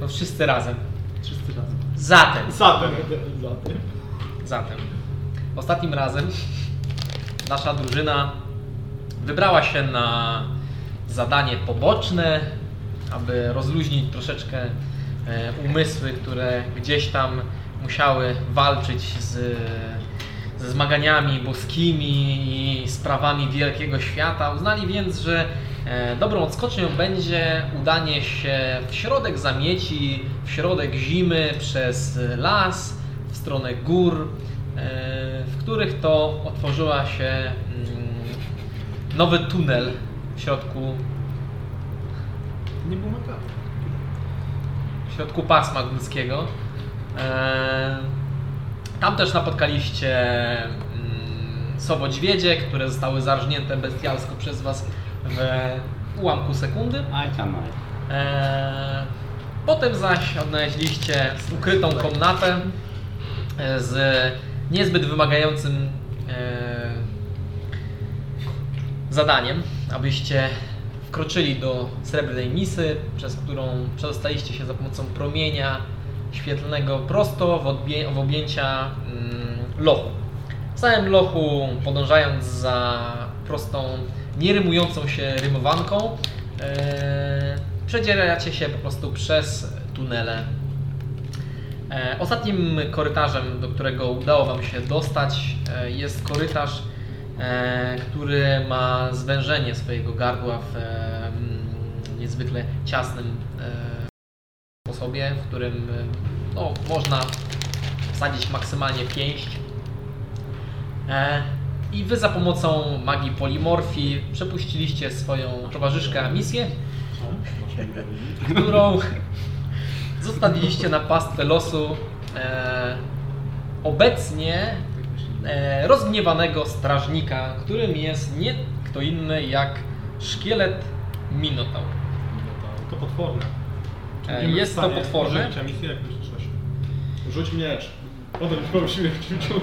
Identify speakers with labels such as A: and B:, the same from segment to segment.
A: No wszyscy razem.
B: Wszyscy razem.
A: Zatem.
B: Zatem. Zatem.
A: Zatem. Ostatnim razem nasza drużyna wybrała się na zadanie poboczne, aby rozluźnić troszeczkę e, umysły, które gdzieś tam musiały walczyć z, ze zmaganiami boskimi i sprawami wielkiego świata. Uznali więc, że e, dobrą odskocznią będzie udanie się w środek zamieci, w środek zimy przez las, w stronę gór, e, w których to otworzyła się mm, nowy tunel w środku,
B: Nie było makaru.
A: w środku pasma górskiego. E, Tam też napotkaliście mm, sobodźwiedzie, które zostały zarżnięte bestialsko przez was w ułamku sekundy.
C: Aj tam, aj.
A: Eee, Potem zaś odnaleźliście ukrytą komnatę e, z niezbyt wymagającym e, zadaniem, abyście wkroczyli do srebrnej misy, przez którą przedostaliście się za pomocą promienia świetlnego prosto w, odbie- w objęcia mm, lochu. W samym lochu, podążając za prostą, nierymującą się rymowanką, e, przedzieracie się po prostu przez tunele. E, ostatnim korytarzem, do którego udało Wam się dostać, e, jest korytarz, e, który ma zwężenie swojego gardła w e, mm, niezwykle ciasnym e, sposobie, w którym e, no, można wsadzić maksymalnie pięść. E, I wy za pomocą magii polimorfii przepuściliście swoją towarzyszkę Amisję, którą zostawiliście na pastwę losu e, obecnie
B: Tak
A: e, rozgniewanego strażnika, którym jest nie kto inny jak szkielet Minotaur.
B: To potworne. Czy
A: E,
C: no
B: będziemy
A: jest
B: w
A: to
B: stanie
A: potworne.
B: użyć emisji jak myślisz, Czesiu? Rzuć miecz. Odejdź po siłę w ciuciu.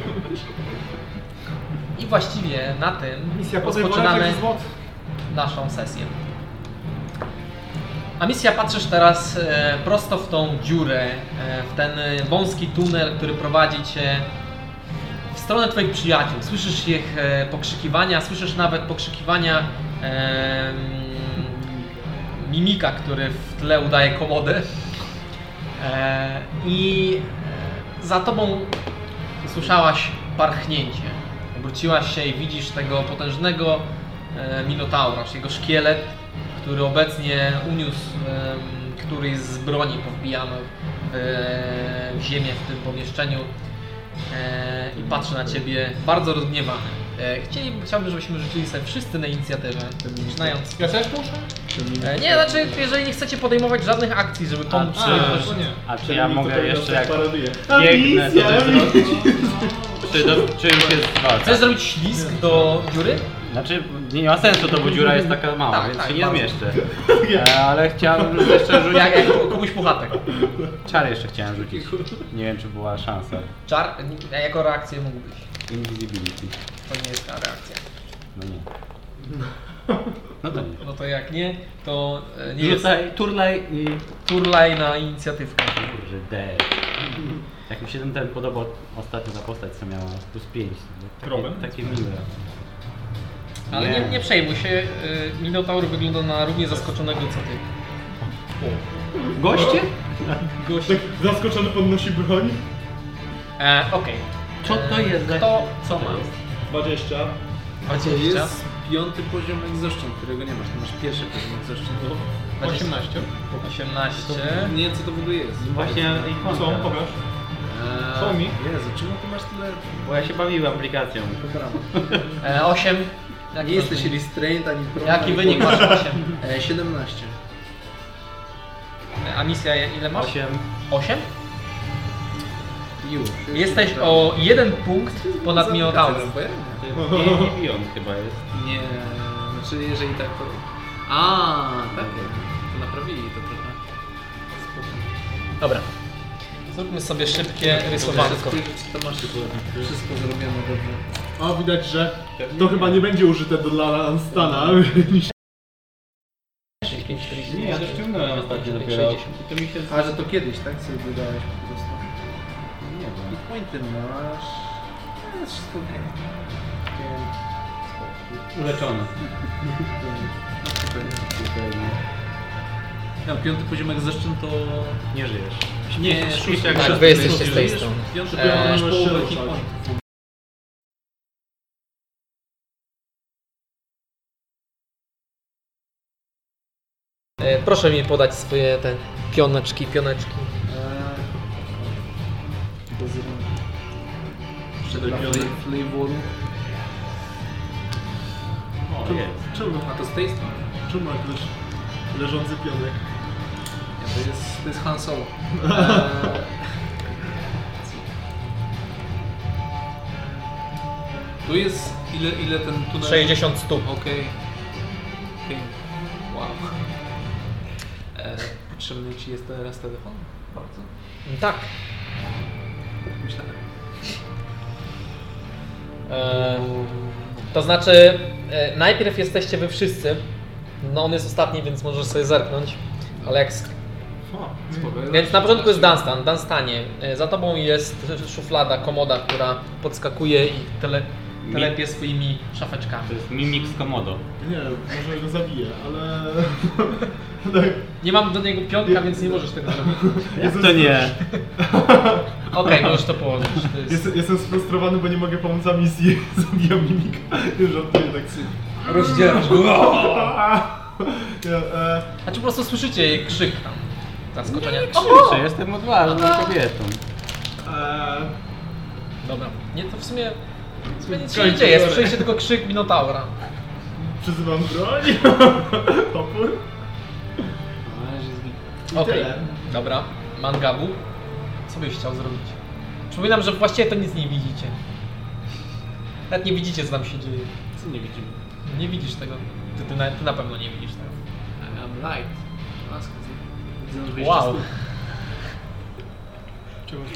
A: I właściwie na tym
B: Misja tak
A: rozpoczynamy
B: podejmowana złot.
A: naszą sesję. A misja patrzysz teraz e, prosto w tą dziurę, e, w ten e, wąski tunel, który prowadzi cię w stronę Twoich przyjaciół. Słyszysz ich e, pokrzykiwania, słyszysz nawet pokrzykiwania e, mm, mimika, który w tle udaje komodę. E, I e, za tobą słyszałaś parchnięcie. Obróciłaś się i widzisz tego potężnego e, minotaura, czyli jego szkielet, który obecnie uniósł e, któryś z broni powbijanych w, e, w ziemię w tym pomieszczeniu e, i patrzy na ciebie bardzo rozgniewany. E, chcieli, chciałbym, żebyśmy rzucili sobie wszyscy na inicjatywę, zaczynając.
B: Ja też muszę?
A: E, nie, znaczy, jeżeli nie chcecie podejmować żadnych akcji, żeby pomóc,
C: A,
A: żeby
C: a,
A: ktoś-
B: to nie.
C: A czy ja mogę jeszcze jak
B: Parodię.
C: biegnę to też zrobić? Czy do, czymś jest
A: Chcesz
C: walka?
A: zrobić ślizg do dziury?
C: Znaczy, nie ma sensu, to bo dziura jest taka mała,
A: Tak,
C: więc
A: tak,
C: się nie
A: bardzo.
C: zmieszczę. E, Ale chciałem jeszcze rzucić...
A: No Jak, jak komuś puchatek.
C: Czar jeszcze chciałem rzucić. Nie wiem, czy była szansa.
A: Czar, nie, jako reakcję mógł być.
C: Invisibility.
A: To nie jest ta reakcja.
C: No nie. No to nie.
A: No to jak nie, to e, nie jest
C: Rzucaj, turlaj i...
A: turlaj na inicjatywkę.
C: Kurde. Jak mi się ten, ten podobał ostatnio ta postać, co miała plus 5. Takie,
B: Robin?
C: takie miłe.
A: Ale nie,
C: Nie.
A: nie przejmuj się, e, Minotaur wygląda na równie zaskoczonego co ty.
C: Goście?
A: Gość.
B: Tak zaskoczony podnosi broń.
A: E, Okej. E,
C: Co to jest za-
A: Kto co ma?
B: 20.
D: To
A: Dwadzieścia.
D: jest piąty poziom egzoszczyn, którego nie masz. Ty masz pierwszy poziom egzoszczyn.
A: Dwadzieścia.
B: 18.
D: To
A: 18.
D: nie wiem co to w ogóle jest.
C: No Właśnie
B: Co?
C: ikonka.
B: Pokaż.
D: Eee,
B: co mi?
D: Jezu, czemu ty masz tyle
C: Bo ja się bawiłem aplikacją.
D: programu? Tak,
A: E, 8. Jaki
D: Nie jesteś
A: wynik?
D: restraint ani prom.
A: Jaki
D: ani
A: wynik
D: prom.
A: masz 8?
D: Eee, 17.
A: E, A misja ile masz?
C: 8.
A: 8?
D: Już.
A: Jesteś o jeden punkt ponad Minotaurem.
C: Nie, nie bijąc chyba jest.
D: Nie, znaczy jeżeli tak to... A, tak. To naprawili to trochę. Spoko.
A: Dobra. Zróbmy sobie szybkie rysowanko.
D: Wszystko, wszystko to masz wszystko zrobione dobrze.
B: O, widać, że to chyba nie będzie użyte do dla Stana.
A: 35, 40.
C: Nie, ja to ściągnąłem ostatnio dopiero.
D: To mi się...
E: A że to kiedyś, tak? Sobie dodałeś po prostu. I
C: Nie wiem.
E: pointy masz. To jest wszystko okej.
C: Uleczony.
D: No, piąty poziomek zeszczyn to...
C: Nie żyjesz.
D: Nie, szósty jak
A: Tak,
D: szósty
A: wy jesteście
D: jest,
A: z tej
D: wiesz?
A: strony.
D: Piąty
A: Eee,
D: poziom masz
B: masz
D: połowę
B: szybę,
D: hit
B: tak.
D: point.
A: E, Proszę mi podać swoje te pioneczki, pioneczki.
D: Jeszcze do
E: Dla
D: piątej.
E: fla- flavoru.
C: O,
B: Czemu,
C: jest.
B: czemu,
D: A to z tej strony.
B: czemu akurat leżący pionek?
D: Nie, to jest...
E: To jest Han Solo.
D: E, Tu jest... Ile, ile ten tunel...
A: 60 stóp.
D: Okej. Okej. Wow. E, potrzebny ci jest teraz telefon? Bardzo.
A: Tak.
D: Myślałem.
A: E, To znaczy, e, najpierw jesteście wy wszyscy. No on jest ostatni, więc możesz sobie zerknąć. Ale jak sk-
D: O, spoko.
A: Więc na początku jest Dunstan, Dunstanie. E, Za tobą jest szuflada, komoda, która podskakuje i tele, telepie swoimi szafeczkami.
C: To jest mimik z Komodo.
B: Nie, może go zabiję, ale... Tak.
A: Nie mam do niego piątka, więc nie możesz tego zrobić.
B: Jestem-
C: to nie?
A: Okej, możesz to położyć. To jest...
B: Jestem, jestem sfrustrowany, bo nie mogę pomóc za misji. Zabijam mimika. Już żartuję tak sobie.
A: Rozdzielasz go.
B: Ja, e,
A: Znaczy po prostu słyszycie jej krzyk tam. Zaskoczenia.
C: Kurczę, jestem odważną
D: No
C: kobietą.
B: e,
A: Dobra. Nie, to w sumie, w sumie nic się nie
B: Kończy,
A: dzieje.
B: dobra.
A: Słyszycie tylko krzyk Minotaura.
B: przyzywam broń. Opór.
D: Na razie jest git.
A: Okej.
B: tyle.
A: Dobra. Mangabu. Co byś chciał zrobić? Przypominam, że właściwie to nic nie widzicie. Nawet nie widzicie, co tam się dzieje.
D: Co nie widzimy?
A: Nie widzisz tego. Ty, ty, na, ty na pewno nie widzisz tego.
D: I am E, light. Łaska z- widzę wyjście
A: Wow.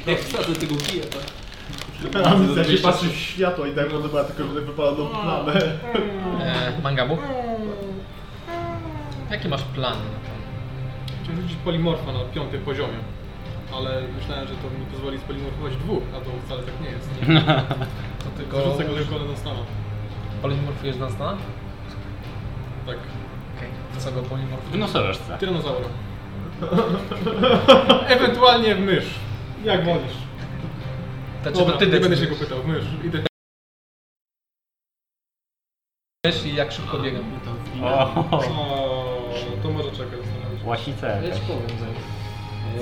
D: z- Jak wsadzę tego kija, tak? to...
B: A misja się patrzy w światło i tak podoba tylko że wypaloną plamę.
A: E, mangabu? Jaki masz plan?
F: Chciałem rzucić polimorfa na piątym poziomie, ale myślałem, że to mi pozwoli spolimorfować dwóch, a to wcale tak nie jest. Nie?
A: To tylko...
F: Rzucę go tylko na Dunstana.
A: Polimorfujesz na stana?
F: Tak,
A: Okej. Co go
C: W
A: polimorfujesz?
C: nosorożce.
F: tyranozaura. Ewentualnie w mysz.
B: Jak wolisz.
A: To, czy
F: Dobra,
A: Znaczy, to ty
F: nie będę się
A: decydujesz
F: go pytał, w mysz. Idę.
A: i jak szybko biegam?
C: O,
F: O, to może czekać. zastanowić się.
C: łasice
D: Ja
C: jakaś.
D: ci powiem zaraz.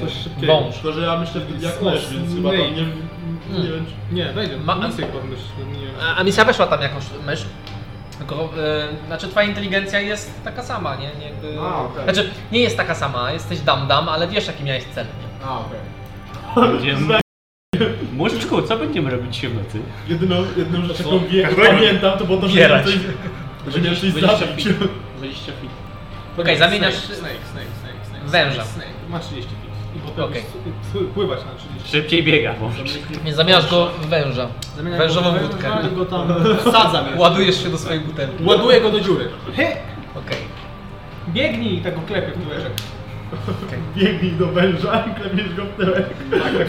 B: Coś szybkiego.
A: Wąż.
B: Tylko, że ja myślę jak
F: Snake.
B: mysz, więc chyba to nie, nie wiem czy...
F: Nie, wejdę.
A: Ma-
F: Ma misję chyba w mysz. Nie wiem.
A: A, a misja weszła tam jakoś mysz. Tylko, y, znaczy twoja inteligencja jest taka sama, nie? nie jakby...
E: A, okej.
A: Znaczy nie jest taka sama, jesteś dam-dam, ale wiesz jaki miałeś cel. nie?
E: A, okej.
C: Będziemy... Muszczku, co będziemy robić się w nocy?
B: Jedyną, jedną rzecz, jaką wie, pamiętam, to było to, że
A: Bierać.
B: nie że nie coś zabić.
D: Wejście fit.
A: Okej, zamieniasz...
F: Snake, snake, snake, snake, snake.
A: Węża.
F: Snake, snake. Ma 30 feet. I potem
A: Okej.
F: okay. pływać na 30
C: Szybciej biega, Wąż.
A: Nie zamieniasz go w węża. Wężową wódkę.
F: Węża i go tam wsadzam jeszcze.
A: Ładujesz się do swojej butelki.
F: Ładuję go do dziury.
A: Okej.
F: Biegnij i tak go klepię w tyłeczek.
B: Biegnij do węża i klepiesz go w tyłek.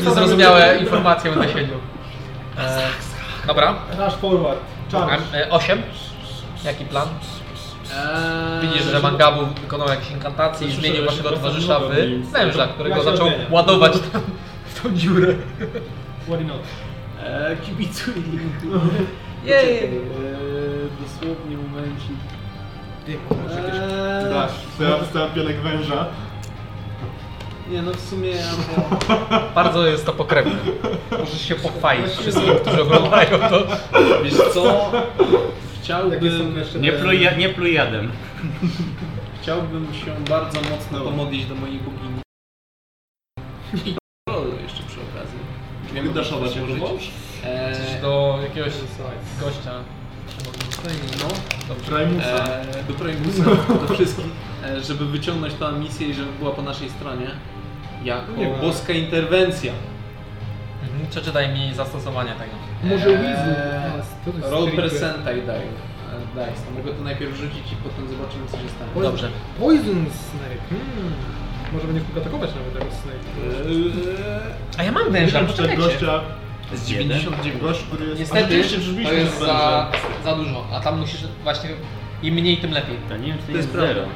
A: Niezrozumiałe informacje będę siedział. E, dobra.
B: Rush forward. Charge.
A: 8. Jaki plan?
D: Eee,
A: Widzisz, że Mangabu wykonał jakieś inkantacje i
B: Słyszę,
A: zmienił
B: że
A: waszego
B: się
A: towarzysza w
B: wracam do domu i-
A: węża, którego
B: Ja się
A: zaczął
B: odmieniam.
A: ładować tam w tą dziurę.
B: Why not?
D: Eee, kibicuj linku.
A: Jej.
D: No. Eee, dosłownie momencik. Eee,
B: Dasz. To ja dostałem pionek węża.
D: Nie no w sumie ja po...
A: Bardzo jest to pokrewne. Możesz się pochwalić wszystkim, którzy oglądają to.
D: Wiesz co? Chciałbym,
C: Nie pluj, ja- nie pluj jadem.
D: chciałbym się bardzo mocno pomodlić do mojej bogini. I rolu No, jeszcze przy okazji.
B: Mogę daszować może wąż?
D: Eee,
A: Do jakiegoś gościa.
D: no.
A: Dobrze.
B: Primusa.
D: Eee, do Primusa, do wszystkich. Eee, żeby wyciągnąć tą misję i żeby była po naszej stronie. Jako
B: Nie ma.
D: boska interwencja.
A: Mhm,
D: E,
A: Przeczytaj mi zastosowanie tego.
D: Może Weasley. Roll percentage daj. Eee, dice. To mogę to najpierw rzucić i potem zobaczymy, co się stanie.
A: Dobrze.
F: Poison Snake. Hmm. Może będziesz mógł atakować nawet tego Snake.
D: E,
A: A ja mam węża,
B: Ten
A: poczekajcie.
B: tak gościa,
D: Z
B: gość, który jest... A
A: Niestety,
B: rzeczywiście brzmiśmy
A: to jest
B: na
A: za,
B: węża.
A: za dużo, a tam musisz właśnie im mniej, tym lepiej.
C: To nie wiem, czy to
D: To jest
C: jest zero.
D: prawda.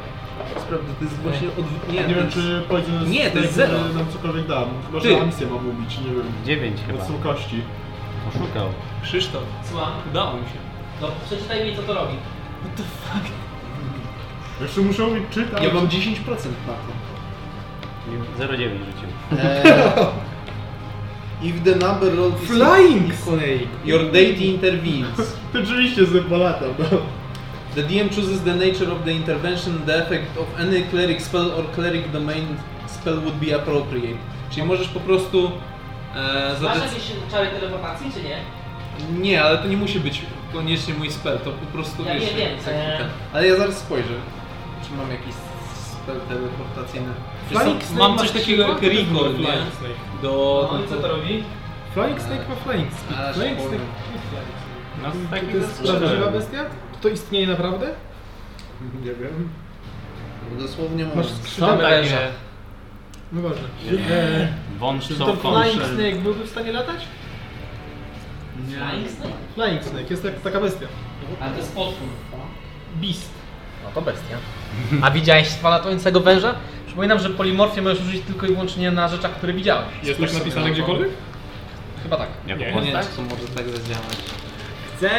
D: Sprawdzę, to jest właśnie odwrót.
B: Nie,
D: Nie,
B: wiem,
D: to jest-
B: czy Poison
D: Nie, to jest
B: Snake
D: zero.
B: nam cokolwiek da. Chyba,
D: Ty.
B: że Amsję mam ubić, nie wiem.
C: Dziewięć chyba.
B: Bo są kości.
C: Oszukał.
D: Krzysztof,
A: Słucham?
D: udało mi się.
A: No przeczytaj mi co to robi.
B: Jeszcze muszę umieć czytać.
D: Ja mam 10% na to.
C: 0,9 rzucił.
D: E, If the number rolled is-
F: Flying Snake!
D: Your deity intervenes.
B: Ty rzeczywiście z lata, no.
D: The DM chooses the nature of the intervention, the effect of any cleric spell or cleric domain spell would be appropriate. Czyli możesz po prostu e, zadec-
A: czary teleportacji, czy nie?
D: Nie, ale to nie musi być koniecznie mój spell, to po prostu
A: Ja
D: wiesz...
A: wiem, wiem,
D: jak-
A: eee.
D: Ale ja zaraz spojrzę, czy mam jakiś spell teleportacyjny. Wiesz co,
F: Flying Snake
D: mam
F: ma
D: coś takiego
F: skrzydła?
D: jak
F: To też może
D: recall, nie?
F: Flying Snake.
D: Do...
A: No i co to robi?
F: Flying Snake ma Flying Speed.
D: Aż
F: Flying
D: powiem.
F: Snake i Flying Snake.
C: No, z
F: To jest prawdziwa bestia? Czy to istnieje naprawdę?
B: Nie wiem.
D: Dosłownie mam...
F: Masz
A: Są
F: skrzydła
A: takie,
F: No ważne.
C: Wąż
F: Czy
C: są
F: ten Flying
C: wąż.
F: Snake byłby w stanie latać?
A: Flying Snake?
F: Flying Snake, jest tak, taka bestia.
A: Ale to jest potwór.
F: Beast.
A: No to bestia. A widziałeś dwa latającego węża? Przypominam, że polimorfię możesz użyć tylko i wyłącznie na rzeczach, które widziałeś.
F: Jest
D: Spójrz
F: tak
D: sobie
F: napisane
D: na to.
F: gdziekolwiek?
A: Chyba tak.
C: Jako
D: Nie wiem,
C: postać?
D: czy to może tak zadziałać.
B: Chcę,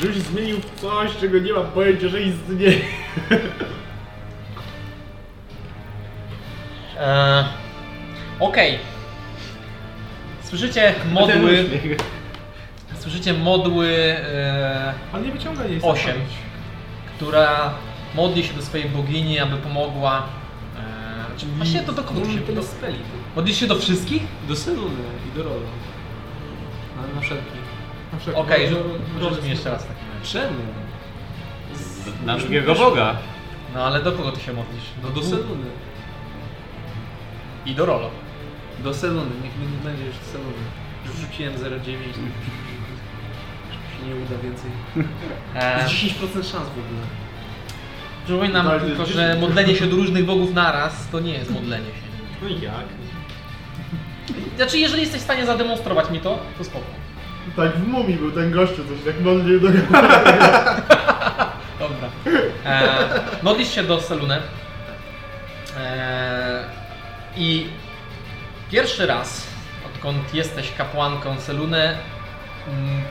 B: żebyś zmienił w coś, czego nie mam pojęcia, że istnieje.
A: Eee, Okej. Słyszycie modły. Słyszycie modły. E,
F: Ale nie wyciąga jej.
A: Osiem. która modli się do swojej bogini, aby pomogła. E, czy właśnie to do kogo się
D: tego
A: do,
D: Mm, speli.
A: Modlisz się do wszystkich?
D: Do Seluny i do Rolo. Ale na wszelki.
B: Tak,
A: Okej, okay, rzuć mi jeszcze raz taki mecz.
D: Czemu?
C: Z- Na drugiego boga.
A: No ale do kogo ty się modlisz?
D: No do Seluny.
A: I do Rolo.
D: Do Seluny, niech mnie nie będzie już Seluny. Już Rzuciłem 0,9. Już mi się nie uda więcej.
A: E,
D: Jest 10% szans w ogóle.
A: przypominam
B: No, ale to jest
A: tylko, że
B: dziesięć.
A: modlenie się do różnych bogów naraz to nie jest modlenie się.
B: No jak?
A: Znaczy, jeżeli jesteś w stanie zademonstrować mi to, to spoko.
B: Tak w mumii był ten gościu, coś tak mądrze do
A: Dobra. E, modlisz się do Selune. E, I pierwszy raz, odkąd jesteś kapłanką Selune, mm,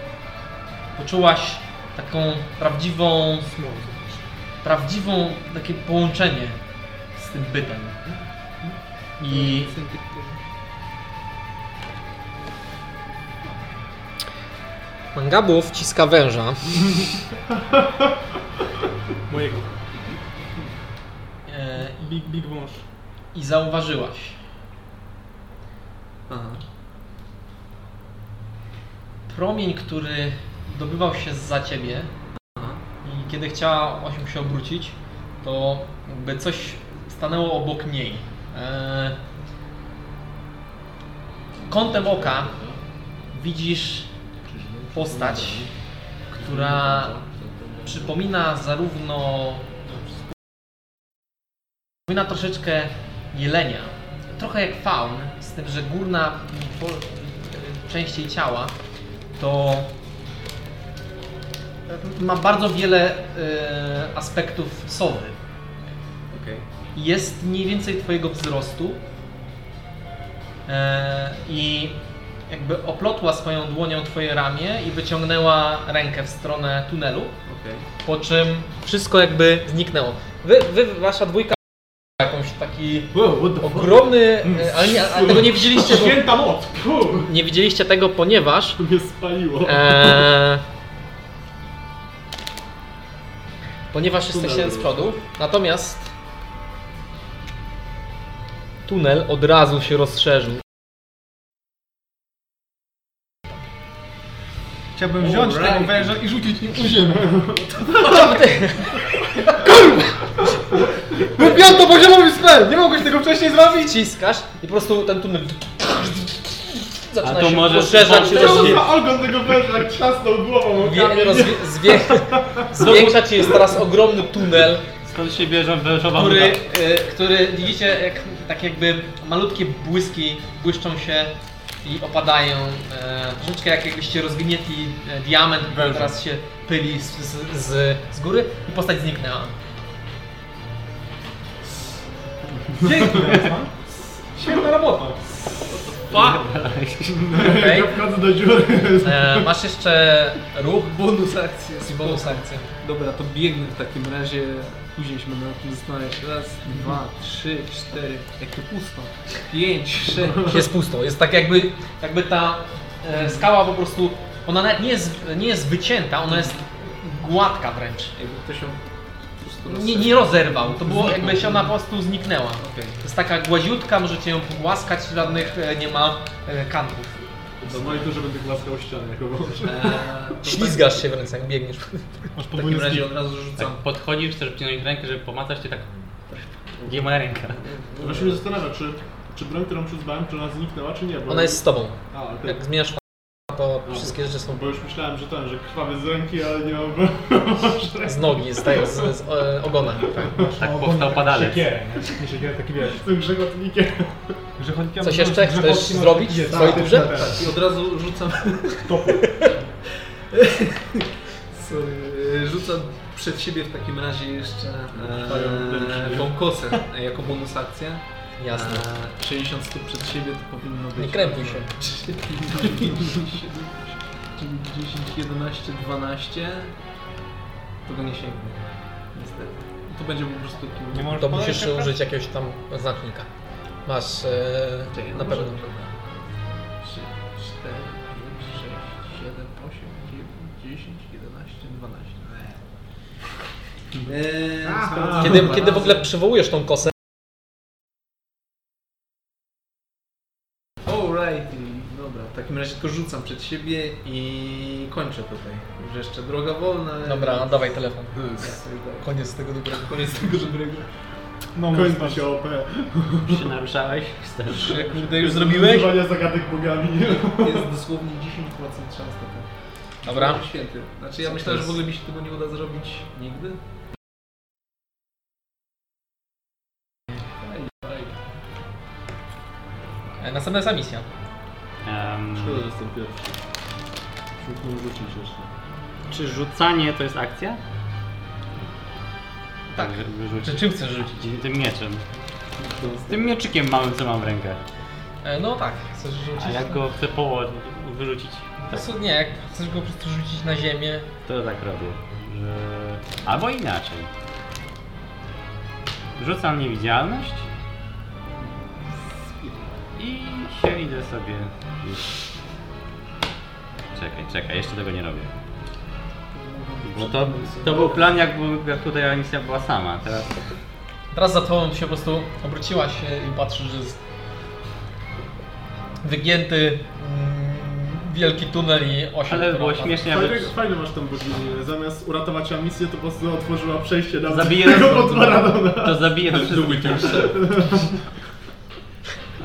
A: poczułaś taką prawdziwą, prawdziwą takie połączenie z tym bytem. I Mangabu wciska węża.
F: Mojego.
A: E,
F: Big, big wąż.
A: I zauważyłaś,
D: Aha.
A: promień, który dobywał się za ciebie
D: Aha.
A: i kiedy chciała o nim się obrócić, to jakby coś stanęło obok niej. Eee, Kątem oka widzisz postać, która przypomina zarówno przypomina troszeczkę jelenia, trochę jak faun, z tym, że górna po, część jej ciała to ma bardzo wiele e, aspektów sowy.
D: Okej.
A: Jest mniej więcej twojego wzrostu e, i jakby oplotła swoją dłonią twoje ramię i wyciągnęła rękę w stronę tunelu,
D: Okej.
A: po czym wszystko jakby zniknęło. Wy, wy wasza dwójka jakąś taki
B: Wow, what
A: ogromny, e, ale, nie, ale tego nie widzieliście, bo
B: Święta moc! Puh,
A: nie widzieliście tego, ponieważ
B: to mnie spaliło.
A: Eee, ponieważ
B: Tunel
A: jesteście z
B: był.
A: przodu, natomiast tunel od razu się rozszerzył.
F: Chciałbym wziąć tego węża i rzucić nim u ziemię. Kurwa! Piąto poziomowy spell! Nie mogłeś tego wcześniej zrobić!
A: Wciskasz i po prostu ten tunel zaczyna
C: to
A: się
C: może-
A: poszerzać,
C: może-
A: rozwi-
B: Kurwa, Olgon tego węża jak trzasnął głową o
A: wie-
B: kamień.
A: rozwi- zwie- zwiększa ci jest teraz ogromny tunel,
C: Skąd się bierze wężowa
A: który,
C: woda?
A: y, który widzicie, jak, tak jakby malutkie błyski błyszczą się i opadają. E, troszeczkę jak jakbyście rozgnietli e, diament, który
F: Węża.
A: teraz się pyli z, z, z, z góry i postać zniknęła.
F: Świetna robota.
A: Okej.
B: Ja wchodzę do dziury.
A: E, masz jeszcze ruch
D: Bonus akcja.
A: i bonus akcję.
D: Dobra, to biegnę w takim razie. Później się będę nad tym zastanawiać. Raz, dwa, trzy, cztery. Jak to pusto. Pięć, sześć.
A: Jest pusto. Jest tak jakby, jakby ta e, skała po prostu, ona nawet nie jest, nie jest wycięta, ona jest gładka wręcz.
D: Jakby ktoś ją po prostu
A: Nie, nie rozerwał, to było jakby się ona po prostu zniknęła. To jest taka gładziutka, możecie ją pogłaskać, żadnych e, nie ma e, kantów. E,
B: Do mojej duży będę głaskał ścianę jako wąż.
A: Ślizgasz się w ręce, jak biegniesz.
B: Masz
D: W takim razie od razu rzucam.
C: Tak, Podchodzisz, chcesz przyciągnąć rękę, żeby pomacać cię tak. Gdzie moja ręka?
B: Właśnie mnie zastanawia, czy, czy broń, którą przyzbałem, czy ona zniknęła, czy nie. Bo
A: Ona jest z tobą.
B: A, okej.
A: Jak zmieniasz to wszystkie rzeczy są
B: Bo już myślałem, że ten, że krwawy z ręki, ale nie mam
A: z nogi, z, tego, z, z e, ogona.
C: Tak powstał padalec.
F: Siekierę, nie? Nie siekierę, taki wiesz.
B: z tym grzechotnikiem.
F: grzechotnikiem-
A: Coś jeszcze chcesz
F: grzechotnikiem
A: zrobić
F: taki jest.
A: w swojej
F: Tak,
A: turze?
F: tak, tak.
D: I od razu rzucam. Sorry. Rzucam przed siebie w takim razie jeszcze e, tą kosę jako bonus akcję.
A: Jasne.
D: E, 60 stóp przed siebie to powinno być.
A: Nie krępuj się.
D: 3, 5, 6, 7, 10, 11, 12. Tego nie sięgnie. Niestety. To będzie po prostu tu.
F: Nie
A: To
F: możesz
A: musisz
F: podać
A: użyć jakiegoś tam znacznika. Masz e, na pewno.
D: 3, 4, 5, 6, 7, 8, 9, 10, 11, 12. Eee, sprawdzam
A: Kiedy,
D: dwa
A: kiedy w
D: razy.
A: ogóle przywołujesz tą kosę,
D: Alrighty, dobra, w takim razie to rzucam przed siebie i kończę tutaj. Już jeszcze droga wolna. ale-
A: Dobra, no dawaj telefon.
D: Ja sobie daję.
A: Koniec tego dobrego.
D: Koniec tego dobrego.
F: No,
B: Kończy się OP.
C: Się naruszałeś? Chcesz.
D: Czy kurde już zrobiłeś?
B: Używania zagadek bogami.
D: Jest dosłownie 10% szans na to.
A: Dobra.
D: Święty. Znaczy ja myślałem, że w ogóle mi się tego nie uda zrobić nigdy.
A: E, Następna jest misja.
C: Em,
B: Szkoda, że jestem pierwszy. Mógłbym rzucić jeszcze.
C: czy rzucanie to jest akcja?
A: Tak.
C: Wy- wyrzucić.
A: Czy czym chcesz rzucić?
C: Tym mieczem. Z tym mieczykiem małym, co mam w rękę.
A: E, No tak, chcesz rzucić.
C: A jak go chcę położyć, wyrzucić,
A: Po
C: tak,
A: prostu nie, jak chcesz go po prostu rzucić na ziemię.
C: to tak robię. Że... Albo inaczej. Rzucam niewidzialność. I się idę sobie już. Czekaj, czekaj, jeszcze tego nie robię. Bo to, to był plan, jak, był, jak tutaj misja była sama. Teraz
A: Teraz za tobą się po prostu obróciłaś się i patrzysz, że jest wygięty mm, wielki tunel i osiem.
C: Ale
A: która
C: było
A: opada.
C: śmiesznie,
B: Fajne,
C: aby...
B: fajne masz tą boginię. Zamiast uratować misję, to po prostu otworzyła przejście na
C: Zabije
B: tego
C: nas-
B: potwora Radona.
C: To zabije nas wszystkich.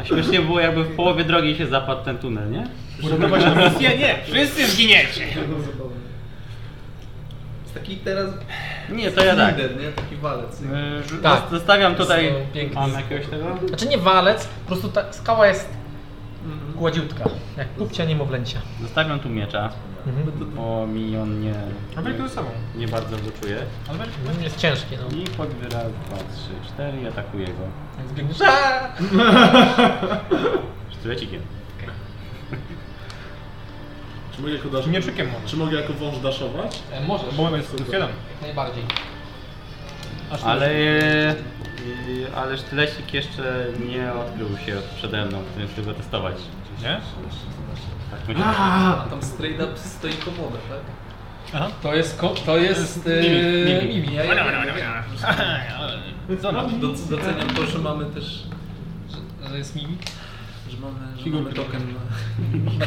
C: A śmiesznie było, jakby w połowie drogi się zapadł ten tunel, nie?
B: Uratować nam
C: Nie, nie, wszyscy zginiecie!
D: Jest taki teraz
C: Nie, to ja tak.
D: lider, nie? Taki walec. nie?
C: Y, rzu-
A: Tak.
C: Zostawiam tutaj...
A: Jest to piękny
C: Mam
A: styl.
C: jakiegoś tego?
A: Znaczy nie walec, po prostu ta skała jest
F: No.
A: gładziutka. Jak pupcia niemowlęcia. Mhm.
C: Zostawiam tu miecza, No bo mi on nie...
F: Ale to samo.
C: Nie bardzo go czuje.
F: Ale weź-
A: Mhm, Jest ciężki, no.
C: I choćby raz, dwa, trzy, cztery i atakuję go.
A: Więc biegniesz. Aaa!
C: Sztylecikiem.
B: Czy mogę jako dasz...
F: Mieczykiem może.
B: Czy mogę jako wąż daszować?
A: E, Możesz,
F: Bo mamy jest otwieram.
A: najbardziej.
C: Ale... y, Ale sztylecik jeszcze nie odkrył się przede mną, więc chcę go testować.
F: Nie?
C: Tak będzie.
D: A tam straight up stoi komoda, tak?
A: To jest, ko- to jest e,
C: Mimi,
A: mimi.
C: mimi.
A: Ja, ja, ja,
F: Co no?
D: Znaczy, Doc- Doceniam to, że mamy też,
A: Że, że jest mimi.
D: że mamy, że
F: Figurki.
D: mamy token na,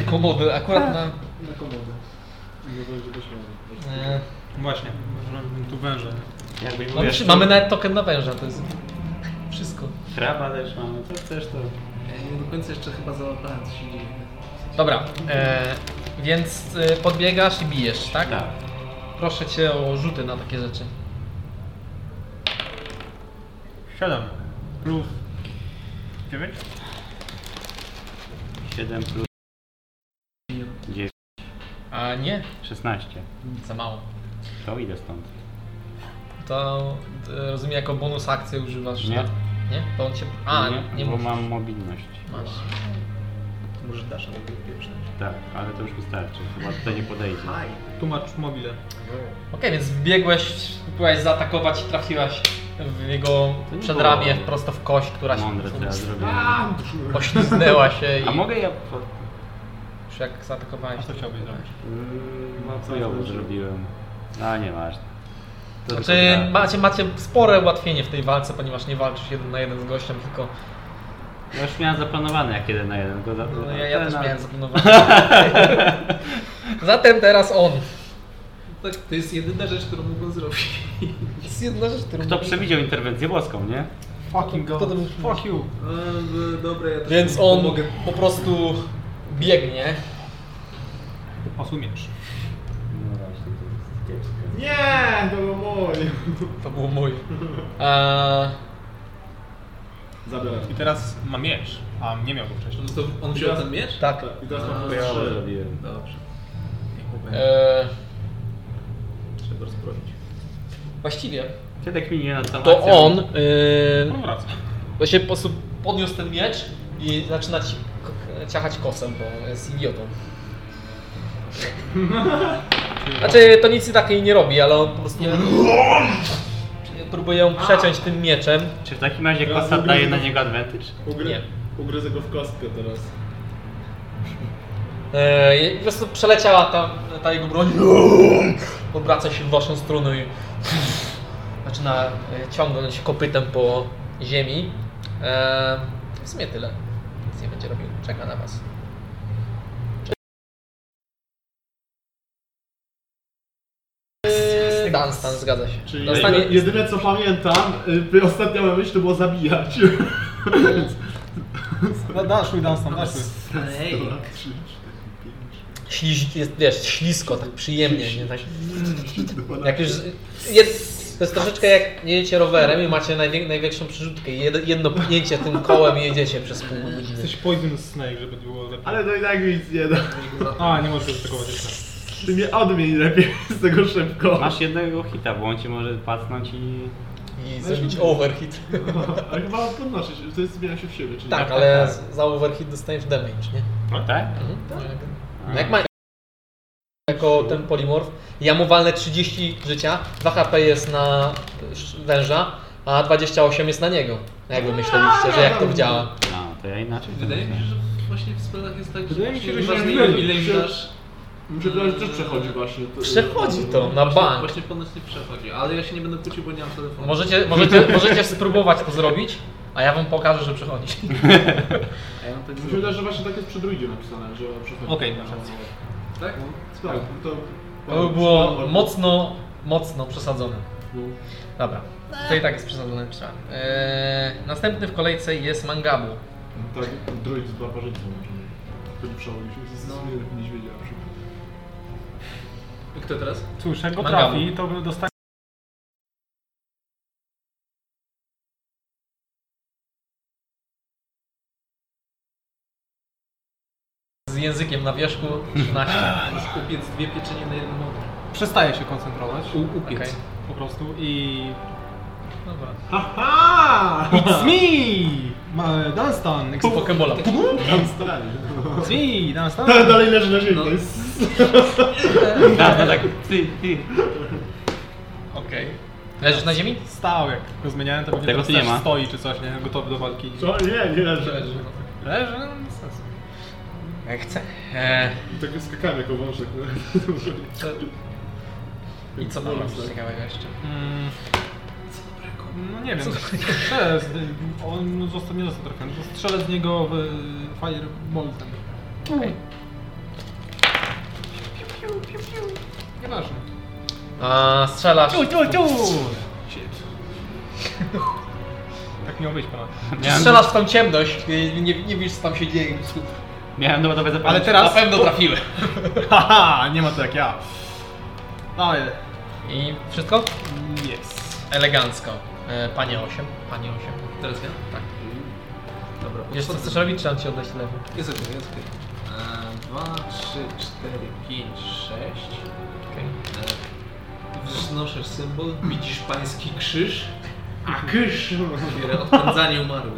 A: Na komody, akurat na...
D: na komodę.
A: E,
F: Właśnie, że tu węże.
C: Jakbyś był
A: mamy,
C: jeszcze-
A: mamy nawet token na węża, to jest wszystko.
C: Kraba też mamy, co chcesz to...
D: E, Ja nie do końca jeszcze chyba załapałem, co się dzieje.
A: Dobra, e, więc e, podbiegasz i bijesz, tak?
C: Tak.
A: Proszę cię o rzuty na takie rzeczy.
G: Siadam. Plus 9?
C: 7 plus 9,
A: A nie,
C: 16.
A: za mało.
C: To idę stąd.
A: To e, rozumiem, jako bonus akcję używasz,
C: Nie.
A: tak? Nie? To on cię. A, nie, nie
C: bo
A: musisz.
C: mam mobilność.
A: Masz.
E: Może dasz albo pierwszy.
C: Tak, ale to już wystarczy. Chyba tutaj nie podejdzie.
F: Tłumacz mobile.
A: Okej, więc biegłeś, byłaś zaatakować i trafiłaś w jego
C: To nie
A: przedramię
C: było-
A: prosto w kość, która się
C: Mądre co ja zrobiłem.
A: poślizgnęła się
C: A
A: i
C: mogę ja... po-
A: już jak zaatakowałeś.
F: A co chciałbyś zrobić?
A: Mm,
C: No co ja zrobiłem? No nieważne. To
A: Znaczy,
C: tylko gra.
A: macie, macie spore ułatwienie w tej walce, ponieważ nie walczysz jeden na jeden z gościem, tylko
C: Ja już miałem zaplanowane jak jeden na jeden. Go za...
A: no, ja, ja
C: ten,
A: też
C: ale-
A: miałem zaplanowane. Zatem teraz on.
D: Tak, to jest jedyna rzecz, którą mogłem zrobić.
A: To jest jedna rzecz, którą...
C: Kto przewidział interwencję boską, nie?
G: Fucking
A: Kto
G: go.
A: to był?
G: Fuck you. no,
D: E, dobra, ja też
A: Więc on po prostu biegnie.
F: Osumiesz.
C: No właśnie, to jest kiepskie.
B: Nie, to było moje.
A: To było moje. Eee,
B: Zabiorę.
G: I teraz ma miecz, a nie miał go wcześniej.
D: On, to, on wziął ten miecz?
A: tak.
B: I teraz
D: A,
B: mam
C: To ja
B: trzy.
C: zrobiłem.
D: Dobrze.
A: Eee,
D: Trzeba rozbroić.
A: właściwie
C: Kiedy kminie nad tą
A: to
C: akcją?
A: on eee,
C: Hmm.
G: On wraca.
A: właśnie po prostu podniósł ten miecz i zaczyna ci k- ciachać kosem, bo jest idiotą. Znaczy to nic takiej nie robi, ale on po prostu próbuje ją przeciąć tym mieczem.
C: Czy w takim razie
B: Teraz
C: kosa
B: zrobimy
C: daje na
B: to.
C: niego advantage?
A: Nie.
B: Ugry... Ugryzę go w kostkę teraz.
A: Eee, i po prostu przeleciała ta, ta jego broń. Obraca się w waszą stronę i zaczyna e, ciągnąć kopytem po ziemi. Eee, w sumie tyle. Nic nie będzie robił. Czeka na was. Eee, Dunstan, zgadza się.
B: Czyli
A: Dunstan
B: jedyne, jedyne co pamiętam, y, ostatnia moja myśl to było zabijać.
G: Da, dasz mi, dasz tam, dasz mi.
B: Dwa, trzy, cztery,
A: śliz, jest, wiesz, ślisko, tak przyjemnie. Nie? Tak,
B: pięć, dwanaście.
A: Jak już. Jed, to jest troszeczkę jak jedziecie rowerem i macie najwię, największą przerzutkę. Jed, jedno pchnięcie tym kołem i jedziecie przez pół godziny.
F: Jesteś poison snake, żeby było lepiej.
B: Ale to i tak mi nic nie da.
F: A, nie możesz zaatakować jeszcze.
B: Ty mnie odmień lepiej z tego szybko.
C: Masz jednego hita, bo on ci może pacnąć i...
A: I zrobić overhit.
B: A chyba podnoszę się, to jest zmienia się w siebie, czyli
A: Tak, ale z- za overhit dostajesz damage, nie?
C: No tak?
A: No jak ma. Jako ten polimorf. Ja mu walnę 30 życia, 2 HP jest na sz- węża, a 28 jest na niego. Jak wy myśleliście, że jak to działa?
C: No, to ja inaczej.
D: Wydaje mi się, że właśnie w spelach jest tak, że
B: Wydaje mi się, że się
D: ważne
B: nie
D: ile,
B: myli.
D: ile im
B: Się-
D: dasz.
B: Muszę powiedzieć, że też przechodzi właśnie. To-
A: Przechodzi to na
D: właśnie,
A: bank.
D: Właśnie ponoć nie przechodzi, ale ja się nie będę kłócił, bo nie mam telefonu.
A: Możecie, możecie, możecie spróbować to zrobić, a ja wam pokażę, że przechodzi.
D: A ja mam tak
B: Mi się wydaje, że właśnie tak jest przy druidzie napisane, że przechodzi.
G: Okej, masz rację.
D: Tak?
B: Tak, to...
A: To by było mocno, mocno przesadzone.
B: No.
A: Dobra, to i tak jest przesadzone. trzeba. Eee, następny w kolejce jest Mangabu.
B: Tak, druid z no, barbarzycą może. Wtedy przechodzi się z
D: No.
B: z niedźwiedzia na przykład.
D: Kto teraz?
G: Cóż, jak go
A: Mangabu.
G: trafi, to by dostanie...
A: Z językiem na wierzchu 13.
D: Musisz upiec dwie pieczenie na jednym ogniu.
G: Przestaje się koncentrować.
A: Okej.
G: Po prostu i...
A: Dobra.
G: Haha! It's me! Ma- Dunstan!
A: Z Pokebola.
B: Tam stali.
G: It's me! Dunstan!
B: Dalej leży na ziemi.
D: No.
B: to jest-
C: Dawno tak, ty, ty.
A: Okej. Leżysz na ziemi?
G: Stał, jak go zmieniałem, to pewnie
C: Tego
G: teraz
C: tu nie
G: też
C: ma.
G: stoi czy coś, nie? Gotowy do walki.
B: Co? Nie, nie leży.
A: Leży.
G: Leży, no bez sensu.
D: E,
A: Jak chce. Eee,
B: Tak skakałem jako wążek. no.
A: co- I co tam masz ciekawego jeszcze?
G: Mm. No nie wiem, strzelę z nim. On został, nie został trafiony, to strzelę z niego w y, Fireboltem.
A: Okej.
G: Nieważne.
A: A, strzelasz.
G: Tak miało być ponad.
C: Miałem-
G: Tak
A: Strzelasz w tą ciemność, nie, nie, nie wiesz co tam się dzieje. po prostu
C: Miałem doładować zapalniczkę.
G: Ale teraz...
A: Na pewno trafiłem.
G: Haha, nie ma to jak ja. Ale...
A: I wszystko?
G: Yes.
A: Elegancko. E, Panie 8. Panie 8.
D: Teraz ja?
A: Tak.
D: Dobra,
A: Wiesz co
D: podchodzę.
A: chcesz robić, trzeba ci oddać lewy.
D: Jest okej, jest okej. E, Dwa, trzy, cztery, pięć, sześć.
A: Okej.
D: E, Wznoszę symbol, widzisz pański krzyż. A krzyż! Otwiera odpędzanie umarłych.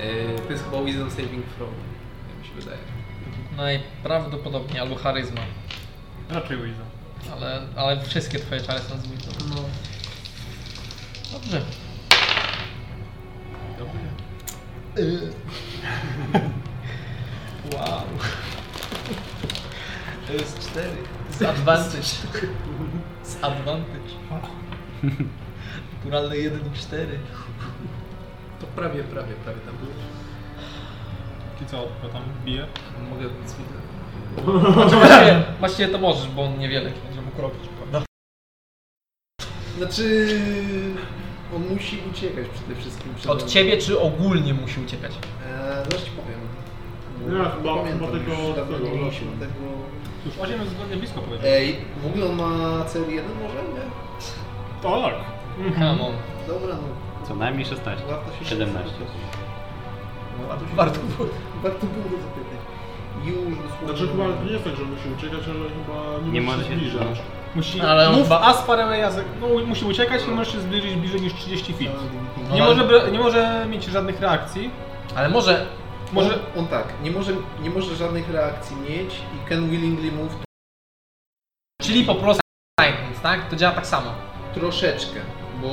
D: E, To jest chyba wisdom saving from, jak mi się wydaje.
A: Najprawdopodobniej albo charyzma.
G: Raczej Wiza.
A: Ale, ale wszystkie twoje czary są z widzą.
D: No,
A: Dobrze.
D: wow. To jest cztery.
A: Z advantage. Z advantage. Naturalne 1 i 4.
D: To prawie, prawie, prawie tam było.
G: I co, go tam bije?
D: Mogę więc mi
A: Właściwie, właściwie to możesz, bo on niewiele będzie mógł robić. prawda?
D: Znaczy... On musi uciekać przede wszystkim. przede
A: Od
D: mną.
A: ciebie czy ogólnie musi uciekać?
D: Eee, zaraz ci powiem.
B: Nie,
G: no,
B: chyba-
D: pamiętam
B: chyba
D: już,
B: tego-
D: dawno
B: tego
D: nie
B: lotu.
D: mieliśmy tego...
G: Już 8 jest zgodnie blisko powiedział.
D: Ej, w ogóle on ma CR1 może? Nie?
G: Tak.
A: Come on.
D: Dobra, no.
C: Co najmniej 16.
D: Warto się
C: 17.
D: zapytać. No, warto, się
A: Warto było.
D: warto było go zapytać. Już dosłownie.
B: Znaczy chyba nie jest tak, że musi uciekać, ale chyba nie,
C: Nie
B: musi
C: może się
B: zbliżać.
C: zbliżać.
G: Musi,
A: Ale on
G: move
A: ba-
G: as far away as... No, musi uciekać i może się zbliżyć bliżej niż 30 feet.
A: No,
G: Nie
A: ale-
G: może, bra- nie może mieć żadnych reakcji.
A: Ale może
G: Może...
D: On, on tak, nie może, nie może żadnych reakcji mieć i can willingly move
A: Czyli po prostu Titans, tak? To działa tak samo.
D: troszeczkę, bo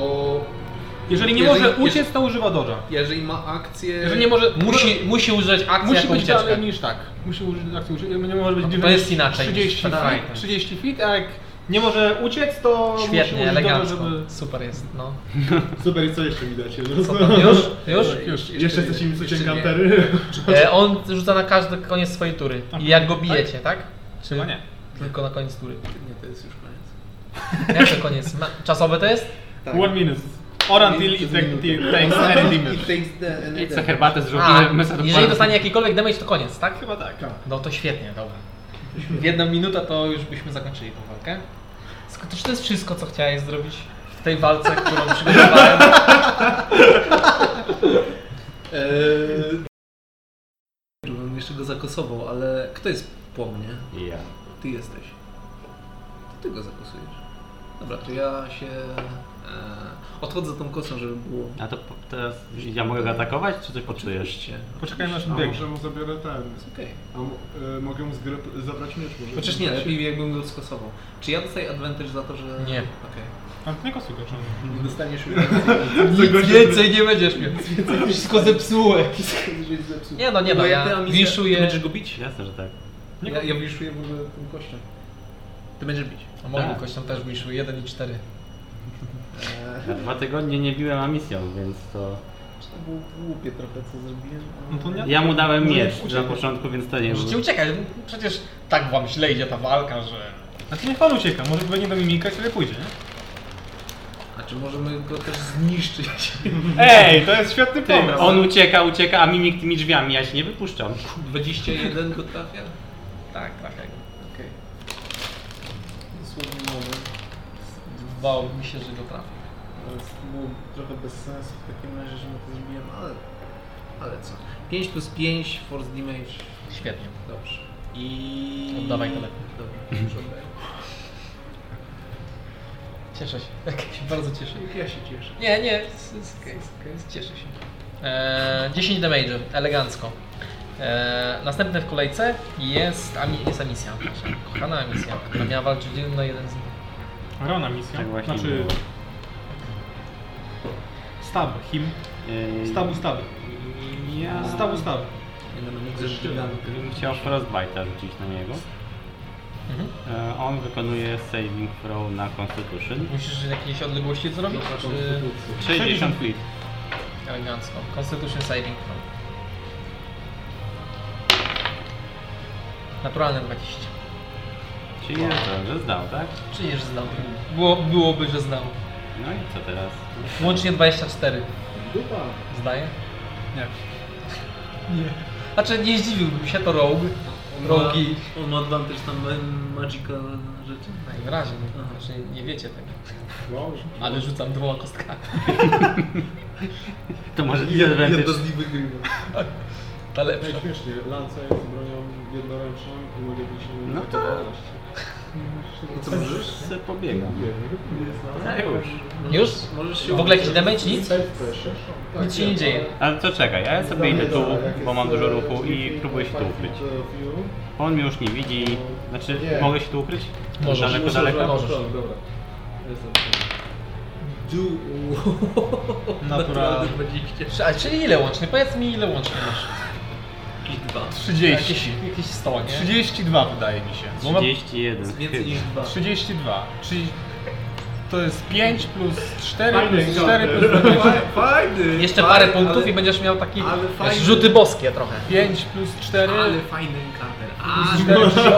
G: Jeżeli nie
D: Jeżeli-
G: może uciec, to używa dodża.
D: jeżeli ma akcję...
G: Jeżeli nie może...
A: Musi, musi użyć akcji
G: Musi
A: jako
G: być
A: ucieczkę.
G: dalej niż tak. Musi użyć akcji użyć. Nie może być
A: No to
G: bliżej
A: jest
G: niż
A: inaczej niż
G: 30
A: przed
G: feet,
A: fightem.
G: 30 feet, a jak nie może uciec, to musi
A: Świetnie,
G: użyć
A: elegancko.
G: dodża, żeby...
A: Super jest, no.
B: Super, i co jeszcze widać?
A: Co tam, już? Już?
B: Już,
D: Jeszcze
B: jeszcze
D: nie,
B: chcecie mi coś
D: jeszcze nie.
B: enkantery?
A: E, on rzuca na każdy koniec swojej tury. I jak go bijecie, tak? Czy
G: Chyba nie.
A: tylko na koniec tury?
D: Nie, to jest już koniec.
A: Jak to koniec? Ma- Czasowy to jest?
D: Tak.
G: One minute. Or until it take- it takes any
D: It
G: damage.
D: takes the- any
C: I co
D: damage.
C: herbatę
A: A,
C: zrzucimy, my sobie
A: jeżeli dostanie jakikolwiek damage, to koniec, tak?
G: Chyba tak.
A: No to świetnie, dobra. W jedną minutę to już byśmy zakończyli tą walkę. Sk- to Czy to jest wszystko, co chciałeś zrobić w tej walce, którą przygotowałem?
D: Eee... Bym jeszcze go zakosował, ale kto jest po mnie?
C: Ja.
D: Ty jesteś. To ty go zakosujesz. Dobra, to ja się... Eee... Odchodzę tą kosą, żeby było...
C: A to po- teraz ja mogę go atakować, czy coś poczujesz?
D: Oczywiście.
G: Poczekajmy aż
B: A
G: biegnie.
B: może mu zabiorę ten.
D: Jest okej.
B: A m- y, mogę mu zgry- zabrać miecz może?
D: Chociaż nie, lepiej jakbym go skosował. Czy ja dostaję advantage za to, że...
A: Nie.
D: Okej.
G: A ty nie kosuję, czy nie?
D: Nie dostaniesz już...
A: Nic więcej nie będziesz miał. Wszystko zepsułeś. Nie no, nie no, ja
D: Ty
A: winszuję.
D: będziesz go bić?
C: Jasne, że tak.
D: Ja, ja winszuję w ogóle tym kością. Ty będziesz bić.
A: A moim
C: Tak.
A: kością też winszuję 1 i 4.
C: Ja dwa tygodnie nie biłem amisją, więc to...
D: E, To było głupie trochę, co zrobiłem. ale-
G: No to nie.
C: Ja mu dałem miecz na początku, więc to nie
A: Możecie
C: był...
A: uciekać, przecież tak wam źle idzie ta walka, że...
G: Znaczy niech pan ucieka, może będzie do mimika i sobie pójdzie, nie?
D: A czy możemy go też zniszczyć?
G: Ej, to jest świetny pomysł!
C: On ucieka, ucieka, a mimik tymi drzwiami, ja się nie wypuszczam.
D: 21 go trafia?
A: Tak, trafia go.
D: Okej. Dosłownie moment.
A: Wydawało mi się, że go trafi.
D: Więc to było trochę bez sensu w takim razie, że mu to zrobiłem, ale... Ale co? 5 plus 5, force damage.
A: Świetnie.
D: Dobrze. I...
A: Oddawaj to lepiej.
D: Dobrze, już oddaję.
A: Cieszę się. się bardzo cieszę.
D: Ja się cieszę.
A: Nie, nie, jest- jest okej, jest okej, cieszę się. Eee, 10 damage, elegancko. Eee, następny w kolejce jest, ami, jest Amisja, nasza kochana Amisja, która miała walczyć jeden na jeden z
G: Rona misja.
C: Tak właśnie
G: znaczy.
C: było.
G: Stab, him.
C: Yy,
G: Stabu, staby.
C: Ja...
G: Stabu, staby.
D: Będę mógł zrzucić
C: Gdybym chciał Frostbite'a rzucić na niego.
A: Mhm.
C: E, On wykonuje saving throw na Constitution.
A: Musisz jakieś odległości zrobić? Czy...
C: 60 feet.
A: Elegancko. Constitution saving throw. Naturalne 20.
C: Czyli jest to, że zdał, tak?
A: Czyli że zdał. Było, byłoby, że zdał.
C: No i co teraz?
A: Łącznie 24.
B: Dupa.
A: Zdaje?
G: Nie.
A: Znaczy nie zdziwiłbym się, to rogue. Rogi.
E: On ma advantage tam ma- magical rzeczy.
A: Najwyraźniej,
E: Aha.
A: znaczy nie wiecie tego.
B: Wow.
A: Ale rzucam dwoma kostkami.
C: To może
E: Ja, ja
C: disadvantage.
E: to z nim wygrywam.
A: To lepsze.
B: Najśmieszniej, lanca jest bronią jednoręczną i mogę być nim
C: No to-
B: 12.
E: I co możesz?
C: Se pobiegam.
B: Nie, nie jest
C: No już.
A: Już?
E: Możesz się
A: W ogóle jakiś damage? Nic?
B: Safe pressure. Tak,
A: Nic się nie dzieje.
C: Ale to czekaj, ja sobie idę tu, bo mam dużo ruchu i próbuję się tu ukryć. On mnie już nie widzi. Znaczy,
B: Nie.
C: mogę się tu ukryć?
A: Możesz.
C: Daleko,
A: Możesz,
C: daleko.
A: możesz.
B: Dobra. Jestem.
E: Do...
G: Natural.
E: 20.
A: A czyli ile łącznie? Powiedz mi ile łącznie masz.
E: Jakieś dwa.
G: 30.
A: Jakieś, jakieś 100, nie?
G: 32 wydaje mi się. Bo mam
C: 31.
E: Więcej niż dwa.
G: 32. Czyli to jest 5 plus 4
B: Fajny
G: plus 4
B: joker.
G: plus 20.
E: Fajny!
A: Jeszcze parę
E: fajny,
A: punktów
E: ale-
A: i będziesz miał taki
E: ale
A: wiesz,
E: fajny.
A: rzuty boskie trochę.
G: 5 plus 4
E: Ale fajny encounter. A,
G: plus 4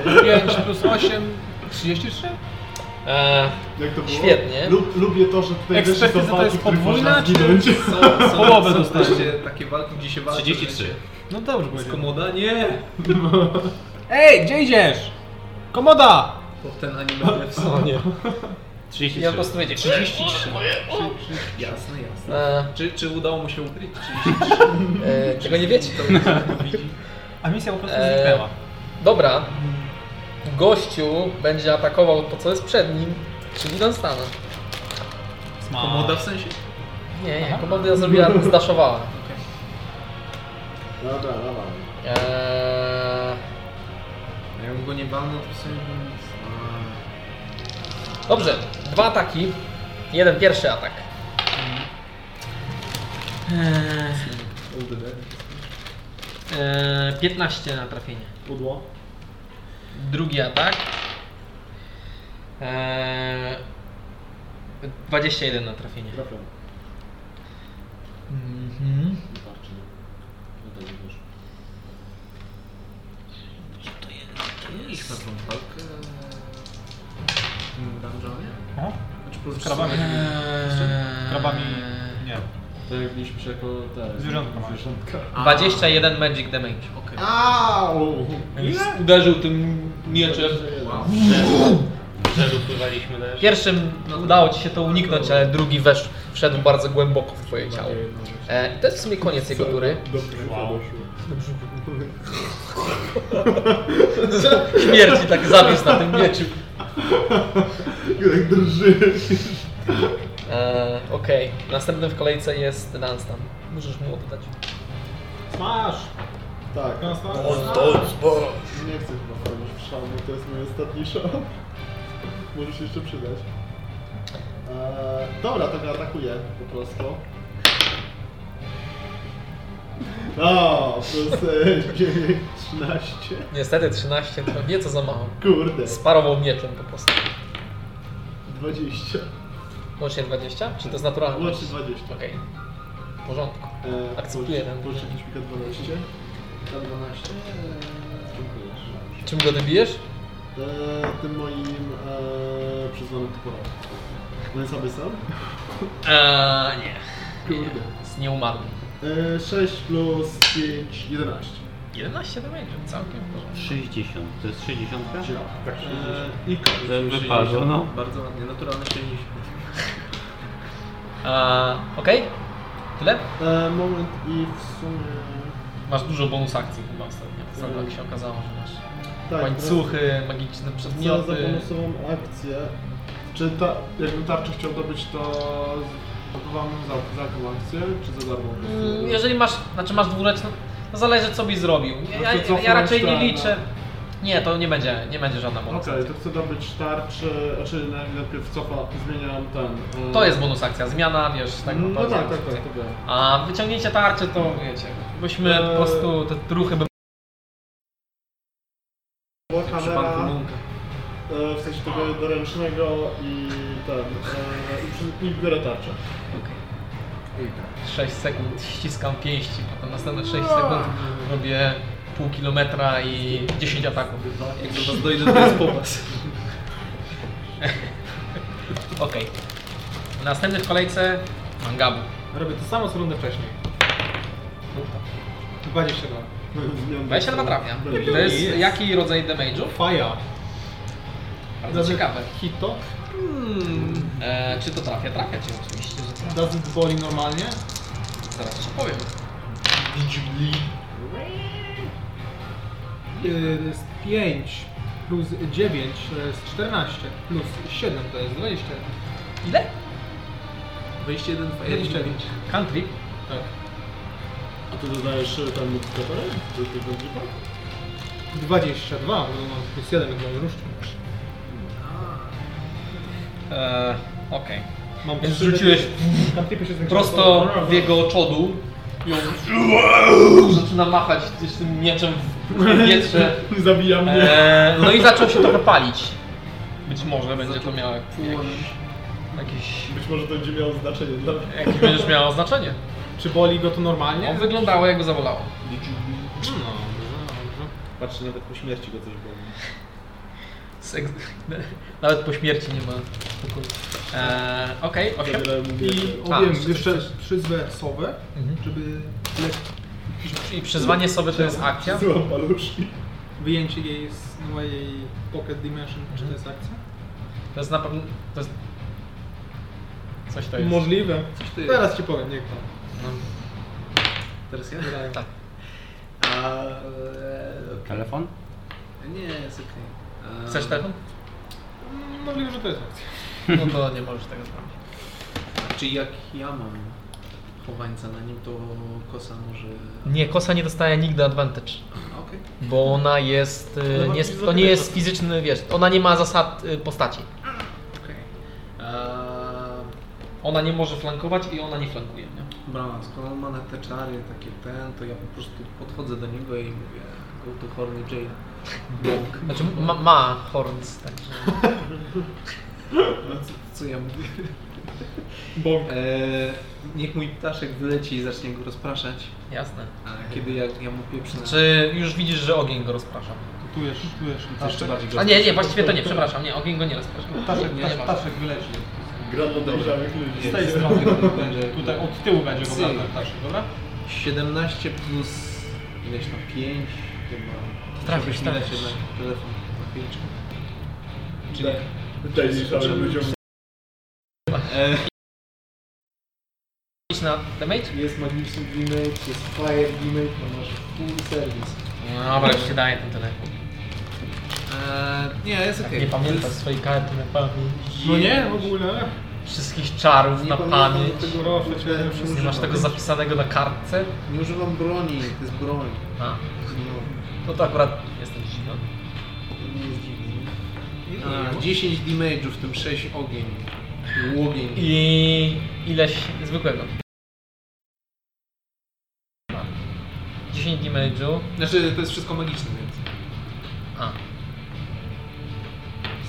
G: plus 8. 5 plus 8. 33?
E: E,
A: Eee,
B: Jak to było?
A: Świetnie.
B: Lub, lubię to, że tutaj
G: Expected
B: wiesz, że są
G: to
B: walki,
G: jest
B: których
G: podwójna,
B: można zginąć.
E: tak są, są,
G: Połowę
E: są
G: dostałem.
E: właśnie takie walki, gdzie się walczy.
C: 33.
G: No dobrze
E: Z
G: powiedziałem.
E: komoda? Nie!
G: Ej, gdzie idziesz? Komoda!
E: Bo w ten anime w
A: o nie. Ja po
C: 33.
A: prostu wiecie, 33.
E: Jasne, jasne.
A: Eee,
E: Czy, czy udało mu się ukryć? Czy
A: eee, czego nie wiecie?
G: A misja po prostu
A: Eee.
G: zniknęła.
A: Dobra. Gościu będzie atakował to, co jest przed nim, czyli Dunstana.
E: komoda w sensie?
A: Nie, nie, komandę ja zrobiła, zdaszowała.
B: Dobra, dobra.
A: Eee,
E: A ja bym go nie walnął, to w sumie bym nic.
A: dobrze, dwa ataki. Jeden pierwszy atak.
B: All the dead.
A: Eee, 15 na trafienie.
B: Pudło.
A: Drugi atak. Eee, 21 na trafienie.
B: Trafiam.
A: Mhm.
B: Wystarczy. No tak, wiesz.
E: Mieliśmy tą walkę. w Dungeonie?
G: Aha.
E: Znaczy, po
G: Z krabami. Z krabami. Nie.
B: Tak jak mieliśmy się jako te...
G: Zwierzątka masz.
B: Zwierzątka.
A: 21 magic damage.
E: Okej.
B: Au!
A: Uderzył tym mieczem.
E: Wow.
C: Że upływaliśmy też.
A: Pierwszym
E: no
A: udało ci się to uniknąć, ale drugi weszł, wszedł bardzo głęboko w twoje ciało. E, i to jest w sumie koniec jego tury.
B: Dobrze, wow.
A: Śmierci tak zawiózł na tym mieczu.
B: Jak drży.
A: E, Okej, następnym w kolejce jest Dunstan. Możesz mu oddać.
G: Smash!
B: Tak.
G: Smash!
B: Nie chcę chyba wchodzić w szał, bo to jest mój ostatni szał. Może się jeszcze przydać. Eee, dobra, to mnie atakuje po prostu. O, plus e, 9, 13.
A: Niestety 13 to nieco za mało.
B: Kurde,
A: Sparował mieczem po prostu.
B: 20.
A: Łącznie 20? Czy to jest naturalne?
B: Łącznie 20.
A: Okej. W porządku.
B: Eee,
A: Akceptuję ten.
B: Łącznie 5 minut 12. Na 12. Eee, dziękuję.
A: Czym go dobijesz?
B: Eee, tym moim e, przyzwanym toporem. No jest abysem?
A: Eee, nie.
B: Kurde.
A: Jest nieumarły.
B: E, 6 plus 5, 11.
A: 11 to będzie, całkiem w porządku.
C: 60. To jest 60?
B: Tak,
E: I
C: Że wypadło, no.
E: Bardzo ładnie, naturalne 60.
A: Eee, Okej? Tyle?
B: e, moment i w sumie...
A: Masz dużo bonus akcji chyba ostatnio. Co tak się okazało, że masz
B: No. Tak,
A: łańcuchy, magiczne
B: teraz Co za
A: przedmioty.
B: bonusową akcję? Czy ta, jakbym tarczę chciał dobyć, to zdobywam za, za jaką akcję, czy za darmo?
A: Mm, Jeżeli masz, znaczy masz dwuręczną, no zależy co byś zrobił. Ja, ja,
B: No to co
A: ja raczej nie
B: Frankensteina?
A: liczę. Nie, to nie będzie, nie będzie żadna
B: Okej,
A: bonus akcja.
B: to chcę dobyć tarczę, znaczy najpierw- najpierw cofa, zmieniam ten... e,
A: To jest bonus akcja, zmiana, wiesz, tak
B: No tak,
A: naprawdę.
B: tak, tak, to wiem.
A: A wyciągnięcie tarczy to wiecie, byśmy
B: Eee.
A: po prostu te ruchy by...
B: Była
A: przy banku
B: kamera,
A: Munka.
B: e, w sensie tego doręcznego i ten, e, i przy- i biorę tarczę.
A: 6 sekund ściskam pięści, potem następne 6
B: No.
A: sekund robię pół kilometra i 10 ataków.
E: Jak do was dojdę, to jest po was.
A: Okej. Następny w kolejce Mangabu.
G: Robię to samo co rundę wcześniej. 22.
A: 22 trafia. To jest
G: Jest.
A: jaki rodzaj damage'u?
G: Faja.
A: Bardzo
G: Znaczy-
A: ciekawe.
G: Hito.
A: E, czy to trafia? Trafia cię oczywiście, że trafia.
G: Doesn't boli normalnie.
A: Zaraz ci powiem.
G: Y, jest 5 plus 9 to jest 14 plus 7 to jest 20.
A: Ile?
D: 21
G: 29.
A: Country.
G: Tak.
B: A ty dodajesz e, ten modyfikator do tego dripa?
G: 22, bo to no, mam plus 7 jak mam różdżkę.
A: E, Okej.
G: Mam
A: Więc
G: trzy-
A: rzuciłeś
G: Tam typy się zwiększają.
A: Prosto w jego czodu. I on zaczyna machać też tym mieczem w wietrze.
B: Zabija mnie.
A: E, no i zaczął się trochę palić. Być może będzie to miało jakieś, jakieś,
B: Być może to będzie miało znaczenie no. dla mnie.
A: jakieś będziesz miało znaczenie.
G: Czy boli go to normalnie?
A: On wyglądało jakby zabolało.
G: No, dobrze, dobrze.
E: Patrzę, nawet po śmierci go coś było.
A: Seks- Nawet po śmierci nie ma spokoju. E, Okej, osiem.
B: Zabieram
G: I
B: mnie.
A: A,
G: objem
A: jeszcze
G: jeszcze
A: coś.
G: trzy złe sowy, żeby lek-
A: I przyzwanie sobie to jest akcja.
B: Złam paluszki.
G: wyjęcie jej z mojej Pocket Dimension. Czy to jest akcja?
A: To jest na pewno... To jest... Coś to jest. No,
G: Możliwe.
D: Coś to jest.
G: Teraz ci powiem, niech tam.
D: Teraz ja?
A: Tak.
D: A, e,
C: Telefon?
D: nie, jest okej. E,
A: Chcesz telefon?
G: Mm, Możliwe, że to jest akcja.
A: No to nie możesz tego zrobić.
D: Czy jak ja mam chowańca na nim, to kosa może...
A: Nie, kosa nie dostaje nigdy advantage.
D: A, Okej.
A: Bo ona jest. y,
B: ma
A: Nie, jest- to
B: fizyczny
A: nie jest fizyczny, wiesz, ona nie ma zasad y, postaci.
D: Okej. Eee, Okay.
A: Ona nie może flankować i ona nie flankuje. Nie?
D: Dobra, skoro on ma na te czary takie ten, to ja po prostu podchodzę do niego i mówię go to horny Jane. Bąk.
A: Znaczy ma, ma horns, także.
D: No, co, co ja mówię?
G: Bąk.
D: Eee, niech mój ptaszek wyleci i zacznie go rozpraszać,
A: Jasne.
D: a kiedy ja, ja mu pieprzę...
G: Znaczy,
A: Czy już widzisz, że ogień go rozprasza?
G: Tu jest, tu jest.
D: to jeszcze bardziej go
A: A nie, nie, właściwie to nie, przepraszam, nie, ogień go nie rozprasza.
G: Ptaszek,
A: nie, nie ma.
G: ptaszek wyleci.
B: Gram do dojrzałych ludzi.
G: Z tej strony
D: będzie-
G: będzie. Tutaj od tyłu będzie go
D: Cyk.
G: brał ten ptaszek, dobra?
D: 17 plus ileś tam 5 chyba.
A: Trafisz,
D: Musiałbyś mi dać
A: trafisz.
D: jednak telefon na Tak, chwileczkę.
B: Czyli dojrzałych ludziom.
A: Idź na damage?
B: Jest magiczny remake, jest fire remake, no masz full service.
A: No, Dobra, już się daje ten telefon.
D: Eee, nie, jest okej.
A: Nie pamiętasz swojej karty na pamięć.
G: No nie, w ogóle.
A: Wszystkich czarów na
B: pamiętam
A: pamięć.
B: tego
G: Proszę
B: roku,
G: cię,
B: nie
A: Nie
G: już
A: masz
B: używam.
A: tego zapisanego na kartce?
B: Nie używam broni, to jest broń.
A: A,
B: No,
A: no to akurat jestem zdziwiony.
B: to nie jest dziwne.
D: A, 10 damage'ów, w tym 6 ogień. Łogień.
A: I ileś zwykłego. 10 damage'u.
D: Znaczy, to jest wszystko magiczne, więc.
A: A.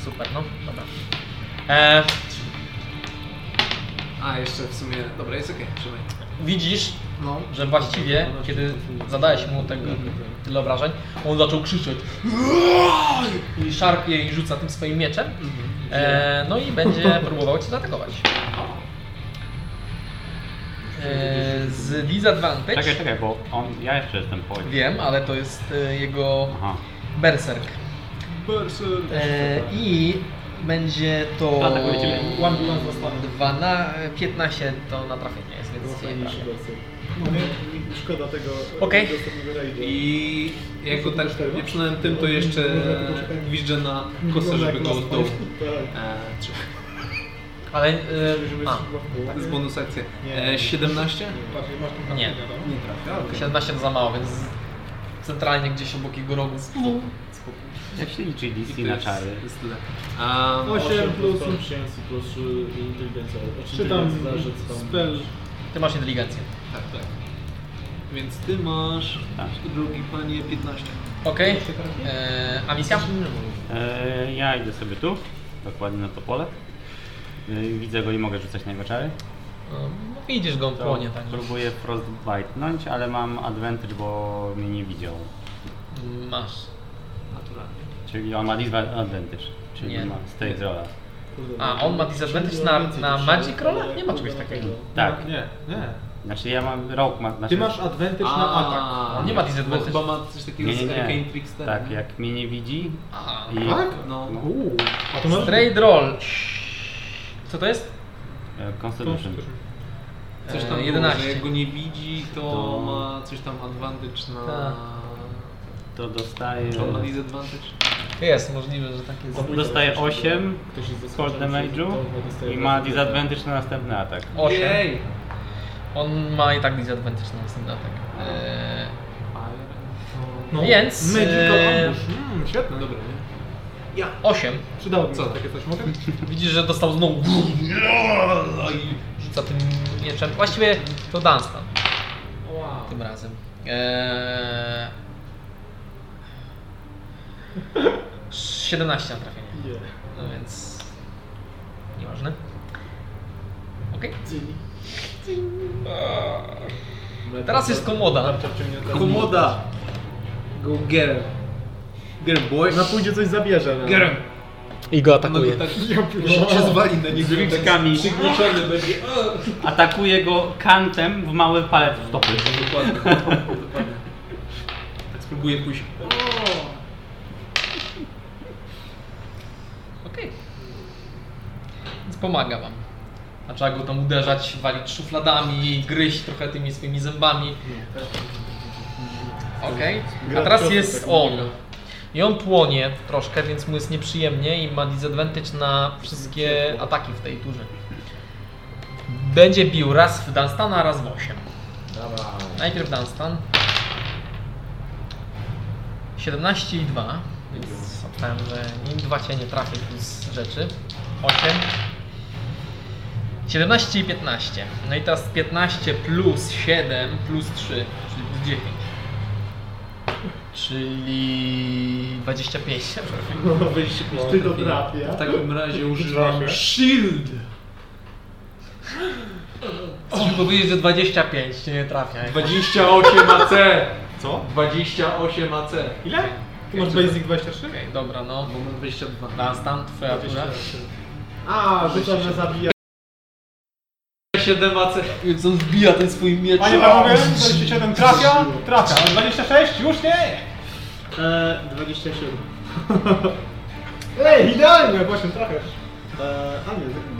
A: Super, no, dobra. E,
D: A, jeszcze w sumie. Dobra, jest okej, trzymaj.
A: widzisz,
D: No.
A: że właściwie, kiedy zadałeś mu tego, tyle obrażeń, on zaczął krzyczeć i szarpie i rzuca tym swoim mieczem. E, no i będzie próbował cię zaatakować. E, z disadvantage.
C: Czekaj, czekaj, bo on, ja jeszcze jestem po nim.
A: Wiem, ale to jest e, jego
C: Aha.
A: berserk. E, I będzie to
C: Atakuje ciebie.
G: One by one zostaną.
A: dwa na 15 to na trafienie jest, więc nie
B: Fajniejszy
A: trafia.
B: wersja. No nie, szkoda tego
A: Okej.
B: tego ostatniego rajdu.
D: I jak go tak wieprznąłem tym, to jeszcze gwizdżę na kosę, żeby go oddał.
B: Tak,
D: Eee, czy-
A: Ale e, a,
D: to jest bonus akcja. Eee, 17?
G: Bardziej masz tą
A: Nie.
G: kartę,
D: Nie trafia, okej.
A: 17 to za mało, więc centralnie gdzieś obok jego rogu.
C: Jak się liczy
D: I
C: DC
D: to
C: na
D: jest-
C: czary?
D: to jest tyle. A,
G: No,
B: 8 plus proficiency plus y, inteligencja. Znaczy
G: Czytam
B: inteligencja zależy, co tam-
G: spell.
A: Ty masz inteligencję.
D: tak, tak. Więc ty masz,
C: Tak.
D: drogi panie, 15.
A: Okej. E, A misja?
C: E, ja idę sobie tu, dokładnie na to pole. E, widzę go i mogę rzucać na jego czary.
A: Um, no widzisz go, on
C: To
A: płonie tak.
C: Próbuję frostbite'nąć, ale mam advantage, bo mnie nie widział.
A: Masz.
D: Naturalnie.
C: Czyli on ma disadvantage, czyli
A: Nie.
C: ma stage rolla.
B: Kurde,
A: A, on ma disadvantage na, na Magic Rolla? Nie ma czegoś takiego.
C: Tak.
G: No, Nie, nie.
C: Znaczy ja mam rok, ma, znaczy,
G: Ty masz advantage na atak.
A: On nie ma disadvantage.
D: Bo ma coś takiego
C: Nie, nie,
D: z
C: nie.
D: Arcane Trickster.
C: Tak,
D: nie?
C: jak mnie nie widzi
A: Aha.
C: i...
G: Tak?
D: No.
C: No.
G: Uuu, a to masz...
A: Straight roll. Co to jest?
C: E, Constitution.
D: Coś tam
A: E,
D: było,
A: 11.
D: że jak go nie widzi, to,
C: To-
D: ma coś tam advantage na...
A: Tak.
C: To dostaję...
D: Czy on ma disadvantage?
A: Jest, możliwe, że tak jest.
C: Dostaje 8 cold damage'u i ma disadvantage na następny atak.
A: 8.
D: Jej!
A: On ma i tak disadvantage na następny atak. E,
G: Eee, No,
A: Więc,
G: Magical
A: e,
G: Ambush. Mm, świetne.
D: Dobra, nie?
A: 8.
G: Przydałoby mi
D: Co?
G: się takie coś, mogę?
A: Widzisz, że dostał znowu i rzuca tym mieczem. Właściwie to Dunstan
G: Wow.
A: tym razem. Eee... 17 na trafienie. No więc... Nieważne. Okej. Eee, Teraz jest komoda.
D: Komoda! Go get him. Get him, boy.
B: Na pójdzie coś zabierze. no.
D: Get him.
A: I go
D: No to tak... Jeszcze się zwali na niego.
C: Z wilkami.
D: Przygnieczony będzie. O!
C: Atakuje go kantem w mały palec w stopy.
D: Dokładnie, dokładnie. Tak spróbuję pójść.
A: Okej. Więc pomaga wam. A trzeba go tam uderzać, walić szufladami, gryźć trochę tymi swoimi zębami. Okej. A teraz jest on. I on płonie troszkę, więc mu jest nieprzyjemnie i ma disadvantage na wszystkie ataki w tej turze. Będzie bił raz w Dunstana, raz w 8. Najpierw Dunstan. 17 i 2, więc obstałem, że im 2 cię nie trafię plus rzeczy. 8. 17 i 15. No i teraz 15 plus 7 plus 3, czyli plus 10. Czyli 25.
B: Ty to trafia.
D: W takim razie
B: Używa
D: używam
B: się?
D: shield.
A: Chcesz mi powiedzieć, że 25 cię nie trafia.
D: 28 AC.
F: Co?
D: 28 AC.
F: Ile? Ty masz basic 23?
A: Okej, dobra, no.
D: Moment 22.
A: Dunstan, twoja tura.
B: A, rzucam, że zabija.
D: 7 AC. Więc on wbija ten swój miecz.
F: Panie panowie, 27 trafia, trafia, a 26 już nie!
B: E, 27.
F: Ej, idealnie, właśnie trafiasz.
B: E, a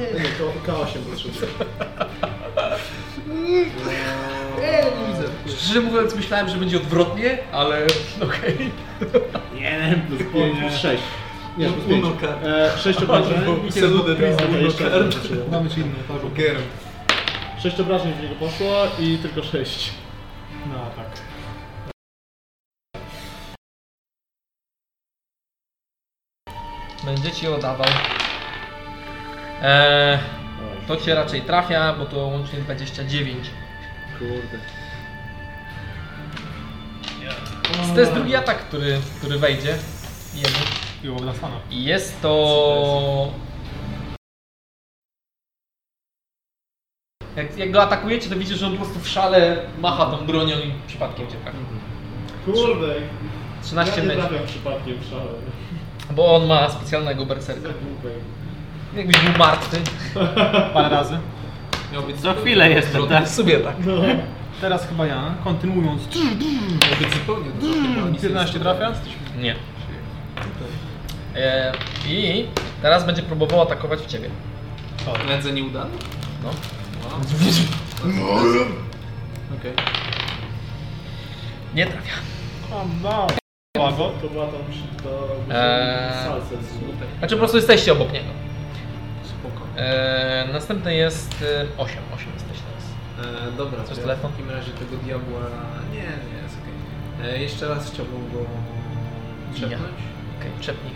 B: nie, nie, nie, to K8 potrzebuję.
A: Szczerze mówiąc, myślałem, że będzie odwrotnie, ale okej.
B: Nie, plus 5, plus 6. Nie, plus 5.
D: Uno kart.
B: E, 6 obrażeń.
D: Pixel Luder jest
B: Okej,
D: uno
B: jeszcze
D: kart.
B: raz zobaczyłem.
F: Mamy ci inną parę.
D: Gerem.
B: 6 obrażeń w niego poszło i tylko 6.
F: No tak.
A: Będzie ci oddawał. Eee, to cię raczej trafia, bo to łącznie 29.
B: Kurde.
A: Więc To jest drugi atak, który, który wejdzie. Jemu.
F: I obra sama.
A: I jest to. Jak, jak go atakujecie, to widzisz, że on po prostu w szale macha tą bronią i przypadkiem cię trafi.
B: Kurde.
A: 13
B: Mm. ja nie
A: metrów.
B: trafiam przypadkiem w szale.
A: Bo on ma specjalnego berserka.
B: Za głupej.
A: Jakbyś był martwy.
F: Parę razy.
D: Miał być
C: Co chwilę jestem, tak?
A: Sobie tak.
B: No.
F: Teraz chyba ja, kontynuując.
D: Miał być zupełnie odwrotnie, ale nic nie
F: 15 trafia?
A: Nie. E, I teraz będzie próbował atakować w ciebie.
D: jest. Nędzę nieudane?
A: No.
D: Wow. Okej.
A: Nie trafia.
F: O, no. Pago.
B: To była tam przy- to
A: Eee.
B: salsa z złotej.
D: Tak.
A: Znaczy po prostu jesteście obok niego.
D: Spoko.
A: E, następny jest e, 8. 8 jesteś teraz.
D: E, dobra,
A: Coś
D: to ja
A: telefon?
D: w takim razie tego diabła... Nie, nie, jest okej. E, Jeszcze raz chciałbym go trzepnąć.
A: Okej, przepnij.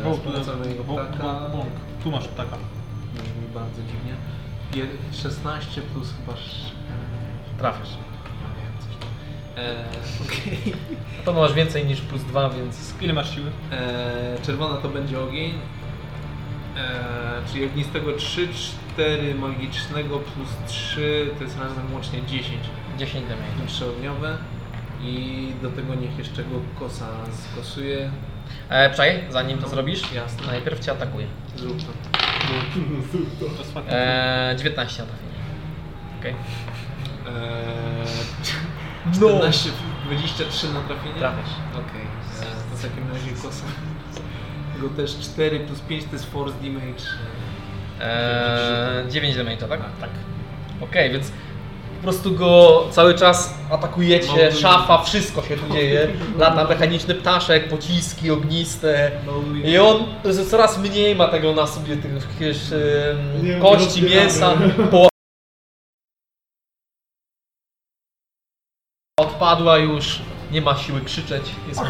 D: E,
F: Bąk,
D: Spłacamy jego
F: bąk,
D: ptaka.
F: bąk. Tu masz ptaka.
D: Brzmi bardzo dziwnie. Pier- 16 plus chyba... sz-
A: Trafiasz.
D: e, Nie wiem, coś tam. E, okej.
A: A to masz więcej niż plus 2, więc
F: Ile masz siły?
D: E, Czerwona to będzie ogień. E, Czyli ognistego 3, 4 magicznego plus 3 to jest razem łącznie 10.
A: 10 damage.
D: trzyodniowe i do tego niech jeszcze go kosa skosuje.
A: E, Czekaj, zanim to zrobisz,
D: Jasne.
A: najpierw cię atakuje.
D: Zrób to.
F: To jest fakt.
A: E, 19 na trafienie. Okej.
D: Eee,
A: No!
D: 14, 23 na trafienie?
A: Trafiasz.
D: Okej, eee, to w takim razie kosa. Go też 4 plus 5 to jest force damage.
A: Eee, 9 damage, tak? Tak. Okej, więc po prostu go cały czas atakujecie,
B: No,
D: Małdunie.
A: szafa, wszystko się tu dzieje. Lata mechaniczny ptaszek, pociski ogniste.
D: Małuje.
A: I on z- coraz mniej ma tego na sobie, tych jakiegoś em,
B: Nie,
A: kości,
B: rozbieramy.
A: mięsa, połowa odpadła już, nie ma siły krzyczeć, jest,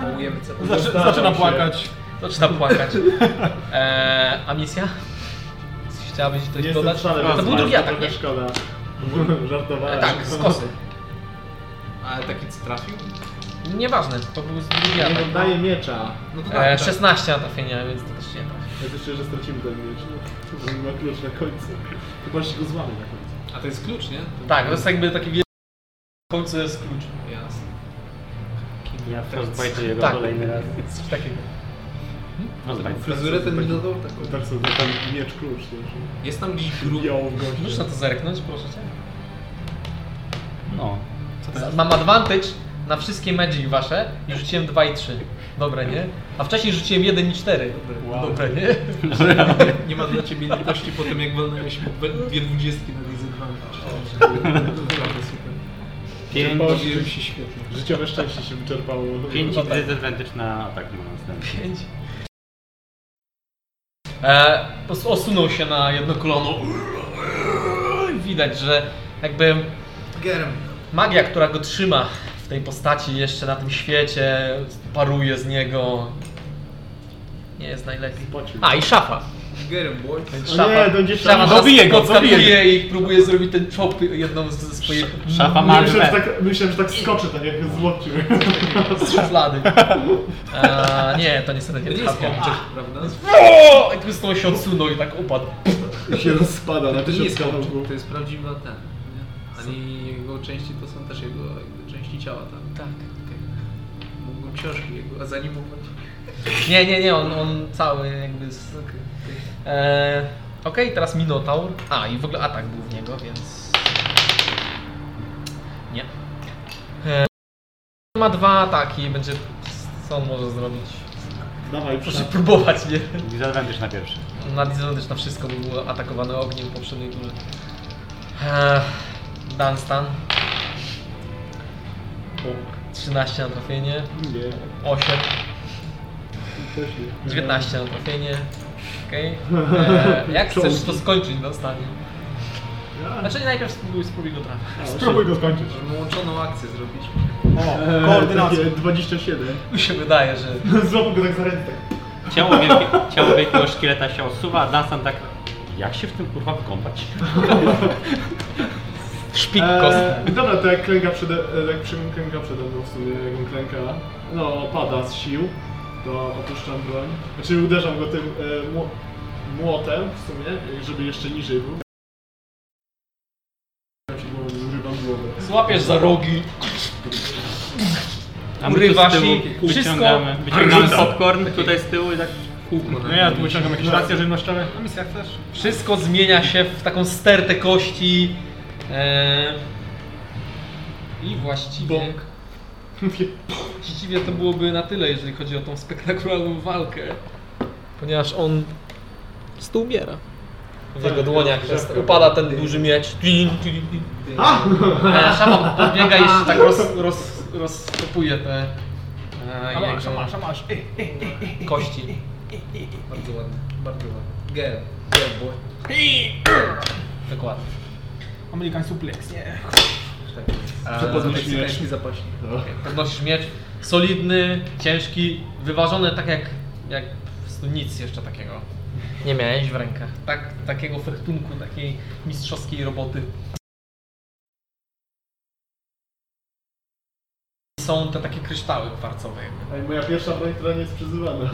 D: Małujemy
B: E,
D: co
G: Zaczy, zaczyna płakać.
A: zaczyna płakać. Eee, a misja? Coś Chciałabyś coś
B: Jestem
A: dodać?
B: szalony,
A: to był
B: ale
A: drugi atak, nie?
B: trochę Szkoda. Żartowałem.
A: E, tak, z kosy.
D: Ale taki co trafił?
A: Nieważne, to był drugi
B: Nie
A: atak.
B: oddaję miecza.
D: No to
A: E,
D: tak, tak.
A: 16 na trafienia, więc to też nie trafi.
B: Ja też że stracimy ten miecz. Bo on ma klucz na końcu. Chyba, że się go złamy na końcu.
D: A to jest klucz, nie? To
A: Tak, to jest jakby taki wielki... W końcu jest klucz.
D: Jasne.
C: Ja frostbite jego
A: Tak.
C: kolejny raz. No,
A: Coś takiego.
C: Frostbite.
H: Fryzurę ten minował taką.
B: Tak sobie da tam miecz klucz też.
D: Jest tam gdzieś grób.
B: Biało w gościu.
A: Możesz na to zerknąć, proszę cię?
C: No.
A: Mam advantage na wszystkie magic wasze i rzuciłem 2 i 3. Dobre, nie? A wcześniej rzuciłem 1 i 4. Dobre, nie?
D: Nie ma dla ciebie litości po tym, jak walnąłeś mu dwie- dwie dwudziestki na disadvantage. Naprawdę super.
C: Pięć,
D: Bawiłem się świetnie.
B: Życiowe szczęście się wyczerpało.
C: pięć
A: No tak.
C: disadvantage na atak ma następny.
A: 5. E, po prostu osunął się na jedno kolano. I Widać, że jakby
D: Gerem.
A: magia, która go trzyma w tej postaci jeszcze na tym świecie, paruje z niego. Nie jest najlepiej.
B: Spocił.
A: A i szafa.
D: Gerem, boy.
A: Więc
B: O
A: szafa,
B: nie, będzie
A: szafa
B: szafa.
A: nas
C: Dobiję go,
A: podskakuje
C: dobiję.
A: i próbuje zrobić ten chop jedną z- ze swoich
C: Szafa
B: Nie,
C: ma
B: Myślałem, że
C: drzwi.
B: tak, myślałem, że tak skoczy, tak jak z łokciu.
A: z szuflady. A, nie, to niestety
D: To nie
A: nie
D: jest
A: trafia.
D: kołczyk, prawda?
A: O! I tu z tą się odsunął i tak upadł.
B: się rozpada na
D: To nie jest
B: tysiąc
D: kołczyk,
B: kawałków.
D: to jest prawdziwa ten. nie? Ani jego części to są też jego jakby części ciała tam.
A: Tak.
D: Okej. Mógłbym książki jego, a zanim mógłbym...
A: Nie, nie, nie, on, on cały jakby... z- E, Okej, teraz Minotaur. A, i w ogóle atak był w niego, więc... Nie. E, ma dwa ataki, będzie... Co on może zrobić?
B: Dawaj,
A: Proszę
B: proszę.
A: próbować, nie?
G: tak-
C: Disadvantage na pierwszy.
A: Na Disadvantage na wszystko, bo było atakowane ogniem w poprzedniej turze. Eee, Dunstan. 13 na trafienie.
B: Nie,
A: 8.
B: też nie.
A: 19 na trafienie. no Okej. Eee, jak chcesz to skończyć, Dunstanie?
B: E, Ja-
A: Znaczy najpierw spróbuj, spróbuj go trafić.
B: A, Spróbuj go skończyć. E,
D: Żeby łączoną akcję zrobić.
B: O, koordynacja. 27.
A: Mi się wydaje, że...
B: Złapał go tak za ręce.
C: Ciało, wielkie, ciało wielkiego szkieleta się osuwa, a Dunstan tak... Jak się w tym kurwa wykąpać?
A: Szpik
B: Eee,
A: kostny.
B: dobra, to jak klęka przede, e, jak przyjmę klęka przede mną w sumie, jak on klęka, no pada z sił, to opuszczam broń. Znaczy uderzam go tym e, mło- młotem w sumie, żeby jeszcze niżej był. Zrywam głowę.
A: Złapiesz za rogi.
C: A my tu
A: Urywasz
C: z tyłu
A: i
C: wyciągamy-
A: wszystko
C: Wyciągamy
A: rzucam.
C: popcorn tutaj z tyłu i tak...
D: Kółko.
G: No ja tu wyciągam jakieś racje żywnościowe. No A misja chcesz?
A: Wszystko zmienia się w taką stertę kości. Eee, I właściwie...
B: Bąk. Mówię,
A: Właściwie to byłoby na tyle, jeżeli chodzi o tą spektakularną walkę. Ponieważ on z tu umiera. W jego
B: Tak,
A: dłoniach
B: tak,
A: jest,
B: tak.
A: upada ten duży miecz. Tin, tin, tin.
B: A!
A: E, Szaman podbiega i się tak roz, roz, rozkopuje te e, jego
G: masz.
A: kości. Bardzo ładnie, bardzo ładnie.
D: Gerem. Gerem, boy.
A: Dokładnie.
G: American suplex. Nie.
D: Tak jest.
A: e,
B: Przepodnosi
D: Eee,
B: miecz.
D: meksykański zapaśnik.
B: No.
A: Podnosisz miecz, solidny, ciężki, wyważony tak jak, jak po prostu nic jeszcze takiego nie miałeś w rękach. Tak, takiego fechtunku, takiej mistrzowskiej roboty. Są te takie kryształy kwarcowe. jakby.
B: Ej, moja pierwsza broń, która nie jest przyzywana.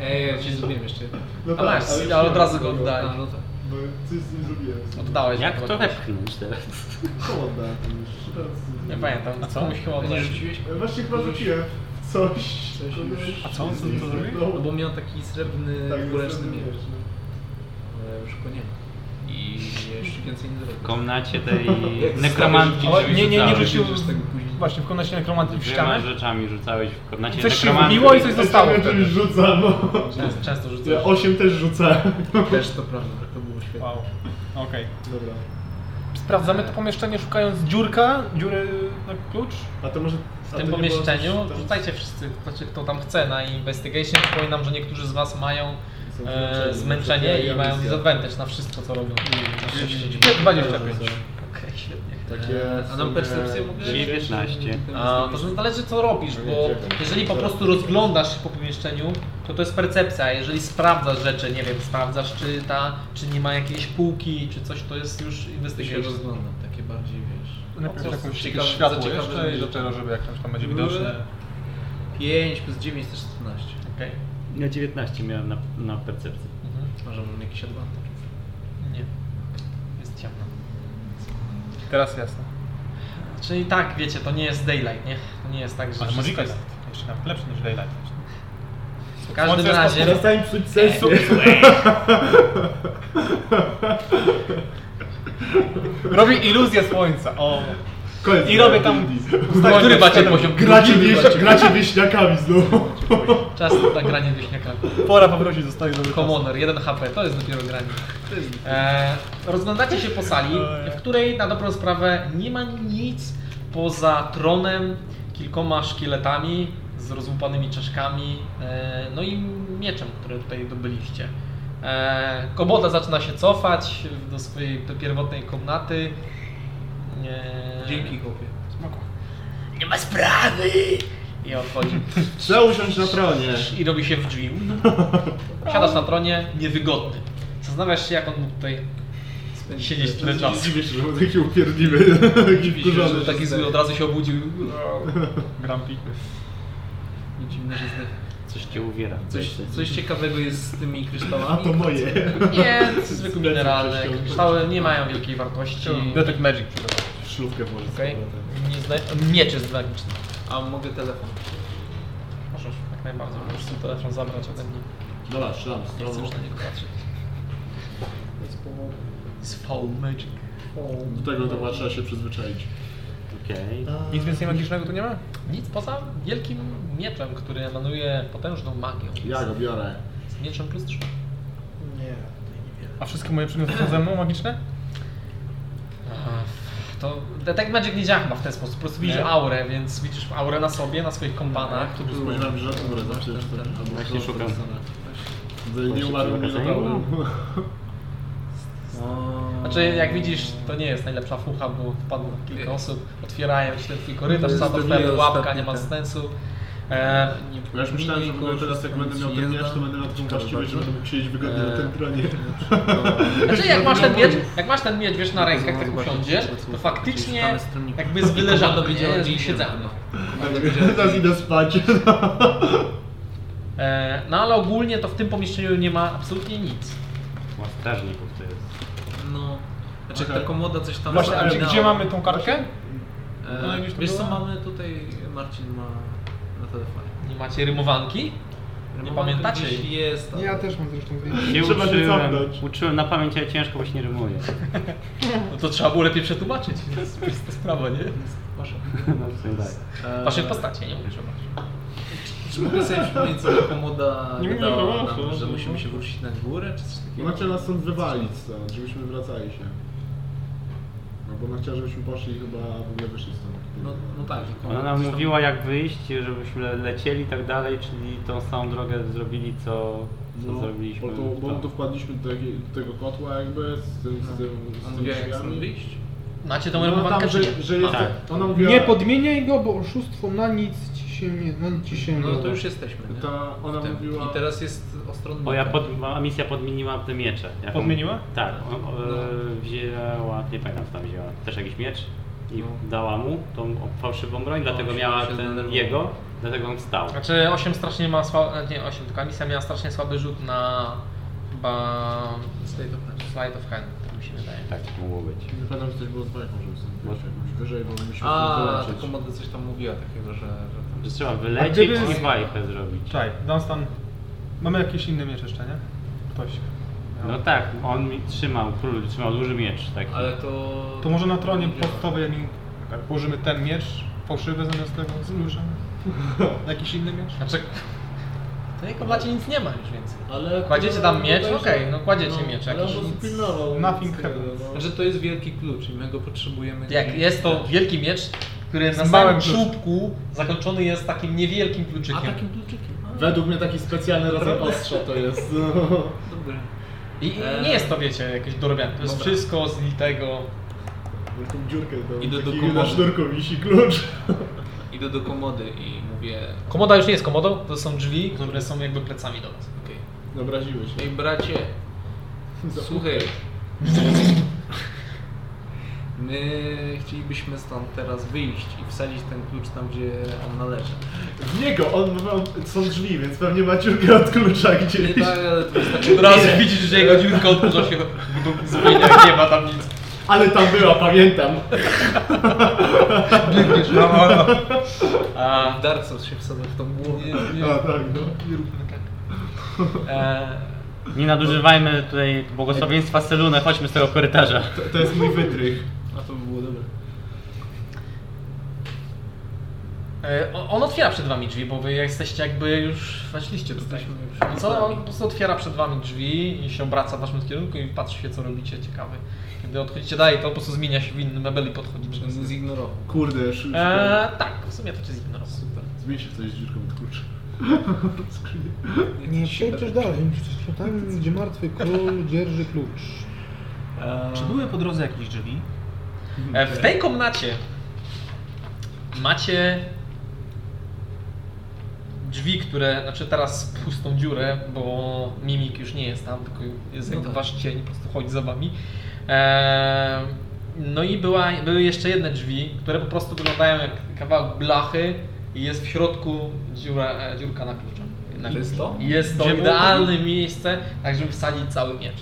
D: Ej, E, ja ci zrobiłem jeszcze jedno.
B: No
A: A masz,
B: już
A: tak, ale
B: nie
A: od
B: mam
A: razu go
B: tego.
A: oddaj.
D: A, no tak.
B: Bo coś z nim zrobiłem.
A: Oddałeś.
C: Jak
A: chyba
C: to
A: komuś.
C: wepchnąć teraz?
B: Koło oddałem już. Teraz z-
A: Nie pamiętam, co mu chyba
D: A nie
A: oddałeś.
D: rzuciłeś?
B: E, Właśnie chyba rzuciłem w coś.
D: Coś już.
B: A
G: co on z tym zrobił?
D: No bo miał taki srebrny,
B: Tak,
D: dwuręczny
B: zostawiłem,
D: miecz.
B: no.
D: Ale już go nie ma.
C: I
E: Jeszcze więcej nie
C: w
E: zrobię.
C: komnacie tej nekromantki
G: O,
C: drzwi
G: nie, nie, nie
C: rzucałeś.
G: rzucił.
E: Rzucisz tego później.
G: Właśnie, w komnacie nekromanty w
C: Dwiema
G: ścianę.
C: rzeczami rzucałeś w komnacie
G: Coś się
C: nekromantki.
G: wbiło i coś zostało.
B: Ja czymś rzucam, no.
A: Często, często rzucasz.
B: Ja 8 też rzucałem.
E: Też to prawda, to było świetne.
G: Wow. Okej.
B: Dobra.
G: Sprawdzamy to pomieszczenie szukając dziurka, dziury na klucz.
B: A to może...
A: W tym pomieszczeniu rzucajcie wszyscy, znaczy kto tam chce na investigation. Przypominam, że niektórzy z Was mają e, zmęczenie i mają disadvantage na wszystko co
B: Mm,
A: robią.
G: Nie, 25.
A: Okej, świetnie. E,
B: Takie
E: A nam percepcję mogę?
C: 19.
A: A, to zależy co robisz, bo
B: tak.
A: jeżeli po prostu rozglądasz się po pomieszczeniu, to to jest percepcja, a jeżeli sprawdzasz rzeczy, nie wiem, sprawdzasz czy ta, czy nie ma jakiejś półki, czy coś, to jest już
E: To się
A: investigation.
E: rozglądam, takie bardziej wiesz.
G: Najpierw
E: Co,
G: jakąś
E: ciekawe-
G: ciekawe, światło
E: ciekawe
G: jeszcze i
E: rzeczy.
G: dopiero, żeby jak tam będzie widoczne.
E: 5 plus 9 to 14.
A: Okej.
C: Ja 19 miałem na, na percepcji.
A: Mhm.
E: Może mam jakiś adwantek.
A: Nie. Jest ciemno.
G: Teraz jasne.
A: Czyli tak, wiecie, to nie jest daylight, nie? To nie jest tak, że
G: Ale
A: wszystko
G: możliwe
A: jest.
G: jest. Jeszcze nawet lepsze niż Daylight.
A: W każdym
G: Słońce jest
A: razie...
B: Przestań psuć sensu.
G: Robię iluzję słońca. O.
B: Koniec.
G: I robię tam... ustawiam-
A: Który macie poziom?
B: Gracie, wieś... Gracie wieśniakami znowu.
A: Czas na granie wieśniaka.
G: Pora powrócić do stoi do
A: Commoner, 1 HP, to jest dopiero granie. E, rozglądacie się po sali, w której na dobrą sprawę nie ma nic poza tronem, kilkoma szkieletami z rozłupanymi czaszkami, e, no i mieczem, który tutaj dobyliście. E, Koboda zaczyna się cofać do swojej pierwotnej komnaty. E,
E: Dzięki chłopie.
A: Nie ma sprawy! I odchodzi.
B: Trzeba usiąść na tronie.
A: I robi się w drzwi. Siadasz na tronie, niewygodny. Zastanawiasz się, jak on mógł tutaj siedzieć tyle czasu.
B: Dziwię się, że był taki upierdliwy, taki wkurzony.
A: Że taki zły od razu się obudził.
G: Grumpy.
E: Nie dziwne, że zdech.
C: Coś cię uwiera.
E: Coś, coś ciekawego jest z tymi
B: A
E: kryształami.
B: to moje.
A: Nie, to jest zwykły mineralny. Kryształy nie mają wielkiej wartości.
E: Mm.
G: Detect Magic przygotował.
B: Szlufkę może
A: Okej. Nie zna- Miecz jest magiczny.
E: A mogę telefon.
A: Możesz, jak najbardziej. Możesz ten telefon zabrać ode mnie.
B: Dobra, strzelam
A: Nie chcę
B: stroną.
A: już na niego patrzeć. Jest foul magic.
B: Do tego to trzeba się przyzwyczaić.
C: Okej.
G: Nic więcej magicznego tu nie ma?
A: Nic poza wielkim mieczem, który emanuje potężną magią.
B: Ja go biorę.
A: Z mieczem plus 3.
G: A wszystkie moje przedmioty są ze mną magiczne?
A: To Detect Magic nie działa chyba w ten sposób. Po prostu widzisz
G: Nie.
A: aurę, więc widzisz aurę na sobie, na swoich kompanach.
B: Tu spodziewam się, że dobra, zawsze jest
A: Tak.
B: to. albo
C: Właśnie
B: to-
C: szukam.
B: Za- Nie umarłem, nie zapałem. No.
A: Znaczy, jak widzisz, to nie jest najlepsza fucha, bo wpadło kilka
E: Nie.
A: osób, otwierają się ten twój korytarz,
E: To
A: cała
E: jest
A: ta
E: pewnie
A: twoja pułapka
E: ostatni
A: nie ma
E: ten.
A: sensu. E,
B: Ja już myślałem, że w ogóle teraz jak będę miał ten miecz, to będę miał taką właściwość, że będę mógł siedzieć wygodnie na
A: E,
B: tym tronie.
A: znaczy, jak masz, ten miecz, jak masz ten miecz, wiesz, na rękach, tak usiądziesz, to faktycznie jakby z wyleżaną, nie? Z siedzenia.
B: Teraz idę spać.
A: E, no ale ogólnie to w tym pomieszczeniu nie ma absolutnie nic.
C: Chyba strażników to jest.
E: No. Znaczy
B: Okej.
E: ta komoda coś tam...
G: Właśnie, a gdzie,
E: oryginał.
G: gdzie mamy tą kartkę? No,
E: E,
G: gdzieś tu
E: wiesz co,
G: była?
E: mamy tutaj... Marcin ma na telefonie.
A: Nie macie rymowanki?
E: Remonty
A: pamiętacie
E: gdzieś
A: jej?
E: Jest, ale...
G: też mam zresztą
C: Nie
B: Trzeba się
C: uczyłem,
B: cofnąć.
C: uczyłem na pamięć, ale ciężko właśnie rymuję.
A: No to trzeba było lepiej przetłumaczyć, to jest prosta sprawa, nie?
E: Proszę.
C: No, w sumie tak.
E: E,
A: Waszej postacie, nie mówię, że masz.
E: Czy mogę sobie przypomnieć, co komoda
G: Nie
E: gadała nam,
G: wiem, proszę,
E: że
G: no. Znaczy,
E: musimy się wrócić na górę, czy coś takiego?
B: No Macie nas stąd wywalić stąd, żebyśmy wracali się. No bo ona chciała, żebyśmy poszli i chyba w ogóle wyszli stąd.
E: No, no tak.
C: Ona nam mówiła jak wyjść, żebyśmy lecieli i tak dalej, czyli tą samą drogę zrobili co, co zrobiliśmy.
B: No,
C: Tak.
B: Bo, to, bo
C: tam.
B: to wpadliśmy do, takiej- do tego kotła jakby z tym,
D: Tak.
B: z tym, z
E: On
B: tymi
E: No. mówiła, jak
B: drzwiami.
E: stąd wyjść?
A: Macie tą
B: No
A: rymowankę
B: tam,
A: czy
B: że,
A: nie?
B: że jest,
C: Tak.
B: ona mówiła,
I: Nie podmieniaj go, bo oszustwo na nic ci się nie, na nic ci się nie
E: No to
I: da.
E: już jesteśmy, nie?
B: ta, ona
E: W tym.
B: mówiła,
E: I teraz jest ostronna.
C: Bo ja pod, ma- misja podmieniła te miecze. Jaką-
G: Podmieniła?
C: Tak. O, o,
B: No.
C: Wzięła, nie pamiętam co tam wzięła, też jakiś miecz i
B: No.
C: dała mu tą fałszywą broń, dlatego
E: się-
C: miała
E: się
C: ten
E: zdenerwował.
C: jego, dlatego on wstał.
A: Znaczy 8 strasznie ma słaby, nie 8, tylko misja miała strasznie słaby rzut na chyba
E: State of Mind.
A: slide of hand, tak mi się wydaje.
C: Tak mogło być.
B: nie pamiętam, że coś było z bajką, żeby sobie
C: No.
B: wyjść jakoś wyżej, bo myśmy
E: A,
B: się
E: ta komoda coś tam mówiła takiego, że... że tam...
C: Że trzeba
G: A
C: wylecieć
G: gdyby z-
C: i bajkę zrobić.
G: Czekaj, Dunstan. Mamy jakieś inne miecze jeszcze, nie? Ktoś.
C: No tak, on mi trzymał, król trzymał duży miecz taki.
E: Ale to...
G: To może na tronie podstawowej jak mi- tak, położymy ten miecz, fałszywy zamiast tego z nóżem. Jakiś inny miecz?
A: Znaczy, to jego blacie nic nie ma już więcej.
B: Ale
A: Kładziecie tam miecz?
B: Bodajże-
A: Okej, no kładziecie miecz
B: ale
A: jakiś.
B: on
A: Nic.
B: go pilnował.
G: Nothing
B: Nic nie
G: happens.
B: było.
D: Znaczy to jest wielki klucz i my go potrzebujemy.
A: Jak jest to wielki miecz, który na samym
G: małym kluczem.
A: czubku zakończony jest takim niewielkim kluczykiem.
E: kluczykiem. A,
B: Według mnie taki specjalny rodzaj ostrza to jest.
E: Dobra.
A: I i
E: E.
A: nie jest to, wiecie, jakieś dorobione. To jest
E: Dobra.
A: wszystko z litego.
B: Taką dziurkę tam.
D: Idę do
B: taki
D: komory.
B: Na sznurku wisi klucz.
E: No, Idę do komody i mówię...
A: Komoda już nie jest komodą, to są drzwi, które są jakby plecami do was.
E: Okej.
B: Obraziły się.
E: Ej bracie, słuchaj. My chcielibyśmy stąd teraz wyjść i wsadzić ten klucz tam, gdzie on należy.
B: W niego, on ma, są drzwi, więc pewnie ma dziurkę od klucza
E: Nie
B: gdzieś.
E: tak, ale to wystarczy...
A: widzisz, że jego dziurka odkurza się zupełnie, nie ma tam nic.
B: Ale tam była, pamiętam.
G: No,
A: A,
E: W Dark Souls się wsadzę w tą głowę.
B: A tak, no.
A: e,
C: Nie nadużywajmy tutaj błogosławieństwa Selune, chodźmy z tego korytarza.
B: To, to jest mój wytrych.
E: A to by było dobre.
A: e, on- on otwiera przed wami drzwi, bo wy jesteście jakby już weszliście tutaj.
E: Jesteśmy już
A: I co? On po prostu otwiera przed wami drzwi i się obraca w waszym kierunku i patrzy się, co robicie. Ciekawy. Kiedy odchodzicie dalej, to po prostu zmienia się w inny mebel i podchodzi do
E: Żeby
A: was.
E: zignorował.
B: Kurde, już. już
A: E, tak, w sumie to cię zignorował.
B: Zmień się w coś z dziurką od klucza. Skrzynię.
I: Nie przejdziesz dalej. Tam,
G: Tak.
I: gdzie martwy król dzierży klucz.
E: Czy były po drodze jakieś drzwi?
A: E, W tej komnacie macie drzwi, które, znaczy teraz pustą dziurę, bo mimik już nie jest tam, tylko jest
E: No
A: jakby
E: tak.
A: wasz cień, po prostu chodzi za wami. E, No i była, były jeszcze jedne drzwi, które po prostu wyglądają jak kawałek blachy i jest w środku dziura, e, dziurka na klucz. Na klucz.
E: Czysto?
A: I Jest to
G: Gdzie był-
A: idealne miejsce, tak żeby wsadzić cały miecz.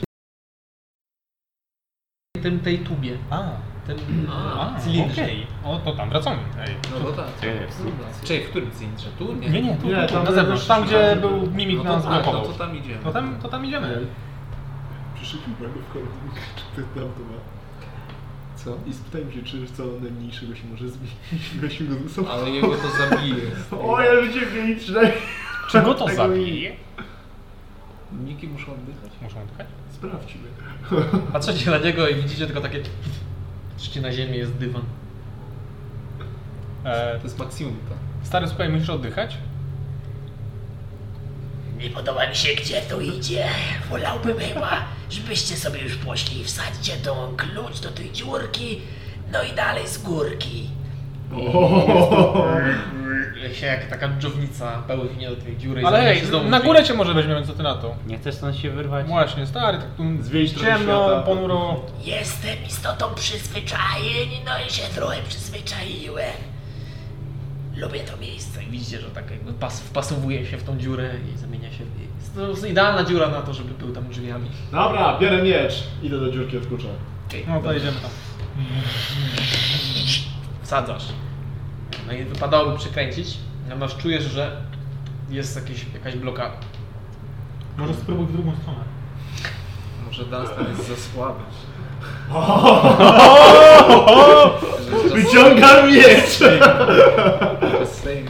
A: Tym tej tubie,
G: A,
A: tym
E: A,
A: e, cylindrze.
G: o to tam wracamy. Ej.
E: No to tak.
C: Czekaj, w sumie.
E: Czyli w którym cylindrze? Tu? Nie.
G: Nie, nie, tu,
B: Nie,
G: tu,
B: tam
G: na zewnątrz, tam gdzie był
E: No
G: mimik
E: to
G: nas
E: tak, no
G: blokował.
E: to tam idziemy.
G: To tam, to tam idziemy.
B: Przyszykiwałem go w kordy. Czy ty tam to ma?
E: Co?
B: I spytałem się, czy co najmniejszego się może zmienić. Weźmy go ze sobą.
E: Ale jego to zabije.
B: O, ja życie kliniczne.
G: Czy go to
B: Tego
G: zabije?
E: Niki muszą oddychać.
G: Muszą oddychać?
B: Sprawdźmy.
A: Patrzycie na niego i widzicie tylko takie... Patrzycie na ziemię, jest dywan.
G: E,
E: To jest maksimum, tak?
G: stary, słuchaj, musisz oddychać?
J: Nie podoba mi się, gdzie to idzie. Wolałbym chyba, żebyście sobie już poszli i wsadźcie tą klucz do tej dziurki, no i dalej z górki.
A: Się jak taka dżownica pełznie do tej dziury. i
G: Ale
A: zamienia
G: ej,
A: się znowu
G: na
A: w
G: górę cię może weźmiemy, co ty na to?
C: Nie chcesz stąd się wyrwać?
G: Właśnie, stary, tak tu
B: Zwiedzić trochę
G: ciemno,
B: świata.
G: ponuro.
J: Jestem istotą przyzwyczajeń, no i się trochę przyzwyczaiłem. Lubię to miejsce.
A: drzwi. Widzicie, że tak jakby pas, wpasowuje się w tą dziurę i zamienia się w jej. Jest to jest idealna dziura na to, żeby był tam drzwiami.
B: Dobra, biorę miecz. Idę do dziurki od klucza.
G: No to idziemy tam.
A: Wsadzasz. No i wypadałoby przekręcić, natomiast czujesz, że jest jakiś, jakaś blokada.
G: Może spróbuj w drugą stronę.
E: Może Dunstan jest za słaby. Że jest
B: Wyciągam miecz!
E: za słaby.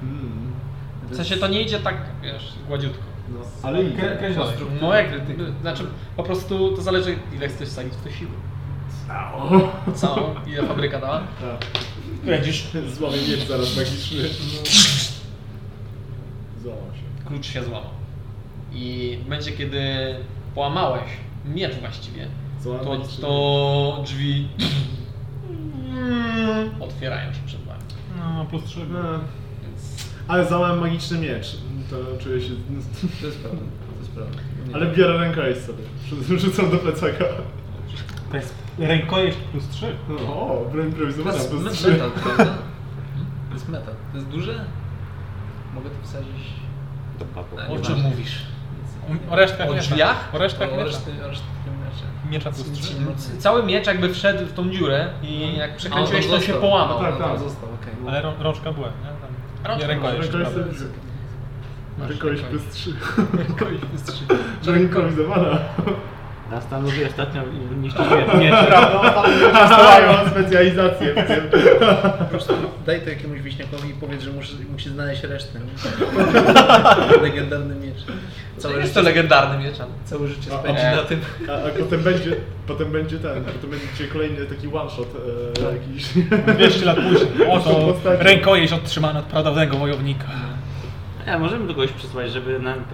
E: Hmm.
A: W sensie to nie idzie tak, wiesz, gładziutko.
B: No, ale idę.
G: Kręć dalej.
A: No jak, znaczy po prostu to zależy ile chcesz wsadzić w to siły.
B: Au.
A: Całą, ile fabryka dała.
B: Tak.
A: Kręcisz.
B: Złamię miecz zaraz magiczny. Złamał się.
A: klucz się złamał. I będzie kiedy połamałeś miecz właściwie,
B: Złamał
A: to,
B: magiczny.
A: to drzwi otwierają się przed wami.
G: No, plus trzy.
B: No.
A: E.
B: Ale załamałem magiczny miecz. To czuję się...
E: To jest prawda. To jest prawda. Nie.
B: Ale biorę rękojeść sobie. Rzucam do plecaka.
G: To jest rękojeść plus trzy.
B: O, broń
E: to
B: improwizowana
E: jest
B: plus
E: met-
B: 3.
E: metal, prawda? Hmm? To jest metal. To jest duże? Mogę to wsadzić? A,
A: O
E: nie
A: czym
E: ma.
A: mówisz?
G: O resztach
A: O
G: miecza.
A: drzwiach?
G: O resztach
E: O
G: miecza.
E: No, reszty, o reszty miecze.
G: Miecza plus trzy.
A: Cały miecz jakby wszedł w tą dziurę i jak przekręciłeś Mhm. to się połamał.
D: No
B: Tak,
E: Tak,
B: tak.
E: tak. Został, okej.
G: Ale rą- rączka była, nie? Tam...
A: Rączka
G: nie, rękojeść.
B: Rękojeść
G: prawda.
B: sobie- Rękojeść plus 3.
G: Kogoś wystrzelił.
B: Rękowizowana.
C: Na stanu ostatnio niszczyliśmy miecze.
B: Mają specjalizację w tym.
D: Po prostu daj to jakiemuś wieśniakowi i powiedz, że musi, musi znaleźć resztę. Legendarny miecz.
A: To jest to legendarny miecz. ale-
E: Całe życie
B: A-
E: spędzi
B: a-
E: na tym.
B: A, a potem będzie, potem będzie ten, potem będzie kolejny taki one shot
G: Tak.
B: e, jakiś.
G: 200 lat później. Oto
B: Postaci.
G: rękojeść otrzymana od prawdawnego wojownika.
C: A możemy do kogoś przysłać, żeby nam...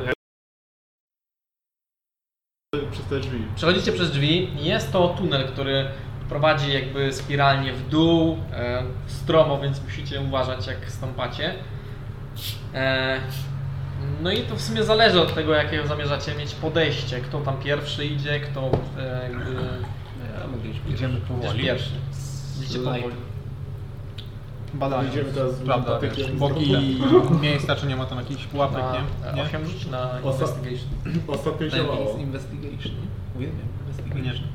B: Przez te drzwi.
A: Przechodzicie przez drzwi. Jest to tunel, który prowadzi jakby spiralnie w dół, e, stromo, więc musicie uważać jak stąpacie. E, no i to w sumie zależy od tego, jakie zamierzacie mieć podejście. Kto tam pierwszy idzie, kto e, jakby
D: Ja mogę iść
E: Idziemy
A: idziesz pierwszy. Idziecie powoli.
G: Badanie.
B: Idziemy teraz z
G: Tak. Prawda, wiesz,
B: patykiem.
G: boki miejsca, czy nie ma tam jakichś pułapek,
A: Na,
G: nie?
A: nie? 8 rzuć na
B: Osta-
A: investigation.
B: Ostatnio działało.
D: pierwszy. Investigation. Uwielbiam
G: Nie.
D: investigation.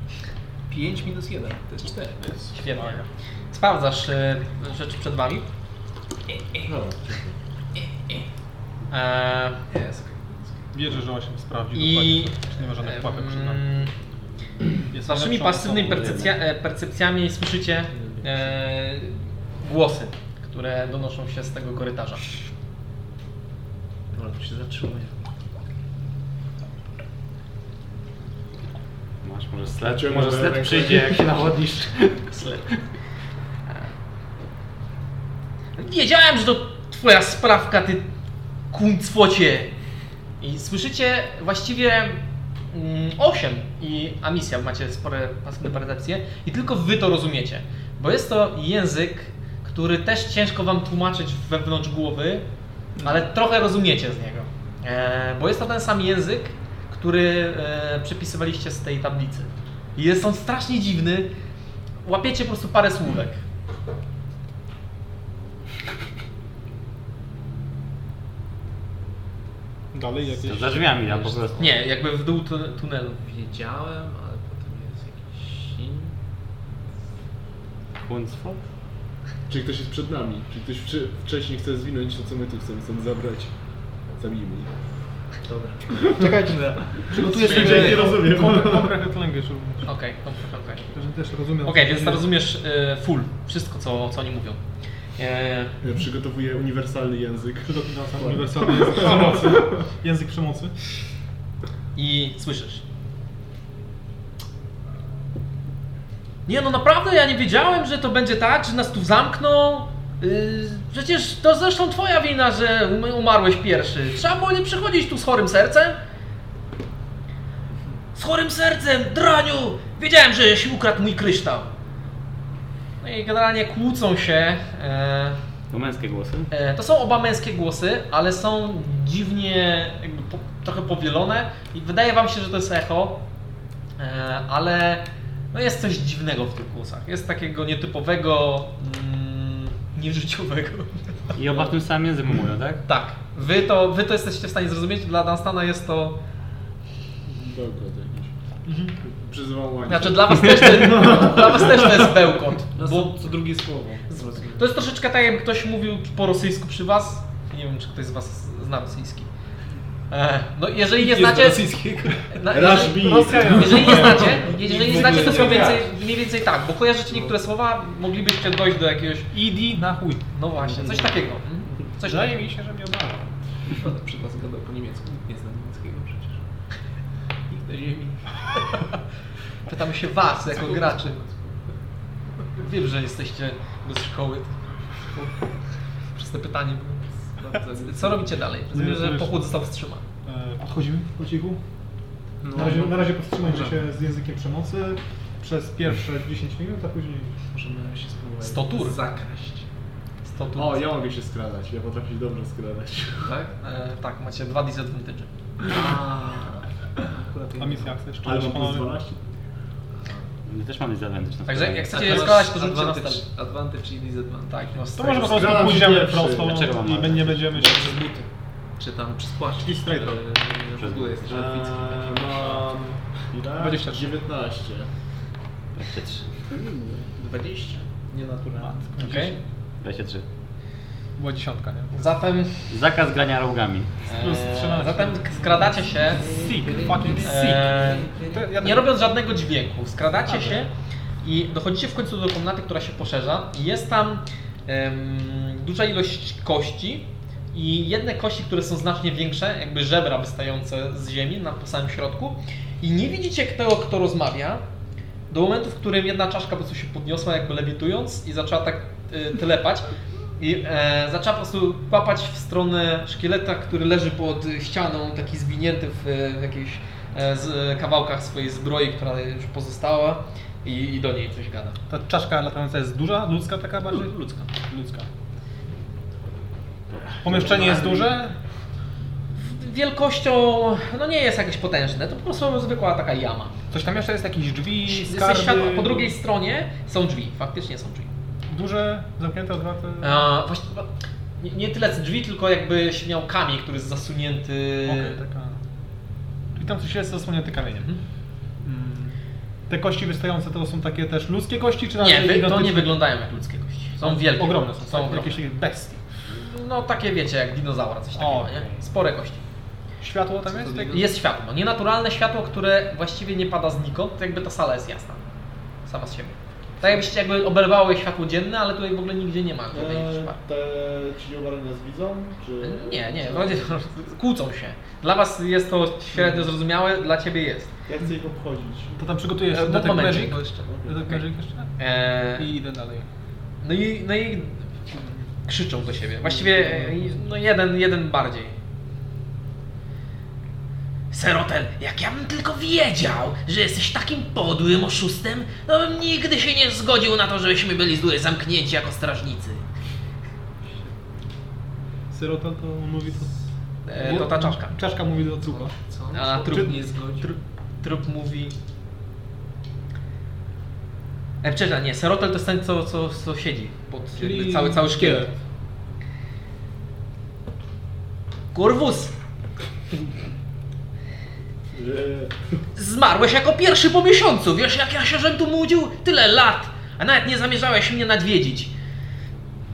D: 5 minus 1, to jest 4.
A: Świetnie. Sprawdzasz e, rzeczy przed wami.
B: No.
A: E,
D: Jest.
G: Wierzę, że 8 sprawdzi
A: I-
G: dokładnie, czy nie ma żadnych pułapek przed nami.
A: mm,
G: Jest
A: Z waszymi
G: najlepszą
A: pasywnymi
G: osobą.
A: percepcja, e, percepcjami słyszycie e, głosy, które donoszą się z tego korytarza.
D: Dobra, No, to się zatrzymuje.
C: Masz, może sled,
B: Ciągle
C: Znaczy, może sled
B: rękojeść.
C: przyjdzie, jak się nawodnisz.
A: Wiedziałem, że to twoja sprawka, ty kuncwocie! I słyszycie właściwie mm, 8 i Amisja, macie spore pasywne percepcje i tylko wy to rozumiecie, bo jest to język, który też ciężko wam tłumaczyć wewnątrz głowy, ale trochę rozumiecie z niego, e, bo jest to ten sam język, który e, przepisywaliście z tej tablicy. I jest on strasznie dziwny, łapiecie po prostu parę słówek.
G: Dalej jakieś...
C: To za drzwiami, ja po prostu.
A: Nie, jakby w dół tu- tunelu.
E: Wiedziałem, ale potem jest jakiś inny.
C: Kunstwo?
B: Czyli ktoś jest przed nami. Czyli ktoś wczy- wcześniej chce zwinąć to, co my tu chcemy stąd zabrać. Zabijmy ich.
E: Dobra.
B: Czekajcie na...
G: No
B: Przygotujesz się,
G: Czyli-
B: nie rozumiem.
G: Comprehend language również.
A: Okej, okay, okej.
G: Że też rozumiem.
A: Okej, więc to rozumiesz e, full, wszystko co, co oni mówią. E,
B: Ja przygotowuję uniwersalny język.
G: Przepraszam, uniwersalny język przemocy. Język przemocy.
A: I słyszysz. Nie no naprawdę, ja nie wiedziałem, że to będzie tak, że nas tu zamkną. Y, przecież to zresztą twoja wina, że um- umarłeś pierwszy. Trzeba było nie przychodzić tu z chorym sercem. Z chorym sercem, draniu! Wiedziałem, że się ukradł mój kryształ. No i generalnie kłócą się. e,
C: To męskie głosy.
A: E, To są oba męskie głosy, ale są dziwnie, jakby po, trochę powielone i wydaje wam się, że to jest echo, e, ale no jest coś dziwnego w tych głosach. Jest takiego nietypowego, mm, nieżyciowego.
C: I oba w tym samym języku mówią, tak?
A: Tak, wy to, wy to jesteście w stanie zrozumieć, dla Dunstana jest to... Mhm.
B: Bełkot jakiś. Przyzywam łańcuch.
A: Znaczy dla was też, to- dla was też to jest bełkot,
D: No
A: bo
E: Bo No, co drugie słowo.
A: to jest troszeczkę tak, jakby ktoś mówił po rosyjsku przy was. Nie wiem, czy ktoś z was zna rosyjski. E, No jeżeli nie znacie...
E: rosyjskiego.
A: Na,
B: Rashbi.
A: Jeżeli nie znacie, jeżeli nie
E: W
A: znacie,
E: ogóle
A: to
E: nie
A: mniej więcej,
E: kojarzy.
A: mniej więcej tak, bo kojarzycie niektóre słowa, moglibyście dojść do jakiegoś,
G: Idi na chuj.
A: no właśnie, coś takiego. mhm, Coś
G: Wydaje
A: takiego.
G: mi się, że mnie obraża.
D: No to przy was gadał po niemiecku, nikt nie zna niemieckiego przecież. Nikt na ziemi.
A: Pytamy się was, jako graczy. Wiem, że jesteście bez szkoły. Przez te pytanie było. Co robicie dalej? Rozumiem, że pochód został wstrzymany.
G: E, Podchodzimy po cichu.
D: No,
G: Na razie, na razie powstrzymajmy się z językiem przemocy przez pierwsze 10 minut, a później...
D: możemy się spróbować
A: Sto tur.
D: zakraść.
A: Stąd
B: O, ja mogę się skradać. Ja potrafię się dobrze skradać.
D: Tak?
A: e, tak, macie dwa disadvantage.
D: Akurat
G: A misja chcesz?
B: Ale mam plus 12.
C: My też mamy zadanie.
A: Także jak chcecie je
D: Advantage-
A: skalać, to rzućcie na
D: advantage, advantage i disadvantage.
A: Tak, no,
G: To może po prostu
B: Zgadzam się
G: pójdziemy
B: pierwszy.
G: prosto
C: Dlaczego mam
G: i
C: walczyć?
G: nie będziemy się...
D: Przez buty. Czy tam przez płaszcz.
G: I straight up. no.
D: Eee, W ogóle jest żelwicki.
B: Eee, Mam... ile?
G: 23.
B: 19.
C: 23.
D: 20. Nienaturalne.
A: Okej.
C: 23.
G: była dziesiątka, nie?
A: Zatem,
C: Zakaz grania rogami.
G: Plus 13.
A: e, zatem skradacie się,
G: Sick, fucking sick.
A: e,
G: To ja tak-
A: nie robiąc żadnego dźwięku, skradacie się i dochodzicie w końcu do komnaty, która się poszerza. I Jest tam em, duża ilość kości i jedne kości, które są znacznie większe, jakby żebra wystające z ziemi na samym środku. I nie widzicie tego, kto rozmawia, do momentu, w którym jedna czaszka po prostu się podniosła, jakby lewitując i zaczęła tak y, tlepać. I e, zaczęła po prostu papać w stronę szkieleta, który leży pod ścianą, taki zwinięty w e, jakichś e, z, e, kawałkach swojej zbroi, która już pozostała i, i do niej coś gada.
G: Ta czaszka latająca jest duża, ludzka taka bardziej? Ludzka. Ludzka. Pomieszczenie jest duże?
A: Wielkością, no nie jest jakieś potężne, to po prostu zwykła taka jama.
G: Coś tam jeszcze jest, jakieś drzwi,
A: Ze
G: skarby?
A: światła, po drugiej stronie są drzwi, faktycznie są drzwi.
G: Duże, zamknięte, otwarte?
A: E, właśnie, no, nie, nie tyle drzwi, tylko jakby się miał kamień, który jest zasunięty.
G: Okej, taka... I tam coś jest zasłonięte kamieniem.
A: Mhm.
G: Mm. Te kości wystające to są takie też ludzkie kości, czy
A: Nie,
G: raczej
A: wy, to nie
G: tak. gigantyczne? No,
A: wyglądają jak ludzkie kości. Są wielkie.
G: Ogromne są,
A: są
G: są
A: ogromne.
G: jakieś takie bestie.
A: No takie wiecie, jak dinozaura, coś takiego,
G: O, okej.
A: nie? Spore kości.
G: Światło tam jest? Tak?
A: Jest światło, nienaturalne światło, które właściwie nie pada znikąd, to jakby ta sala jest jasna. Sama z siebie. Tak jakbyście jakby oberwało światło dzienne, ale tutaj w ogóle nigdzie nie ma. Tutaj
G: Eee.
B: E,
A: szpar.
B: te, czy obawy nas widzą? Czy...
A: nie, nie, ludzie kłócą się. Dla was jest to średnio zrozumiałe, dla ciebie jest.
B: Ja chcę ich obchodzić.
G: To tam przygotujesz
A: E, no
E: Tak,
G: Detect
A: momencik.
G: Magic? Detect Magic jeszcze?
A: Eee,
G: I idę dalej.
A: No i, no i krzyczą do siebie. Właściwie e, no jeden, jeden bardziej.
J: Serotel, jak ja bym tylko wiedział, że jesteś takim podłym oszustem, to bym nigdy się nie zgodził na to, żebyśmy byli z góry zamknięci jako strażnicy.
G: Syrota to mówi to...
A: E, to ta czaszka.
G: Czaszka mówi do trupa.
A: A trup,
G: nie zgodzi.
A: trup, trup mówi... E, przepraszam, nie, serotel to jest ten, co, co, co siedzi pod
G: Czyli-
A: jakby cały, cały szkielet. Kurwus,
B: Że...
J: Zmarłeś jako pierwszy po miesiącu, wiesz jak ja się tu łudził? Tyle lat, a nawet nie zamierzałeś mnie nadwiedzić.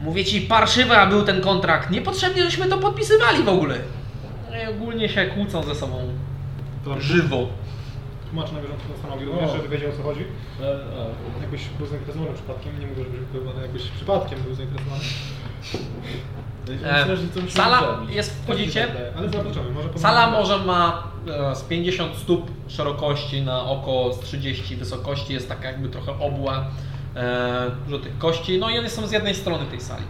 A: mówię ci, parszywa był ten kontrakt. Niepotrzebnie żeśmy to podpisywali w ogóle. No i ogólnie się kłócą ze sobą.
F: To-
A: Żywo.
F: Tłumacz na bieżąco na stanowi,
B: O.
F: wiesz, żeby wiedział o co chodzi.
B: E, a,
F: Jakbyś był zainteresowany przypadkiem, nie mówię, żebyś był no jakbyś przypadkiem był zainteresowany.
A: E,
B: Myślę, że to musimy
A: Sala
B: zrobić.
A: jest, wchodzicie,
F: Ale zobaczymy, może
A: Sala może ma e, z 50 stóp szerokości na oko z 30 wysokości, jest taka jakby trochę obła, e, dużo tych kości, no i one są z jednej strony tej sali.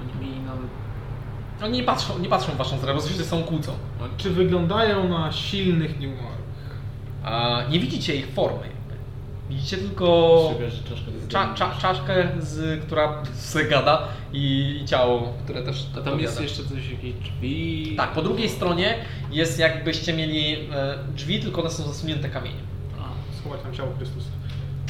E: Oni mieli nam...
A: Oni No nie patrzą, nie patrzą w waszą stronę, bo się są kłócą.
F: Czy wyglądają na silnych nieumarłych?
A: A nie widzicie ich formy. jakby. Widzicie tylko
B: Wiesz, że czaszka jest
A: cza, cza, czaszkę, z, która se gada i, i ciało, które też
E: A tam
A: odpowiada.
E: jest jeszcze coś, jakieś drzwi...
A: Tak, po drugiej stronie jest jakbyście mieli e, drzwi, tylko one są zasunięte kamieniem.
F: Schować tam ciało Chrystusa.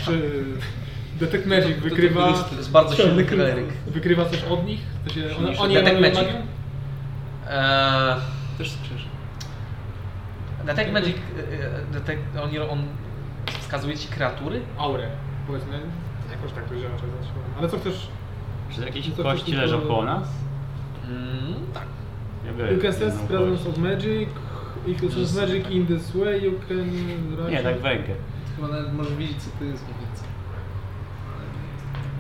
F: Czy
A: Tak.
F: Detect
E: To-
F: Magic
E: to- to
F: wykrywa,
E: jest-
A: To jest bardzo silny kleryk.
F: wykrywa coś od nich? To się, one,
A: Silniejszy.
F: oni
A: Detect
F: emanują
A: Magic.
F: magią?
A: Eee,
E: Też skrzyżę.
A: Detect Magic, e, e, detect, on, on wskazuje ci kreatury?
F: Aurę, powiedzmy. Jakoś tak dojrzała czas Ale co chcesz?
C: Czy jakieś
F: To- to-
C: kości
F: to-
C: leżą koło nas?
A: Mm, tak.
C: Ja biorę
F: You can sense
C: jedną
F: presence
C: kość.
F: of magic. If you sense magic in this way, you can...
C: Nie, tak w rękę.
D: Chyba nawet możesz widzieć, co to jest mniej więcej.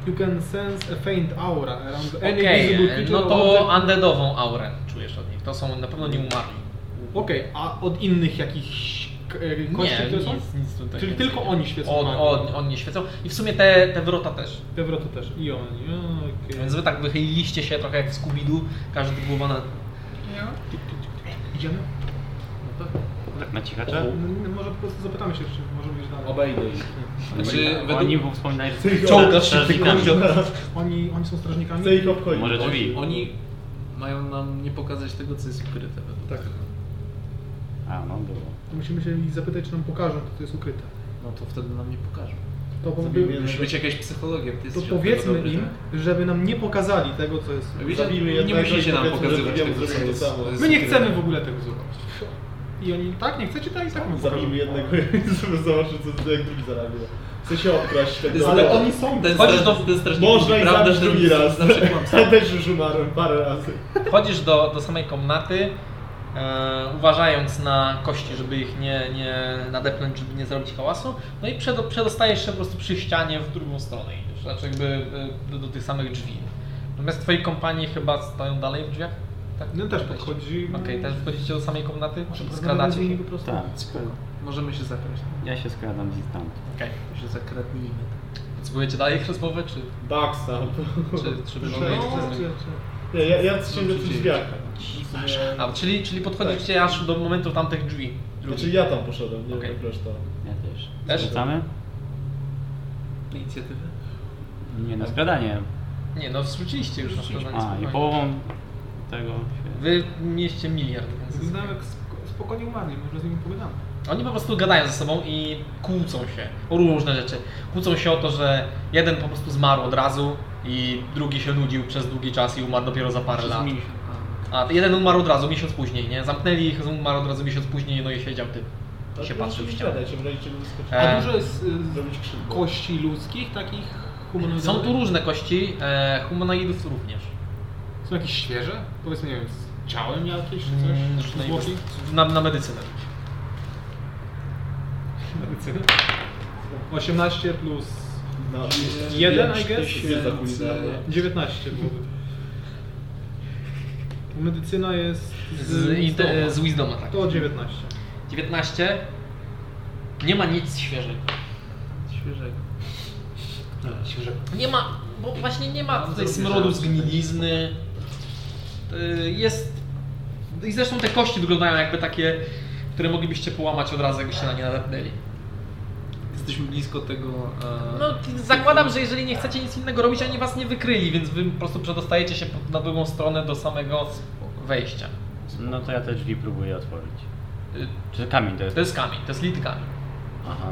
F: You can sense a faint aura around any
A: Okej,
F: visible
A: e,
F: creature
A: no
F: or
A: to
F: object.
A: undeadową aurę czujesz od nich. To są na pewno nie umarli.
F: Okej, a od innych jakichś k- e, kości,
A: nie,
F: które są?
A: nic, nic tutaj
F: Czyli
A: więcej
F: tylko
A: nie.
F: oni świecą
A: On,
F: magią.
A: on, oni świecą. I w sumie te, te wrota też.
F: Dobra, to też. I oni, okej.
A: Więc wy tak wychyliliście się trochę jak w Scooby-Doo, każdy głowa na...
F: Idziemy?
C: Tak na cichacze?
F: No, może po prostu zapytamy się, czy możemy iść dalej.
B: Obejdę ich.
D: Znaczy,
C: Oni-
D: według...
C: Oni wspominają, że
A: Czołgasz się
C: strażnikami.
F: Oni, oni są strażnikami?
B: Chcę ich obchodzić.
C: Może drzwi.
E: Oni mają nam nie pokazać tego, co jest ukryte według
F: Tak.
E: tego.
C: A, no było.
F: To Musimy się ich zapytać, czy nam pokażą, to, to jest ukryte.
E: No to wtedy nam nie pokażą.
F: To, po-
B: Zabijmy
F: to
E: Musi być jakaś psychologia, ty jesteś od tego
F: powiedzmy
E: dobry,
F: im,
E: tak?
F: żeby nam nie pokazali tego, co jest...
E: Wiecie,
B: Zabijmy
E: nie
B: jednego
E: musicie
B: i
E: nam
B: powiedzmy, że
E: pokazywać
B: drugiemu
E: tego, co
B: zrobimy
E: jest,
B: to samo.
E: co jest
F: My nie
E: ukryte.
F: chcemy w ogóle tego zobaczyć. I oni, tak, nie chcecie, tak i tak nam pokażą.
B: Zabijmy jednego i zobaczymy co jak drugi zarabia. Chce się obkraść
D: To jest
B: tego, ale
D: tak-
B: oni są.
D: Ten,
A: Chodź
D: stra-
A: do-
D: ten strasznik
B: Można
D: mówi
B: i
D: prawdę,
B: zabić
D: ten
B: drugi raz.
D: Zawsze kłamstwo.
B: Ja też już umarłem parę razy.
A: Wchodzisz do, do samej komnaty, e, uważając na kości, żeby ich nie, nie nadepnąć, żeby nie zrobić hałasu. No i przed, przedostajesz się po prostu przy ścianie w drugą stronę. Idziesz, znaczy jakby e, do, do tych samych drzwi. Natomiast twoi kompanii chyba stoją dalej w drzwiach? Tak?
G: No też podchodzi.
A: Okej, też wchodzicie do samej komnaty? Czy
G: Porozmawiamy z
A: skradacie się?
G: nimi po prostu.
C: Tak.
D: Spoko. Możemy się zakraść.
C: Ja się skradam z tam.
A: Okej.
D: My się zakradnijmy.
A: Potrzebujecie dalej ich rozmowę, czy,
B: Backstab.
A: czy, czy
B: No,
A: wyglądacie?
B: Nie, ja, ja siedzę przy drzwiach.
A: A, czyli, czyli podchodzicie
C: Tak.
A: aż do momentu tamtych drzwi. drugich.
B: Znaczy ja tam poszedłem, nie
A: Okej.
B: wiem, reszta.
C: Ja też.
A: Też?
C: Wrzucamy?
D: Inicjatywę?
C: Nie, na skradanie.
A: Nie, no wrzuciliście już na składanie
C: A, i
A: spokojnie.
C: połową tego się...
A: Wy mieście miliard, więc...
G: Znam jak spok- spokojnie umarli, może z nimi pogadamy.
A: Oni po prostu gadają ze sobą i kłócą się o różne rzeczy. Kłócą się o to, że jeden po prostu zmarł od razu i drugi się nudził przez długi czas i umarł dopiero za parę lat.
B: tak.
A: A jeden umarł od razu, miesiąc później, nie? Zamknęli ich, umarł od razu miesiąc później, no i siedział typ.
B: Tak,
A: I
B: no,
A: się patrzył w ścianę.
B: Się w Tak. razie czego wyskoczyć.
A: E,
G: A dużo jest y,
B: Zrobić krzywdę.
G: kości ludzkich, takich humanoidalnych?
A: Są tu różne kości, e, humanoidów również.
G: Są jakieś świeże? Powiedzmy, nie wiem, z ciałem jakieś czy
A: Mm,
G: coś? Zwłoki?
A: Na, na medycynę.
G: 18 plus
B: Na,
G: jeden, I
B: No, ktoś
G: guess?
B: się za kulisy, prawda?
G: 19 byłoby. Medycyna jest z,
A: Z, i te- z Wisdoma, tak.
G: To 19.
A: 19. Nie ma nic świeżego.
D: Świeżego.
A: Nie ma, bo właśnie nie ma tutaj smrodu zgnilizny. Y, Jest. I zresztą te kości wyglądają jakby takie, które moglibyście połamać od razu, jakbyście na nie nadepnęli.
D: Jesteśmy blisko tego... E...
A: No, ty- zakładam, że jeżeli nie chcecie nic innego robić, oni was nie wykryli, więc wy po prostu przedostajecie się po- na drugą stronę do samego wejścia.
C: No to ja te drzwi próbuję otworzyć.
A: Y,
C: Czy kamień to jest?
A: To jest kamień, to jest lit kamień.
C: Aha.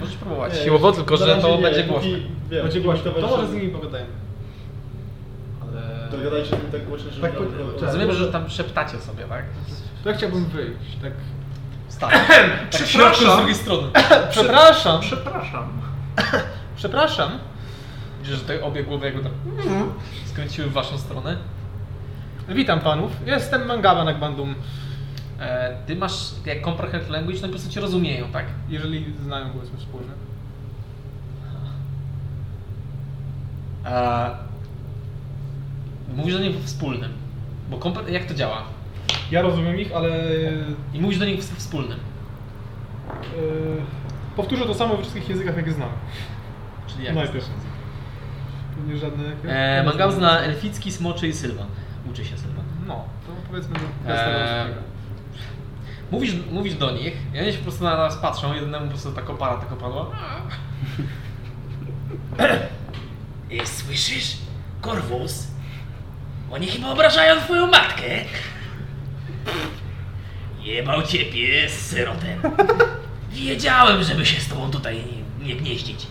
A: Możesz próbować.
B: Nie,
D: E,
A: Siłowo, tylko
B: na
A: że
B: razie
A: to
B: nie,
A: będzie
B: póki-
A: głośno.
B: Wiem,
G: Będzie głośno, to może z nimi pogadajmy.
B: Ale... To gadajcie z nim tak głośno, że...
G: Tak, po-
A: Rozumiem, że tam szeptacie sobie, tak?
G: To ja chciałbym wyjść, tak...
A: Stary. Tak w środku z drugiej strony.
G: Przepraszam! Przepraszam! Przepraszam!
A: Widzisz, że te obie głowy jakby tak skręciły w waszą stronę.
G: Witam panów, jestem Mangawa Nagbandum,
A: E, ty masz jak comprehend language, no i po prostu cię rozumieją, tak?
G: jeżeli znają powiedzmy wspólne.
A: E, mówisz do nich w wspólnym. Bo kompre- jak to działa?
G: Ja rozumiem ich, ale... e,
A: I mówisz do nich w wspólnym.
G: Yy, powtórzę to samo we wszystkich językach, jakie znam.
A: Czyli jak?
G: Najpierw. Tu nie żadne... jakieś-
A: E, Mangał zna elficki, smoczy i Sylwan. Uczy się Sylwan.
G: No, to powiedzmy...
A: Eee,
G: Eee...
A: mówisz, mówisz do nich, i oni się po prostu na nas patrzą, jednemu po prostu tak opala, tak opadła.
J: E, słyszysz? Korwus? Oni chyba obrażają twoją matkę. Jebał cię pies syrotem. Wiedziałem, żeby się z tobą tutaj nie gnieździć.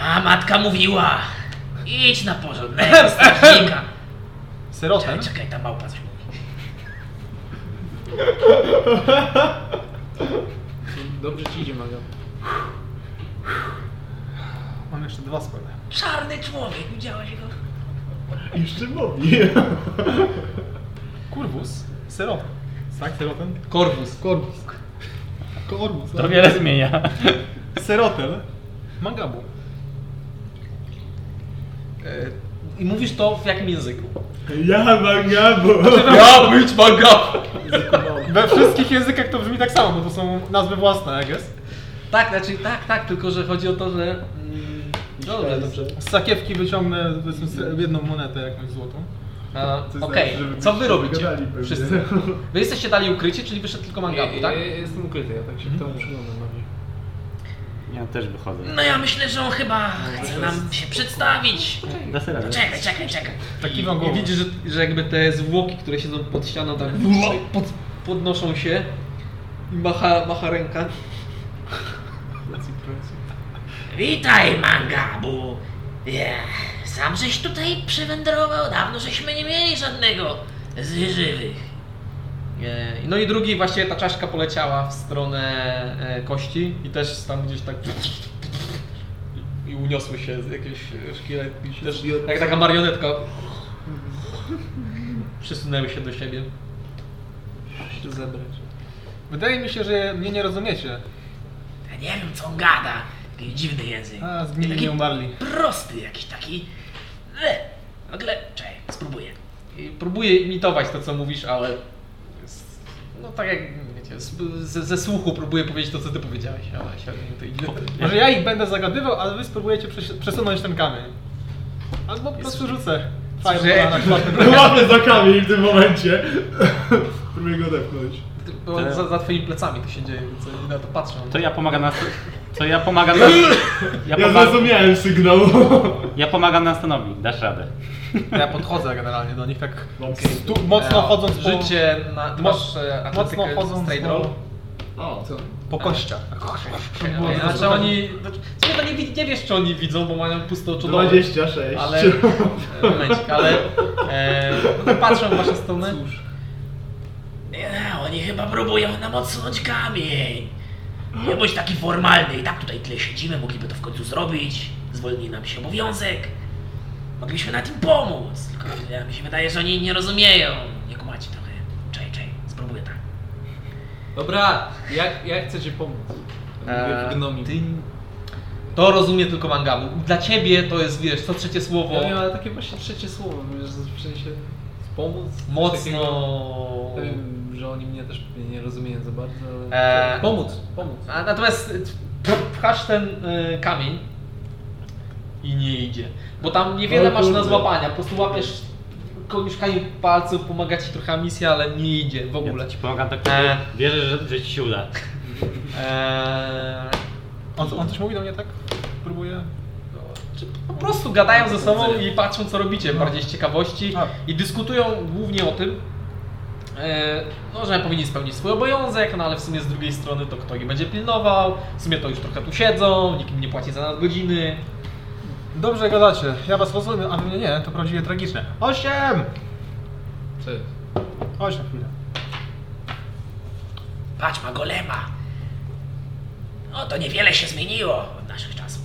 J: A matka mówiła, idź na porządnego strażnika.
G: Serotem?
J: Czekaj, czekaj, ta małpa coś mówi.
D: Dobrze ci idzie, Maga.
G: Mam jeszcze dwa spele.
J: Czarny człowiek, widziałeś go?
B: Jeszcze mówi.
G: Kurwus? Serotem. Tak, serotem?
A: Korwus.
I: Korpus.
G: Korwus. tak.
C: To wiele zmienia.
G: Serotel. Mangabu.
A: E, I mówisz to w jakim języku?
B: Ja mangabo!
A: Ja być manga!
G: We wszystkich językach to brzmi tak samo, bo to są nazwy własne, jak jest.
A: Tak, znaczy tak, tak, tylko że chodzi o to, że... Mm, dobrze, dobrze.
G: Z sakiewki wyciągnę powiedzmy se- jedną monetę jakąś złotą.
A: A,
B: To znaczy,
A: E, Okej,
B: żeby
A: co wy
B: się
A: robicie?
B: dogadali pewnie.
A: Wszyscy. Wy jesteście dali ukrycie, czyli wyszedł tylko mangabu, tak?
D: Ja, ja jestem ukryty, ja tak się temu przyglądam bardziej.
C: Ja też wychodzę.
J: No ja myślę, że on chyba chce nam się przedstawić.
C: Da sobie radę.
J: Czekaj, czekaj, czekaj.
G: Taki
A: I,
G: mam
A: i
G: głowę.
A: widzisz, że, że jakby te zwłoki, które siedzą pod ścianą, tak pod, podnoszą się i macha, macha ręka.
J: Witaj, Mangabu! Ja, sam żeś tutaj przywędrował, dawno żeśmy nie mieli żadnego z żywych.
A: E, No i drugi właściwie ta czaszka poleciała w stronę e, kości i też tam gdzieś tak i- i uniosły się z jakiejś szkielet i też jak taka marionetka przysunęły się do siebie.
G: Wydaje mi się, że mnie nie rozumiecie.
J: Ja nie wiem co on gada. Taki dziwny język.
G: A, zgnili
J: Taki
G: nie umarli.
J: Prosty jakiś taki. Le. W ogóle, czekaj, spróbuję.
A: I próbuję imitować to, co mówisz, ale s- no tak jak wiecie, z, ze, ze słuchu próbuję powiedzieć to, co ty powiedziałeś, ale się to idzie.
G: Może ja ich będę zagadywał, ale wy spróbujecie przes- przesunąć ten kamień. Albo po prostu rzucę. Fireballa na czwartym
B: Łapę za kamień w tym momencie. Próbuję go odepchnąć.
A: Bo za, za twoimi plecami to się dzieje, więc ja na to patrzę.
C: To ja pomagam na... To ja pomagam na... Ja,
B: Ja
C: pomaga,
B: zrozumiałem sygnał.
C: ja pomagam Nastonowi, dasz radę.
G: Ja podchodzę generalnie do nich tak
B: Okej.
G: tu, mocno chodząc po,
A: Życie e, na... Ty
G: Mo-
A: masz e,
G: mocno
A: atletykę,
G: chodząc
A: straight
G: po-
A: roll?
B: O, co?
G: po kościach.
A: Ej, A czy znaczy oni... Słuchaj, to nie, wi- nie wiesz, czy oni widzą, bo mają puste oczu dołu.
B: 26.
A: Ale... Momencik, ale... E, no tak patrzą w waszą stronę.
J: Nie, oni chyba próbują nam odsunąć kamień. Nie bądź taki formalny. I tak tutaj tyle siedzimy, mogliby to w końcu zrobić. Zwolni nam się obowiązek. Mogliśmy na tym pomóc. Tylko ja mi się wydaje, że oni nie rozumieją. Nie kumacie trochę. Czej, czej, spróbuję tak.
E: Dobra, jak, jak chcecie pomóc? Mówię w
A: Eee,
E: gnomim.
A: ty- To rozumie tylko mangabu. Dla ciebie to jest, wiesz, co trzecie słowo
E: Ja wiem, ale takie właśnie trzecie słowo, wiesz, w sensie pomóc. coś
A: mocno...
E: takiego. Ja wiem, że oni mnie też pewnie nie rozumieją za bardzo, ale...
A: Eee.
E: Pomóc, pomóc.
A: A natomiast y, pchasz ten y, kamień i nie idzie. Bo tam niewiele
B: O
A: masz na
B: kurde.
A: złapania. Po prostu łapiesz koniuszkami palców, pomaga ci trochę misja, ale nie idzie w
C: Ja
A: ogóle.
C: ci pomagam tak,
A: Eee.
C: wierzę, że, że ci się uda.
A: Eee,
G: On, on coś mówi do mnie tak? Próbuje.
A: po prostu gadają ze sobą i patrzą co robicie, bardziej z ciekawości. I dyskutują głównie o tym, e, no, że powinni spełnić swój obowiązek, no ale w sumie z drugiej strony to kto ich będzie pilnował. W sumie to już trochę tu siedzą, nikt im nie płaci za nadgodziny.
G: Dobrze gadacie, ja was rozumiem, a wy mnie nie, to prawdziwie tragiczne. Osiem!
E: Co jest?
G: Chodź na chwilę.
J: Patrz, ma golema. No to niewiele się zmieniło od naszych czasów.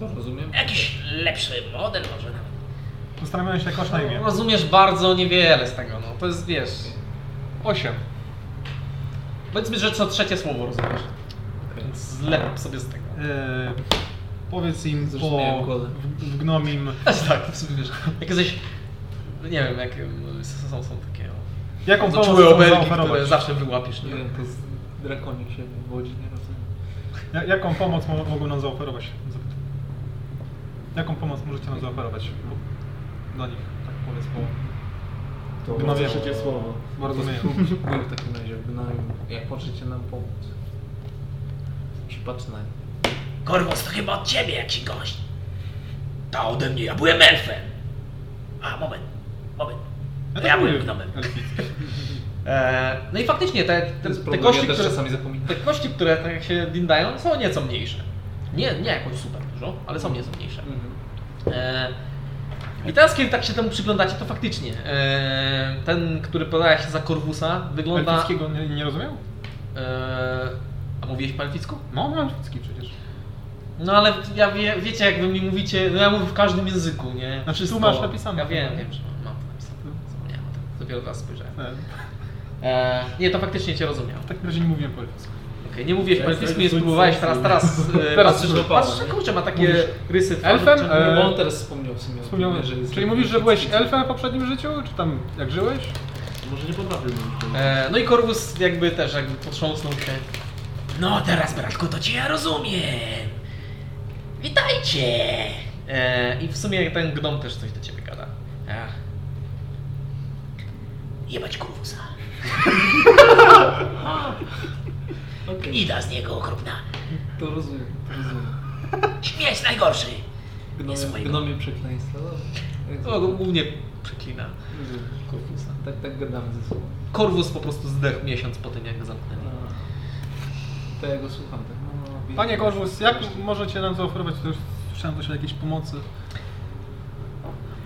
E: To rozumiem.
J: Jakiś lepszy model może nawet.
G: Zastanawiam się, jak masz na
E: Tak
G: imię.
A: No, Rozumiesz bardzo niewiele z tego, no to jest wiesz.
G: Osiem.
A: Powiedzmy, że co trzecie słowo rozumiesz. Więc zlep sobie z tego.
G: Eee, powiedz im
E: Zrozumiałem
G: po,
E: golę.
G: w, w gnomim,
A: Znaczy tak, w sumie wiesz. Jak jesteś. Nie wiem, jak mm, są, są takie. o,
G: jaką
A: Bardzo
G: pomoc
A: czułe
G: chcą
A: obelgi, które
G: zaoferować?
A: zawsze wyłapisz, nie?
E: Nie wiem, to jest drakonik się wywodzi, nie rozumiem.
G: Ja, jaką pomoc mo- mogą nam zaoferować? Zapytam. Jaką pomoc możecie nam zaoferować? Bo- Do nich, tak powiedz, bo
E: To
G: Gnowie.
B: trzecie słowo.
G: bo rozumieją.
E: No w takim razie, gnojm, jak możecie nam pomóc? Przypatrz na nie.
J: Korwus, to chyba od ciebie jakiś gość. Ta ode mnie, ja byłem elfem. A, moment, moment. To ja byłem gnomem.
G: elficki.
A: E, no i faktycznie te, te, te,
E: problem,
A: kości,
E: ja też
A: które,
E: czasami zapominam.
A: te kości, które tak się dindają, są nieco mniejsze. Nie, nie jakoś super dużo, ale są nieco mniejsze. E, I teraz, kiedy tak się temu przyglądacie, to faktycznie e, ten, który podała się za Korwusa, wygląda.
G: Elfickiego nie, nie rozumiał?
A: E, a mówiłeś po elficku?
G: No, no elficki przecież.
A: No ale ja wie, wiecie, jak wy mi mówicie, no ja mówię w każdym języku, nie?
G: Znaczy,
A: Wszystko.
G: tu masz napisane. No.
A: Ja wiem, wiem, że mam to napisane. Zapomniałem o tym. Dopiero teraz spojrzałem.
G: E,
A: E, nie, to faktycznie cię rozumiał.
G: W takim razie nie mówiłem po elficku.
E: No,
A: Okej, nie mówiłeś po
B: Ja
A: elficku,
B: jestem
A: nie
B: słońcem.
A: spróbowałeś, teraz, teraz, e,
G: Teraz
A: patrzysz,
G: już
A: patrzysz, że kurczę, ma takie
E: Mówisz
A: rysy twarzy,
G: elfem?
A: czemu-
G: E,
E: Bo on teraz wspomniał w sumie o
G: Wspomniałem,
E: tym, że jest...
G: czyli mówisz, że byłeś elfem w poprzednim życiu? Czy tam jak żyłeś?
B: Może nie potrafiłbym już tego.
A: E, no i Korwus jakby też jakby potrząsnął się.
J: No teraz, bratku, to cię ja rozumiem. Witajcie.
A: E, I w sumie ten gnom też coś do ciebie gada. Ach,
J: Jebać kurwusa. Ida z niego okropna.
E: To rozumiem, to rozumiem.
J: Śmieć najgorszy. Jest
E: Gnomie,
J: mojego.
E: gnomie przekleństwa,
A: no,
E: dobra.
A: głównie przeklina Korwusa.
E: Tak, tak gadamy ze sobą. No.
A: Korwus po prostu zdechł miesiąc po tym, jak go zamknęli.
E: To ja go słucham, tak. No, no,
G: Panie
E: wiem.
G: Korwus, jak możecie nam zaoferować? To już słyszałem coś o jakiejś pomocy.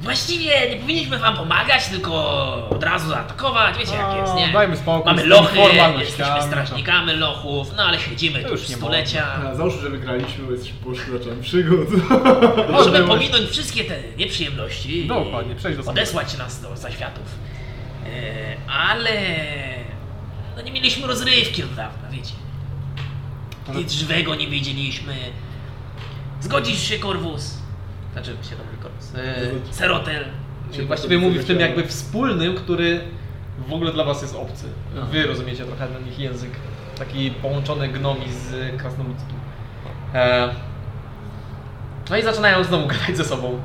J: Właściwie nie powinniśmy wam pomagać, tylko od razu zaatakować. Wiecie jak jest, nie?
G: No, Dajmy spokój.
J: Mamy
G: z tymi
J: lochy,
G: formalnościami,
J: jesteśmy strażnikami lochów, no ale siedzimy tu
C: już
J: już
C: nie
J: stulecia.
B: A, Załóżmy, że wygraliśmy, bo jesteśmy poszukiwaczem przygód.
J: Możemy
B: Odbyło się.
J: pominąć wszystkie te nieprzyjemności. i
G: Dokładnie, przejść do
J: Odesłać nas do zaświatów. E, ale... No nie mieliśmy rozrywki od dawna, wiecie. Nic żywego nie widzieliśmy. Zgodzisz się, Korwus? Znaczy, się dobry Korwus. E, Serotel.
A: Czyli właściwie mówi w tym jakby wspólnym, który w ogóle dla was jest obcy. Wy rozumiecie trochę ten ich język. Taki połączony gnomi z krasnoludzkim. E, No i zaczynają znowu gadać ze sobą.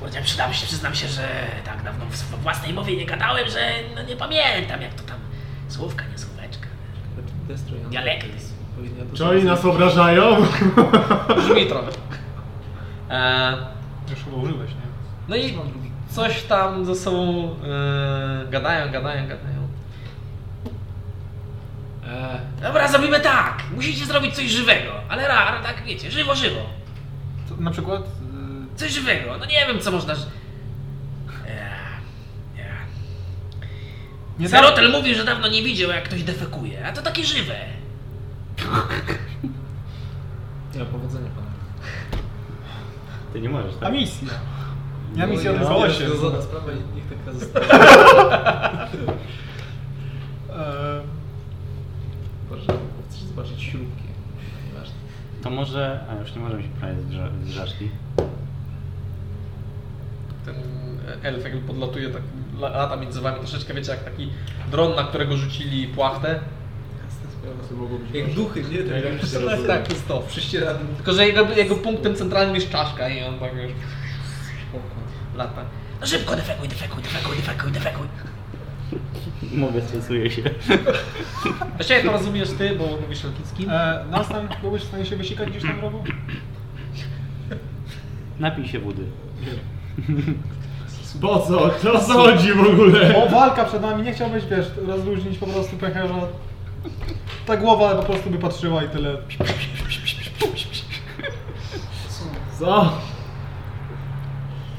J: Kurde, Przyznam się, przyznam się, że tak dawno w w własnej mowie nie gadałem, że no nie pamiętam jak to tam słówka, nie słóweczka,
D: Destroy.
J: dialekt.
D: Powinna to
B: Czy oni No nas obrażają?
A: Brzmi trochę. E,
G: Już chyba użyłeś, nie?
A: No i coś tam ze sobą e, gadają, gadają, gadają. E,
J: Dobra, zrobimy tak. Musicie zrobić coś żywego, ale rar, tak wiecie, żywo, żywo.
G: Co, na przykład... y,
J: Coś żywego, no nie wiem co można... ż- Eee, nie.
G: Nie da-
J: Serotel mówi, że dawno nie widział jak ktoś defekuje, a to takie żywe.
D: Ja powodzenia panu.
C: Ty nie możesz,
G: A
C: tak?
G: misja. Ja misję
D: No ja-
G: odezwała
D: ja-
G: się.
D: To zada sprawa tak i niech taka zostanie.
G: E,
D: Boże, chcesz zobaczyć śrubki. Nieważne.
C: To może... A już nie możemy się prawie zgrza- zgrzaszki.
A: ten elf jakby podlatuje, tak la- lata między wami troszeczkę, wiecie, jak taki dron, na którego rzucili płachtę.
D: Jak duchy, nie? Tak, jak
B: No,
A: Tak, jest to.
D: przyścierany.
A: Tylko, że jego, jego punktem centralnym jest czaszka i on tak już lata.
J: No szybko defekuj, defekuj, defekuj, defekuj, defekuj.
C: Mówię, stresuję się.
A: Właściwie Znaczy, to rozumiesz ty, bo mówisz elfickim.
G: e, nas tam byłeś w stanie się wysikać gdzieś tam w rogu?
C: Napij się wody.
B: Po co? To co chodzi w ogóle?
G: Bo walka przed nami, nie chciałbyś, wiesz, rozluźnić po prostu pęcherza. Ta głowa po prostu by patrzyła i tyle.
B: Co?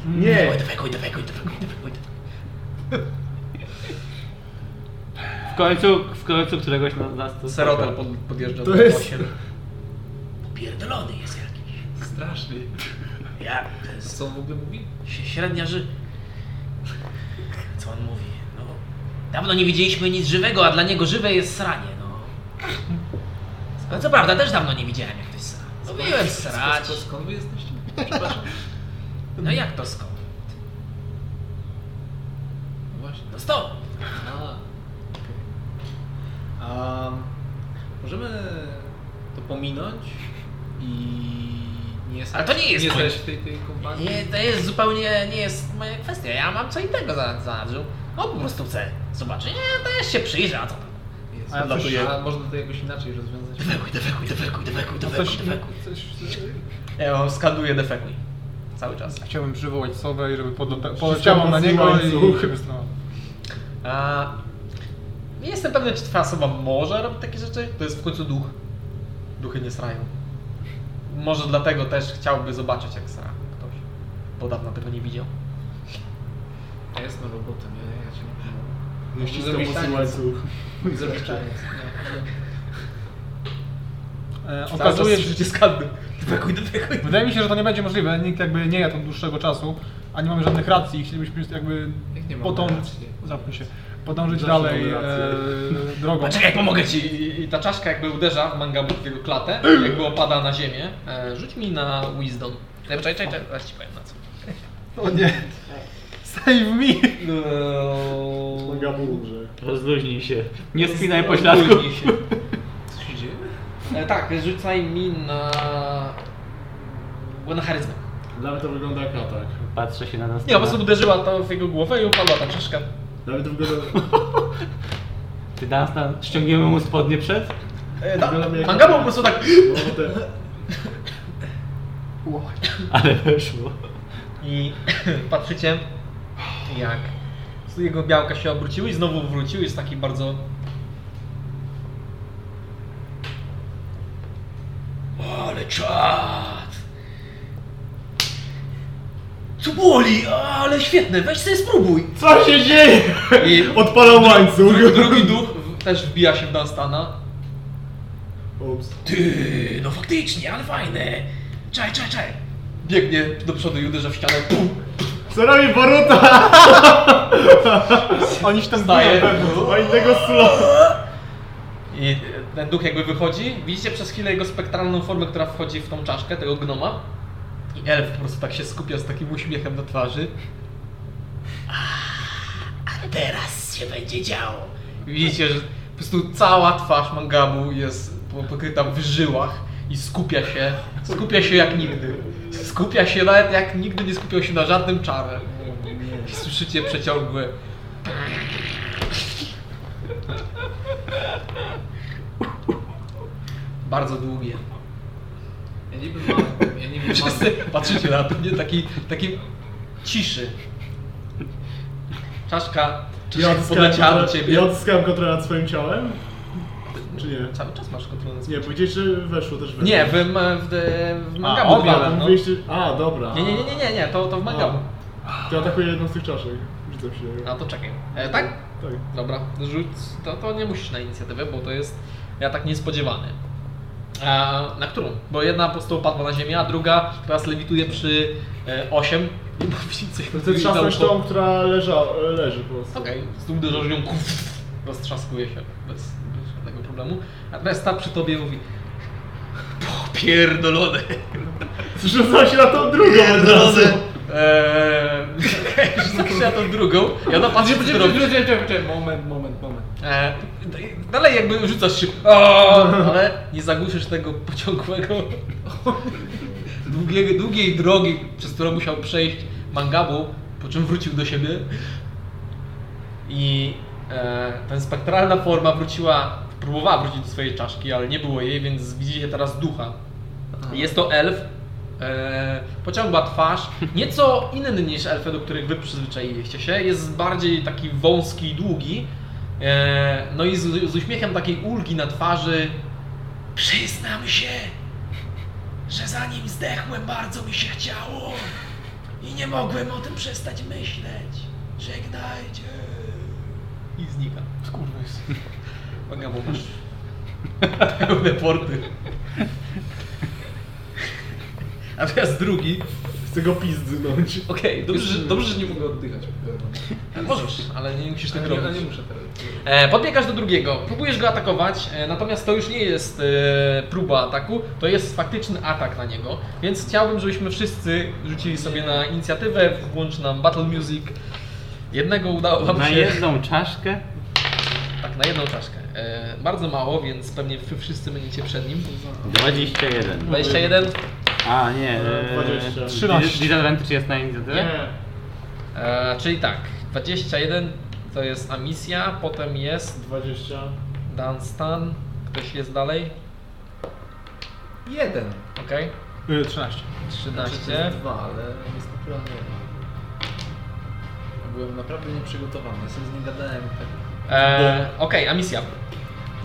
B: Nie.
J: Defekuj, defekuj, defekuj, defekuj. defekuj.
C: W końcu, w końcu któregoś na- nas to...
A: Serotel pod, podjeżdża
B: To
A: do
B: jest-
A: 8.
J: Pierdolony jest jakiś.
D: Straszny.
J: Ja, to jest
D: Co on w ogóle mówi?
J: Ś- Średnia ży... Co on mówi? No, dawno nie widzieliśmy nic żywego, a dla niego żywe jest sranie, no. No co prawda, też dawno nie widziałem, jak ktoś sra. Lubiłem srać.
D: Skąd- Skąd wy jesteście?
J: No jak to skąd?
D: Właśnie.
J: No stop!
D: A. A, możemy to pominąć i nie
J: Ale to nie jest
D: nie
J: koniec.
D: znaleźć tej, tej kompanii.
J: Nie, to jest zupełnie, nie jest moja kwestia. Ja mam co innego za, za No po prostu chcę zobaczyć. Nie, też się przyjrzę, a co tam?
D: Jest.
C: A ja odlatuję.
D: A można to jakoś inaczej rozwiązać.
J: Defekuj,
E: tak.
J: defekuj, defekuj, defekuj, defekuj, defekuj.
G: coś,
A: Ja skaduję defekuj. Cały czas.
G: Chciałbym przywołać sowę i żeby podlata- poleciała na niego i
B: łańcuch.
G: chybysnęła.
A: A, nie jestem pewny, czy twoja osoba może robić takie rzeczy. To jest w końcu duch. Duchy nie srają. Może dlatego też chciałby zobaczyć, jak sra ktoś. Bo dawno tego nie widział.
D: Ja jestem robotem, ja, ja cię nie pomogę.
B: Nie ściskam
D: Zrobić
B: mocno
D: taniec.
B: łańcuch.
E: tak.
D: Zrobisz taniec.
E: No.
G: E,
A: Cały czas
G: okazuje się,
A: słyszycie skandy.
J: Defekuj, defekuj.
G: wydaje mi się, że to nie będzie możliwe. Nikt jakby nie jadł od dłuższego czasu, a nie mamy żadnych racji i chcielibyśmy jakby
D: Jak nie mamy
G: podążyć,
D: racji?
G: zamknij się, podążyć
B: Zawsze
G: dalej
B: mamy
G: e,
B: rację.
G: drogą.
A: Poczekaj, pomogę ci! I, i- I ta czaszka jakby uderza w mangabu w jego klatę, jakby opada na ziemię. E, rzuć mi na Wisdom. Ja, Czekaj, czekaj, czekaj, zaraz ci powiem na co.
G: O nie, save me!
B: Gabu umrze.
C: Rozluźnij się. Nie spinaj pośladku.
A: Ogólnij się.
D: Co się dzieje?
A: E, tak, rzucaj mi na... Bo na charyzmę.
B: Dla mnie to wygląda jak atak.
C: Patrzę się na nas.
A: Nie, po prostu uderzyła to w jego głowę i upadła ta czaszka.
B: Dla mnie to wygląda...
C: Ty nas tam... ściągniemy mu spodnie przed?
A: E, tak,
B: Wygląda jak-
A: Mangabu po prostu tak...
B: Bo te-
C: Ale weszło.
A: I patrzycie, jak jego białka się obróciły i znowu wróciły. Jest taki bardzo
J: Ale czad!
A: Tu boli, ale świetne, weź sobie spróbuj.
B: Co się dzieje?
A: I
B: Odpalam łańcuch.
A: drugi, drugi duch w- też wbija się w Dunstana.
B: Ups.
J: Ty, no faktycznie, ale fajne. Czaj, czaj, czaj.
A: Biegnie do przodu i uderza w ścianę. Pum,
B: Co robi Boruta?
A: Oni się tam staje.
B: O innego sula.
A: I ten duch jakby wychodzi. Widzicie przez chwilę jego spektralną formę, która wchodzi w tą czaszkę, tego gnoma. I elf po prostu tak się skupia z takim uśmiechem na twarzy.
J: A teraz się będzie działo.
A: Widzicie, że po prostu cała twarz Mangabu jest po- pokryta w żyłach i skupia się, skupia się jak nigdy. Skupia się nawet jak nigdy nie skupiał się na żadnym czarze. I Słyszycie przeciągłe bardzo długie.
E: Ja niby mam, ja niby mam,
A: Wszyscy patrzycie na to, nie? Taki, taki ciszy. Czaszka, czaszka
B: Ja odzyskałem,
A: podleciała do
B: kontrolę,
A: ciebie.
B: ja odzyskałem kontrolę nad swoim ciałem? Czy nie?
A: Cały czas masz kontrolę nad
B: Nie, powiedzieć, że weszło też weszło.
A: Nie, w, w, w, w Mangabu
B: Dobra,
A: dwa,
B: to
A: no.
B: mówiliście... A, dobra.
A: Nie, nie, nie, nie, nie, nie, to, to w Mangabu.
B: To atakuję jedną z tych czaszek. Rzucam się.
A: A to czekaj. E, tak?
B: Tak.
A: Dobra, rzuć, to, to nie musisz na inicjatywę, bo to jest ja tak niespodziewany. E, na którą? Bo jedna po prostu opadła na ziemię, a druga teraz lewituje przy e, 8. Nie ma więcej.
B: Chcę trzasnąć tą, która leża, leży po prostu.
A: Okej, z tym dużo ją kuf, roztrzaskuje się bez, bez żadnego problemu. Natomiast ta przy tobie mówi Popierdolone!
B: Rzucam się na tą drugą od razu.
A: Drodzy! Eee, okej, rzucam się na tą drugą i ona patrzy, co ty robisz.
E: moment, moment, moment.
A: E, dalej jakby rzucasz się, o, ale nie zagłuszysz tego pociągłego, długiej, długiej drogi, przez którą musiał przejść Mangabu, po czym wrócił do siebie. I e, ten spektralna forma wróciła, próbowała wrócić do swojej czaszki, ale nie było jej, więc widzicie teraz ducha. Jest to elf, e, pociągła twarz, nieco inny niż elfy, do których wy przyzwyczailiście się, jest bardziej taki wąski i długi. E, no i z, z uśmiechem takiej ulgi na twarzy
J: Przyznam się, że zanim zdechłem, bardzo mi się chciało. I nie mogłem o tym przestać myśleć. Żegnajcie.
A: i znika. Kurwa jest. bo masz pełne porty. A teraz drugi.
B: Chcę go
A: no.
B: pizdnąć.
A: Okej, dobrze, że- dobrze, że nie mogę.
E: oddychać.
A: Możesz, ale nie
E: Ja
A: musisz tego
E: nie, ja
A: robić.
E: nie muszę teraz.
A: E, podbiegasz do drugiego, próbujesz go atakować, e, natomiast to już nie jest e, próba ataku, to jest faktyczny atak na niego, więc chciałbym, żebyśmy wszyscy rzucili sobie na inicjatywę, włącz nam Battle Music. Jednego udało wam
C: Na
A: się...
C: jedną czaszkę?
A: Tak, na jedną czaszkę. E, bardzo mało, więc pewnie wy wszyscy będziecie przed nim.
C: 21.
A: 21.
C: A, nie.
A: No,
B: E, 20.
C: 13. Disadvantage jest na inicjatywę?
A: E, czyli tak, 21 to jest Amisja, potem jest
B: 20.
A: Dunstan, ktoś jest dalej,
E: Jeden. Znaczy,
A: okej,
G: E,
F: 13.
A: 13.
E: Dwa, ale jest naturalnie. Byłem naprawdę nieprzygotowany, ja sobie z nim gadałem tak.
A: E, okej, Amisja.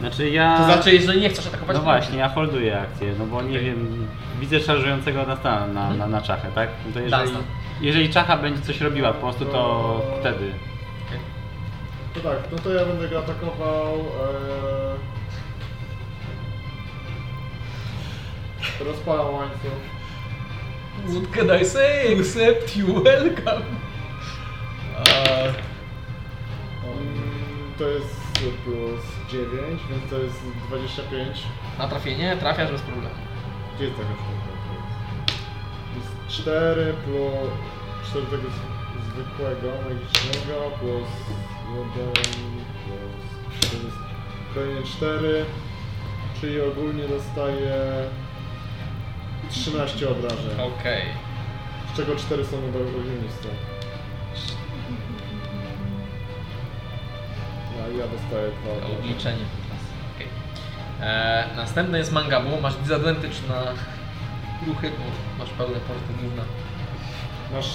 C: Znaczy ja...
A: To znaczy, jeżeli nie chcesz atakować,
C: No
A: to
C: właśnie, ja holduję akcję, no bo nie wiem, widzę szarżującego na, stan, na, na, na czachę, tak? No to jeżeli,
A: Dunstan.
C: jeżeli czacha będzie coś robiła po prostu, to wtedy.
B: To tak, no to ja będę go atakował. E... Rozpalam łańcuch.
A: What can I say except you welcome? E,
B: Mm, To jest plus 9, więc to jest 25.
A: na trafienie trafiasz bez problemu.
B: Gdzie jest taka sztuka? Plus 4 plus 4 tego z- zwykłego, magicznego, plus 1, plus 4, kolejne 4, czyli ogólnie dostaję 13 obrażeń,
A: Okej.
B: z czego 4 są na ogniwistą. A No ja dostaję 2 obrażenia.
A: Odliczenie teraz. Okej. E, Następne jest Mangabu. Masz disadvantage na ruchy, bo masz pełne porty gówna.
B: Masz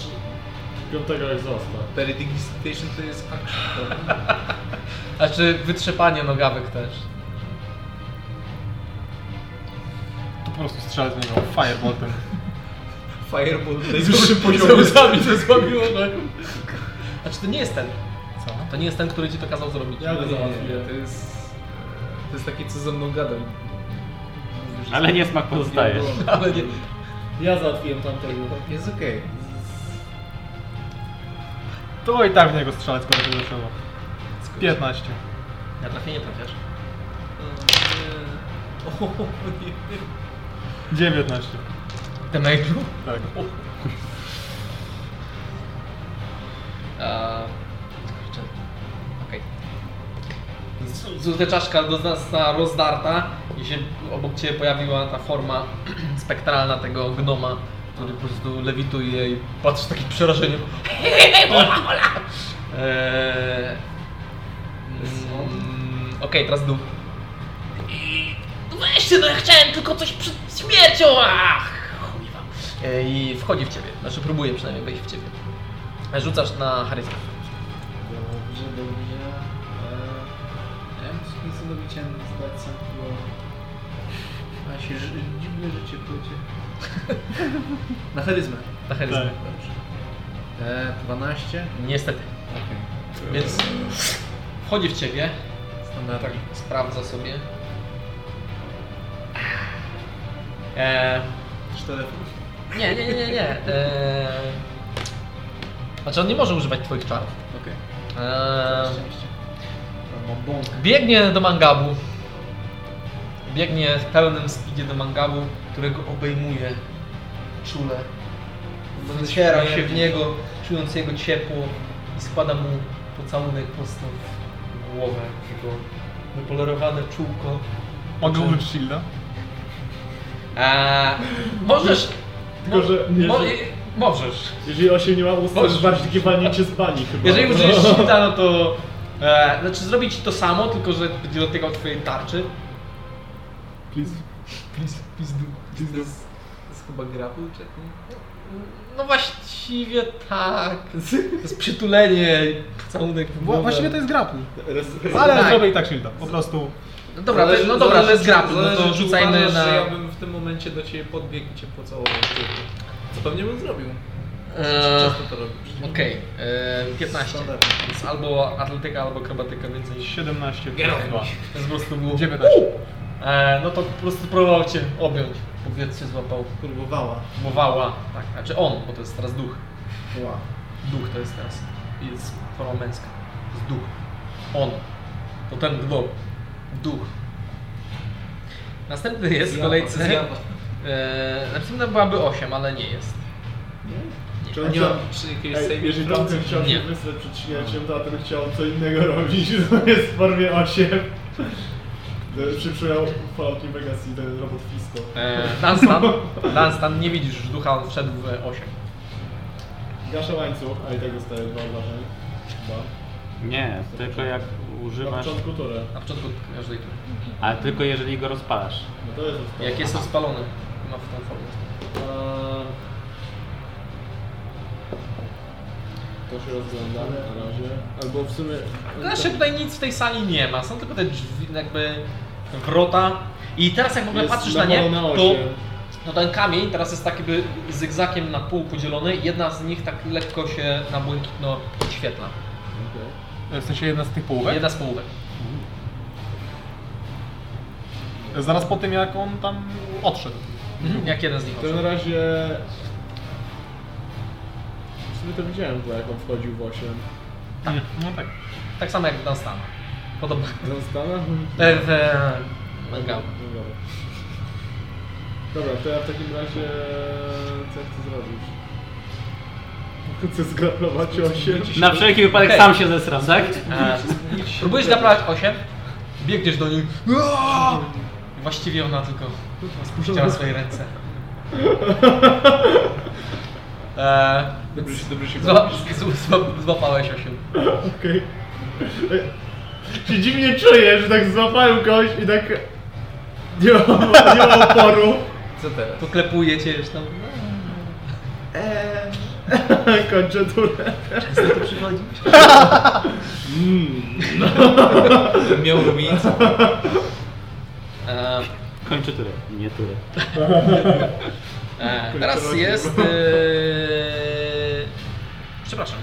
B: piątego egzosta.
E: Peridigitation to jest action. prawda?
A: Znaczy wytrzepanie nogawek też.
F: To po prostu strzelę z niego fireboltem.
E: Fireball w najwyższym
A: Najwyższym
E: poziomie.
A: poziomie. ze złamiło Znaczy to nie jest ten.
E: Co?
A: To nie jest ten, który ci to kazał zrobić.
B: Ja go
E: Nie,
B: załatwię.
E: to jest... e, To jest taki, co ze mną gadał. Mówi, że
C: Ale niesmak pozostaje.
E: pierdolony.
A: Ale nie.
B: Ja załatwiłem tamtego.
E: Jest okej.
G: To i tak w niego strzelać będzie zaczęło. 15.
A: Na trafienie trafiasz.
G: 19.
E: Damage'u?
G: Tak.
A: A... kurczę. Okej. Z- Złote czaszka do- została rozdarta i się obok Ciebie pojawiła ta forma spektralna tego gnoma, który po prostu lewituje i patrzysz takim przerażeniem. Eee... mm, Okej, teraz dół.
J: I weźcie, no ja chciałem tylko coś przed śmiercią, ach, chuj wam.
A: Eee, I wchodzi w Ciebie, znaczy próbuje przynajmniej wejść w Ciebie. Rzucasz na charyzmę.
E: Dobrze, dobrze. Eee, Ja bym sobie widziałem zdać sam było. A się ży- dziwne życie płycie. Na charyzmę.
A: Na charyzmę.
D: Tak.
E: Dobrze. Eee, 12?
A: Niestety.
E: Okej.
A: Więc wchodzi w Ciebie,
E: Standard.
A: Tak, sprawdza sobie. Eee,
E: Telefon.
A: nie, nie, nie, nie, nie. Eee, znaczy on nie może używać twoich czarów.
E: Okej.
A: Eee,
E: Szczęście. Mam bąk.
A: biegnie do mangabu. Biegnie w pełnym speedzie do mangabu, którego obejmuje czule. Wyciera się w niego, czując jego ciepło i składa mu pocałunek prosto w głowę. Jego wypolerowane czółko.
G: Mogę użyć shielda?
A: Eee, możesz.
B: Tylko, że nie,
A: mo-
B: że-
A: możesz.
B: Jeżeli 8 nie ma ust, to
A: Boże.
B: bardziej takie walnięcie z bani chyba.
A: Jeżeli użyjesz shifta, no to. E, znaczy zrobić to samo, tylko że będzie dotykał twojej tarczy.
B: Please.
E: To jest, to jest chyba grapple, czy nie?
A: No właściwie tak. To jest przytulenie, całunek w
G: Wła-
A: głowę.
G: Właściwie to jest grapple.
B: Res-
G: Ale
A: Tak.
G: zrobię i tak shielda. Po prostu
A: No dobra, to- no dobra, to jest grapple, no to rzucajmy na...
E: Że ja bym w tym momencie do ciebie podbiegł i cię pocałował. w tyłku. Co pewnie bym zrobił.
A: E,
E: Często to robisz.
A: Okej, e, 15. Jest albo atletyka, albo akrobatyka więcej.
G: 17 plus
E: Geralt.
G: 2.
A: To jest po prostu było...
G: 19.
A: E, no to po prostu próbował cię objąć. Powiedz się złapał.
E: Próbowała.
A: Mowała, tak, znaczy on, bo to jest teraz duch.
E: Wow.
A: Duch to jest teraz. Jest forma męska. To jest duch. On. To ten gnom. Duch. Następny jest w
E: Zjawa,
A: kolejce.
E: zjawa.
A: E, następna byłaby 8, ale nie jest.
B: Czy
E: A
B: on
E: nie
B: chciał-
E: mam czy jakiegoś
B: Ej,
E: saving
B: jeżeli tamten
E: throw?
B: chciał
A: Nie.
B: się wysłać przed śmiercią, to ten chciał co innego robić, to jest w formie 8. Przyprzymał Fallout New Vegas i ten robot Fisto.
A: E, Dunstan, Dunstan, nie widzisz już ducha, on wszedł w 8.
B: Gaszę łańcuch, a i tak dostaję dwa obrażeń. Chyba.
C: Nie, tylko jak
B: Na
C: używasz...
B: początku turę.
A: Na początku każdej tury.
C: Ale tylko jeżeli go rozpalasz.
B: No to jest odstawa.
A: Jak jest rozpalony, ma w tą formę.
B: Eee, To się rozgląda na razie. Albo w sumie...
A: Znaczy tutaj nic w tej sali nie ma, są tylko te drzwi, jakby wrota. I teraz jak w ogóle
B: Jest
A: patrzysz na nie,
B: nawalona
A: to
B: osiem.
A: no ten kamień teraz jest taki by zygzakiem na pół podzielony, jedna z nich tak lekko się na błękitno świetla.
B: Okej.
G: E, W sensie jedna z tych połówek.
A: Jedna z połówek.
G: Zaraz po tym jak on tam odszedł.
A: Mhm. Jak jeden z nich.
B: To na
A: odszedł.
B: razie... W sumie to widziałem chyba jak on wchodził w 8.
G: No tak.
A: Tak samo jak w Dunstana. Podobno.
B: Zostana?
A: E, w e, Mangal.
B: No dobra. Dobra, to ja w takim razie... Co ja chcę zrobić? Chcę zgraplować 8.
C: Na wszelki wypadek
A: Okej.
C: sam się zesram, tak?
A: E, próbujesz zaprawać 8, biegniesz do niej. Uaa! I Właściwie ona tylko spuściła swoje ręce. E,
E: Dobrze się, dobrze się
A: Zła, z- zła- złapałeś 8.
B: Okej. Się dziwnie czuję, że tak złapałem kogoś i tak... Nie mam, nie mam oporu.
E: Co teraz?
A: Poklepuje cię już tam.
B: Kończę turę.
A: Często tu przychodzisz?
E: Miał robić.
A: E,
C: Kończy turę. Nie turę.
A: E, teraz
B: Kończyła
A: jest.
B: się.
A: E, przepraszam.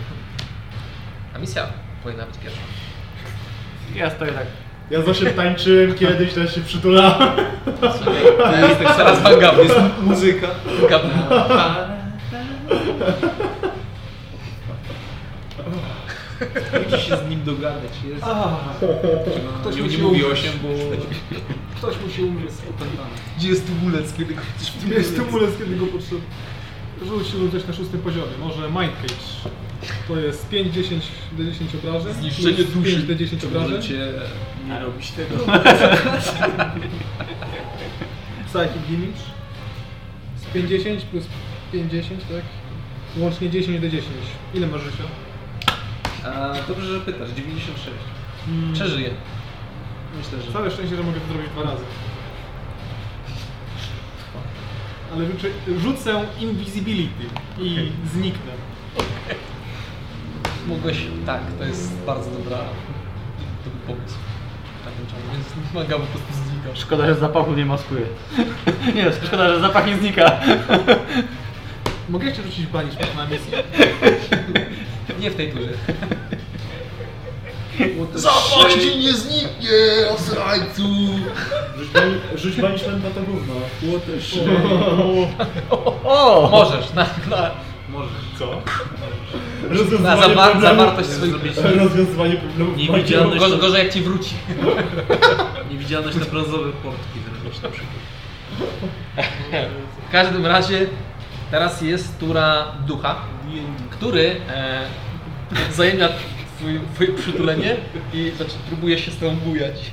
A: A misja powinna być pierwsza.
C: Ja stoję tak.
B: Ja zawsze tańczyłem kiedyś, teraz się przytulałem.
A: Teraz Van Gogh jest
D: Muzyka.
A: Gabry.
D: Musi się z nim dogadać. Jest.
G: Ktoś
D: nie
G: musi
D: nie mówi
G: umrzeć.
D: 8, bo
G: Ktoś musi umrzeć z opętanym.
D: gdzie jest tumulec, kiedy go
G: Tu jest tumulec, kiedy go potrzeba. Rzuć lub coś na szóstym poziomie. Może Mind Cage. To jest 5, 10, D10 obrażeń.
D: Zniszczenie duszy.
G: 5, D10 obrażeń.
D: Możecie
E: e,
D: nie robić tego.
G: Psychic Damage. Z 50 plus 50, tak? Łącznie 10 D10. Ile masz życia?
D: A, dobrze, że pytasz. 96. Hmm.
A: Przeżyje.
D: Myślę, że...
G: Całe szczęście, że mogę to zrobić dwa razy. Ale rzucę, rzucę Invisibility i zniknę.
A: Mogłeś. Tak, to jest bardzo dobra. Dobry pomysł. W takim czasie. Więc Van Gogh po prostu znikasz.
C: Szkoda, że zapachu nie maskuje. nie, szkoda, że zapach nie znika.
G: Mogę jeszcze rzucić banishment na misję?
A: Nie w tej turze.
E: Zapaści nie zniknie, osrańcu!
B: Rzuć bani- Rzuć banishment na to gówno.
A: O! Możesz, na, na,
B: Co?
A: na
B: Rozwiązywanie
A: zawar,
B: problemów.
A: zawartość swoich.
B: Rozwiązywanie problemów.
D: Nie
B: banishment.
D: widziałem.
A: Gorzej, gorzej jak ci wróci.
D: Niewidzialność na brązowe portki zrobić na przykład.
A: W każdym razie teraz jest tura ducha, który e, zajmia twój, twoje przytulenie i znaczy, próbuje się z tobą bujać.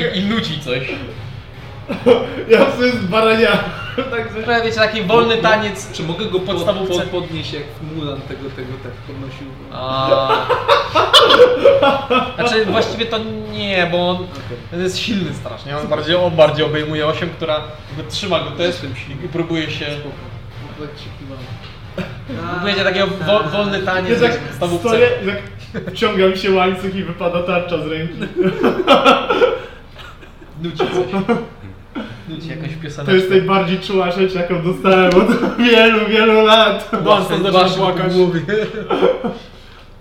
A: I, I nudzi coś.
B: Ja sobie z barania.
A: Trochę wiecie, taki wolny taniec.
D: Czy mogę go pod,
A: Podstawówce.
D: pod, podnieść jak Mulan tego, tego tak podnosił?
A: A... Znaczy właściwie to nie, bo on
D: Okej.
A: jest silny strasznie. On bardziej, on bardziej obejmuje 8, która jakby trzyma go też i próbuje się. Próbujecie takiego wo, wolny
B: Ja
A: taniec
B: tak
A: w podstawówce.
B: stoję i tak wciąga mi się łańcuch i wypada tarcza z ręki.
A: Nudzi coś. Nudzi jakąś piosenkę.
B: To jest najbardziej czuła rzecz, jaką dostałem od wielu, wielu lat.
A: Basta, zaczyna płakać.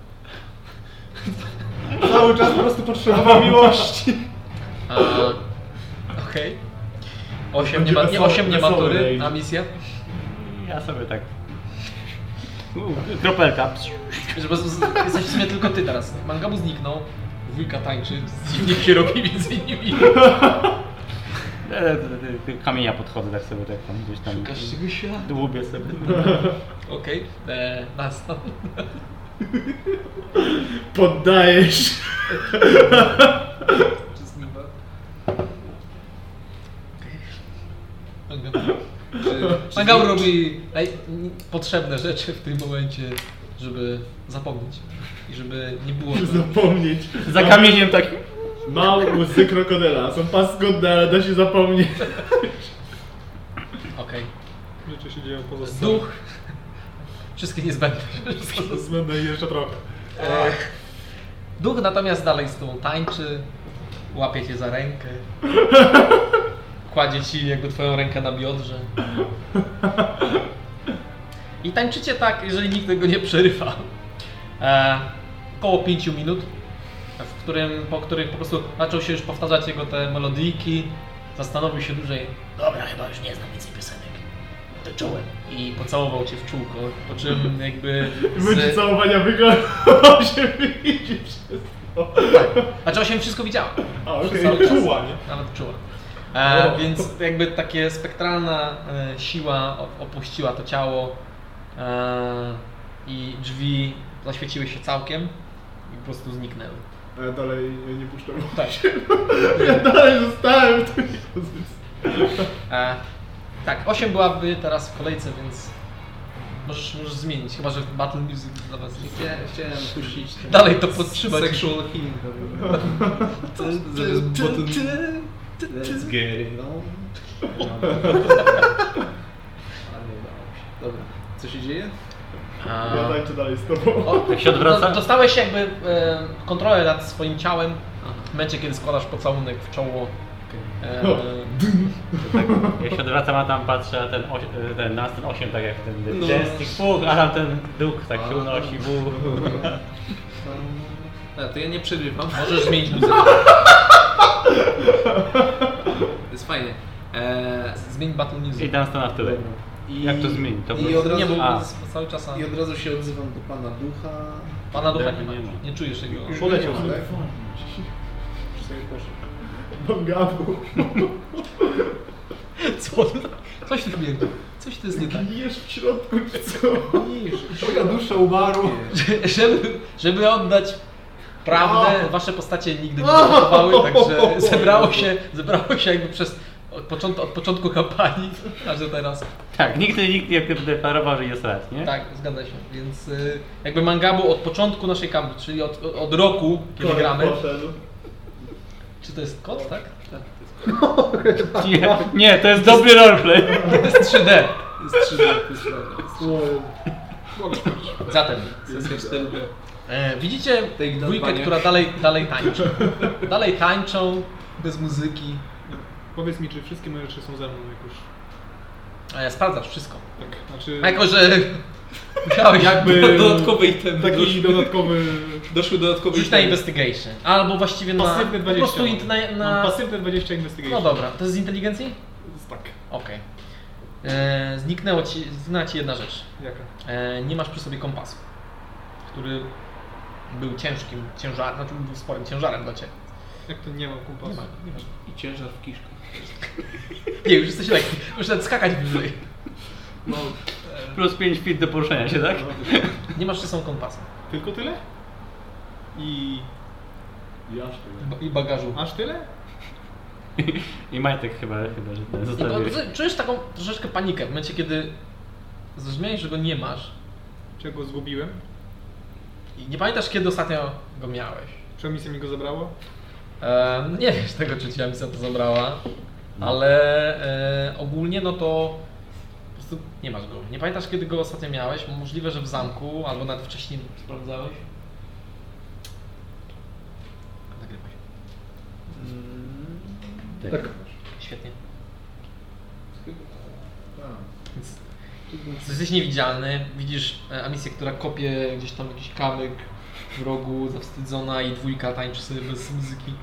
B: Cały czas po prostu potrzebowałem miłości.
A: A, Okej. Osiem nie, ma, nie, osiem nie matury, a misja?
C: Ja sobie tak. U, kropelka. Psiu.
A: Że po prostu jesteś w sumie tylko ty teraz. Mangabu zniknął, wujka tańczy, dziwnie się robi między nimi.
C: E, e, e, e, Kamienia podchodzę, tak sobie tak tam gdzieś tam.
A: Szukasz czegoś ja?
C: Dłubię sobie.
A: Okej, eee, okay. nastąp.
B: Poddajesz.
A: Mangabu robi naj- potrzebne rzeczy w tym momencie, żeby zapomnieć. I żeby nie było...
B: Muszę zapomnieć.
C: Za kamieniem tak.
B: Mam łzy krokodyla. Są paskudne, ale da się zapomnieć.
A: Okej.
G: Rzeczy się dzieją poza sceną.
A: Duch. Wszystkie niezbędne.
B: Zmędę jeszcze trochę.
A: Tak. Duch natomiast dalej z tobą tańczy, łapie cię za rękę, kładzie ci jakby twoją rękę na biodrze. I tańczycie tak, jeżeli nikt tego nie przerywa. E, około 5 minut, w którym, po których po prostu zaczął się już powtarzać jego te melodiki, zastanowił się dłużej
J: Dobra, chyba już nie znam więcej piosenek. To czułem.
A: i pocałował cię w czółko, po czym jakby...
B: Będzie
A: Z...
B: całowania wyglądało się widzi wszystko.
A: Znaczy osiem wszystko widziała.
B: A, okej,
A: Cały czas.
B: czuła, nie?
A: Nawet czuła. E,
B: O.
A: więc jakby takie spektralna e, siła o- opuściła to ciało e, i drzwi zaświeciły się całkiem i po prostu zniknęły.
B: A ja dalej nie puszczam.
A: Tak.
B: Ja dalej zostałem w tej pozycji.
A: E, tak, 8 byłaby teraz w kolejce, więc możesz, możesz zmienić, chyba że Battle Music dla was jest.
D: Chciałem, chciałem puścić ten
A: Dalej to podtrzymać.
D: sexual healing. Zamiast button... Let's get it on. No. Ale udało się. Dobra, co się dzieje?
A: A,
B: Ja tak- tańczę dalej z tobą.
A: o,
C: Jak się odwraca?
A: do- Dostałeś jakby e, kontrolę nad swoim ciałem w momencie, kiedy składasz pocałunek w czoło
E: No.
A: Eee,
C: Tak, jak się odwracam, a tam patrzę, a ten, oś, e, ten, nas ten 8 tak jak ten
D: No.
C: no. puch, a tam ten duch tak się unosi, buch.
D: A, to ja nie przegrywam. Możesz zmienić muzykę. jest fajnie. Eee,
A: zmień battle music.
C: I tam stanę w tyle.
E: I,
C: Jak to zmienić? To
E: i, od razu,
A: Nie, bo
C: A.
A: cały czas...
E: I od razu się odzywam do Pana Ducha.
A: Pana ducha nie
C: Nie
A: ma.
C: ma.
A: Nie czujesz jego.
B: Poleciał.
E: Ale sobie poszedł.
B: Bangabu.
A: Co? Coś tu biegło. Coś tu jest nie tak.
B: Gijesz w środku czy co? Moja dusza umarła.
A: Żeby, żeby oddać
E: No.
A: prawdę, wasze postacie nigdy nie zachowały, także zebrało się, zebrało się jakby przez od początku, od początku kampanii, aż do teraz.
C: Tak, nikt, nikt nie deklarował, że jest raz, nie?
A: Tak, zgadza się. Więc y, jakby Mangabu od początku naszej kampanii, czyli od, od roku,
B: Tak,
A: kiedy gramy.
B: Poszedł.
A: Czy to jest kod, tak?
C: Nie, nie, to jest dobry roleplay.
A: To jest 3D.
D: jest 3
A: Zatem
D: Sesja 4D.
G: tak.
A: e, widzicie
D: Take that,
A: dwójkę,
D: panie.
A: która dalej, dalej tańczy. Dalej tańczą, bez muzyki.
G: Powiedz mi, czy wszystkie moje rzeczy są ze mną jak już.
A: E, sprawdzasz wszystko.
G: Tak, znaczy.
A: Jako, że musiałeś jakby
D: Dodatkowy item.
G: Taki
D: Doszły,
G: dodatkowy.
D: doszły dodatkowe
A: rzuć na
D: itemy.
A: investigation. Albo właściwie na...
G: Pasywny
A: Po
G: 20.
A: prostu int- na...
G: Mam
A: na
G: pasywne 20 investigation.
A: no dobra, to jest z inteligencji?
G: Tak.
A: Okej. E, Zniknęło ci, zna ci jedna rzecz.
G: Jaka?
A: E, nie masz przy sobie kompasu, który był ciężkim ciężarem, znaczy był sporym ciężarem dla ciebie.
G: Jak to nie mam
A: Nie,
G: kompasu?
A: ma, nie, masz.
D: I ciężar w kiszkach.
A: nie, już jesteś lekki, już nawet skakać wyżej.
C: Plus 5 feet do poruszenia się, tak?
A: Nie masz przy sobie kompasu.
G: Tylko tyle? I.
B: Jaszczę.
A: Ba- I bagażu.
G: Aż tyle?
C: I Majtek chyba, chyba że ten
A: No,
C: zostawił.
A: to czujesz taką troszeczkę panikę w momencie, kiedy zrozumiałeś, że go nie masz
G: Czy ja go zgubiłem?
A: i nie pamiętasz, kiedy ostatnio go miałeś.
G: Czy misja mi go zabrało?
A: Em, nie wiesz tego, czy ci misja to zabrała,
C: No.
A: ale e, ogólnie no to po prostu nie masz go. Nie pamiętasz, kiedy go ostatnio miałeś. Możliwe, że w zamku, albo nawet wcześniej sprawdzałeś. Nagrywaj.
E: Mm,
C: Tak.
A: Świetnie.
E: a.
A: Więc jesteś niewidzialny, widzisz e, Amisję, która kopie gdzieś tam jakiś kamyk w rogu, zawstydzona i dwójka tańczy sobie bez muzyki.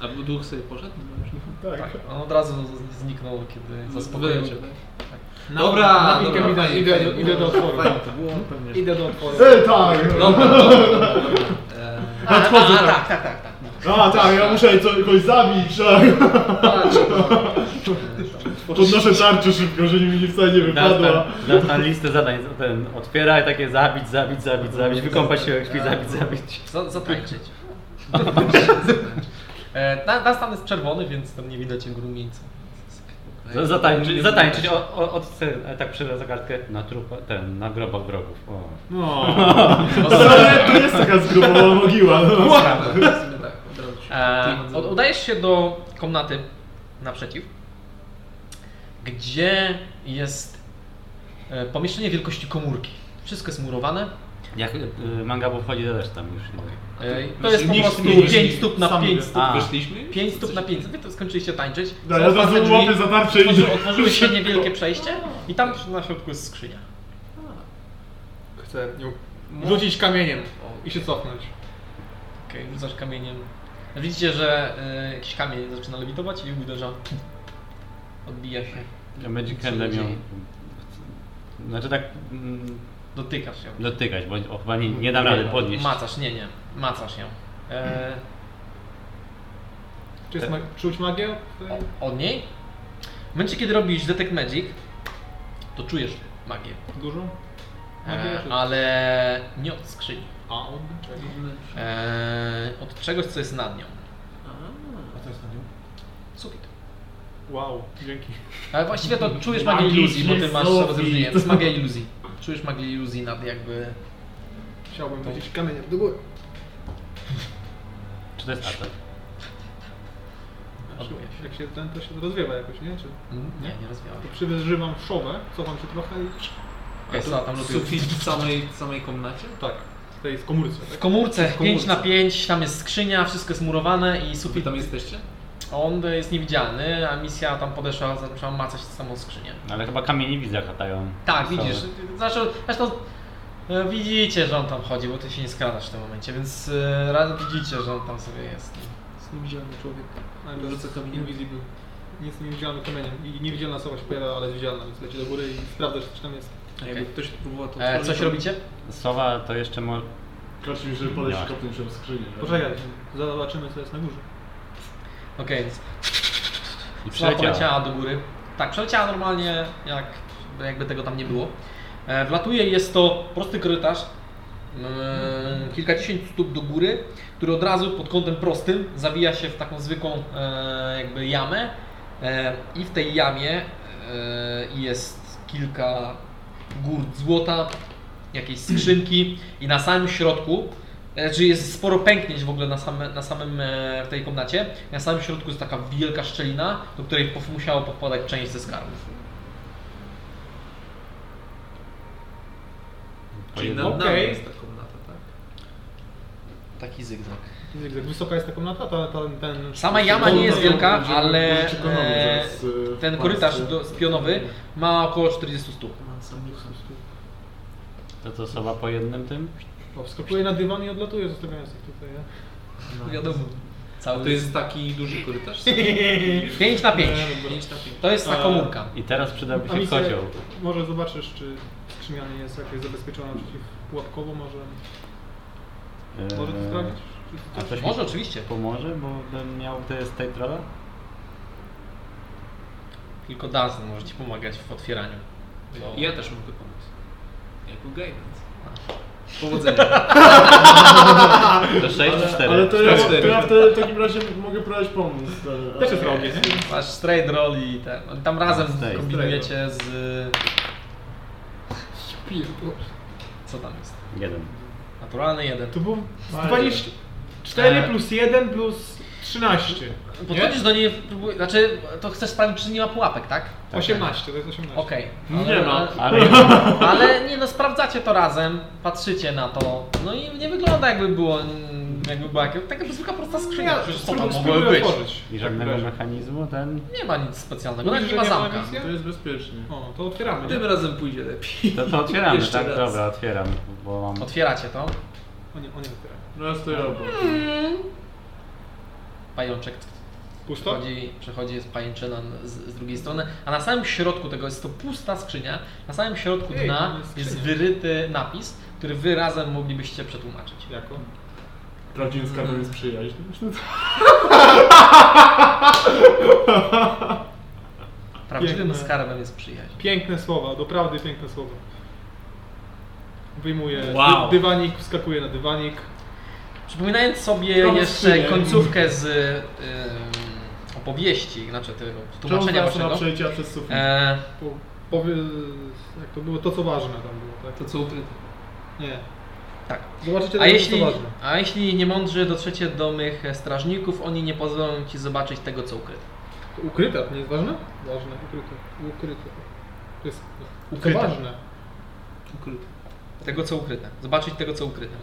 D: A duch sobie poszedł? No już nie.
B: Tak.
A: Tak, on od razu z- zniknął, kiedy zaspokoił cię.
D: No, tak.
A: Tak.
D: Dobra,
G: na piłkę
D: dobra,
G: mi daj,
D: fajnie,
G: idę,
D: fajnie.
G: idę do otworu.
E: Fajnie to było, pewnie. że-
G: Idę do otworu.
B: E, tak.
A: no.
D: Dobra, dobra, dobra. Eee,
A: A, a, a, tak, tak, tak, tak.
B: A tak, ja muszę co- kogoś zabić, tak. Podnoszę tarczę szybko, żeby mi nie wcale nie wypadła.
C: Dasz tam listę zadań, ten otwiera i takie zabić, zabić, zabić, zabić, wykąpać się, jak śpi, zabić, zabić.
A: Za- Zatańczyć. E, na- Nastan jest czerwony, więc tam nie widać jego rumieńca.
C: Z- Zatańczyć, zatańczyć, o, o, od, tak przyda zagadkę na trupa, ten, na grobach wrogów. O.
G: No.
B: Ale to jest taka zgrubowana mogiła. No.
D: dobra, w sumie tak, od razu się
A: E, od- udajesz się do komnaty naprzeciw, gdzie jest e, pomieszczenie wielkości komórki. Wszystko jest murowane.
C: Jak y, Mangabu wchodzi, to też tam już.
A: E, to jest po
B: Nikt
A: prostu
B: nie widzi.
A: 5 stóp na
B: Sami
A: 5
B: wie.
A: stóp.
C: A,
D: Wyszliśmy?
A: 5 stóp na 5. Wy to skończyliście tańczyć.
B: No,
A: Są
B: ja od
A: otwarte
B: razu
A: drzwi.
B: łapię za tarczę i...
A: Otworzy- Otworzyły się niewielkie przejście i tam na środku jest skrzynia.
G: Chcę nią rzucić kamieniem i się cofnąć.
A: Okej, rzucasz kamieniem. Widzicie, że y, jakiś kamień zaczyna lewitować i uderza. Odbija się.
C: Magic Handem ją... Znaczy tak mm,
A: Dotykasz ją.
C: dotykać, bo o, chyba nie, nie dam rady
A: no,
C: podnieść.
A: Macasz, nie, nie. Macasz ją. E,
G: Czy jest ma- czuć magię?
A: o- od niej? W momencie, kiedy robisz Detect Magic, to czujesz magię.
G: Dużo?
A: E,
G: Magię? Czy...
A: ale nie od skrzyni.
G: A, od czego?
A: E, od czegoś, co jest nad nią. Sufit.
G: Wow, dzięki.
A: Ale właściwie to czujesz magię
B: Magiczny
A: iluzji, bo ty masz
B: sufit.
A: rozróżnienie. To jest magia iluzji. Czujesz magię iluzji nad jakby...
G: Chciałbym rzucić kamieniem do góry.
C: Czy to jest atak?
G: Znaczy,
A: Odbija się.
G: Jak się ten, to się rozwiewa jakoś, nie? Czy...
A: Nie, nie rozwijałaś.
G: To przywyżywam szowę, cofam się trochę i...
A: Okej, okay, tam
D: A tu
A: lutuje.
D: Sufit w samej, w samej komnacie?
G: Tak. W tej w komórce,
A: W
G: tak?
A: komórce,
G: W komórce.
A: 5 na 5, tam jest skrzynia, wszystko jest murowane i sufit
D: tam jesteście?
A: On jest niewidzialny, a misja tam podeszła, zaczęła macać samą skrzynię.
C: Ale chyba kamienie widzę latają.
A: Tak,
C: Są-
A: widzisz. Zresztą, zresztą e, widzicie, że on tam chodzi, bo ty się nie skradasz w tym momencie, więc e, raz widzicie, że on tam sobie jest.
E: Jest niewidzialny człowiek.
G: Ale
E: Dorzucę kamieniem.
G: Invisible. Nic niewidzialnym kamieniem. I niewidzialna osoba się pojawia, ale jest widzialna, więc leci do góry i sprawdza, czy coś tam jest.
E: A jakby ktoś próbował
D: Eee,
E: to
A: E,
E: otworzyć,
A: coś
E: to-
A: robicie?
C: Sowa to jeszcze może...
B: Kroczy mi, żeby podejść
C: Nie.
B: i kopnąć ją w skrzynię. tak?
G: Poczekaj, zobaczymy co jest na górze.
A: Okej, więc
C: I
A: Sowa
C: przyleciała.
A: poleciała do góry. Tak, przeleciała normalnie, jak, jakby tego tam nie było. E, Wlatuje, jest to prosty korytarz, mm, kilkadziesiąt stóp do góry, który od razu pod kątem prostym zawija się w taką zwykłą e, jakby jamę. E, I w tej jamie e, jest kilka gór złota, jakieś skrzynki i na samym środku, e, czyli jest sporo pęknięć w ogóle na, same, na samym e, w tej komnacie, na samym środku jest taka wielka szczelina, do której pof- musiało powpadać część ze skarbów.
E: Czyli
C: Pojedyn-
E: nad
A: no.
D: no-
E: nami
G: Okej.
E: jest ta komnata, tak?
A: Taki zygzak.
G: Jak wysoka jest ta komnata, ta, ta, ten...
A: Sama jama nie jest wielka,
B: Będziemy-
A: ale
B: będziemy ekonomię
A: e,
B: zaraz, e,
A: ten
B: w
A: korytarz
B: państwie.
A: do, spionowy ma około 40 stóp.
E: Mam sam
C: To co, sowa po jednym tym?
G: O, wskakuje na dywan i odlatuje, zostawiając ich tutaj. Ja. No.
A: Wiadomo. Cały
D: To No. jest no, taki duży korytarz?
A: 5 na 5.
G: Pięć na
A: To jest ta
G: A-
A: komórka.
C: I teraz przydałby
G: A
C: się
G: misję,
C: kocioł.
G: może zobaczysz, czy skrzynia nie jest jakoś zabezpieczona przeciwpułapkowo, może, może to
C: Eee,
G: sprawdzić? Czy-
C: A coś
A: Może
C: mi
A: oczywiście,
C: pomoże, bo bym miał to jest tej trolla?
A: tylko Dazn może Ci pomagać w otwieraniu. Bo-
E: Ja też mogę pomóc. Jako guidance.
D: Powodzenia.
C: To 6 czy 4?
B: Ale to ja,
D: Cztery.
B: to ja w, te, w takim razie mogę próbować pomóc. e,
G: Też
B: e,
G: jest robię, nie?
A: Masz straight roll i ten. Tam razem
C: Straight.
A: kombinujecie z... Co tam jest?
C: Jeden.
A: Naturalny jeden.
G: To było 24 plus 1 plus 13.
A: Podchodzisz do niej, próbuj- znaczy to chcesz sprawdzić czy nie ma pułapek, tak?
G: 18, to jest 18.
A: Okej.
B: Nie ma.
C: Ale ja
A: Ale nie no, sprawdzacie to razem, patrzycie na to, no i nie wygląda jakby było, mm, jakby była jaka- taka zwykła prosta skrzynia,
G: Ja
A: przecież co tam
G: spróbuję-
A: mogłoby
G: spróbuję
A: być?
G: otworzyć.
C: I żadnego mechanizmu ten?
A: Nie ma nic specjalnego,
G: Mówisz,
A: nawet nie
G: że
A: ma
G: nie ma
A: zamka.
G: misji?
B: To jest bezpiecznie.
G: O, to otwieramy.
E: Tym razem pójdzie lepiej.
C: To, to otwieramy,
E: Jeszcze
C: tak?
E: raz.
C: Dobra, otwieram, bo mam...
A: Otwieracie to,
G: O nie, o nie otwieram.
B: Teraz to No ja robię.
A: pajączek
G: Pusto?
A: przechodzi, przechodzi jest pajęczyna z, z drugiej strony, a na samym środku tego jest to pusta skrzynia, na samym środku
G: Ej,
A: dna
G: to jest
A: jest
G: skrzynia.
A: wyryty napis, który wy razem moglibyście przetłumaczyć.
G: Jako?
B: Prawdziwym skarbem jest przyjaźń.
A: Prawdziwym
G: Piękne.
A: skarbem jest przyjaźń.
G: Piękne słowa, doprawdy piękne słowa. Wyjmuję
E: Wow.
G: dy- dywanik, wskakuję na dywanik.
A: Przypominając sobie
B: Tą
A: jeszcze
B: skrzynię.
A: końcówkę z ym, opowieści, znaczy tego tłumaczenia
B: Czemu na
A: waszego.
B: przejścia przez sufit?
A: E,
G: Po, powie, jak to było, to co ważne tam było, tak?
D: To co ukryte.
G: Nie.
A: tak.
G: Zobaczycie,
A: A
G: teraz,
A: jeśli,
G: co ważne.
A: a jeśli niemądrzy dotrzecie do mych strażników, oni nie pozwolą ci zobaczyć tego, co ukryte.
G: To Ukryte, to nie jest ważne? Ważne, ukryte, ukryte. To jest
A: Ukryte.
G: ukryte. ważne.
E: Ukryty.
A: Tego, co ukryte. Zobaczyć tego, co ukryte.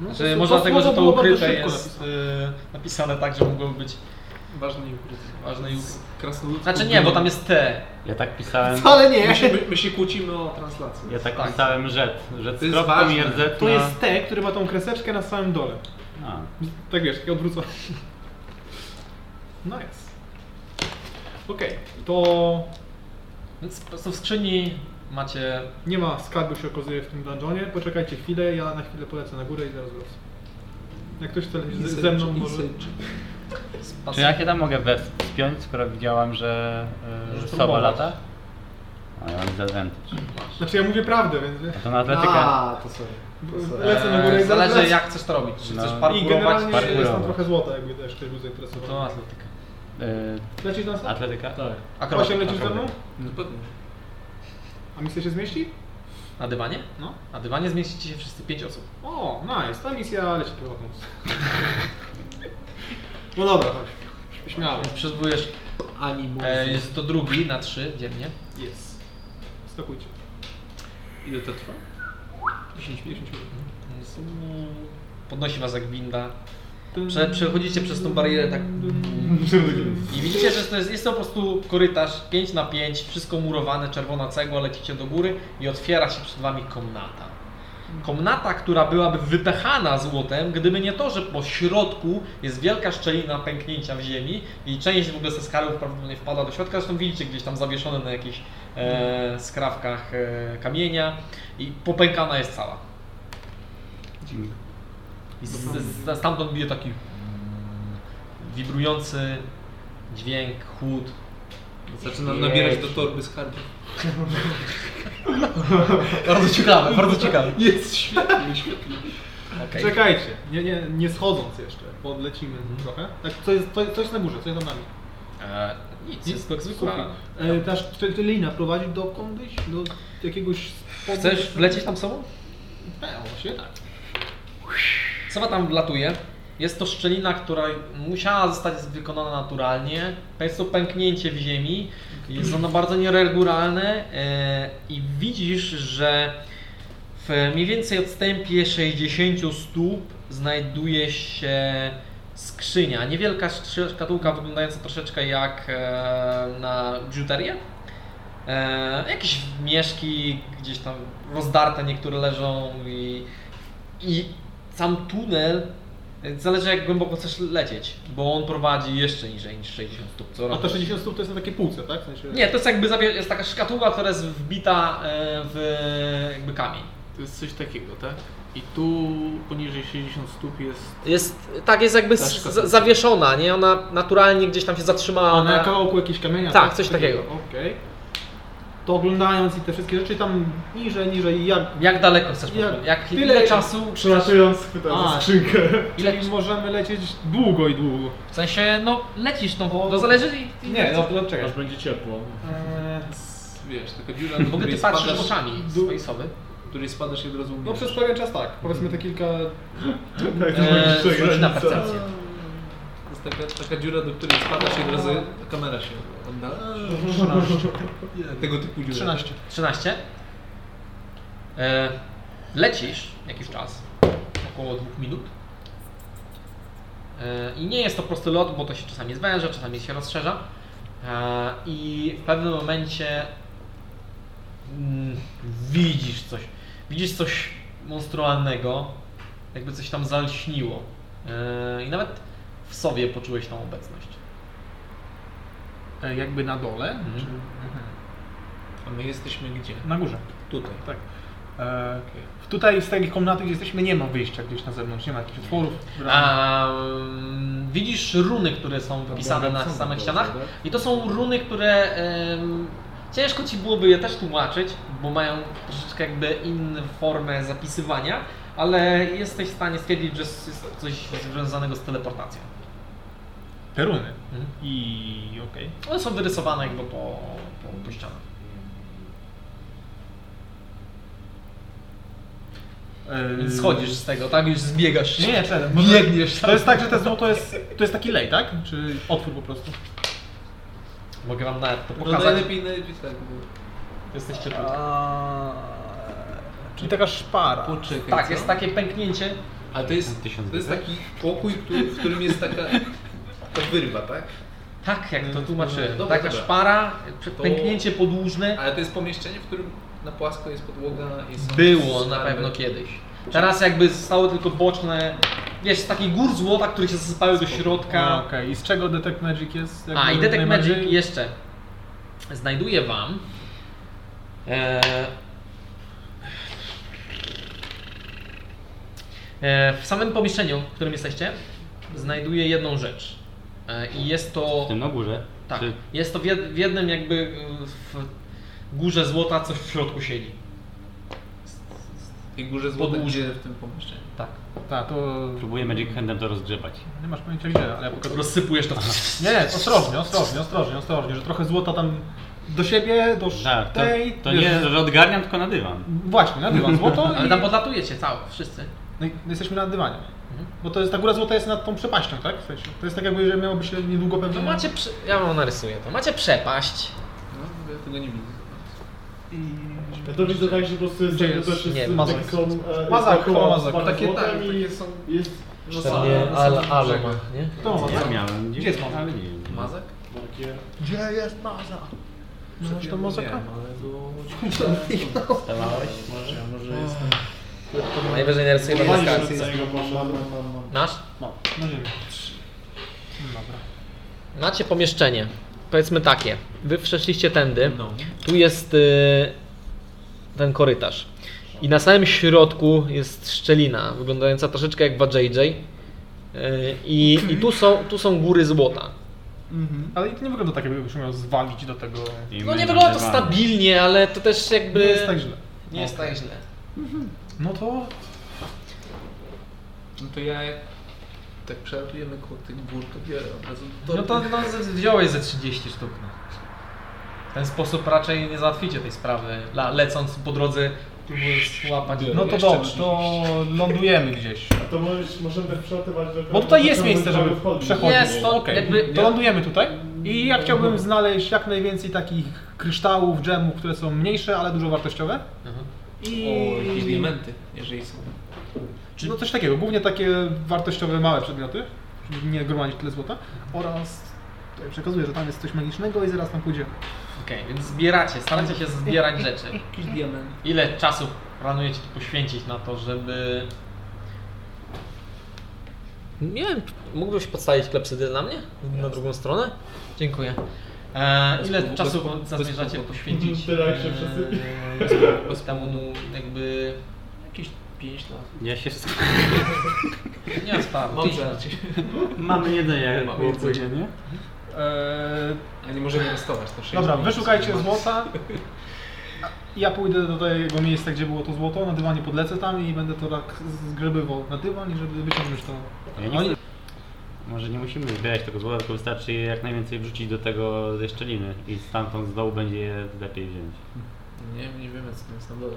G: No,
A: Znaczy,
G: to-
A: można
G: to
A: dlatego, że
G: słowo
A: to
G: było bardzo
A: ukryte
G: szybko
A: jest
G: napisane.
A: y, napisane tak, że mogłoby być
E: Ważne i ukryte.
A: ważne i ukryte.
E: Krasnoludko.
A: Znaczy nie, bo tam jest te.
C: Ja tak pisałem...
G: Ale nie!
E: My się, my, my się kłócimy o translacji.
C: Ja tak
A: Tak.
C: pisałem rzet. Rzet
E: To
C: z
E: jest
C: kropką i
E: ważne.
C: RZ
G: To
C: na...
G: jest te, E, który ma tą kreseczkę na samym dole.
C: A,
G: Tak wiesz, takie odwrócone. No jest. Okej, to
A: Więc po prostu w skrzyni macie
G: nie ma skarbu się okazuje w tym dungeonie. Poczekajcie chwilę, ja na chwilę polecę na górę i zaraz wrócę. Jak ktoś chce lecieć ze- ze mną, może...
C: Czy ja się tam mogę wes- wspiąć, skoro widziałam, że
A: Możesz
C: yy, soba
A: próbować.
C: lata? A ja mam disadvantage.
G: Znaczy ja mówię prawdę, więc...
C: A to na atletykę.
B: to sobie.
G: Lecę na górę i
A: Eee,
G: zaraz
A: Zależy
G: wracam.
A: jak chcesz to robić. Czy
C: No.
A: chcesz
C: I
G: I
A: parkurować?
G: generalnie
C: parkurować.
G: jest tam trochę złota, jakby też ktoś był zainteresowany.
A: To atletyka.
C: Yy,
G: Lecisz na sam?
C: atletyka?
B: Tak.
A: Akrobatyka.
G: Osiem lecisz ze mną?
C: Akrobatyka.
G: A misja się zmieści?
A: Na dywanie?
G: No.
A: Na dywanie zmieścicie się wszyscy pięć osób.
G: O, nice, ta misja leci prywatną. No dobra, chodź. Śmiało.
A: Przeżyjesz.
E: Animus.
A: E, jest to drugi na trzy dziennie.
G: Jest. Skakujcie. Ile to trwa? 10-50 minut.
A: Więc, no, Podnosi was jak winda. Prze, przechodzicie przez tą barierę tak. I widzicie, że to jest, jest to po prostu korytarz 5 na 5, wszystko murowane, czerwona cegła, lecicie do góry i otwiera się przed wami komnata. Komnata, która byłaby wypechana złotem, gdyby nie to, że po środku jest wielka szczelina pęknięcia w ziemi i część w ogóle ze skarów prawdopodobnie wpada do środka. Zresztą widzicie gdzieś tam zawieszone na jakichś e, skrawkach e, kamienia i popękana jest cała. I z, z, stamtąd bije taki mm, wibrujący dźwięk, chłód.
D: Zaczynam nabierać do torby skarbu.
A: Bardzo ciekawe, bardzo ciekawe.
F: Jest świetnie, świetnie.
A: Okej.
F: Czekajcie, nie, nie, nie schodząc jeszcze, podlecimy
E: Mhm.
F: trochę. Tak, co jest, co, co jest na górze, co jest za nami?
A: E, nic, jest jak zwykła.
F: Słuchaj, e,
E: Tak.
F: ta szczelina prowadzi dokądś? Do jakiegoś... spodu?
A: Chcesz wlecieć tam sobą?
F: E, właśnie tak.
A: Sowa tam wlatuje. Jest to szczelina, która musiała zostać wykonana naturalnie. Jest to pęknięcie w ziemi. Jest ono bardzo nieregularne e, i widzisz, że w mniej więcej odstępie 60 stóp znajduje się skrzynia. Niewielka sz- szkatułka wyglądająca troszeczkę jak e, na biżuterię. E, jakieś mieszki gdzieś tam rozdarte, niektóre leżą i, i sam tunel e, zależy jak głęboko chcesz lecieć, bo on prowadzi jeszcze niżej niż 60 stóp. Co
F: A
A: roku.
F: te 60 stóp to jest na takiej półce, tak? W sensie...
A: Nie, to jest jakby zawie- jest taka szkatułka, która jest wbita e, w jakby kamień.
E: To jest coś takiego, tak? I tu poniżej 60 stóp jest...
A: Jest, tak, jest jakby
E: Ta
A: z-
E: szkatułka.
A: za- zawieszona, nie? Ona naturalnie gdzieś tam się zatrzymała.
F: A na
A: Na...
F: kawałku jakieś kamienia?
A: Tak, coś takiego.
F: Okej. To oglądając i te wszystkie rzeczy tam niżej, niżej, jak...
A: Jak daleko chcesz
F: Jak-
A: podpłynąć? Jak,
F: tyle,
A: ile
F: ile-
A: czasu?
B: Przelatując chwytam
F: A.
B: za skrzynkę.
A: Ile-
F: Czyli możemy lecieć długo i długo.
A: W sensie, no lecisz, no
F: O-
A: to zależy. i-
F: Nie, no, no czekaj.
B: Aż będzie ciepło.
F: Eee,
E: Wiesz, taka dziura,
A: W ogóle ty patrzysz oczami
F: du-
A: swojej sowy.
E: której spadasz i od razu
F: No
E: umierasz.
F: przez pewien czas tak, powiedzmy te kilka... E,
B: Tak, to
A: Eee,
G: E,
B: będzie
A: rzuć na
B: granica.
A: percepcję.
E: To jest taka, taka dziura, do której spadasz i od razu kamera się oddala.
D: Tego typu dziury.
F: 13.
A: 13. E, lecisz jakiś czas, około dwóch minut. E, I nie jest to prosty lot, bo to się czasami zwęża, czasami się rozszerza. E, I w pewnym momencie mm, widzisz coś. Widzisz coś monstrualnego, jakby coś tam zalśniło. E, I nawet w sobie poczułeś tą obecność.
G: E, jakby na dole?
A: Mhm.
E: A my jesteśmy gdzie?
G: Na górze.
E: Tutaj.
G: Tak. E, tutaj z takich komnaty, gdzie jesteśmy, nie ma wyjścia gdzieś na zewnątrz, nie ma jakichś otworów. bram.
A: A, mm, widzisz runy, które są wpisane na samych ścianach i to są runy, które em, ciężko ci byłoby je też tłumaczyć, bo mają troszeczkę jakby inną formę zapisywania, ale jesteś w stanie stwierdzić, że jest coś związanego z teleportacją.
G: Te runy.
A: Mhm.
G: I okej.
A: One są wyrysowane jakby po, po, po ścianach.
E: Eee,
G: E,
D: Yy.
A: Więc schodzisz z tego, tak? Już zbiegasz
G: Nie,
A: się.
G: nie, czekaj, może-
A: biegniesz
G: To jest tak, że te zło to jest, to jest taki lej, tak? Czy otwór po prostu?
A: Mogę wam nawet to
E: No
A: pokazać.
E: najlepiej, najlepiej tak, bo...
A: Jesteście tu.
G: Czyli taka szpara.
E: Poczekaj,
A: Tak,
E: co?
A: jest
D: no.
A: takie pęknięcie.
E: Ale to jest, to jest taki pokój, który, w którym jest taka... Ta wyrwa, tak?
A: Tak, jak to tłumaczyłem.
E: Dobra,
A: Taka
E: dobra.
A: szpara,
E: To-
A: pęknięcie podłużne.
E: Ale to jest pomieszczenie, w którym na płasko jest podłoga i są
A: Było na
E: skarby.
A: pewno kiedyś. Teraz jakby zostały tylko boczne, wiesz, z takich gór złota, które się zasypały do
G: A,
A: środka. Tak
G: Okej, i z czego Detect Magic jest?
A: A
G: jakby
A: i Detect Magic
G: najbardziej-
A: jeszcze znajduje wam e, e, w samym pomieszczeniu, w którym jesteście, znajduje jedną rzecz. E, I jest to
C: W tym na górze?
A: tak,
C: Czy
A: jest to w jed- w jednym jakby y, w górze złota coś w środku siedzi.
E: I górze złota,
A: Podłuże.
E: gdzie w tym pomieszczeniu.
A: Tak.
G: Tak, to...
C: próbuję Magic Handem to rozgrzebać.
G: Nie masz pojęcia gdzie, ale ja pokazuję.
A: Rozsypujesz to.
G: Nie, nie, ostrożnie, ostrożnie, ostrożnie, ostrożnie, że trochę złota tam do siebie, do
C: Tak, to,
G: tej...
C: to
G: wiesz,
C: nie odgarniam, tylko na dywan.
G: Właśnie, na dywan złoto
A: Ale
G: i...
A: tam podlatujecie cało, wszyscy.
G: No i jesteśmy na dywanie.
A: Mhm.
G: Bo to jest, ta góra złota jest nad tą przepaścią, tak? W sensie, to jest tak jakby, że miałoby się niedługo pewnie...
A: No macie, prze... ja wam narysuję to. Macie przepaść.
E: No, ja tego nie widzę.
G: I
B: Ja to widzę tak, że po prostu jest,
G: Gdzie
B: jakby
G: jest?
B: też jest
A: Nie,
B: taki
A: mazak.
B: kon- e, jest
G: Mazak,
B: taką
G: chyba mazak.
B: parę
G: Takie,
B: złotem
G: tak,
B: i
G: takie są...
B: Jest
E: No
B: na
A: Czernie,
B: samym-
A: al,
B: samym
A: al,
B: brzegu.
A: nie?
G: Kto ma
C: Ja
G: tak?
C: miałem.
G: Gdzie jest Mazak?
C: ale nie wiem.
A: Mazak?
B: Takie-
G: Gdzie jest maza?
E: No,
G: Masz to No mozaka?
C: Wstawałeś może?
E: Ja może jestem...
A: Najwyżej narysuję
B: Pani
A: na
B: rzuca jego poszła.
A: Nasz?
G: Na ziemię. No
A: Macie pomieszczenie. Powiedzmy takie. Wy przeszliście tędy.
G: No.
A: Tu jest y, ten korytarz. I na samym środku jest szczelina, wyglądająca troszeczkę jak w JJ. Y, I, i tu, są, tu są góry złota.
G: Ale i to nie wygląda tak, jakbyś miał zwalić do tego.
C: I
A: No
C: my
A: nie wygląda to
C: nazywamy.
A: stabilnie, ale to też jakby.
G: Nie jest tak źle.
A: Nie jest tak źle.
G: No to
E: No to ja jak tak przelatujemy koło tych gór, to biorę od razu do
A: No to no, z- wziąłeś ze 30 sztuk. No. W ten sposób raczej nie załatwicie tej sprawy, la, lecąc po drodze, próbując łapać.
G: No to dobrze, to lądujemy gdzieś.
B: A no. to możesz, możemy przelatywać do
G: Bo tutaj jest miejsce, żeby przechodzić.
A: Jest, to
G: Okej,
A: jakby-
G: To lądujemy tutaj. I ja chciałbym znaleźć jak najwięcej takich kryształów, dżemów, które są mniejsze, ale dużo wartościowe.
A: Mhm.
G: I...
E: O, jakieś diamenty, jeżeli są.
G: Czy... No coś takiego, głównie takie wartościowe małe przedmioty, żeby nie gromadzić tyle złota. Oraz tutaj przekazuję, że tam jest coś magicznego i zaraz tam pójdziemy.
A: Okej, więc zbieracie, staracie się zbierać rzeczy.
E: Jakiś diament.
A: Ile czasu planujecie tu poświęcić na to, żeby... Nie wiem, mógłbyś podstawić klepsydy dla mnie? Na drugą stronę? Dziękuję. E, ile
E: kłopotu,
A: czasu
E: bez
A: zamierzacie
E: kłopotu.
A: poświęcić
B: Tyle, jak się wszyscy-
A: e, bez temu no, jakby...
E: Jakieś 5 lat.
C: Ja się sk-
A: Nie ma sprawy.
E: Dobrze.
C: Mamy jedzenie,
E: Mamy
C: jak
E: jedzenie.
C: płyniemy.
G: Eee,
E: A nie możemy inwestować to 6
G: Dobra, wyszukajcie złota. A Ja pójdę do tego miejsca, gdzie było to złoto, na dywanie podlecę tam i będę to tak zgrybywał na dywan i żeby wyciągnąć to.
C: Ja nie chcę- Może nie musimy zbierać tego złota, tylko wystarczy je jak najwięcej wrzucić do tego ze szczeliny i stamtąd z dołu będzie je lepiej wziąć.
E: Nie, nie wiemy co tam jest na dole.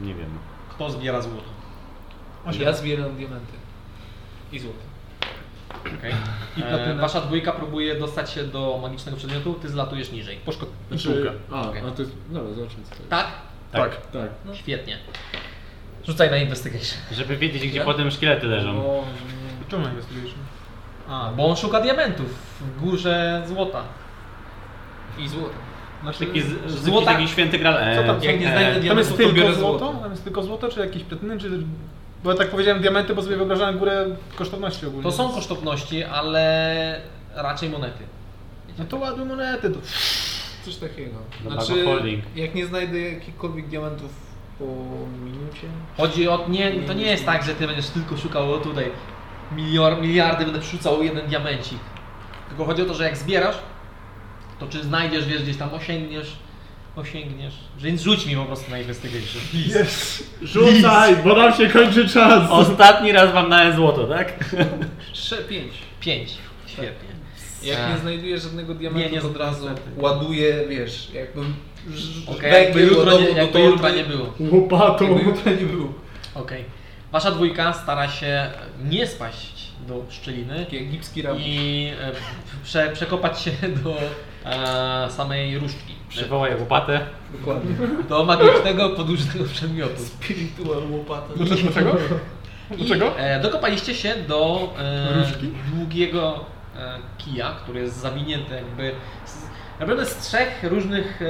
C: Nie wiem.
A: Kto zbiera złoto?
E: Ja zbieram diamenty. I złoto.
A: I e, wasza dwójka próbuje dostać się do magicznego przedmiotu, ty zlatujesz niżej. Poszko...
B: Znaczy, a,
A: Okej.
B: a to jest, dobra, zobaczymy co to jest.
A: Tak?
C: Tak.
B: Tak.
A: Świetnie. Rzucaj na investigation.
C: Żeby wiedzieć, gdzie potem szkielety leżą.
E: O,
G: Czemu inwestujesz?
A: A, bo on szuka diamentów w górze złota.
E: I złoto.
G: Znaczy,
C: Taki, z,
A: Złota-
C: złota... taki święty gral. E,
G: co tam,
A: jak
G: są-
A: nie znajdę
G: tam
E: diamentów,
G: jest
E: to
G: tylko
E: biorę
G: złoto?
E: złoto.
G: Tam jest tylko złoto, czy jakieś platyny, czy... Bo ja tak powiedziałem diamenty, bo sobie wyobrażałem górę kosztowności ogólnie.
A: To są kosztowności, ale raczej monety.
G: No to ładne monety. To...
E: Coś takiego.
C: No,
E: Znaczy,
C: Bag of Holding.
E: jak nie znajdę jakichkolwiek diamentów po minucie,
A: Chodzi o. Nie, to nie jest tak, że ty będziesz tylko szukał tutaj milior, miliardy, będę przerzucał jeden diamencik. Tylko chodzi o to, że jak zbierasz, to czy znajdziesz, wiesz, gdzieś tam osiągniesz, osiągniesz. Więc rzuć mi po prostu na investigation, please.
B: Rzucaj, bo nam się kończy czas!
C: Ostatni raz wam dałem złoto, tak?
E: 5.
A: Pięć. Świetnie.
E: Jak
A: A.
E: nie znajduję żadnego diamentu,
A: Nie, nie
E: to od razu
A: niestety.
E: ładuję, wiesz, jakbym ż-
A: Okej, jakby
E: węgiel
A: jutro nie,
E: ładował do
A: jakby
E: torby,
A: jutra nie było.
B: Łopatą!
E: Jakby jutra nie było.
A: Okej. Wasza dwójka stara się nie spaść do szczeliny
E: Taki egipski rabun.
A: i e, prze, przekopać się do e, samej różdżki.
C: Przywołaj łopatę.
E: Dokładnie.
A: Do magicznego podłużnego przedmiotu.
E: Spiritual łopata.
G: Do czego?
A: I,
G: czego?
A: E, dokopaliście się do e, długiego e, kija, który jest zawinięty jakby. Z, naprawdę z trzech różnych em,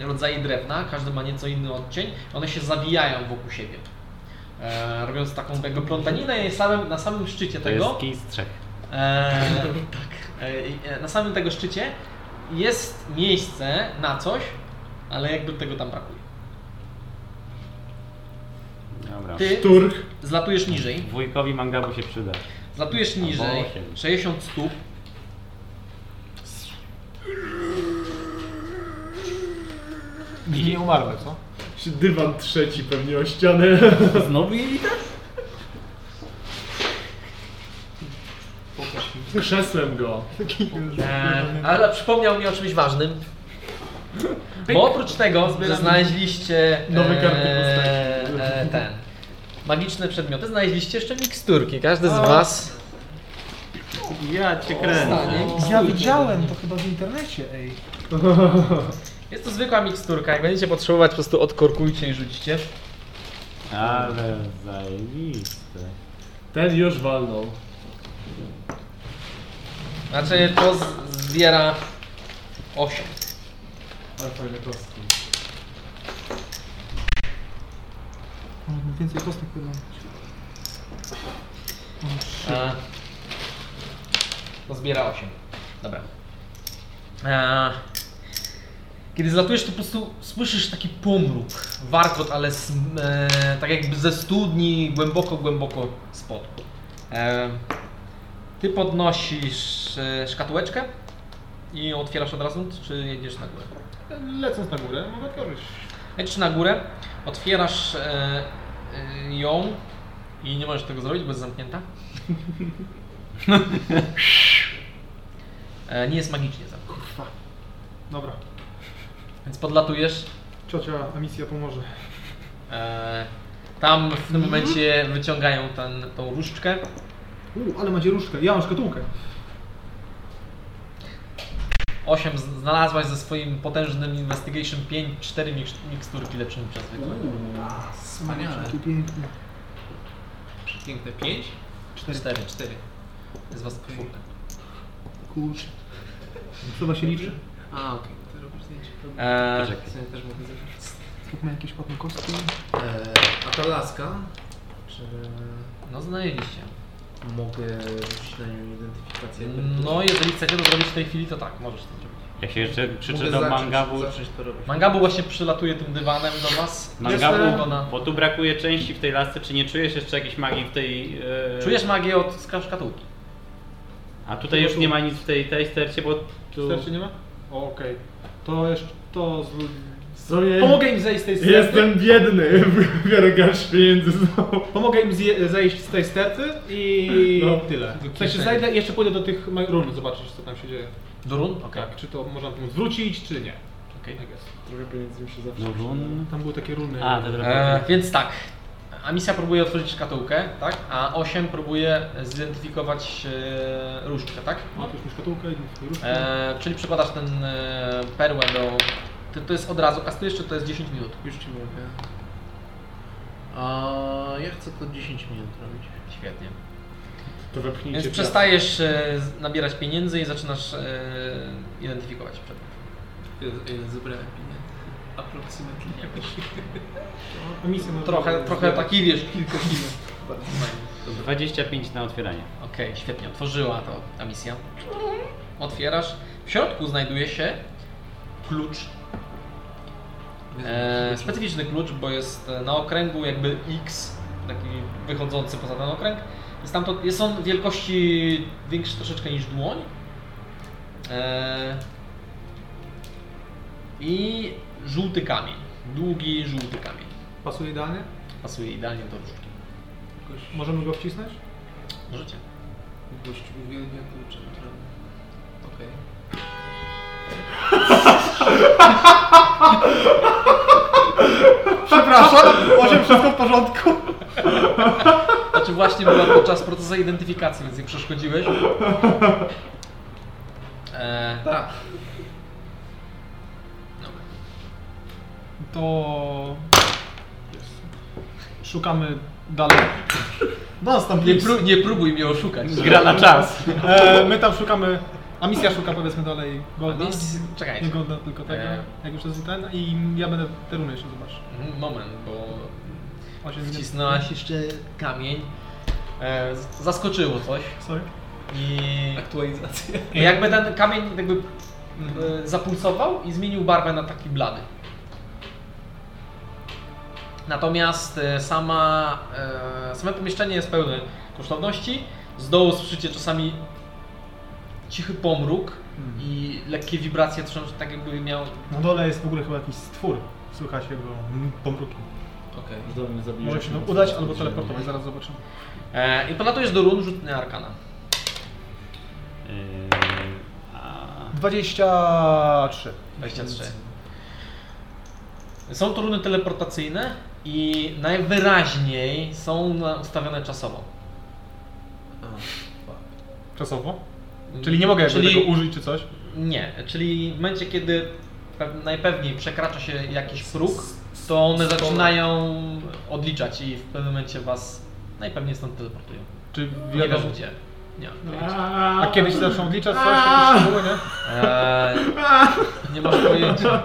A: rodzajów drewna, każdy ma nieco inny odcień, one się zawijają wokół siebie. E, robiąc taką jakby plątaninę i samym, na samym szczycie
C: To
A: tego.
C: jest kij z trzech.
A: E, tak. E, i, e, na samym tego szczycie jest miejsce na coś, ale jakby tego tam brakuje.
C: Dobra.
A: Ty
B: Turk.
A: zlatujesz niżej.
C: Wujkowi mangabu się przyda.
A: Zlatujesz
C: Albo
A: niżej,
C: osiem.
A: 60 stóp.
G: Nie umarłem, co?
B: Czy Dywan trzeci pewnie o ścianę.
C: Znowu jelita?
B: Krzesłem go. Eee,
A: E, ale przypomniał mi o czymś ważnym. Bo oprócz tego, że znaleźliście
B: Nowe karty
A: e,
B: postaci.
A: e, ten magiczne przedmioty, znaleźliście jeszcze miksturki. Każdy z was
C: Ja cię kręcę.
A: stanie.
G: Ja widziałem to chyba w internecie, ej.
A: Jest to zwykła miksturka. Jak będziecie potrzebować, po prostu odkorkujcie i rzućcie.
C: Ale zajebiste.
B: Ten już walnął.
A: Znaczy to z- zbiera 8.
B: Ale fajne kostki.
G: Można Więcej kostek chyba.
A: E, to zbiera 8. Dobra. E, kiedy zlatujesz, to po prostu słyszysz taki pomruk, warkot, ale z, e, tak jakby ze studni, głęboko, głęboko spod. E, ty podnosisz e, szkatułeczkę i ją otwierasz od razu, czy jedziesz na górę?
G: Lecąc na górę, mogę otworzyć.
A: Lecisz na górę, otwierasz e, e, ją i nie możesz tego zrobić, bo jest zamknięta. e, nie jest magicznie zamknięta.
G: Dobra.
A: Więc podlatujesz.
G: Ciocia, misja pomoże.
A: E, tam w tym momencie wyciągają ten, tą różdżkę.
G: U, ale macie różdżkę. Ja mam szkatułkę.
A: Osiem z- znalazłaś ze swoim potężnym Investigation 5, 4 miks- miksturki lepszym przez zwykłe.
E: Wspaniale.
G: piękne.
E: Piękne. Pięć?
A: 4.
E: Cztery.
A: Jest was czwórka.
G: Kurczę. Trzeba się liczy.
E: A, okej. Ty robisz zdjęcie. Dobra.
A: E,
E: W sumie też mogę zrobić.
G: Tu ma jakieś ładne kostki.
E: Eee, a ta laska? Czy
A: no znaleźliście.
E: mogę rzucić na nią identyfikację?
A: No jeżeli chcecie to zrobić w tej chwili, to tak, możesz to zrobić.
C: Jak się jeszcze
E: Mogę
C: przeczytał
E: zacząć-
C: mangabu,
E: Zacząć to robić.
A: Mangabu właśnie przylatuje tym dywanem do was.
C: mangabu,
A: Ona...
C: bo tu brakuje części w tej lasce, czy nie czujesz jeszcze jakiejś magii w tej... e,
A: Czujesz magię od skra- szkatułki.
C: A tutaj już nie ma nic w tej, tej stercie, bo tu...
G: Starczy nie ma? O, Okej. To jeszcze to z...
B: Sobie
G: Pomogę im zejść z tej sterty.
B: Jestem biedny, biorę garść pieniędzy znowu.
G: Pomogę im zje- zejść z tej sterty i
B: No.
G: tyle.
A: Do
G: W sensie
A: kieszeni.
G: zajdę i jeszcze pójdę do tych ma- run zobaczyć co tam się dzieje.
A: Durun? Okej.
G: Tak, czy to można mu zwrócić, czy nie.
A: Okej. E,
G: I guess.
B: Trochę pieniędzy mi się zawsze
C: No, run.
G: Tam były takie runy.
C: A, te
A: E,
C: drapieżne.
A: Więc tak. Amisja próbuje otworzyć szkatułkę, tak? A 8 próbuje zidentyfikować e, różdżkę, tak?
G: No, tu już mi szkatułkę i różdżkę.
A: E, czyli przykładasz ten e, perłę do. Ty, to jest od razu, kastujesz czy to jest 10 minut?
E: Już ci mówię. A ja chcę to 10 minut robić.
A: Świetnie.
B: To wepchnijcie
A: Więc
B: piasek.
A: przestajesz e, z- nabierać pieniędzy i zaczynasz e, identyfikować przedmiot.
E: Ile, ile zebrałem pieniędzy? Approximately.
G: A misję można
A: Trochę,
G: było
A: trochę tak.
G: zbierać.
A: taki wiesz, kilka kilo.
C: 25 na otwieranie.
A: Okej, świetnie, otworzyła to ta misja. Otwierasz. W środku znajduje się klucz. E, specyficzny klucz, bo jest e, na okręgu jakby X, taki wychodzący poza ten okręg. Jest, tamto, jest on wielkości większy troszeczkę niż dłoń. E, I żółty kamień. Długi żółty kamień.
G: Pasuje idealnie?
A: Pasuje idealnie do różdżki.
G: Możemy go wcisnąć?
A: Możecie.
E: Gościu uwielbia klucze, naprawdę. Okej.
B: Przepraszam, osiem wszystko w porządku.
A: Znaczy właśnie była podczas procesu identyfikacji, więc nie przeszkodziłeś. E,
E: Tak.
G: To... Szukamy dalej.
B: Dostęp
A: nie, pró- nie próbuj mnie oszukać.
C: Gra na czas.
G: E, my tam szukamy... A misja szuka powiedzmy dalej Golda.
A: Mis-
G: Nie
A: Czekajcie.
G: Golda, tylko tego.
A: E.
G: Jak już jest ten i ja będę te runy jeszcze zobaczył.
A: Mhm, Moment, bo
G: On się zmienia-
A: wcisnęłaś jeszcze kamień. E, z- zaskoczyło coś.
G: Sorry.
A: I
D: Tak,
A: no
E: Aktualizacja.
A: jakby ten kamień jakby e, zapulsował i zmienił barwę na taki blady. Natomiast e, sama, e, same pomieszczenie jest pełne kosztowności. Z dołu słyszycie czasami cichy pomruk i lekkie wibracje, trząs- tak jakby miał...
G: Na dole jest w ogóle chyba jakiś stwór. Słychać jego mm, pomruki.
E: Okej.
G: Może się nam udać albo teleportować, zaraz zobaczymy.
A: E, I podlatujesz do run, rzut na arkana.
C: Yy, a...
G: 23.
A: 23. Są to runy teleportacyjne i najwyraźniej są na- ustawione czasowo.
G: Czasowo? Czyli nie mogę jakby
A: Czyli-
G: tego użyć czy coś?
A: Nie, czyli w momencie, kiedy pew- najpewniej przekracza się jakiś próg, to one zaczynają odliczać i w pewnym momencie was najpewniej stąd teleportują.
G: Czy
A: Nie
G: wiadomo?
A: wiesz gdzie. Nie, mam pojęcia.
G: A kiedyś zaczną odliczać coś, jakieś szczegóły, nie?
A: Eee, nie masz pojęcia.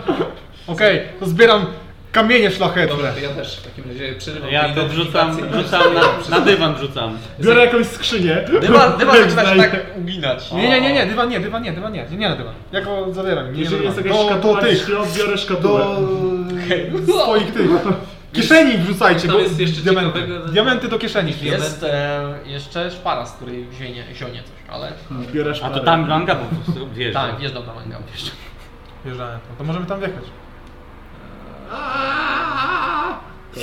G: Okej, to zbieram kamienie szlachetne.
D: Dobra, to ja też w takim razie przerywam.
C: Ja
D: tę
C: to wrzucam,
D: identyfikację.
C: wrzucam na, na dywan wrzucam.
B: Biorę jakąś skrzynię.
A: Dywan, dywan zaczyna się
B: Znajdę.
A: tak uginać.
G: Nie, nie, nie, nie, dywan nie, dywan nie, dywan nie, nie na dywan. Ja go zabieram. Nie
B: Jeżeli
G: na
B: jest
G: dywan.
B: jakaś szkatuła, ślub, biorę szkatułę.
G: do swoich tych. Kieszeni wrzucajcie,
D: Tam
G: bo
D: jest jeszcze
G: diamenty.
D: ciekawego-
G: Diamenty do kieszeni.
A: Jest e, jeszcze szpara, z której zionie, zionie coś, ale
B: Biorę
C: A
B: szparę.
C: to tam langa po prostu no. wjeżdża.
A: tak, wjeżdżam na mangał jeszcze.
G: Wjeżdżamy tam. To możemy tam wjechać.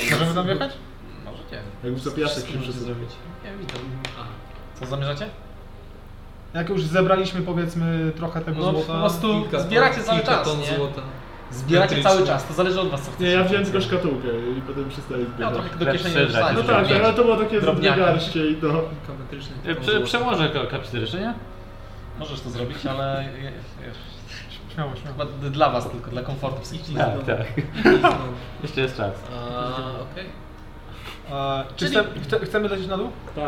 G: To możemy tam wjechać?
A: Możecie.
B: Jakby to piasek się przesunął.
A: Nie widzę. Co zamierzacie?
G: Jak już zebraliśmy powiedzmy trochę tego
A: No, po
G: złota.
A: prostu
D: Kilka ton-
A: zbieracie cały
D: kilka
A: czas,
D: ton
A: nie?
D: złota.
A: Zbieracie cały
D: Metryczny.
A: czas, to zależy od was co chcecie.
B: Nie, ja wziąłem tylko szkatułkę i potem przestaję
A: Ja
B: zbierać.
A: trochę do
C: Lepszy
A: kieszeni
C: żart
A: wrzucałem.
B: No
C: jest
B: tak, ale to było takie z dwie
A: Drobniaki.
B: garście i to...
D: Kametryczny.
C: E, Prze, przełożę ko- kapsy nie?
A: Możesz to zrobić, ale je- je-
G: Śmiało, śmiało.
A: chyba d- dla was tylko, dla komfortu psychicznego.
G: No.
C: Tak, tak. Jeszcze jest czas.
D: Okej.
G: A, czy
A: Czyli-
G: chce, chce, chcemy lecieć na dół?
B: Tak.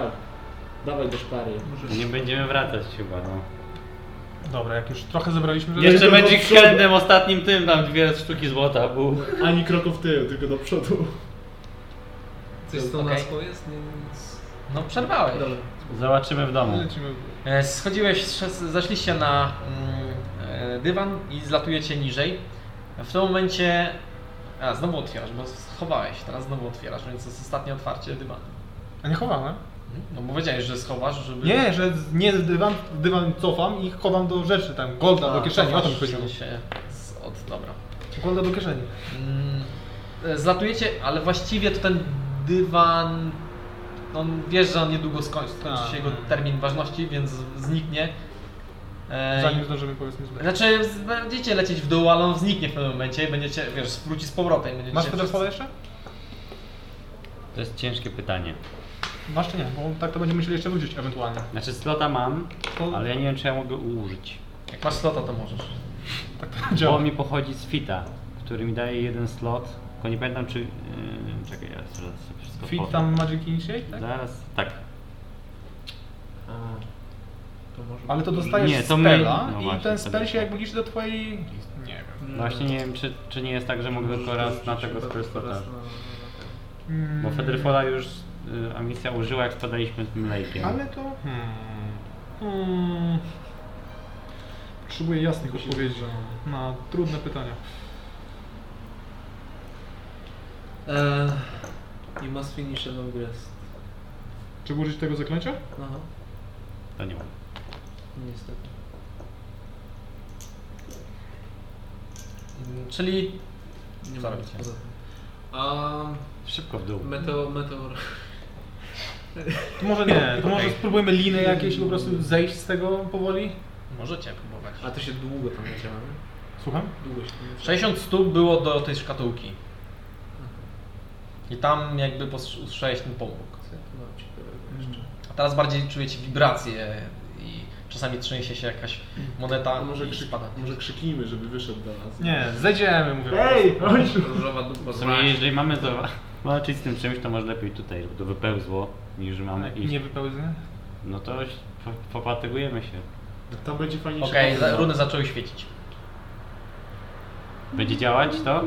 B: Dawaj do szpary.
C: Nie będziemy wracać chyba, no.
G: Dobra, jak już trochę zebraliśmy,
B: Nie.
C: Jeszcze
B: do
C: będzie
B: przodu.
C: Hendem ostatnim tym, tam dwie sztuki złota był.
B: Ani kroku w tył, tylko do przodu.
D: Coś z tą
A: Okej.
D: laską jest? Nie, nic.
A: No przerwałeś.
D: Dobra.
C: Zobaczymy w domu.
G: lecimy.
A: E, Schodziłeś, sz- zeszliście na mm, e, dywan i zlatujecie niżej. W tym momencie... A, znowu otwierasz, bo schowałeś, teraz znowu otwierasz, więc jest ostatnie otwarcie dywanu.
G: A nie chowałem?
A: Mhm. No bo powiedziałeś, że schowasz, żeby...
G: Nie, że z- nie dywan, dywan cofam i chowam do rzeczy tam, golda do kieszeni, o to mi chodziło.
A: Się, się z, od, dobra.
G: Golda do kieszeni.
A: Mm, e, Zlatujecie, ale właściwie to ten dywan. no, On wiesz, że on niedługo skończy, skończy
G: Tak.
A: się jego termin ważności, więc zniknie. E,
G: Zanim zdążymy powiedzmy zlecieć.
A: Znaczy, z- będziecie lecieć w dół, ale on zniknie w pewnym momencie i będziecie, wiesz, wróci z powrotem. i Będziecie
G: Masz Peter
A: wszyscy-
G: Spada jeszcze?
C: To jest ciężkie pytanie.
G: Masz czy nie? Bo tak to będziemy musieli jeszcze wrócić ewentualnie.
C: Znaczy slota mam,
G: To-
C: ale ja nie wiem czy ja mogę użyć.
A: Jak masz slota, to możesz.
C: Bo mi pochodzi z fita, który mi daje jeden slot. Tylko nie pamiętam czy... Yy, czekaj, ja zaraz sobie wszystko
G: Fit
C: powiem.
G: tam Magic Initiate, tak?
C: Zaraz, tak.
G: Ale to dostajesz
C: Nie,
G: nie,
C: to
G: to
C: my-
G: spela
C: no
G: i
C: właśnie,
G: ten
C: to
G: spell
C: my-
G: się jakby liczy do twojej... Nie wiem.
D: Mm,
C: Właśnie nie wiem czy, czy nie jest tak, że mogę tylko raz na tego spellslota.
G: Mm,
C: Bo Federfola już y, Amicia użyła jak spadaliśmy z tym lejkiem.
G: Ale to... Hmm. Hmm. Potrzebuję jasnych odpowiedzi na trudne pytania.
D: Eee, you must finish a long rest.
G: Czy użyć tego zaklęcia?
D: Aha,
C: To nie mam.
D: No, niestety.
A: Mm, Czyli.
D: Nie
A: Co
D: ma
A: robicie?
D: poza tym. A
C: Szybko w dół.
D: meteor, meteor.
G: To może nie, to może spróbujmy liny jakieś i po prostu zejść z tego powoli?
A: Możecie próbować.
D: A to się długo tam leciało, nie?
G: Słucham?
D: Długo się tam leciało.
A: 60 stóp było do tej szkatułki. I tam jakby pos- usłyszałeś ten pomruk.
D: No, ciekawego jeszcze.
A: A teraz bardziej czujecie wibracje i czasami trzęsie się jakaś moneta
B: A może,
A: i
B: krzyk,
A: spada.
B: może krzyknijmy, żeby wyszedł do nas.
G: Nie, zejdziemy, mówię.
B: Ej, ojciec!
D: Różowa dupa
C: W sumie jeżeli mamy to walczyć z tym czymś, to może lepiej tutaj, żeby to wypełzło, niż mamy iść.
G: Nie wypełznie?
C: No to już po- popatygujemy się.
B: Tam będzie fajniejsze.
A: Okej, za- runy zaczęły świecić.
C: Będzie działać to?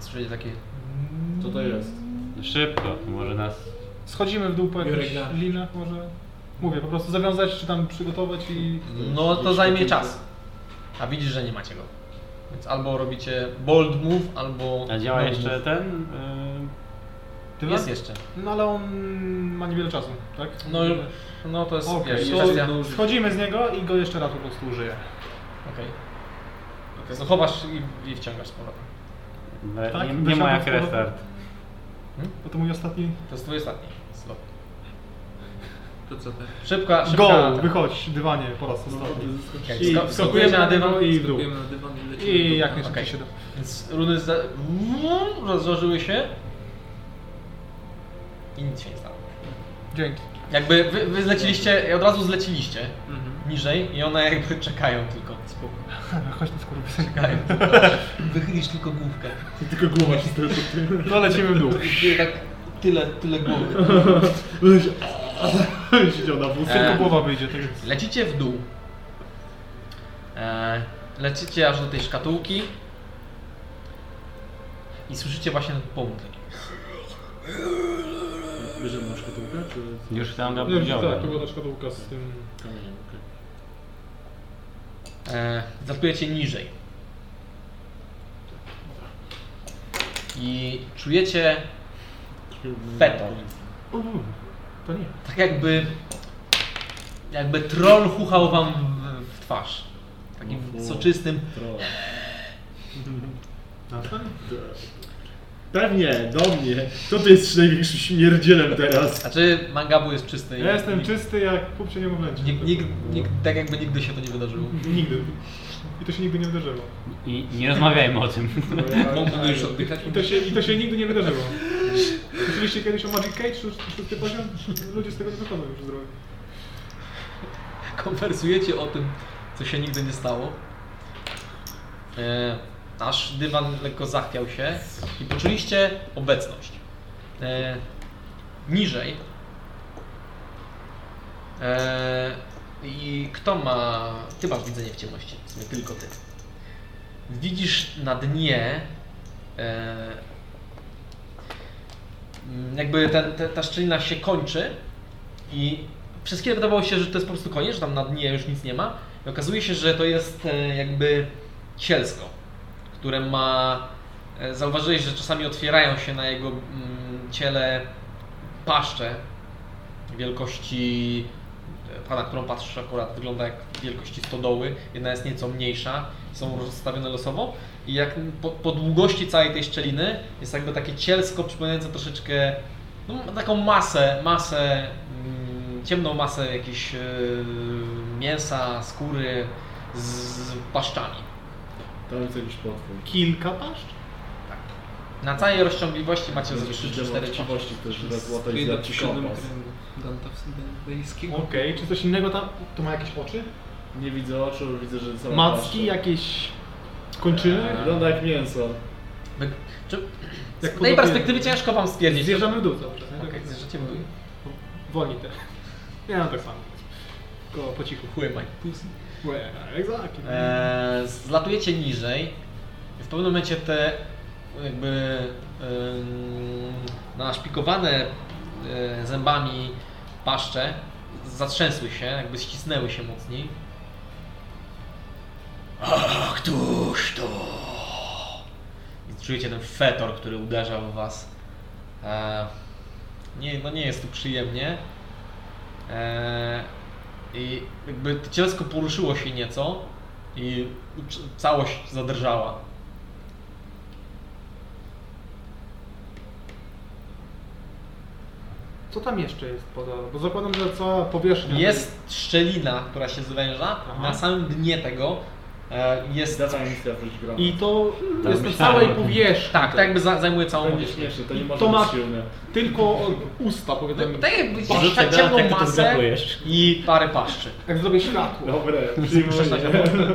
A: Słyszycie takie...
B: Co to jest?
C: No Szybko, może nas...
G: Schodzimy w dół po jakąś
D: Jurek, da.
G: linę może? Mówię, po prostu zawiązać czy tam przygotować i...
A: No to zajmie czas. A widzisz, że nie macie go. Więc albo robicie bold move, albo...
C: A działa
A: no
C: jeszcze
A: move.
C: ten? y,
G: Ty
A: Jest jeszcze.
G: No ale on ma niewiele czasu, tak?
A: No, no to jest
G: Okej,
A: wiesz,
G: to
A: kwestia...
G: schodzimy z niego i go jeszcze raz po prostu użyję.
A: Okej. Okay. chowasz i, i wciągasz z powrotem.
C: Yy,
G: Tak,
C: nie, nie ma jak
G: wyciągnąć to-
C: restart.
G: Bo to mój ostatni...
A: To jest twój ostatni slot.
D: To co tak?
A: Szybka, szybka...
G: Go! Wychodź, dywanie po raz
D: No,
G: ostatni.
A: Okej,
B: I
A: sko- Skakujecie na dywan
G: i w dół.
D: Próbujemy na dywan i lecimy.
G: I
D: do
G: jak
D: dywana.
G: najszybciej
A: Okej.
G: się da.
A: Więc runy za... rozłożyły się i nic się nie stało.
G: Dzięki.
A: Jakby wy, wy zleciliście, od razu zleciliście
D: Mhm.
A: niżej i one jakby czekają tylko.
D: Spoko.
G: Chodź tu skurwy.
A: Czekają. Wychylisz tylko główkę.
B: Tylko głowa się stresu.
G: No lecimy w dół.
A: I tak tyle, tyle głowy.
B: Będę się... Siedział na wózku.
A: E,
G: Tylko głowa wyjdzie, to jest.
A: Lecicie w dół. E, lecicie aż do tej szkatułki. I słyszycie właśnie ten połóg.
B: Bierzemy na szkatułkę, czy...
C: Już tam na
G: Nie, tak, to
C: poziomie.
G: była ta szkatułka z tym.
B: Kamieniem, okej.
A: E, Zatujecie niżej. I czujecie fetor.
G: Uuu, To nie.
A: Tak jakby. Jakby troll chuchał wam w, w twarz. Takim
G: Mhm.
A: soczystym.
B: Trolla.
G: Na to nie.
B: Pewnie, do mnie. Kto tu jest największym śmierdzielem teraz?
A: Znaczy, mangabu jest czysty. i
G: Ja jestem
A: nikt,
G: czysty jak kupcie niemowlęcie.
A: nikt, nikt, nikt, Tak jakby nigdy się to nie wydarzyło.
G: Nigdy. I to się nigdy nie wydarzyło.
C: I nie rozmawiajmy o tym.
A: Mogę już oddychać.
G: I to się, i to się nigdy nie wydarzyło. Słyszeliście kiedyś o Magic Cage, szósty szósty poziom? Ludzie z tego nie wychodzą już zdrowie.
A: Konwersujecie o tym, co się nigdy nie stało. E, aż dywan lekko zachwiał się i poczuliście obecność. E, niżej. E, I kto ma. Ty masz widzenie w ciemności, w sumie tylko ty. Widzisz na dnie. E, mm, jakby ten, te, ta szczelina się kończy i przez chwilę wydawało się, że to jest po prostu koniec, że tam na dnie już nic nie ma. I okazuje się, że to jest e, jakby cielsko, które ma. e, Zauważyłeś, że czasami otwierają się na jego mm, ciele paszcze wielkości. e, Ta, na którą patrzysz akurat, wygląda jak wielkości stodoły. Jedna jest nieco mniejsza, są rozstawione losowo. I jak po, po długości całej tej szczeliny jest jakby takie cielsko przypominające troszeczkę no, ma taką masę, masę, mm, ciemną masę jakiejś e, mięsa, skóry z, z paszczami.
B: Tam jest jakiś potwór.
G: Kilka paszcz?
A: Na całej rozciągliwości macie z
B: Jakieś
A: 3
B: demon
A: 4
B: chciwości też dla złota i
E: Spojrzę
B: dla
E: do
B: ci
E: siódmego
B: kompas.
E: kręgu Danta Sydneyskiego.
G: Okej, czy coś innego tam? To ma jakieś oczy?
B: Nie widzę oczu, widzę, że są
G: Macki, jakieś kończyny?
A: Eee, no.
B: Wygląda jak mięso.
A: Wy- Czy, no
G: Jak
A: z tej
G: podobnie-
A: perspektywy ciężko wam stwierdzić.
G: Zjeżdżamy w dół cały czas. nie?
A: Okej,
G: Tak,
A: zjeżdżacie w dół.
G: Wolni też. Ja mam tak samo. Tylko po cichu.
A: Chłymaj.
G: Łe, Exactly.
A: Eee, zlatujecie niżej. W pewnym momencie te jakby em, naszpikowane e, zębami paszcze zatrzęsły się, jakby ścisnęły się mocniej. A któż to? I czujecie ten fetor, który uderza w was. Eee, nie, no nie jest tu przyjemnie. Eee, I jakby to cielsko poruszyło się nieco i c- całość zadrżała.
G: Co tam jeszcze jest poza? Bo zakładam, że cała powierzchnia.
A: Jest szczelina, która się zwęża.
G: Mhm. Aha.
A: Na samym dnie tego e, jest.
B: Data misja wróć gra.
G: I to
C: Tak,
G: jest na
C: myślałem
G: całej
C: o tym.
G: powierzchni.
A: Tak, tak jakby za, zajmuje
B: To
A: całą
B: będzie śmieszne, to nie
G: I
B: może
G: to ma-
B: być silne.
G: Tylko usta, powiedzmy.
A: Tak jakby
C: Rzucę
A: tak
C: granat,
A: ciemną
C: jak to
A: masę
C: zgadujesz.
A: i parę paszczy.
G: Jak zrobię światło.
A: No.
B: Dobre,
A: Muszę stać na
B: przyjmuję.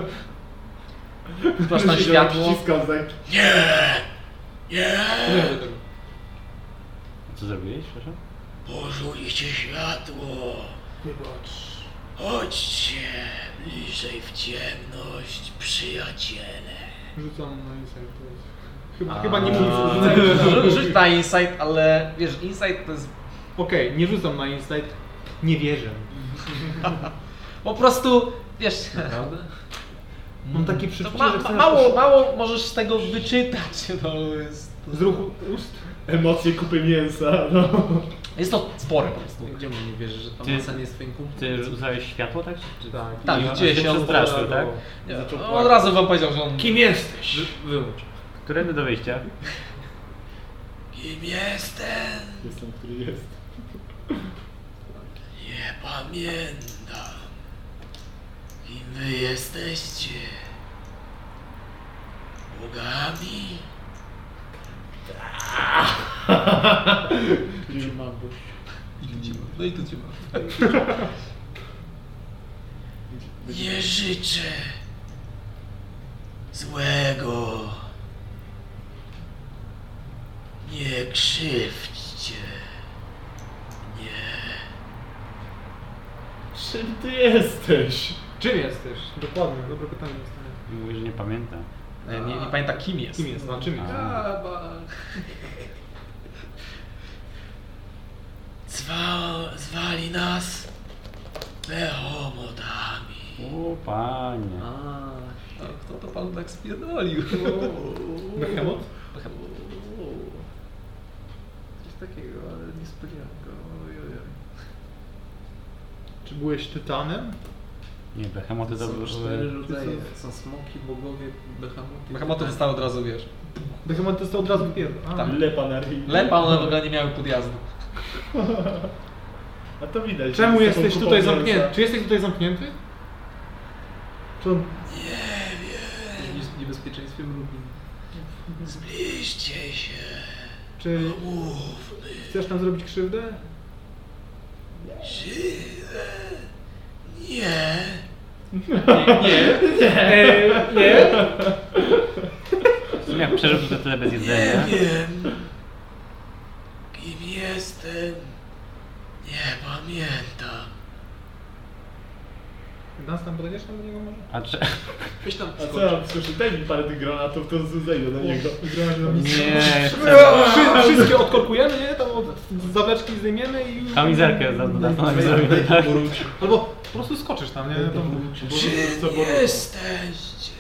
A: boku. Wpłasz na
B: Się
A: światło.
B: Wciskam za...
G: Nie robię tego.
C: Co zrobiłeś, przepraszam?
J: Pożuliście światło. Chodźcie bliżej w ciemność, przyjaciele.
G: Rzucam na insert. to jest- Chyba,
C: A.
G: chyba nie mówię, że
A: Rzu-
G: rzucałem.
A: Rzuć na insight, ale wiesz, insight to jest.
G: Okej, nie rzucam na insight. Nie wierzę.
A: Po prostu wiesz.
B: Mm.
G: Mam takie
A: To
G: przeczucie,
A: ma,
G: że
A: ma,
G: chcę
A: mało, mało możesz z tego wyczytać. No, jest,
G: z ruchu ust.
B: Emocje kupy mięsa, no.
A: jest to spore po prostu.
D: Gdzie mu nie wierzy, że ta
C: Ty-
D: masa nie jest twoim kumplem?
C: Ty rzucałeś światło, tak? Czy...
G: Tak.
A: Tak,
C: I on
A: widzicie, się on
C: przestraszył, tak?
A: Nie,
B: Zaczął
A: no,
B: płakać.
A: od razu wam powiedział, że on.
G: Kim jesteś?
D: Wyłącz.
C: Którędy do wyjścia?
J: Kim jestem?
B: Jestem, który jest.
J: Nie pamiętam. Kim wy jesteście? Bogami?
D: No i tu cię mam.
J: Nie życzę złego. Nie krzywdźcie. Nie.
B: Czym ty jesteś?
G: Czym jesteś? Dokładnie, dobre pytanie dostanie.
C: Mówisz, że nie pamiętam.
A: Nie, E, nie, nie pamięta kim jest.
G: Kim jest? No, czym jest?
J: Zwa, zwali nas Behomodami.
C: O panie.
A: A, to kto to panu tak spierdolił?
G: Behemoth?
E: Coś takiego, ale niespodzianka. Oj, oj, oj.
G: Czy byłeś tytanem?
C: Nie, behemoty to
E: Są cztery
C: były...
E: rodzaje. Są smoki, bogowie, behemoty.
A: Behemoty zostały od razu, wiesz.
G: Behemoth to od razu pierwszy. A,
A: Tak.
B: Lepa na ryj.
A: Lepa, one w ogóle nie miały podjazdu.
B: A to widać.
G: Czemu
B: że z
G: jesteś
B: tobą
G: tutaj
B: kupą
G: zamknięty?
B: wirusa.
G: Czy jesteś tutaj zamknięty?
B: To
E: W niebezpieczeństwie mrugin.
J: Zbliżcie się.
G: Czy chcesz nam zrobić krzywdę?
J: Nie.
C: Jak przeżył to tyle bez
J: Nie
C: jedzenia.
J: wiem, kim jestem. Nie pamiętam.
G: Nas tam podejdziesz tam do niego może?
C: A czy...
B: A co ja słyszę? Daj mi parę tych granatów, to zejdę na niego.
C: Nie,
G: Wszy- Wszystkie odkorkujemy, nie? Tam od zawleczki zdejmiemy i...
C: kamizerkę za dodatkowo nam zrobił, tak?
G: Albo po prostu skoczysz tam, nie? Tam...
B: Boże, co
J: Kim
B: Boże.
J: jesteście?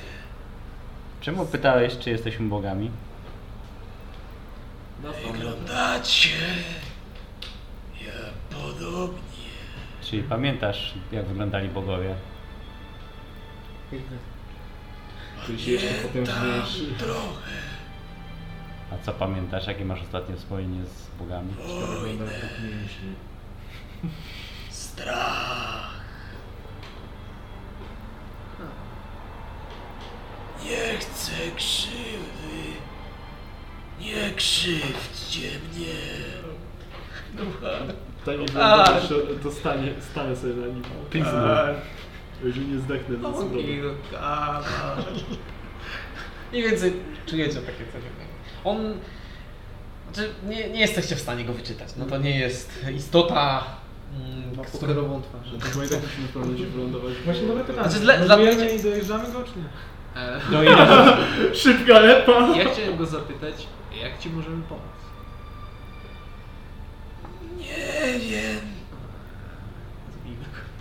C: Czemu pytałeś, czy jesteśmy bogami?
J: Wyglądacie jak podobnie.
C: Czy pamiętasz, jak wyglądali bogowie?
B: Ty się jeszcze potem zmienisz.
J: Trochę
C: A co pamiętasz, jakie masz ostatnie wspomnienie z bogami?
J: strach. Nie chcę krzywdy. Nie krzywdźcie mnie.
B: Daj mi granatów, jeszcze to stanie, stanę sobie na nim. Eee, Już nie zdechnę,
D: No,
B: więc okay.
D: tak.
A: Mniej więcej czujecie takie coś. On. Znaczy, nie, nie jesteście w stanie go wyczytać. No to nie jest istota. mm,
E: Ma
A: z którą-
E: pokerową twarz.
B: Bo i tak musimy w pewności wylądować.
G: Właśnie dobre pytanie.
A: Znaczy, dla- E. dla mnie-
G: Rozbijemy i dojeżdżamy go, czy nie?
B: Szybka lepa!
E: Ja chciałem go zapytać, jak ci możemy pomóc?
J: Nie wiem.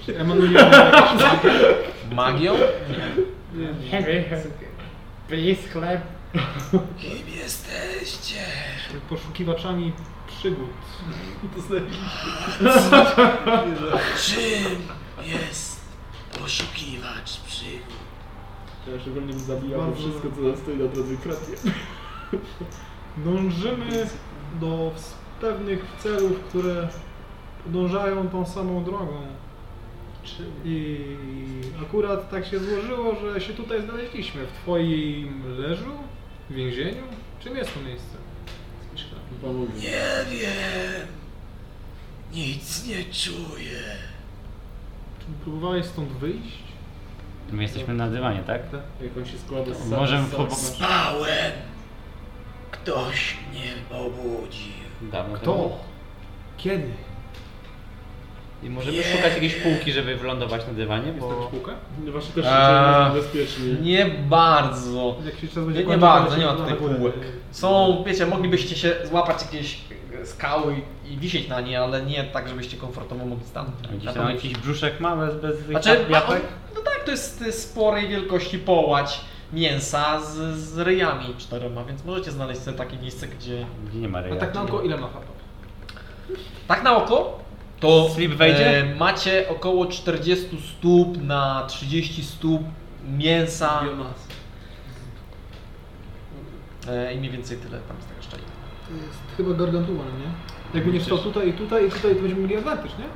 G: Czy emanujemy jakieś...
A: Magią?
J: Kim jesteście?
G: poszukiwaczami przygód?
J: Czym jest poszukiwacz przygód?
B: Ja szczególnie bym zabijał wszystko, co nam stoi na drodze kratnie.
G: Dążymy do ws- pewnych celów, które podążają tą samą drogą. I akurat tak się złożyło, że się tutaj znaleźliśmy. W twoim leżu? W więzieniu? Czym jest to miejsce?
J: Nie wiem. Nic nie czuję.
G: Czy próbowałeś stąd wyjść?
C: My jesteśmy na dywanie, tak?
B: Jak on się składa z
C: Możemy
B: z-
C: po-
B: z-
J: Spałem. Ktoś mnie obudził.
C: Dawno
G: To.
C: temu.
G: Kiedy?
C: I możemy szukać jakiejś półki, żeby wylądować na dywanie,
G: Jest taka
C: bo...
G: szkółka?
B: Wasze też
A: Eee.
B: się bezpiecznie.
A: Nie bardzo.
G: Jak się czas będzie
A: Nie, nie
G: kończył,
A: bardzo,
G: to
A: nie ma
G: się
A: tutaj
G: zobaczy.
A: półek. Są, wiecie, moglibyście się złapać jakieś e, skały i, i wisieć na nie, ale nie tak, żebyście komfortowo mogli stanąć.
C: A Gdzieś
A: Na
C: tam
A: pewno-
C: Tak, jakiś brzuszek mały, bez
A: Znaczy, a on,
C: jabłek?
A: no tak, to jest e, sporej wielkości połać mięsa z, z ryjami czterema, więc możecie znaleźć sobie takie miejsce, gdzie...
C: Gdzie nie ma
G: A
C: ryja.
G: tak na oko ile ma HP?
A: Tak na oko, to
C: Slip wejdzie?
A: e, macie około 40 stóp na 30 stóp mięsa
E: Biomas.
A: e, i mniej więcej tyle tam jest tego szczęścia.
G: To jest chyba gargantua, no nie? Jakby nie wstał tutaj i tutaj i tutaj, to będziemy mieli advantage, nie?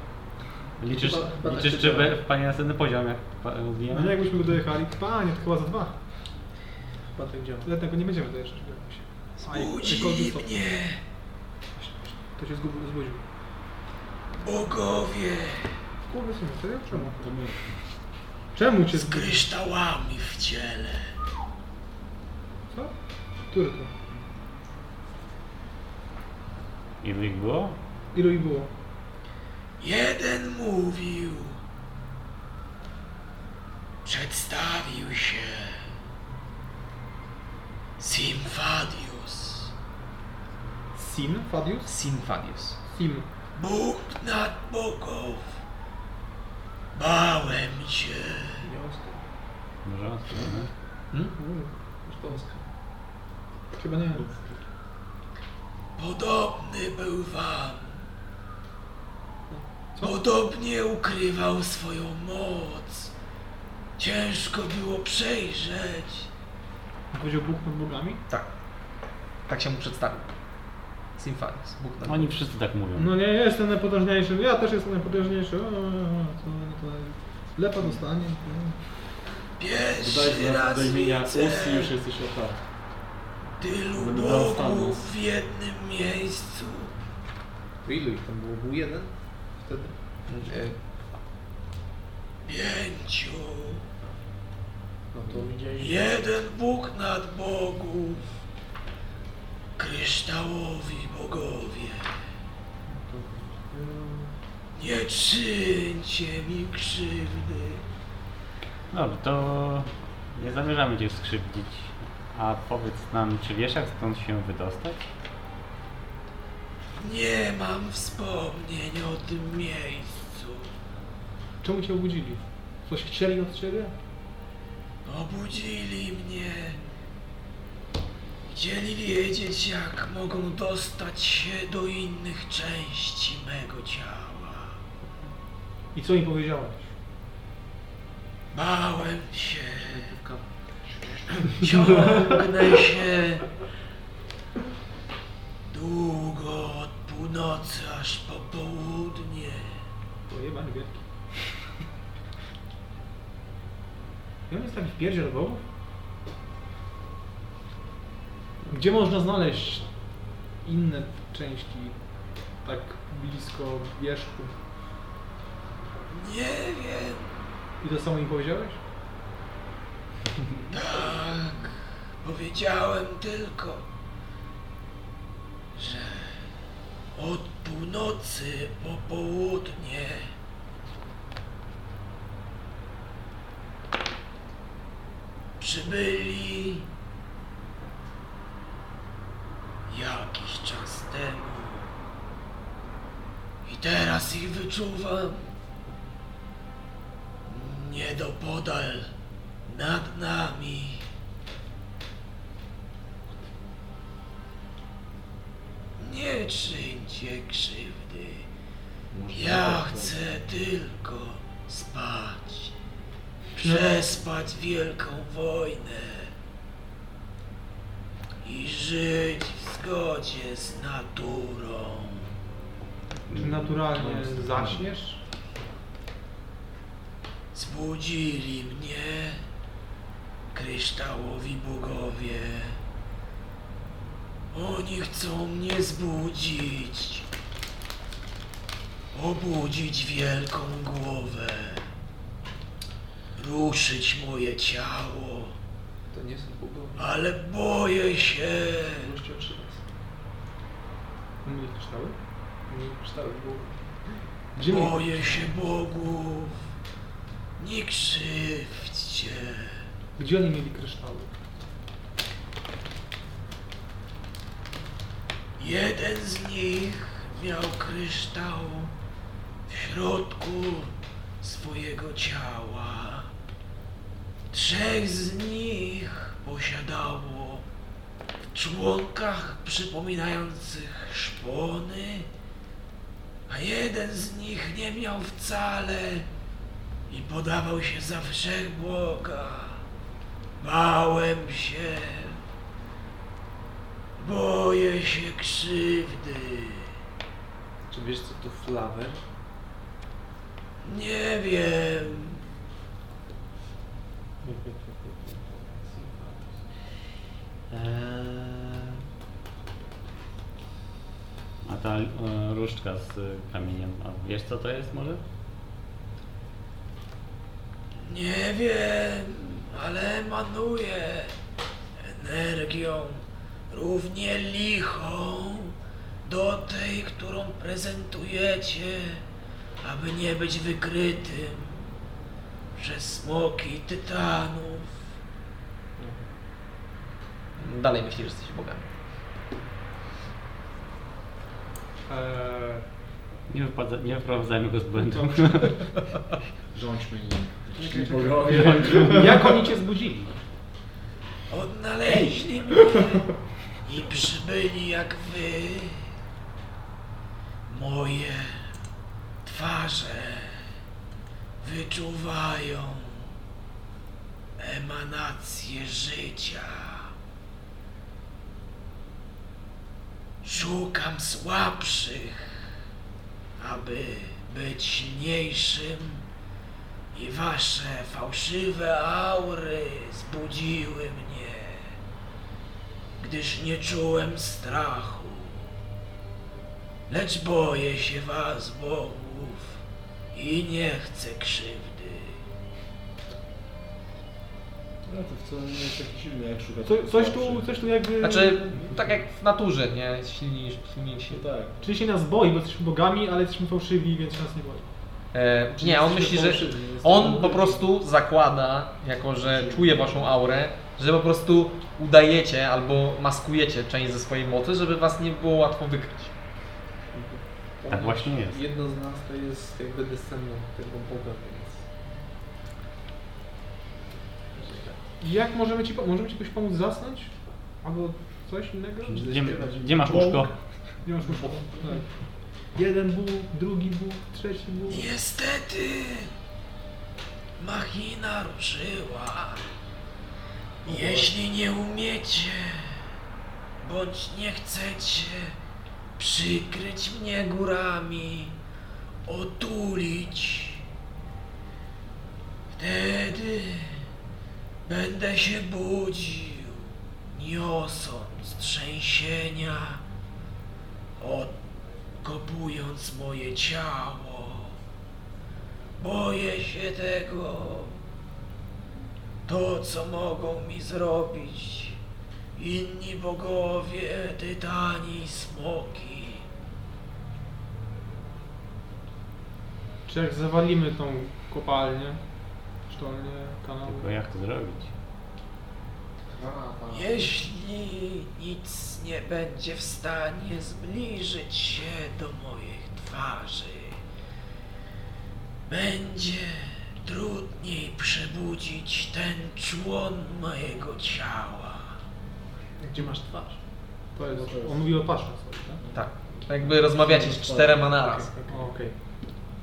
C: Liczysz,
E: Chyba- chyba tak
C: liczysz
E: się
C: czy
E: działa.
C: we- wpadnie na następny poziom, jak pa-
G: No nie,
C: mówiłem?
G: jakbyśmy go dojechali, panie, to chyba za dwa.
E: Chyba tak działa.
G: Ale tego nie będziemy dojeżdżać.
J: Budzi mnie.
G: To się zgubił, zbudził.
J: Bogowie
G: Kurde, sumie, to ja czemu? Czemu cię
J: z kryształami w ciele.
G: Co? Który to?
C: Ilu ich było?
G: Ilu i było?
J: Jeden mówił. Przedstawił się. Simfadius.
F: Sin, Fadius?
A: Simfadius.
F: Sim.
J: Bóg nad bogów. Bałem się.
C: Może on no. strony.
G: Chyba nie.
J: Podobny był wam. Podobnie ukrywał swoją moc. Ciężko było przejrzeć.
G: Powiedział Bóg nad bogami?
A: Tak się mu przedstawił. Simfadius. Bóg na
C: Oni wszyscy tak mówią.
G: No nie, ja jestem najpotężniejszy. Ja też jestem najpotężniejszy. O, co, no to lepa dostanie.
J: Pierwszy
B: Dodaj
J: raz
B: do imienia Us i
J: widzę
B: już jesteś otar.
J: tylu
B: Będę brał Thanos.
J: bogów w jednym miejscu.
D: To ilu ich tam było? Był jeden? Wtedy?
J: Pięciu.
D: No to
J: Jeden Bóg nad bogów. Kryształowi bogowie. Nie czyńcie mi krzywdy.
C: Dobrze, to nie zamierzamy cię skrzywdzić. A powiedz nam, czy wiesz jak stąd się wydostać?
J: Nie mam wspomnień o tym miejscu.
G: Czemu cię obudzili? Coś chcieli od ciebie?
J: Obudzili mnie. Chcieli wiedzieć, jak mogą dostać się do innych części mego ciała.
G: I co im powiedziałeś?
J: Bałem się. Ciągnę się. Długo od północy aż po południe.
G: Pojebany wielki. I on jest taki wpierdziel bogów? Gdzie można znaleźć inne części tak blisko wierzchu?
J: Nie wiem.
G: I to samo im powiedziałeś?
J: Tak. Powiedziałem tylko, że od północy po południe przybyli jakiś czas temu. I teraz ich wyczuwam niedopodal nad nami. Nie czyńcie krzywdy. Ja chcę tylko spać. Przespać wielką wojnę. I żyć w zgodzie z naturą.
G: Czy
D: No,
G: naturalnie zaśniesz?
J: Zbudzili mnie kryształowi bogowie. Oni chcą mnie zbudzić. Obudzić wielką głowę. Ruszyć moje ciało,
D: To nie są bogowie.
J: ale boję się.
D: Gościu trzy razy.
G: Mieli kryształy?
D: Nie kształt bogów.
G: Gdzie mieli?
J: Boję się bogów. Nie krzywdźcie.
G: Gdzie oni mieli kryształy?
J: Jeden z nich miał kryształ w środku swojego ciała. Trzech z nich posiadało w członkach przypominających szpony, a jeden z nich nie miał wcale i podawał się za wszechbłoga. Bałem się. Boję się krzywdy.
D: Czy wiesz co to flawer?
J: Nie wiem.
C: A ta e, różdżka z e, kamieniem, a wiesz co to jest może?
J: Nie wiem, ale emanuje energią równie lichą do tej, którą prezentujecie, aby nie być wykrytym przez smoki tytanów.
A: Y, Dalej myślisz, że jesteś bogami.
F: Eee,
C: Nie, wypadza, nie wprowadzajmy go z błędu.
E: Rządźmy nim. Czyli
F: jak oni cię zbudzili?
J: Odnaleźli mnie i przybyli jak wy. Moje twarze wyczuwają emanację życia. Szukam słabszych, aby być silniejszym i wasze fałszywe aury zbudziły mnie, gdyż nie czułem strachu. Lecz boję się was, bogów, i nie chcę krzywdy.
E: No to wcale nie jest taki silny jak szuka.
B: Co, coś, tu, coś tu jakby...
A: Znaczy, tak jak w naturze, nie? Silniejsi. silniejsi.
E: No tak.
B: Czyli się nas boi, bo jesteśmy bogami, ale jesteśmy fałszywi, więc się nas nie boi.
A: E, nie, on myśli, że on po prostu zakłada, jako że czuje waszą aurę, że po prostu udajecie albo maskujecie część ze swojej mocy, żeby was nie było łatwo wykryć.
C: Tak właśnie jest.
D: Jedno z nas to jest jakby descendant tego Boga, więc...
B: Jak możemy ci, po- możemy ci jakoś pomóc zasnąć? Albo coś innego?
C: Gdzie, gdzie masz łóżko?
B: Nie masz uszu. Tak. Jeden Bóg, drugi Bóg, trzeci Bóg.
J: Niestety, machina ruszyła. Jeśli nie umiecie, bądź nie chcecie przykryć mnie górami, otulić, wtedy będę się budził, niosąc trzęsienia, odkopując moje ciało. Boję się tego. To, co mogą mi zrobić inni bogowie, tytani, smoki.
F: Czy jak zawalimy tą kopalnię, sztolnię, kanał?
C: Tylko jak to zrobić?
J: Jeśli nic nie będzie w stanie zbliżyć się do moich twarzy, będzie trudniej przebudzić ten człon mojego ciała.
D: Gdzie masz twarz?
F: To jest, on mówi o paszczy sobie, tak?
A: Tak. Jakby rozmawiacie z czterema na raz.
F: O, Okej.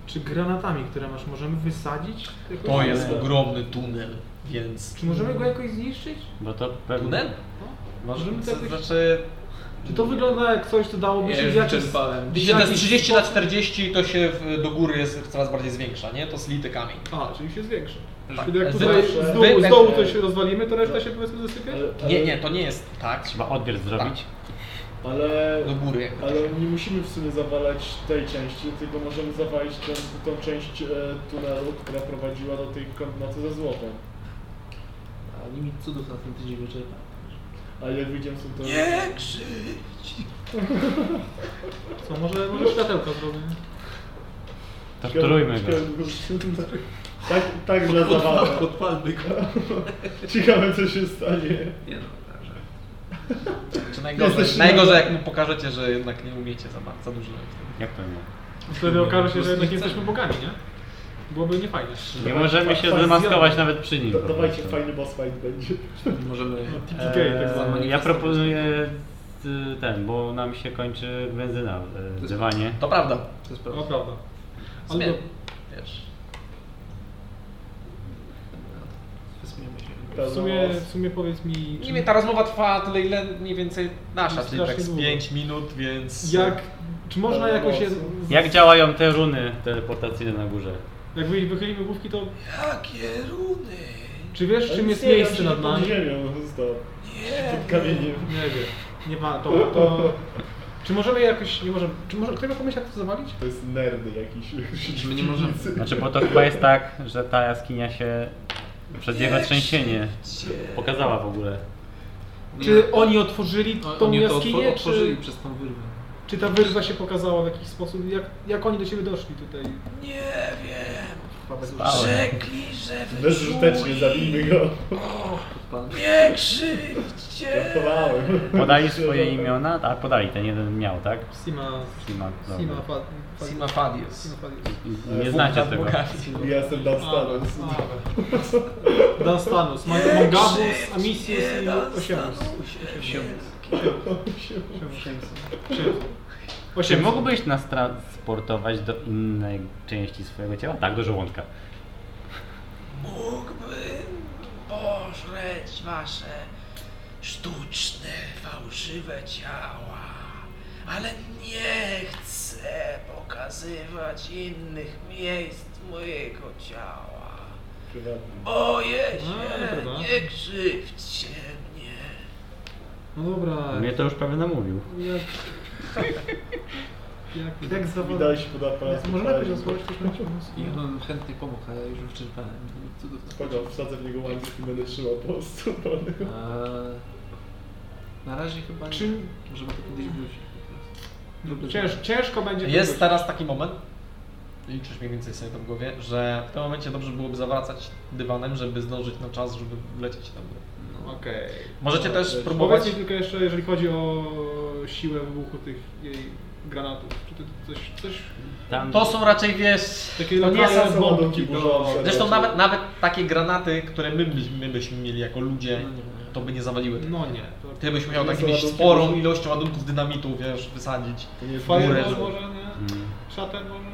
F: Czy granatami, które masz, możemy wysadzić? jakoś?
A: To jest ogromny tunel, więc...
F: Czy możemy go jakoś zniszczyć?
C: Bo to
A: Tunel?
C: pewnie...
F: Możemy to
A: To
F: jakoś...
A: znaczy...
F: Czy to wygląda jak coś, co dałoby się w jakiś...
A: Widzicie, to jest 30 na 40, to się w, do góry jest coraz bardziej zwiększa, nie? To slity kamień.
F: A, czyli się zwiększa.
A: Tak.
F: Czyli jak
A: Wy-
F: tutaj
A: wy-
F: z dołu,
A: wy-
F: z dołu to się rozwalimy, to reszta się powiedzmy zasypie?
A: Nie, nie, to nie jest tak.
C: Trzeba odbiór zrobić.
B: Ale...
A: Do góry jakby.
B: Ale nie musimy w sumie zawalać tej części, tylko możemy zawalić tę, tą część e, tunelu, która prowadziła do tej koordynaty ze złotem.
D: A limit cudów na ten tydzień Znaczy, wyczerpał.
B: A jak wyjdziemy stąd to...
J: Nie krzyk!
F: Co, może, może światełka zrobimy?
C: Torturujmy go.
B: Tak, tak dla zabawy.
D: Podpalmy go.
B: Ciekawe co się stanie.
D: Nie no, także.
A: Czy najgorzej,
B: Jesteś-
A: najgorzej jak mu pokażecie, że jednak nie umiecie za, bardzo- za dużo.
C: Jak to nie?
F: Wtedy okaże się, że jednak nie jesteśmy bogami, nie? Byłoby niefajnie.
C: Nie możemy się zamaskować nawet przy nim.
B: Da,
C: po
B: dawajcie,
C: prostu.
B: fajny boss fight będzie.
D: Możemy...
B: Okej, tak samo.
C: E, Ja proponuję y, ten, bo nam się kończy benzyna w y, dywanie.
A: To prawda.
D: To jest
F: No
D: prawda.
F: prawda. Ale
A: Zmian,
F: do-
A: wiesz.
D: Wysmiemy się.
F: W sumie, w sumie powiedz mi,
A: Nie
F: czy
A: wiem, ta rozmowa trwa tyle, ile mniej więcej nasza, czyli tak
F: Strasznie
A: z
F: długo.
A: 5 minut, więc...
F: jak, czy można
B: Pełno
F: jakoś je...
B: mocy.
C: Jak działają te runy teleportacyjne na górze?
F: Jak wy- wychylimy główki, to
J: Jakie runy!
F: czy wiesz, czym jest miejsce nad nami?
B: ziemią, stop.
J: Nie!
B: Pod kamieniem.
F: Nie wiem. Nie ma, to, to... Czy możemy jakoś, nie możemy, czy może, kto ma pomysł jak to zawalić?
B: To jest nerdy jakiś.
D: My nie możemy.
C: Znaczy, bo to chyba jest tak, że ta jaskinia się przez jego trzęsienie pokazała w ogóle.
G: Czy oni otworzyli
D: O-
G: tą
D: Oni to
G: jaskinię,
D: otwor- otworzyli
G: czy,
D: przez tą wyrwę.
G: czy ta wyrwa się pokazała w jakiś sposób? Jak, jak oni do ciebie doszli tutaj?
J: Nie wiem.
A: Że-
J: Rzekli, że
B: Bezużytecznie, zabijmy go.
J: Nie krzywdźcie.
B: Żartowałem.
C: Podali swoje imiona, a podali, ten jeden miał, tak?
F: Sima,
C: Sima,
F: Sima,
C: dobra.
F: Fad...
A: Sima Fadius.
C: Nie znacie tego.
B: Ja jestem Dan Staros.
F: Dan Stanus, Mongabus, Amisius i Osiemnus.
C: Czy
F: Osiem.
C: mógłbyś nas transportować do innej części swojego ciała? Tak, do żołądka.
J: Mógłbym pożreć wasze sztuczne, fałszywe ciała, ale nie chcę pokazywać innych miejsc mojego ciała. Boję się,
F: dobra.
J: nie krzywdźcie mnie.
F: No dobra,
C: Tak. Mnie to już prawie namówił.
F: jak... jak...
G: Jak zawodowali?
B: Widać się pod aparat.
G: Może lepiej rozmawiać coś na pomysł.
D: I on nam chętnie pomógł, ale już wyczerpałem. Cudowne.
B: Spoko, wsadzę w niego łańcuch i będę trzymał po prostu.
D: Eee,
A: E,
D: na razie chyba nie.
G: Czy
D: Możemy to kiedyś wrócić po prostu.
F: No
D: Lub-
G: cięż, ciężko będzie...
A: Jest
G: kogoś-
A: teraz taki moment, liczysz mniej więcej sobie to w głowie, że w tym momencie dobrze byłoby zawracać dywanem, żeby zdążyć na czas, żeby wlecieć na górę.
F: Okej.
A: Możecie też próbować...
F: Powiedz mi tylko jeszcze, jeżeli chodzi o siłę wybuchu tych jej granatów. Czy ty coś, coś
C: Tam...
A: To są raczej, wiesz...
F: takie
B: To nie
F: lokalne
B: są
F: bombki
B: ładunki
F: do-
B: burzące.
A: Zresztą nawet, nawet takie granaty, które my, byśmy- my byśmy mieli jako ludzie, to by nie zawaliły.
F: No nie. To...
A: Ty byś musiał
B: To No nie
A: taką
B: są
A: jakąś
B: ładunki
A: sporą
B: burzące.
A: ilością ładunków dynamitu, wiesz, wysadzić.
B: To nie jest
A: Górę.
F: Fireball może nie?
C: Mm.
F: Shutter może nie?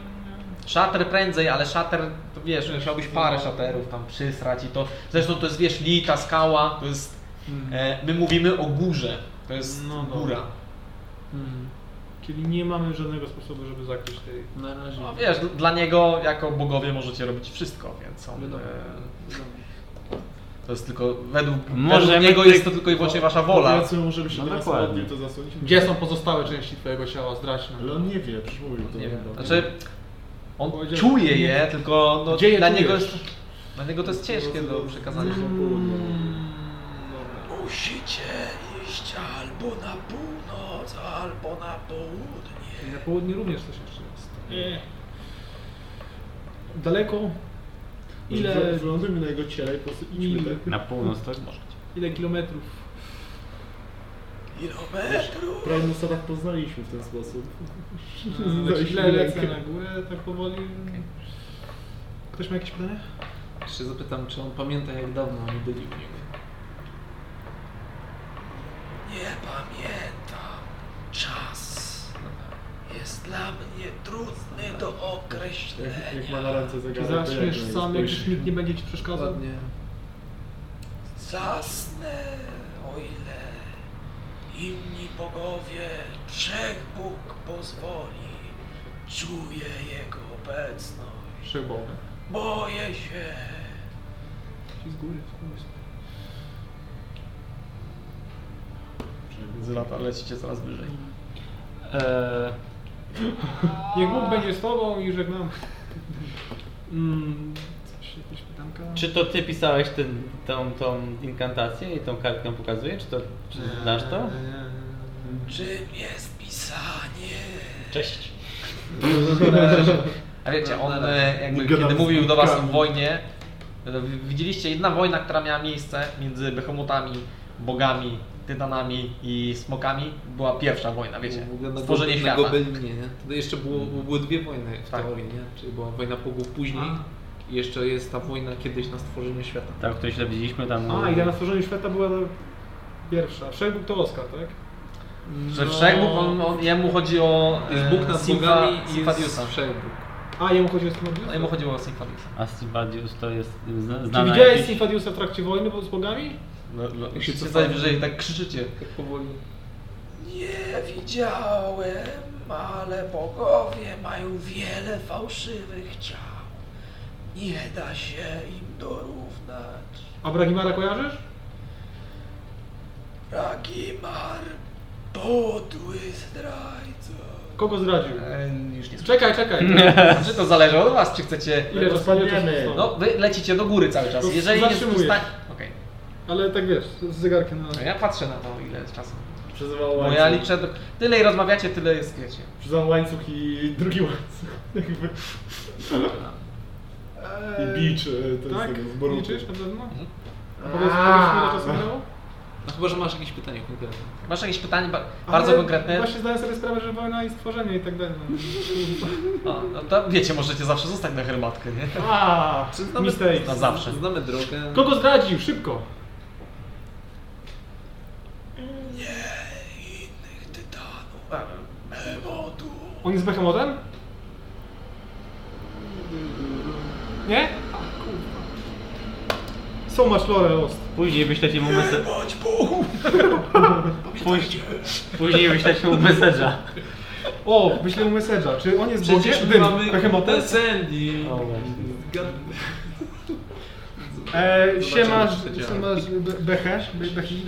A: Szater prędzej, ale szater, to wiesz,
F: Wiesz,
A: musiałbyś
F: no.
A: parę szaterów tam przysrać i to... Zresztą to jest, wiesz, lita skała, to jest...
G: Hmm.
A: E, my mówimy o górze, to jest
F: No, no.
A: góra.
F: Czyli nie mamy żadnego sposobu, żeby zakryć tej...
D: Na razie.
A: No wiesz, d- dla niego jako bogowie możecie robić wszystko, więc on...
D: Wiadomo.
A: E, to jest tylko... Według, według
C: Możemy
A: niego
C: ty-
A: jest to tylko i wyłącznie wasza wola.
B: Powiedzmy mu, żeby się
C: No
B: teraz
C: dokładnie.
B: ładnie to zasłonić.
F: Gdzie są pozostałe części twojego ciała? Zdradź nam.
B: Ale on nie wie, przecież mówił to.
A: Nie wiem,
B: Dobra.
A: znaczy... On
F: no, Powiedział-
A: czuje je, tylko no,
F: Gdzie je
A: dla, niego
F: czujesz? No.
A: jest, dla niego to jest ciężkie do przekazania.
J: Musicie iść albo na północ, albo na południe.
F: I na południe również coś jeszcze jest. Daleko?
B: Ile...
F: Ile,
B: Wylądujmy na jego ciele i po prostu idźmy,
F: Ile-
B: tak?
C: Na północ to może.
F: ile kilometrów?
J: Kilometrów.
B: Prawie Mossada tak poznaliśmy w ten sposób.
F: Eee, Ile lecę na górę tak powoli? Ktoś ma jakieś pytanie?
D: Jeszcze zapytam, czy on pamięta jak dawno oni byli u niego.
J: Nie pamiętam. Czas jest dla mnie trudny do
B: Jak, jak
J: określenia.
B: ma na ręce
F: Czy
B: zegarek, to jak
F: zaśniesz
B: na
F: sam,
B: nie
F: jak
B: spojrzy?
F: już nikt nie będzie ci przeszkadzał?
D: Ładnie.
J: Zasnę, o ile inni bogowie, Wszechbóg pozwoli. Czuję jego obecność.
F: Szybą.
J: Boję się.
F: Ci z góry, z góry.
A: Z lata lecicie coraz wyżej.
C: Eee,
F: Niech Bóg będzie z tobą i żegnam. Mm, coś, jakieś pytanka?
C: czy to ty pisałeś ten, tą, tą inkantację i tą kartkę pokazuje? Czy to czy znasz to?
J: Czym jest pisanie?
A: Cześć. E, A wiecie, on e, jakby kiedy
B: Gadam z
A: mówił do was o
B: kubkami.
A: wojnie, e, w- widzieliście jedna wojna, która miała miejsce między behemotami, bogami, tytanami i smokami, była pierwsza wojna, wiecie,
D: W ogóle na
A: stworzenie
D: Gobe-
A: świata. Mhm.
D: Na Gobelinie, nie? To jeszcze było, były dwie wojny w
A: Tak.
D: teorii, nie? Czyli była wojna pogół później i jeszcze jest ta wojna kiedyś na stworzenie świata.
C: Tak, to źle widzieliśmy tam.
F: A, idea na stworzeniu świata była ta pierwsza. Wszechbóg to Oskar, tak?
A: Że wszechbóg, on, on, jemu chodzi o e,
D: To jest Bóg nad bogami i jest
A: Symfadiusa.
D: wszechbóg.
F: A, jemu chodzi o Symfadiusa?
A: No, jemu chodziło o Symfadiusa.
C: A Sybadius to jest zna-
F: Czy
C: znana
F: widziałeś
C: jakieś-
F: Symfadiusa w trakcie wojny z bogami?
A: No, no,
D: się
A: musicie
D: cofamy.
A: zdać wyżej, tak krzyczycie.
D: Tak powoli.
J: Nie widziałem, ale bogowie mają wiele fałszywych ciał. Nie da się im dorównać.
F: A Bragimara kojarzysz?
J: Ragimar, podły zdrajco.
F: Kogo zdradził?
A: E, już nie
F: Czekaj, czekaj.
A: Czy to zależy od was, czy chcecie...
F: Ile rozpadnie czasu
B: Spadniemy.
F: No.
A: No, wy lecicie do góry cały czas.
F: To
A: Jeżeli nie
F: zatrzymujesz.
A: usta... Okej.
F: Ale tak wiesz, z zegarkiem na...
A: No ja patrzę na to ile jest czasu.
B: Przez dwa
A: Bo ja
B: łańcuch.
A: liczę, do... tyle i rozmawiacie, tyle jest wiecie.
B: Przez dwa łańcuch i drugi łańcuch. Jakby. I bicz, e, to
F: Eee, Tak?
B: jest tego, z Boruto.
F: Liczysz na pewno?
B: A
F: Powiedz, powiedz mi, ile czasu minęło?
D: No chyba, że masz jakieś pytanie konkretne.
A: Masz jakieś pytanie ba- bardzo
F: Ale
A: konkretne?
F: Właśnie zdaję sobie sprawę, że wojna i stworzenie i tak dalej.
A: O, no to wiecie, możecie zawsze zostać na herbatkę, nie?
B: A,
A: Na
B: mistake.
A: zawsze.
D: Znaczy, Znamy drogę.
F: Kogo zdradził? Szybko!
B: no, tak.
F: On jest behemotem? Nie?
B: So much lore lost.
C: Później wyślecie mu message. Później, później wyślecie mu message'a.
B: O, wyślę mu message'a. Czy on jest
D: Przecież
B: Bogiem?
D: my
B: Dym,
D: mamy
B: behemotem?
D: Ten Sandy.
C: O, właśnie.
B: E, siemasz,
D: Zobaczymy, co
B: siemasz be- Bechę, Be- Bechi,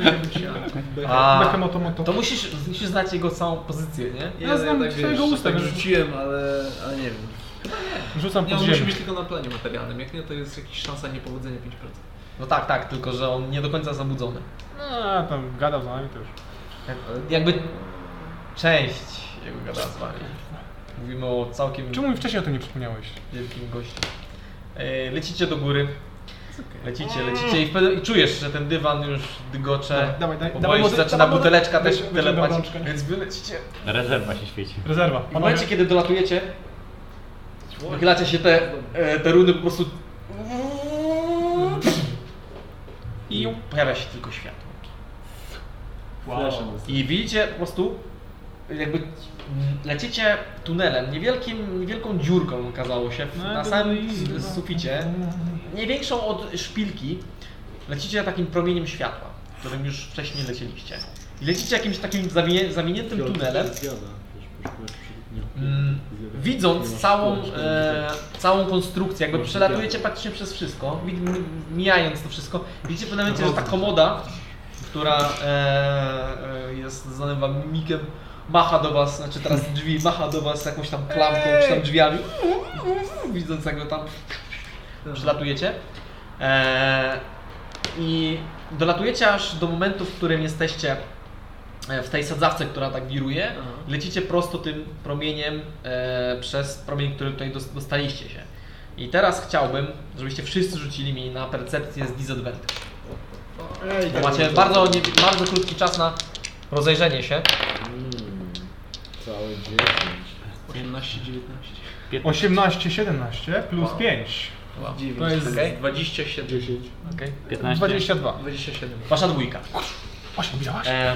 A: A,
B: Bechemotomoto.
A: to musisz, musisz znać jego całą pozycję, nie?
E: Nie,
F: Ja znam
E: tak,
F: twojego
E: wiesz,
F: usta,
E: Tak
F: wiesz.
E: rzuciłem, ale, ale nie wiem.
G: No,
B: Rzucam
D: Nie,
B: pod
D: on musi
B: ziemię.
D: być tylko na planie materialnym. Jak nie, to jest jakaś szansa niepowodzenia 5%.
A: No tak, tak, tylko że on nie do końca zabudzony.
B: A, No, tam gadał z nami to już. Tak,
A: Jakby część jego gada z wami. Mówimy o całkiem
F: Czemu mi wcześniej o tym nie przypomniałeś?
A: wielkim gościu. E, Lecicie do góry. Lecicie, lecicie i, wtedy, i czujesz, że ten dywan już dygocze.
B: Dawaj, dawaj,
A: Bo
B: dawaj
A: już
B: wodę,
A: zaczyna
B: dawaj wodę.
A: buteleczka też
B: Wyciągam
A: telepać.
B: rączkę.
A: Więc wy lecicie.
C: Rezerwa się świeci.
B: Rezerwa.
A: W momencie, kiedy dolatujecie, wychylacie się te, e, te runy po prostu. I pojawia się tylko światło. I widzicie po prostu, jakby mm, lecicie tunelem, niewielkim, niewielką dziurką okazało się w, na samym s- suficie, nie większą od szpilki, lecicie takim promieniem światła, którym już wcześniej lecieliście. I lecicie jakimś takim zawinie, zawiniętym tunelem, mm, widząc całą, e, całą konstrukcję, jakby przelatujecie praktycznie przez wszystko, wi- mi- mijając to wszystko, widzicie w pewnym momencie, że ta komoda, która e, e, jest znanym wam mimikiem, macha do was, znaczy teraz drzwi, macha do was jakąś tam klamką, czy tam drzwiami, widząc jak go tam przelatujecie. E, I dolatujecie aż do momentu, w którym jesteście e, w tej sadzawce, która tak wiruje, lecicie prosto tym promieniem e, przez promień, który tutaj dos- dostaliście się. I teraz chciałbym, żebyście wszyscy rzucili mi na percepcję z disadvantage. Bo macie bardzo, nie, bardzo krótki czas na rozejrzenie się.
E: Całe 10.
D: 18, 19.
B: 18, 17 plus 5.
A: To jest okay?
D: 27.
C: 15.
B: 22.
D: 27.
A: Wasza dwójka. E,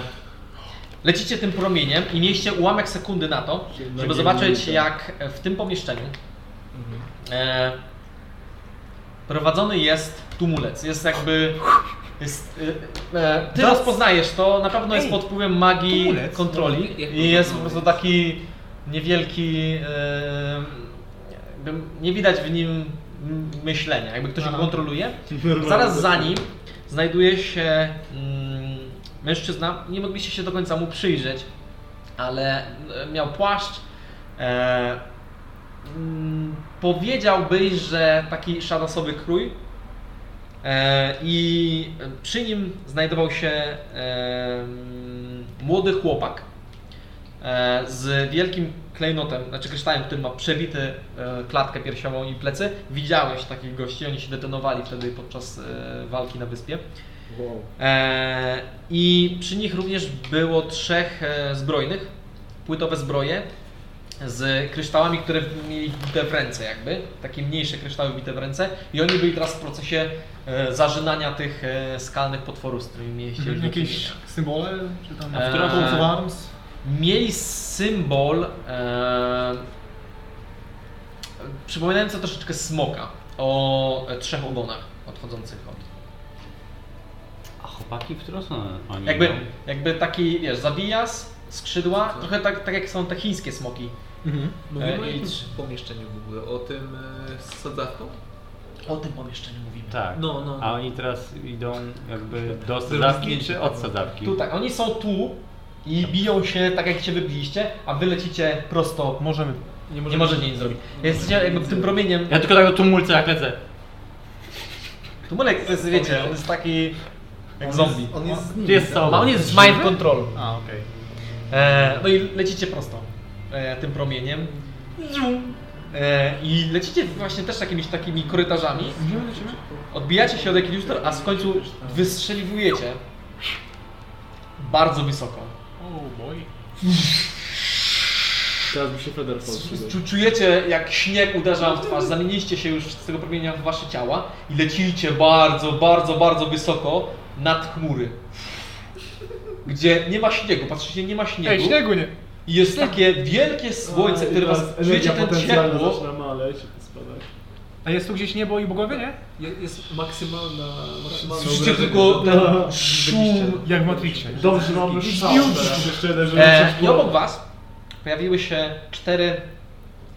A: lecicie tym promieniem i mieliście ułamek sekundy na to, żeby zobaczyć
D: tak.
A: jak w tym pomieszczeniu
D: Mhm.
A: e, prowadzony jest tumulec. Jest jakby... Jest, e, e, ty rozpoznajesz to, na pewno jest pod wpływem magii
D: tumulec?
A: kontroli
D: No, jak
A: i jest po
D: tumulec?
A: prostu taki niewielki... E, jakby nie widać w nim m- myślenia, jakby ktoś go kontroluje. Zaraz za nim znajduje się mm, mężczyzna, nie mogliście się do końca mu przyjrzeć, ale e, miał płaszcz. E, mm, powiedziałbyś, że taki szadasowy krój. E, I przy nim znajdował się e, mm, młody chłopak e, z wielkim klejnotem, znaczy kryształem, który ma przebity e, klatkę piersiową i plecy. Widziałeś takich gości, oni się detonowali wtedy podczas e, walki na wyspie. E, I przy nich również było trzech e, zbrojnych, płytowe zbroje z kryształami, które mieli wbite w ręce jakby, takie mniejsze kryształy wbite w ręce i oni byli teraz w procesie e, zarzynania tych e, skalnych potworów, z którymi mieliście
G: Mhm.
A: już do
F: Jakieś
A: czynienia.
F: symbole? Czy tam...
A: Eee.
F: Eee. Arms?
A: Mieli symbol e, przypominający troszeczkę smoka o e, trzech ogonach odchodzących od
C: A chłopaki w którą stronę oni
A: Jakby,
C: idą?
A: jakby taki, wiesz, zabijas, skrzydła, trochę tak, tak jak są te chińskie smoki.
D: Mówimy
A: E,
D: o
A: i-
D: jakim pomieszczeniu w ogóle? O tym e, z sadzawką?
A: O tym pomieszczeniu mówimy.
C: Tak.
D: No, no.
C: A oni teraz idą jakby do
D: Zrobię
C: sadzawki
D: zdjęcie
C: czy
D: tego.
C: od sadzawki?
A: Tu tak, oni są tu i biją się tak jak się wybiliście, a wy lecicie prosto.
B: Możemy.
A: Nie możecie nic zrobić. Jesteście jakby tym promieniem.
C: Ja tylko tak o tumulce jak lecę.
A: Tumulek to jest, wiecie, on jest taki Jak zombie.
K: On jest z nim.
C: Gdzie jest
A: A
C: sowa?
A: on jest z mind control.
C: A, okej.
A: E, no i lecicie prosto e, tym promieniem. E, I lecicie właśnie też jakimiś takimi korytarzami. Odbijacie się od jakiegoś, tor, a w końcu wystrzeliwujecie. Bardzo wysoko.
G: Oh boy.
B: Teraz by się Feder podszedł.
A: Czu- Czujecie jak śnieg uderza w twarz, zamieniliście się już z tego promienia w wasze ciała i lecicie bardzo, bardzo, bardzo wysoko nad chmury. Gdzie nie ma śniegu, patrzycie, nie ma śniegu.
G: Ej, śniegu nie.
A: I jest takie wielkie słońce,
B: A, i
A: które was
B: teraz
A: czujecie
B: energia
A: ten
B: potencjalna
A: ciepło.
B: zaczyna maleć, spadać.
G: A jest tu gdzieś niebo i bogowie, nie?
D: Je- Jest maksymalna... maksymalna
A: Słyszycie tylko ten
B: No.
A: szum.
G: Jak w Matrixie.
B: Dobrze, mamy szans teraz. Jeszcze jeden, żeby
A: E,
B: coś
A: I
B: było.
A: obok was pojawiły się cztery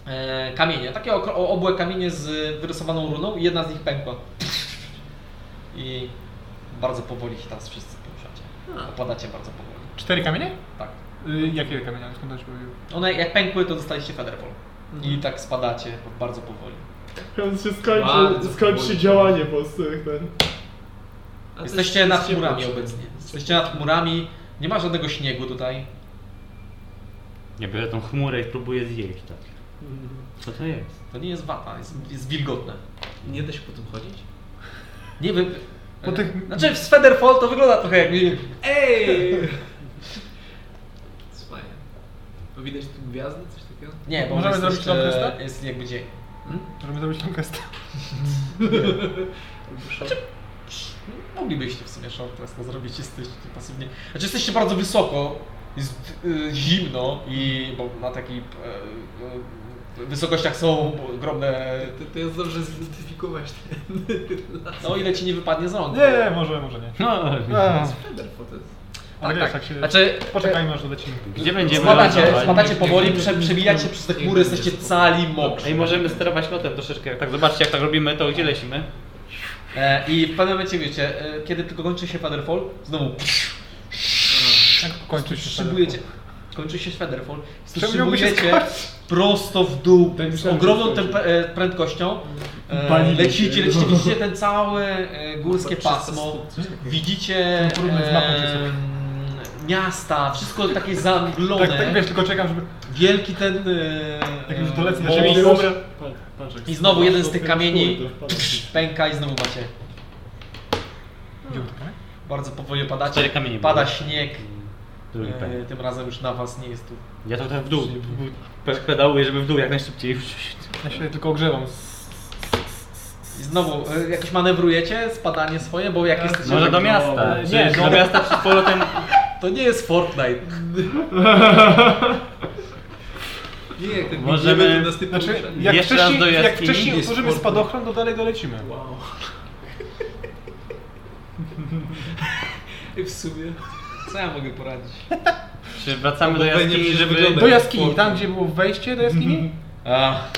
A: e, kamienie. Takie okro- o- obłe kamienie z wyrysowaną runą i jedna z nich pękła. I bardzo powoli się teraz wszyscy
D: Hmm.
A: poruszacie. Opadacie bardzo powoli.
G: Cztery kamienie?
A: Tak.
G: Y, jakie kamienie? Skąd one się pojawiły?
A: One jak pękły, to dostaliście federpol.
D: Hmm.
A: I tak spadacie bardzo powoli.
B: Teraz się skończy,
D: Bardzo
B: skończy się
D: powoli.
B: działanie po prostu. jak ten.
D: A to
A: Jesteście
D: jest-
A: nad
D: jest ciepło
A: chmurami
D: przed-
A: obecnie. Jesteście nad chmurami. Nie ma żadnego śniegu tutaj.
C: Ja biorę tą chmurę i próbuję zjeść tak. Co to jest?
A: To nie jest wata, jest, jest wilgotne.
D: Nie da się po tym chodzić?
A: Nie wy...
G: Po tych-
A: Znaczy w Svederfall to wygląda trochę jak...
D: Ej! Fajnie. To Widać tu gwiazdy, coś takiego?
A: Nie, bo
G: Możemy
A: jest
G: zrobić
A: jeszcze-
G: longtesta?
A: Jest jakby dzień.
G: Możemy zrobić tam gesta.
A: Moglibyście w sumie short rest to zrobić, jesteście pasywnie. Znaczy jesteście bardzo wysoko, jest y, zimno i bo na takich y, y, wysokościach są ogromne...
D: To, to jest dobrze zidentyfikować ten las.
A: No ile ci nie wypadnie z rąk. Tak,
G: Nie, może, może nie.
C: No,
G: A,
D: Federfotes.
G: ale wiesz, tak się...
A: Znaczy,
G: Poczekajmy aż dolecimy.
C: gdzie będziemy
A: spadacie,
C: lądować?
A: spadacie powoli, prze, przebijacie przez te chmury, jesteście cali mokrzy.
C: Ej, możemy sterować lotem troszeczkę. Jak tak zobaczcie, jak tak robimy, to gdzie lecimy?
A: E, I w pewnym momencie, wiecie, e, kiedy tylko kończy się Featherfall, znowu
G: Jak kończy się
A: Szybujecie. Kończy się Federfall.
G: Czemu miałby się
A: Szybujecie prosto w dół
B: Tak
A: z
B: myślałem,
A: ogromną
B: że
A: tempe- e, prędkością. E,
B: Balili
A: Lecicie,
B: się.
A: lecicie, widzicie ten całe e, górskie
D: Chyba 300
A: pasmo.
D: stóp, coś takiego.
A: Widzicie
G: To porównać z mapą,
A: e,
G: czy są.
A: miasta, wszystko takie
G: Tak, tak,
A: zamglone.
G: wiesz, tylko czekam, żeby...
A: Wielki ten... e,
G: Jak już
A: e,
G: dolecę do
A: most.
G: ziemi, to umrę.
B: Patrz, patrz, jak
A: I znowu jeden z
B: spadł,
A: tych
B: to
A: kamieni
B: kurde, wpadł.
A: pęka i znowu macie.
G: Gdzie był ten kamień?
A: Bardzo powoli
C: Cztery
A: opadacie.
C: kamienie
A: Pada
C: były.
A: śnieg.
C: Drugi
A: E,
C: pęk.
A: tym razem już na was nie jest tu.
C: Ja to tak w dół. Pe- Pedałuję, żeby w dół jak najszybciej.
G: Ja się tylko ogrzewam.
A: I znowu, y, jakoś manewrujecie spadanie swoje, bo jak jesteście...
C: Może do miasta. Nie, do miasta przed polotem.
A: To nie jest Fortnite.
D: Nie, jak tak
C: Możemy-
D: nie będzie nas typu
G: Znaczy,
D: ruszać.
G: jak
C: Jeszcze raz do
G: wcześniej, jak
C: jaskini?
G: wcześniej
D: Jest
G: otworzymy
D: portal.
G: spadochron, to dalej dolecimy.
D: Wow. I w sumie...
A: Co ja mogę poradzić?
C: Czy wracamy do
D: Bo pewnie
C: jaskini,
D: przecież
C: żeby...
D: wygląda
G: Do
D: jak
G: jaskini,
D: portal.
G: tam gdzie było wejście do jaskini?
A: Ach,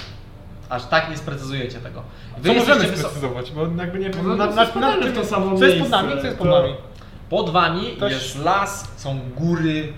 A: aż tak nie sprecyzujecie tego.
G: Co możemy
A: jesteście wyso-
G: sprecyzować, bo jakby nie...
B: No,
G: na-
B: to
G: na-
B: spadamy
G: na-
B: w to samo
G: Co jest pod
B: miejsce,
G: nami, co jest pod
B: to-
G: nami?
A: Pod wami
G: Ktoś-
A: jest las, są góry.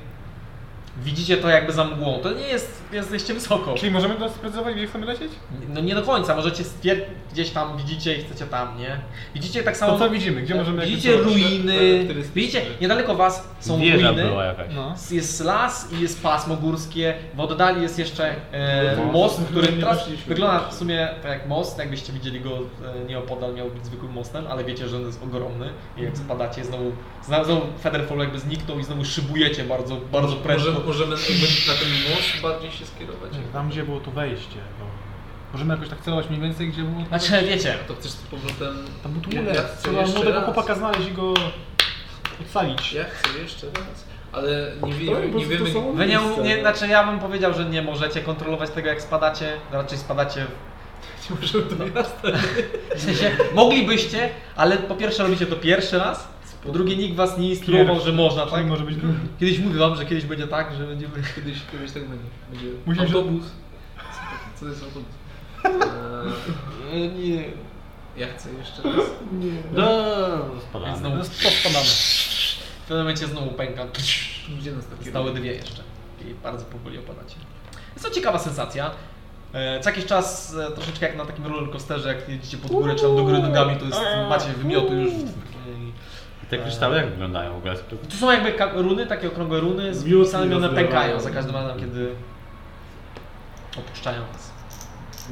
A: Widzicie to jakby za mgłą. To nie jest, jesteście wysoko.
G: Czyli możemy to sprecyzować, gdzie chcemy lecieć?
A: No nie do końca, możecie stwierdzić, gdzieś tam widzicie i chcecie tam, nie? Widzicie tak samo...
G: To co widzimy? Gdzie możemy... jakby
A: Widzicie
G: zobaczyć?
C: E,
A: ruiny, widzicie, niedaleko was są
C: Wieża
A: ruiny.
C: była jakaś.
G: No.
A: Jest las i jest pasmo górskie, w oddali jest jeszcze e,
B: No,
A: most,
B: no,
A: który
B: nie
A: teraz
B: weszliśmy.
A: wygląda w sumie tak jak most, jakbyście widzieli go e, nieopodal, miał być zwykłym mostem, ale wiecie, że on jest ogromny i jak spadacie znowu, znowu- znowu Federfall jakby zniknął i znowu szybujecie bardzo, bardzo prędko. Hmm.
D: Możemy, możemy jakby na ten most bardziej się skierować.
G: Czekaj, Tam gdzie było to wejście, bo... Możemy jakoś tak celować mniej więcej, gdzie było...
A: Znaczy wiecie,
D: To chcesz z powrotem...
G: Tam był
D: Ja-
G: tunel.
D: ja chcę
G: Trzeba
D: jeszcze
G: młodego
D: raz.
G: chłopaka znaleźć i go... ocalić.
D: Ja chcę jeszcze raz. Ale nie
B: To
D: wiemy,
B: po prostu
D: nie wiemy...
B: to samo
A: wy nie,
B: miejsce.
A: nie, znaczy ja bym powiedział, że nie możecie kontrolować tego jak spadacie, raczej spadacie w
D: Czy możemy do miasta?
A: W sensie, moglibyście, ale po pierwsze robicie to pierwszy raz, po drugie nikt was nie instruował, że można, tak?
G: Tak może być drugi.
A: Kiedyś mówię wam, że kiedyś będzie tak, że będziemy...
D: Kiedyś, kiedyś tak będzie. będzie
G: Musisz-
D: autobus. Co- Co to jest autobus? Eee,
G: No
A: Nie.
D: ja chcę jeszcze raz.
C: Do...
A: Więc
C: Spadamy.
A: znowu
G: No
A: W pewnym momencie znowu pęka.
D: Gdzie nas takie
A: Zostały dwie jeszcze. I bardzo powoli opadacie. Jest to ciekawa sensacja. E, Co jakiś czas, e, troszeczkę jak na takim rollercoasterze, jak jedziecie pod górę czy tam do góry nogami, to jest, macie wymiotu już. w-
C: Te kryształy jak wyglądają w ogóle? To-
A: To są jakby ka- runy, takie okrągłe runy, z
B: Miód
A: pisami
B: mi
A: one
B: rozlewają.
A: pękają za każdym razem, kiedy opuszczają nas.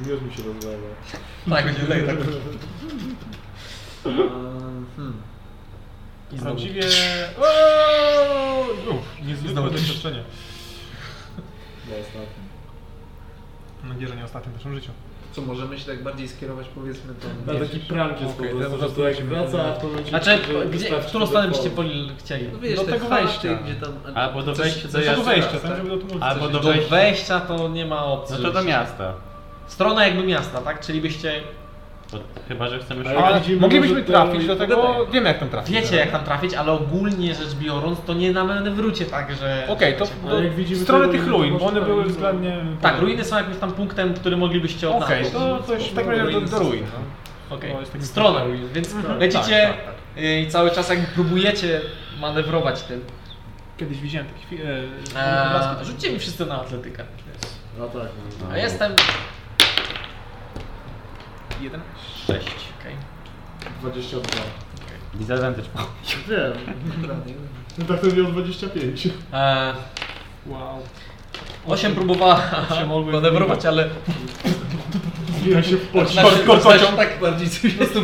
B: Miód mi się rozlewa.
A: Tak, będzie leje tak. hmm. I znowu.
F: Prawdziwie... Oooo! Uf, Niezwykłe
A: Znowu.
F: doświadczenie.
B: No ostatni.
F: Mam nadzieję, że nie ostatnim w naszym życiu.
E: Co, możemy się tak bardziej skierować, powiedzmy, tą...
B: Na taki prank jest
F: Okej,
B: po
F: teraz
B: prostu, że to jak wraca, to będzie...
A: Znaczy,
B: że
A: gdzie, w
B: wystarczy
A: którą stronę byście
B: dodatkowo.
A: poli- chcieli?
E: No wiesz,
A: do
E: te
A: tego
E: kwaty,
A: wejścia.
E: Gdzie tam...
C: Albo do wejścia do
F: Zresztą do
C: miasta.
F: wejścia, tak? Żeby do tumultu
C: Albo
F: coś-
C: do
A: Do
C: wejścia.
A: wejścia to nie ma opcji.
C: No to do
A: rzeczywiście.
C: miasta.
A: Strona jakby miasta, tak? Czyli byście
C: Bo, chyba, że chcemy
B: Ale
C: szukać.
F: Ale
B: Widzimy,
F: moglibyśmy
B: że to-
F: trafić do tego,
B: Dobra.
F: wiemy jak tam trafić.
A: wiecie jak tam trafić, ale ogólnie rzecz biorąc to nie nawrócie tak, że...
F: Okej, to
A: Wiecie,
B: Ale jak
F: do
B: widzimy,
F: strony
B: to
F: tych
B: ruiny to
F: ruin, bo
B: może
F: one
B: tam
F: były
B: nie są.
F: względnie...
A: Tak, ruiny są jakimś tam punktem, który moglibyście
F: Okej,
A: odnaleźć.
F: to coś w takim razie do, do ruin. no.
A: Okej,
F: To jest taki-
A: strona ruin, więc
F: Mhm.
A: lecicie
C: Tak, tak,
A: y, i cały czas jakby próbujecie manewrować tym.
F: Kiedyś widziałem taki film...
A: Eee, rzućcie mi wszyscy na atletykę.
B: No tak.
A: A jestem...
F: Jeden?
C: 6.
A: Okej.
B: 22.
C: Disadvantage.
B: Wiem. No tak to było 25.
A: Eee,
F: Wow.
A: osiem próbowała
F: Osiem mogły-
A: manewrować, ale
B: Zbija się
A: Znaczy,
B: w pocie.
A: nasz, nasz tak
D: Znaczy, Bardziej coś jest. E,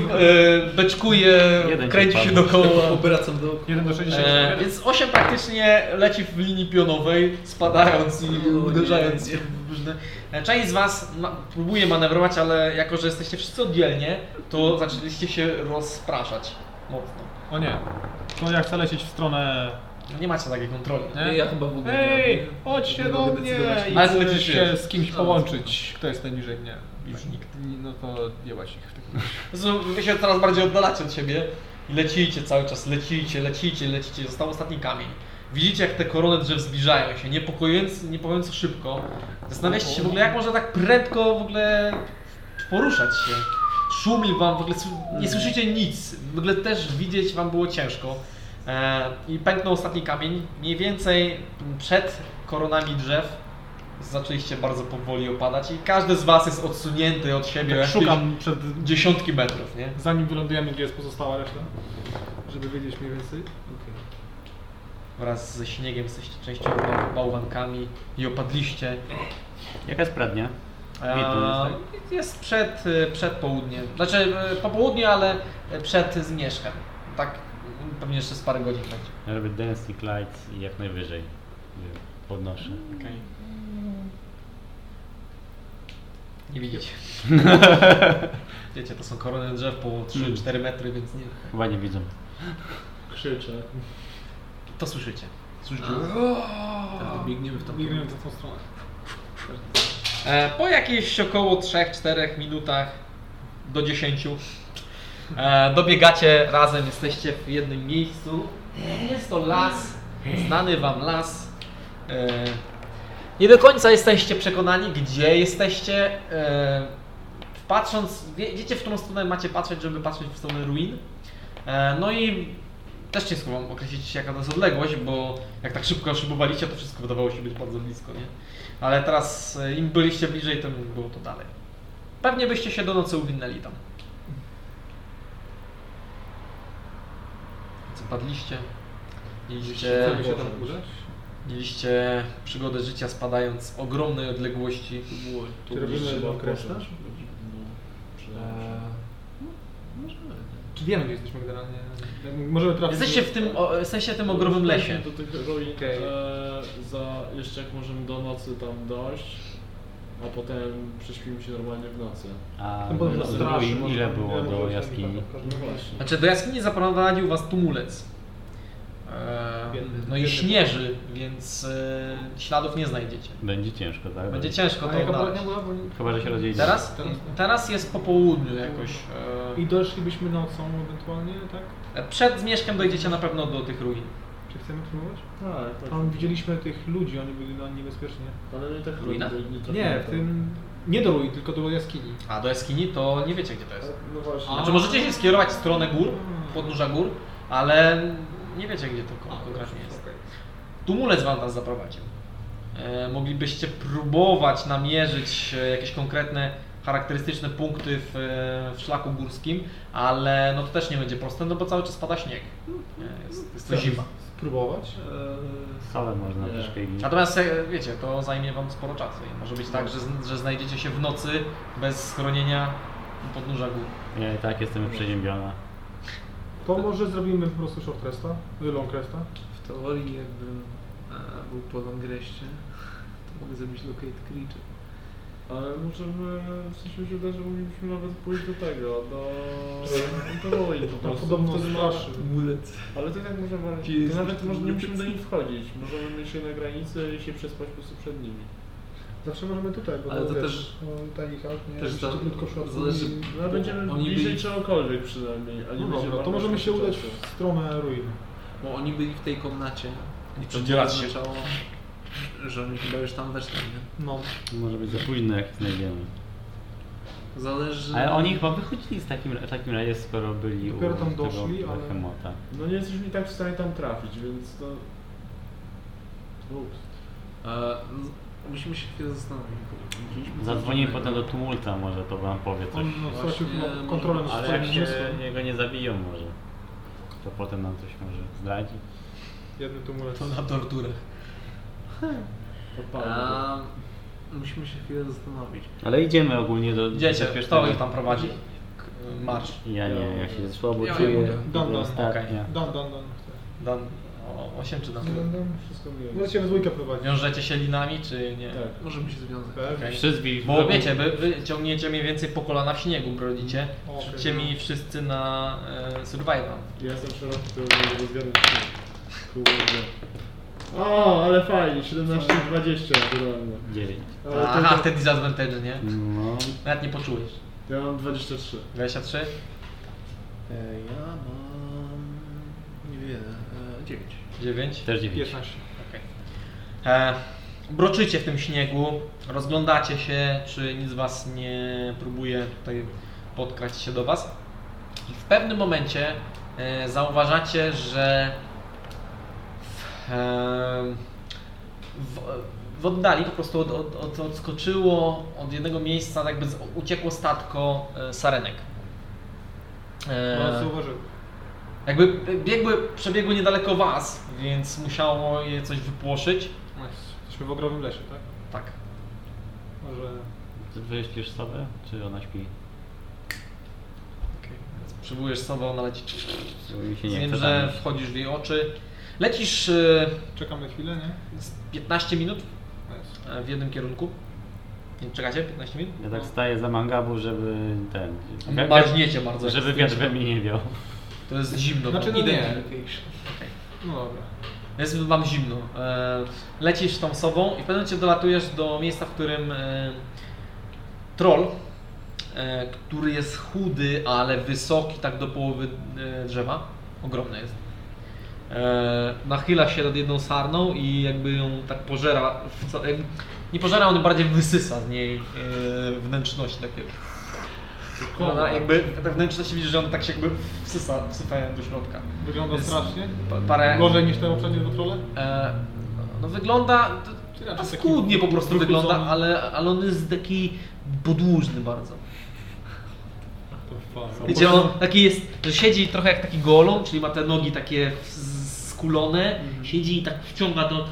A: e, beczkuje,
C: Jeden
A: kręci
C: ci
A: się
C: padł.
A: dookoła.
D: Obracam do okna.
F: Jeden do
A: E,
F: 60.
A: więc 8 praktycznie leci w linii pionowej, spadając
D: No,
A: i uderzając się w różne. E, Część z Was ma, próbuje manewrować, ale jako, że jesteście wszyscy oddzielnie, to zaczęliście się rozpraszać mocno.
F: O nie. To ja chcę lecieć w stronę...
A: Nie macie takiej kontroli.
F: Nie?
D: Ja chyba w ogóle.
F: Ej, chodźcie do mnie i
A: Ale
F: chcę
A: lecisz
F: się
A: wiesz.
F: z kimś połączyć. Kto jest najniżej mnie?
A: Już nikt.
F: No to jebać ich w takim
A: Zresztą Wy się coraz bardziej oddalacie od siebie i lecicie cały czas, lecicie, lecicie, lecicie. Został ostatni kamień. Widzicie, jak te korony drzew zbliżają się, niepokojąco, niepokojąco szybko. Zastanawiacie się w ogóle, jak można tak prędko w ogóle poruszać się. Szumi wam, w ogóle sły- nie słyszycie nic. W ogóle też widzieć wam było ciężko. E, I pęknął ostatni kamień. Mniej więcej przed koronami drzew zaczęliście bardzo powoli opadać i każdy z was jest odsunięty od siebie.
F: Tak
A: jakieś
F: szukam przed...
A: dziesiątki metrów, nie?
F: Zanim wylądujemy, gdzie jest pozostała reszta. Żeby wiedzieć mniej więcej.
A: Wraz ze śniegiem jesteście częściowo bałwankami i opadliście.
C: Jaka jest pradnia?
A: A,
C: Widno
A: jest przed, y, przed południem. Znaczy y, po południu, ale y, przed zmierzchem. Tak y, pewnie jeszcze z parę godzin będzie.
C: Ja robię Dancing Lights i jak najwyżej y, podnoszę.
A: Nie widzicie. Wiecie, to są korony drzew po 3-4 metry, więc nie.
C: Chyba nie widzą.
B: Krzyczę.
A: To słyszycie.
D: Tak, biegniemy w tą
F: Nie wiem, w tą stronę.
A: E, po jakichś około 3-4 minutach do 10 e, dobiegacie razem, jesteście w jednym miejscu. Jest to las, znany wam las. E, nie do końca jesteście przekonani, gdzie jesteście. E, patrząc, wie, wiecie w którą stronę macie patrzeć, żeby patrzeć w stronę ruin. E, no i też ciężko wam określić jaka to jest odległość, bo jak tak szybko szybowaliście, to wszystko wydawało się być bardzo blisko, nie? Ale teraz e, im byliście bliżej, tym było to dalej. Pewnie byście się do nocy uwinęli tam. Zapadliście. Mieliście,
F: Chcemy się tam burzać?
A: mieliście przygodę życia spadając z ogromnej odległości.
B: Czy robimy No, okres też?
A: E,
F: Czy wiemy, gdzie jesteśmy generalnie? Możemy trafić...
A: Jesteście w tym, o, w sensie tym ogromnym lesie.
B: Do tych ruin,
F: Okej.
B: e, za jeszcze jak możemy do nocy tam dojść, a potem prześpimy się normalnie w nocy.
C: A
F: No bo
C: z
F: strasznie
C: ruin
F: można-
C: ile było do jaskini?
G: tak.
B: No właśnie.
A: Znaczy do jaskini zaprowadził was tumulec. Eee,
F: Biedny-
A: no i
F: biedny
A: śnieży, więc e, śladów nie znajdziecie.
C: Będzie ciężko, tak?
A: Będzie ciężko
F: A
A: to
F: jaka poradnia
A: odnaleźć.
F: była? Bo...
C: Chyba, że się rozjedzie.
A: Teraz? Teraz jest po południu jakoś.
F: I doszlibyśmy nocą ewentualnie, tak?
A: E, przed zmierzchem dojdziecie na pewno do tych ruin.
F: Czy chcemy próbować?
B: Tak, tak.
F: Tam widzieliśmy tych ludzi, oni byli dla niebezpieczni.
B: Ale nie tak
A: Ruina?
B: ruin, nie trafimy
F: Nie, w
B: tam.
F: tym... Nie do ruin, tylko do jaskini.
A: A do jaskini to nie wiecie gdzie to
F: E,
B: A,
A: jest.
B: No właśnie.
A: Znaczy możecie się skierować w stronę gór, podnóża gór, ale nie wiecie gdzie to kon- konkretnie jest. Tumulec wam nas zaprowadził. E, moglibyście próbować namierzyć e, jakieś konkretne charakterystyczne punkty w, e, w szlaku górskim, ale no to też nie będzie proste, no bo cały czas pada śnieg. E, Jest, jest to zima.
I: Spróbować?
C: Solę można
B: Nie.
C: troszkę ignić.
A: Natomiast e, wiecie, to zajmie wam sporo czasu i może być tak, że, z- że znajdziecie się w nocy bez schronienia u podnóża gór.
C: Nie, i tak jestem przeziębiona.
G: To może zrobimy po prostu short resta, y, long resta.
E: W teorii jakbym e, był po Longreście, to mogę zrobić Locate Creature.
B: Ale możemy, w sensie mi się wydaje, że moglibyśmy nawet pójść do tego, do... do Woli po prostu.
G: No, Tak podobno
B: Wtedy ma-
G: straszy.
E: Mulec.
B: Ale to i tak możemy,
E: Jest-
B: to nawet może nie musimy do nich wchodzić. Możemy mieć je na granicy i się przespać po prostu przed nimi.
G: Zawsze możemy tutaj, bo
E: Ale
G: to
E: to
G: też tani hak, nie?
E: też za-
G: szybciutko szła
E: zależy-
B: No ale będziemy
E: Oni
B: bliżej
E: byli-
B: czegokolwiek przynajmniej, a nie
G: No
B: będziemy
G: dobra, to
B: marnować
G: możemy się
B: czasu.
G: udać w stronę ruin.
E: Bo oni byli w tej komnacie. I to
A: przydzielać się.
E: oznaczało, że oni chyba już tam weszli, nie?
G: No.
C: Może być za późno, jak ich znajdziemy.
E: Zależy...
C: Ale oni chyba wychodzili z takim, w takim razie, skoro byli
G: Dopiero
C: u
G: tam
C: tego
G: doszli, ale-
C: Behemota.
B: No nie jesteśmy i tak w stanie tam trafić, więc to... Ups.
E: E, z- musimy się chwilę zastanowić. E, bo gdzieś było
C: Zadzwonimy
E: dziwnego.
C: potem do tumulta, może to wam powie coś.
G: On no, stracił
E: Właśnie,
G: chyba kontrolę nad
C: Tak, Ale jak
G: swoim
C: się
G: umysłem.
C: jego nie zabiją może, to potem nam coś może zdradzić.
G: Jedny tumulec.
A: To na torturę.
B: Odpadłem.
E: E, musimy się chwilę zastanowić.
C: Ale idziemy ogólnie do...
A: Idziecie,
C: do
A: kto ich tam prowadzi? K- Marsz.
C: Ja nie, ja się słabo
E: Ja nie
C: czuję.
E: mogę.
G: Dam, dam,
C: ostatnia.
G: Dan, dan, dan.
A: Dan... O, osiem czy dan?
B: Wszystko miło.
G: Możecie we No, dwójkę prowadzić.
A: Wiążecie się linami czy nie?
B: Tak.
E: Możemy się związać.
G: Pewnie.
A: Okej.
C: Przyzwij w
A: Bo wiecie, wy, wy ciągniecie mniej więcej po kolana w śniegu, brodzicie.
G: Okej.
A: Rzućcie mi wszyscy na e, survival.
B: Ja jestem szeroki, to nie rozgarnę się. Kurde. O, ale fajnie, 17-20 naturalnie.
C: 9.
B: Ale to-
A: Aha,
B: to-
A: wtedy disadvantage, nie?
C: No,
A: Nawet nie poczujesz.
B: Ja mam 23.
A: 23?
E: E, ja mam... niewiele. E, dziewięć.
A: 9?
C: też 9.
G: 15.
A: Okej. E, Broczycie w tym śniegu, rozglądacie się, czy nic was nie próbuje tutaj podkraść się do was. I w pewnym momencie e, zauważacie, że w, e, w, w oddali po prostu od, od, od, odskoczyło od jednego miejsca, jakby z, uciekło statko e, sarenek. E,
G: Oraz zauważył.
A: jakby biegły, przebiegły niedaleko was, więc musiało je coś wypłoszyć.
G: No, Jesteśmy w ogromnym lesie, tak?
A: Tak.
G: Może...
C: Wy śpisz sobie, czy ona śpi?
A: Więc Przywołujesz sobą, ona leci.
C: Bo mi się nie
A: Wiem,
C: chce
A: że
C: tam
A: wchodzisz w jej oczy. Lecisz e,
G: Czekamy chwilę, nie?
A: z 15 minut
G: Nice.
A: e, w jednym kierunku. Nie, Czekacie 15 minut?
C: iść. Ja tak staję za mangabu, żeby ten... wi-
A: Marzniecie bardzo.
C: Żeby wiatr we mnie nie wiał.
A: To jest zimno.
G: Znaczy,
A: bo-
G: no nie.
E: Identification.
G: No dobra.
A: Jest wam zimno. E, Lecisz tą sobą i w pewnym momencie dolatujesz do miejsca, w którym e, troll, e, który jest chudy, ale wysoki, tak do połowy e, drzewa, ogromny jest, e, nachyla się nad jedną sarną i jakby ją tak pożera, w co, jakby, nie pożera, on bardziej wysysa z niej e, wnętrzności takie. Ona jakby te wnętrzności widzisz, że on tak się jakby wsysa, wsypają do środka.
G: Wygląda
A: Jest-
G: strasznie.
A: Pa- Parę,
G: Gorzej niż te poprzednie dwa trole?
A: E, no wygląda.
G: Czy
A: To
G: raczej taki
A: skudnie po prostu
G: wychudzony?
A: wygląda, ale, ale on jest taki podłużny bardzo.
G: To fajnie.
A: Wiecie, on taki jest, że siedzi trochę jak taki golą, czyli ma te nogi takie w- skulone, siedzi i tak wciąga to.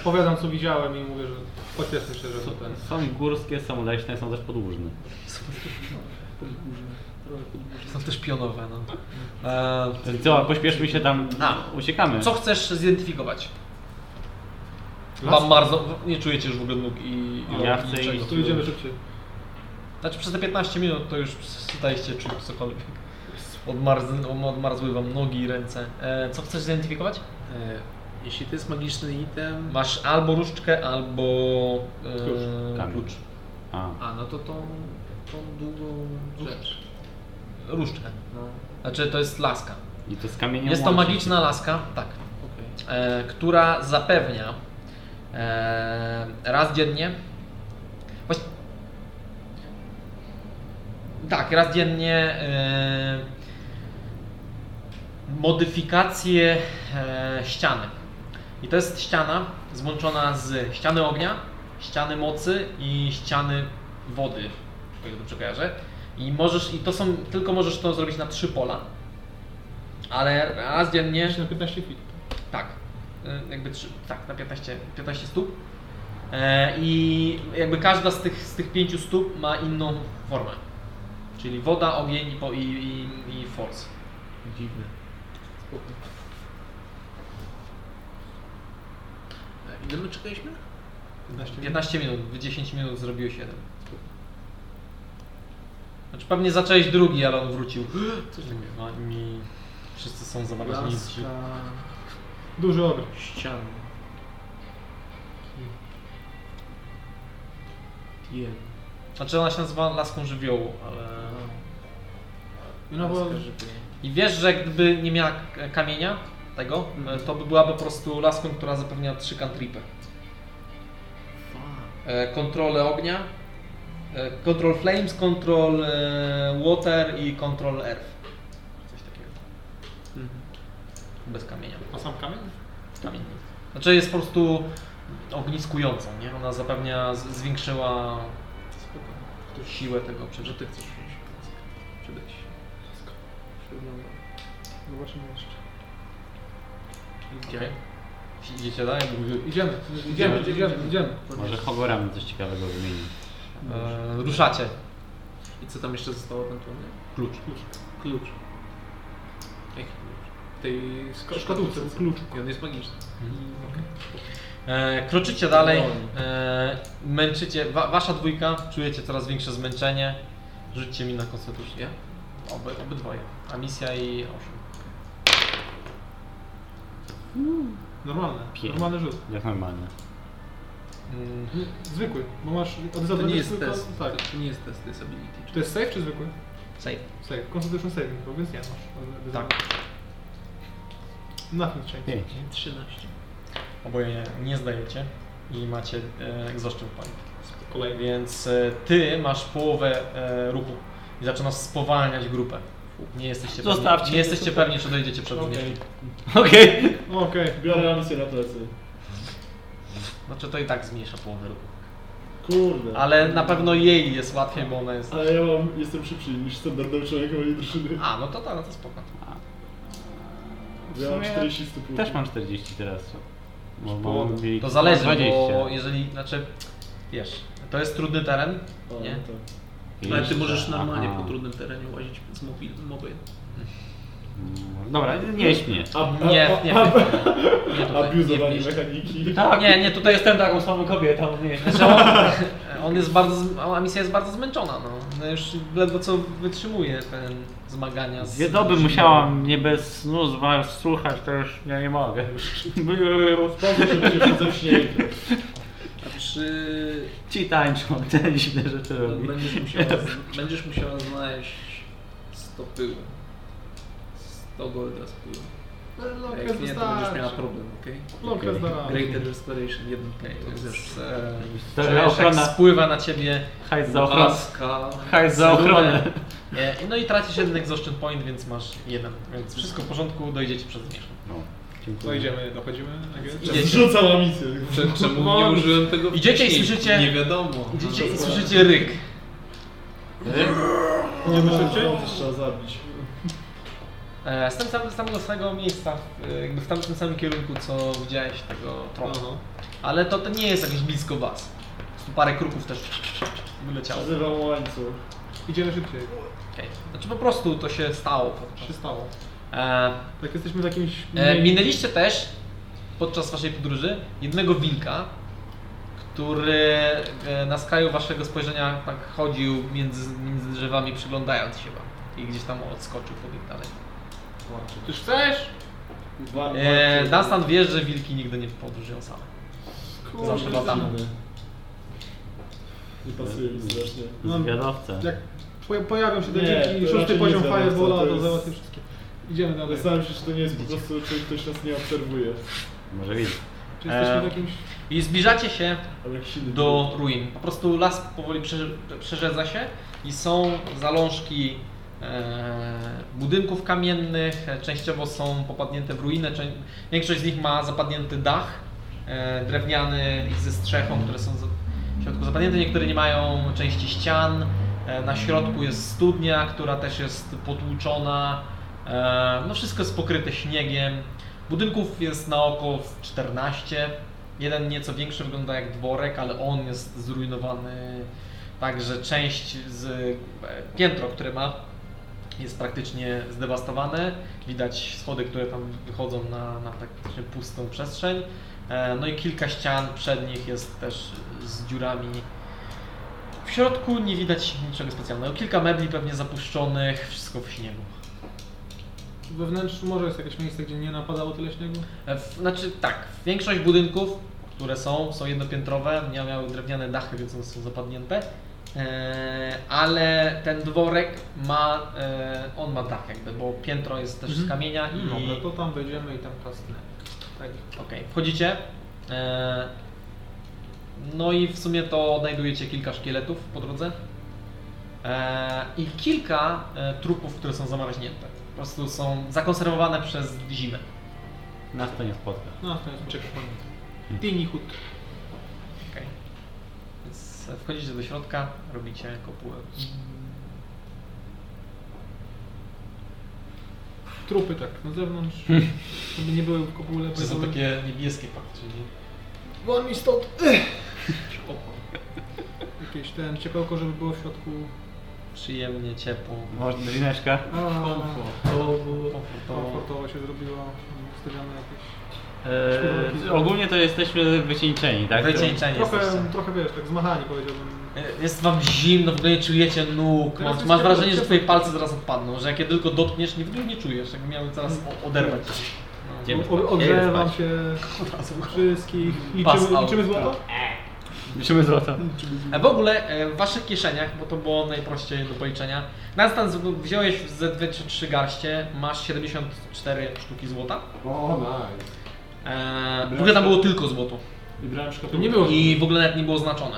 G: Opowiadam co widziałem i mówię, że pocieszmy się, że to ten.
C: Są górskie, są leśne, są też podłużne.
A: Są też pionowe. No. E,
C: Co, pośpieszmy się tam,
A: A.
C: uciekamy.
A: co chcesz zidentyfikować? Mam bardzo. Nie czujecie już w ogóle nóg i. i
C: Ja chcę
A: niczego.
C: iść.
G: Tu idziemy szybciej.
A: Znaczy przez te 15 minut to już dajcie czuć cokolwiek. Odmarz, odmarzły wam nogi i ręce. E, co chcesz zidentyfikować?
E: E, jeśli to jest magiczny item...
A: Masz albo różdżkę, albo e,
C: Klucz. Kamień.
A: klucz.
C: Eee, A,
E: A, no to tą, tą długą rzecz.
A: Różdżkę.
E: No,
A: Znaczy to jest laska.
C: i to z kamieniem
A: Jest to
C: łączy się.
A: magiczna laska, tak,
E: okej.
A: e, która zapewnia e, raz dziennie. Właś... Tak, raz dziennie e, modyfikację e, ściany. I to jest ściana złączona z ściany ognia, ściany mocy i ściany wody, o ile dobrze kojarzę. I możesz, i to są, tylko możesz to zrobić na trzy pola. Ale raz dziennie,
F: Jeszcze na 15 feet.
A: tak, y, jakby trzy, tak, na 15, 15 stóp. E, I jakby każda z tych, z tych pięciu stóp ma inną formę. Czyli woda, ogień i, po- i, i, i force.
E: Dziwne. Spoko. A E, Ile my czekaliśmy?
A: 15 minut, w 10 minut zrobiłeś jeden. Znaczy pewnie zacząłeś drugi, ale on wrócił. Coś takiego. Oni wszyscy są zamarnięci.
E: Laska
F: Duży ogr.
E: ścian. Tien.
A: Znaczy ona się nazywa laską żywiołu, ale...
E: No bo...
A: I wiesz, że gdyby nie miała k- kamienia tego,
E: Mhm.
A: e, to by była po prostu laską, która zapewnia trzy cantripy. E, Kontrolę ognia, e, control flames, control e, water i control earth. Coś takiego. Bez kamienia.
F: A sam kamień?
A: kamienny. Znaczy jest po prostu ogniskującą, nie? Ona zapewnia, z- zwiększyła siłę tego
E: Że
A: przeżycia.
E: ty chcesz wziąć. Przydać się. Wygląda.
G: Zobaczymy jeszcze.
A: Okej. Idziecie dalej?
F: Idziemy, idziemy, idziemy, idziemy.
C: Może Hogorami coś ciekawego wymieni.
A: E, ruszacie.
E: I co tam jeszcze zostało ewentualnie?
A: Klucz.
E: Klucz. Jaki klucz? Tej szko-
F: Szkatułce, klucz.
E: I on jest magiczny.
A: Mhm. E, kroczycie dalej, e, męczycie, wa, wasza dwójka, czujecie coraz większe zmęczenie. Rzućcie mi na konstytucję.
E: Ja?
A: Oby, obydwoje. A misja i osiem.
F: Normalne,
C: Pięć.
F: normalny rzut.
C: Jak normalnie.
A: Mm,
F: Zwykły, bo masz
E: To nie jest
F: tylko-
E: test.
F: Tak.
E: No To nie jest test, to jest ability.
F: Czy to jest safe czy zwykły?
A: Save.
F: Save. Constitution saving, throw, więc nie masz.
A: Tak.
F: Nothing change.
C: Pięć.
E: 13.
A: Oboje nie zdajecie i macie e, egzoszczyn pani.
F: Kolejny.
A: Więc e, ty masz połowę e, ruchu i zaczynasz spowalniać grupę. Nie jesteście
C: Zostawcie
A: pewni, nie
C: mnie
A: jesteście pewni, czy dojdziecie przed okay.
B: Okej.
C: Okej.
F: Okej.
B: Biorę misję na plecy.
A: Znaczy to i tak zmniejsza połowę ruchu.
B: Kurde.
A: Ale na pewno jej jest łatwiej, bo ona jest...
B: Ale ja mam, jestem szybszy niż standardowy człowiek mojej drużyny.
A: A, no to tak, no to spoko.
C: W
B: Ja mam
C: sumie
B: 40 stóp.
C: Też mam 40 teraz. Bo
A: Połowa.
C: mam mieli
A: To zależy,
C: 20.
A: bo jeżeli, znaczy, wiesz, to jest trudny teren.
B: O,
A: nie?
B: tak.
E: Ale ty
C: Jeszcze,
E: możesz normalnie
C: aha.
E: po trudnym terenie łazić z mobil, mobile.
C: Mm, Dobra, nie śmię.
B: A, a,
A: Nie,
B: a,
A: nie,
B: a,
A: nie tutaj, nie w
B: Abuzowanie
A: mieście.
B: mechaniki.
C: Tak.
A: Nie, nie, tutaj jestem taką
C: samą kobietą, nie.
A: Znaczy on, on jest bardzo, zm- no, a misja jest bardzo zmęczona, no. no już ledwo co wytrzymuje ten zmagania z...
C: Dwie doby musiałam nie bez snu z was słuchać, to już ja nie mogę.
B: Sprawdzę, że będziesz roześnięty.
E: A czy
C: Ci tańczą, te dziwne rzeczy robi.
E: będziesz musiała, z- będziesz musiała znaleźć 100 pyłu. 100 golda z pyłu.
F: No,
D: Tak,
E: A Jak
F: okres
E: nie, to będziesz
F: wystarczy.
E: miała problem, okej?
F: No, okres
C: Okej.
F: da.
E: Greater Restoration, jeden
A: Okej,
E: punkt, to
A: więc,
E: wiesz.
A: e,
C: To
A: czujesz, jak
C: ochrona.
A: spływa na ciebie.
C: Hajs
D: No,
C: za ochronę.
E: Laska.
C: Hajs za ochronę.
A: E, No i tracisz jeden exhaustion point, więc masz jeden. Więc wszystko w porządku, dojdziecie przez zmierzch.
C: No,
F: No
C: dziękuję.
F: idziemy, dochodzimy. Agent?
A: Idziecie.
B: Zrzucam ambicję.
D: Prze- Czemu nie użyłem tego
A: Idziecie i
D: wcześniej?
A: słyszycie-
D: Nie wiadomo.
A: Idziecie i słyszycie ryk.
B: Nie muszę wziąć, trzeba zabić.
A: E, Z tym samym, z samego samego miejsca, e, jakby w tamtym samym kierunku, co widziałeś tego tronu. Ale to, to nie jest jakieś blisko was. Po prostu parę kruków też wyleciało.
B: Nazywam łańcuch.
F: Idziemy szybciej.
A: Okay. Znaczy po prostu to się stało.
F: Się stało.
A: E,
F: Tak jesteśmy w jakimś...
G: Mm.
A: E, minęliście też podczas waszej podróży jednego wilka, który e, na skraju waszego spojrzenia tak chodził między, między drzewami, przyglądając się wam. I gdzieś tam odskoczył, pobiegł dalej.
F: Ty chcesz?
B: Wa-
A: E,
B: łańcuch.
A: Dunstan wie, że wilki nigdy nie podróżują same.
B: Kurde,
A: zawsze latamy.
B: inny. Nie pasuje mi strasznie.
C: Zwiadowca.
F: No, Jak po- pojawią się te
B: Nie,
F: dzieci,
B: to
F: szósty
B: raczej
F: poziom
B: nie zamiast,
F: Firebola,
B: to
F: to
B: jest-
F: załatwię wszystkie. Idziemy dalej.
B: Zastanawiam się, czy to nie jest po prostu, czy ktoś nas nie obserwuje.
C: Może widzę.
F: Czy jesteśmy
A: E,
F: w jakimś...
A: I zbliżacie się
B: Ale jak silny
A: do ruin. Po prostu las powoli prze- przerzedza się i są zalążki e, budynków kamiennych, e, częściowo są popadnięte w ruinę, czę- większość z nich ma zapadnięty dach e, drewniany ze strzechą, które są za- w środku zapadnięte, niektóre nie mają części ścian. E, Na środku jest studnia, która też jest potłuczona. E, No wszystko jest pokryte śniegiem. Budynków jest na oko z 14. Jeden nieco większy wygląda jak dworek, ale on jest zrujnowany. Także część z e, piętro, które ma, jest praktycznie zdewastowane. Widać schody, które tam wychodzą na, na praktycznie pustą przestrzeń. E, No i kilka ścian przednich jest też z dziurami. W środku nie widać niczego specjalnego. Kilka mebli pewnie zapuszczonych, wszystko w śniegu.
F: Czy we wnętrzu może jest jakieś miejsce, gdzie nie napadało tyle śniegu?
A: E, w- Znaczy tak, większość budynków, które są, są jednopiętrowe, nie miały drewniane dachy, więc one są zapadnięte. E, ale ten dworek ma, e, on ma dach jakby, bo piętro jest też z kamienia i...
F: Dobra, to tam wejdziemy i tam kasnę. Tak.
A: Okej, wchodzicie. E, No i w sumie to odnajdujecie kilka szkieletów po drodze. E, I kilka e, trupów, które są zamarznięte. Po prostu są zakonserwowane przez zimę.
C: Nas to nie spotka.
F: No, to jest checkpoint. Tiny hut.
A: Okej. Więc wchodzicie do środka, robicie kopułę.
F: Trupy tak na zewnątrz, żeby nie były w kopule. powiedzmy.
A: niebieskie fakty, czyli...
F: Won mi stąd! Jakieś ten ciepełko, żeby było w środku.
A: Przyjemnie, ciepło.
C: Może drineczka?
A: Komfortowo.
F: Komfortowo się zrobiło. Stawiamy jakieś.
C: Eee, ogólnie to jesteśmy wycieńczeni, tak?
A: Wycieńczenie jesteście.
F: Trochę, trochę wiesz, tak zmachani powiedziałbym.
A: E, Jest wam zimno, w ogóle nie czujecie nóg.
F: Teraz
A: Masz,
F: jest
A: masz
F: ciepło,
A: wrażenie, że
F: ciepło.
A: twoje palce zaraz odpadną, że jak je tylko dotkniesz, nie, w ogóle nie czujesz, jakby miały zaraz o- oderwać ci się
F: O-
C: Idziemy
F: o-
C: spać. Idziemy
F: Ogrzewam
C: spać.
F: się
A: od razu.
F: wszystkich.
A: Pass
F: Liczymy,
A: out. Tak.
F: liczymy złoto?
C: Liczymy złoto.
A: A w ogóle e, w waszych kieszeniach, bo to było najprościej do policzenia, na stan z- wziąłeś ze dwie czy trzy garście, masz 74 sztuki złota.
B: O, nice.
A: E, w ogóle tam było tylko złoto.
B: I brałem szkodę.
F: To nie było.
A: I w ogóle nawet nie było znaczone.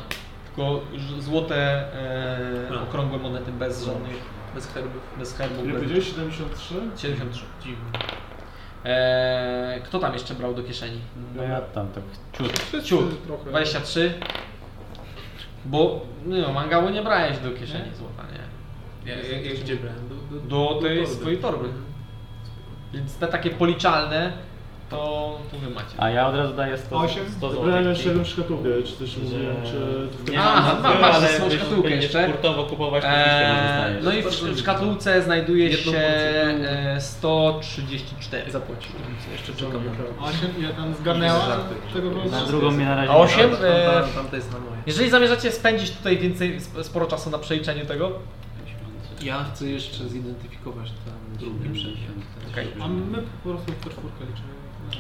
A: Tylko ż- złote, e, okrągłe monety bez żadnych,
D: Bez herbów.
A: bez herbów.
B: Ile
A: bez-
B: powiedziałeś? 73?
A: 73. E, kto tam jeszcze brał do kieszeni?
C: No ja tam tak ciut.
A: Ciut.
F: Trochę.
A: 23. Bo no, mangało nie brałeś do kieszeni złota, nie?
D: Ja, ja, ja gdzie brałem? Do, do,
A: Do tej
D: torby.
A: swojej torby. Więc te takie policzalne, to, to wy macie.
C: A ja od razu daję 100,
B: 8?
C: 100
B: Brałem
C: złotych.
B: jeszcze 7 szkatułek, czy też mówiłem, czy...
A: Nie. Aha,
C: no,
A: ma- masz swoją szkatulkę jeszcze.
C: Kurtowo kupować, to
A: E,
C: eee,
A: no i w w szkatulce znajduje
D: Jedną
A: się
D: porcję.
A: e, 134.
D: Zapłaciłem. Jeszcze czekam na to.
F: Osiem, ja tam zgarnęła tego
C: Na drugą mnie na razie
A: A
C: nie
A: no osiem?
C: dałeś.
A: E,
D: Tamta jest na moje.
A: Jeżeli zamierzacie spędzić tutaj więcej, sp- sporo czasu na przeliczeniu tego,
D: Ja chcę jeszcze zidentyfikować ten drugi przedmiot.
A: okej,
F: A my po prostu w czwórkę liczymy.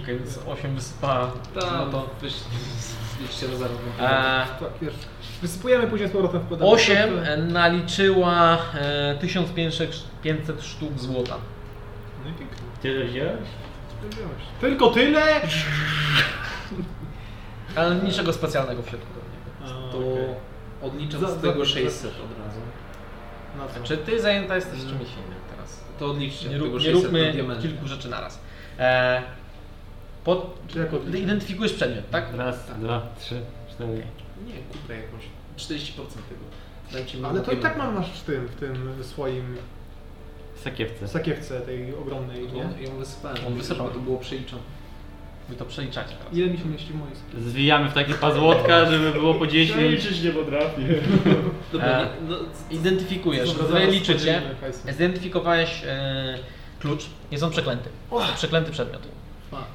A: Okej, więc 8 wysypa, no
D: Tak,
A: to...
D: Weź, zjedźcie do zarobka.
A: E,
F: Tak, wiesz. Wysypujemy później z powrotem wkładamy.
A: 8 naliczyła e, 1500 500 sztuk złota.
F: No i pięknie.
C: Tyle wziąłeś?
F: Wiedziałeś.
B: Tylko tyle?
A: Ale niczego specjalnego w środku. nie
D: To odliczam
F: Za-
D: z
F: za-
D: tego
F: za-
D: 600 od razu.
F: Na co?
A: było. Czy ty zajęta jesteś czymś innym teraz?
D: To odliczcie
A: Mm. Nie,
D: od tego
A: rób, nie
D: 600
A: róbmy
D: diamentu.
A: kilku rzeczy naraz. E, pod,
B: Jak
A: ty
B: odliczę?
A: identyfikujesz przedmiot, tak?
C: Raz, dwa, trzy, cztery.
D: Nie, kupę jakąś. 40% tego. Dajcie mi
F: Ale to i
D: diament.
F: tak mam masz w tym, w tym swoim
C: Sakiewce.
F: sakiewce tej ogromnej, nie?
D: On, ją wysypałem.
A: On wysypał.
D: To było przeliczone.
A: Wy to przeliczacie teraz.
F: Ile mi się mieści w mojej
C: Zwijamy w takie pazłotka, żeby było po 10.
B: Liczyć nie potrafię.
D: Dobra,
A: E,
D: nie, no, z-
A: Identyfikujesz,
F: Dobra,
A: wy
F: zaraz
A: liczycie,
F: podzielimy hajsy.
A: zidentyfikowałeś e, klucz, jest on przeklęty. To Przeklęty przedmiot.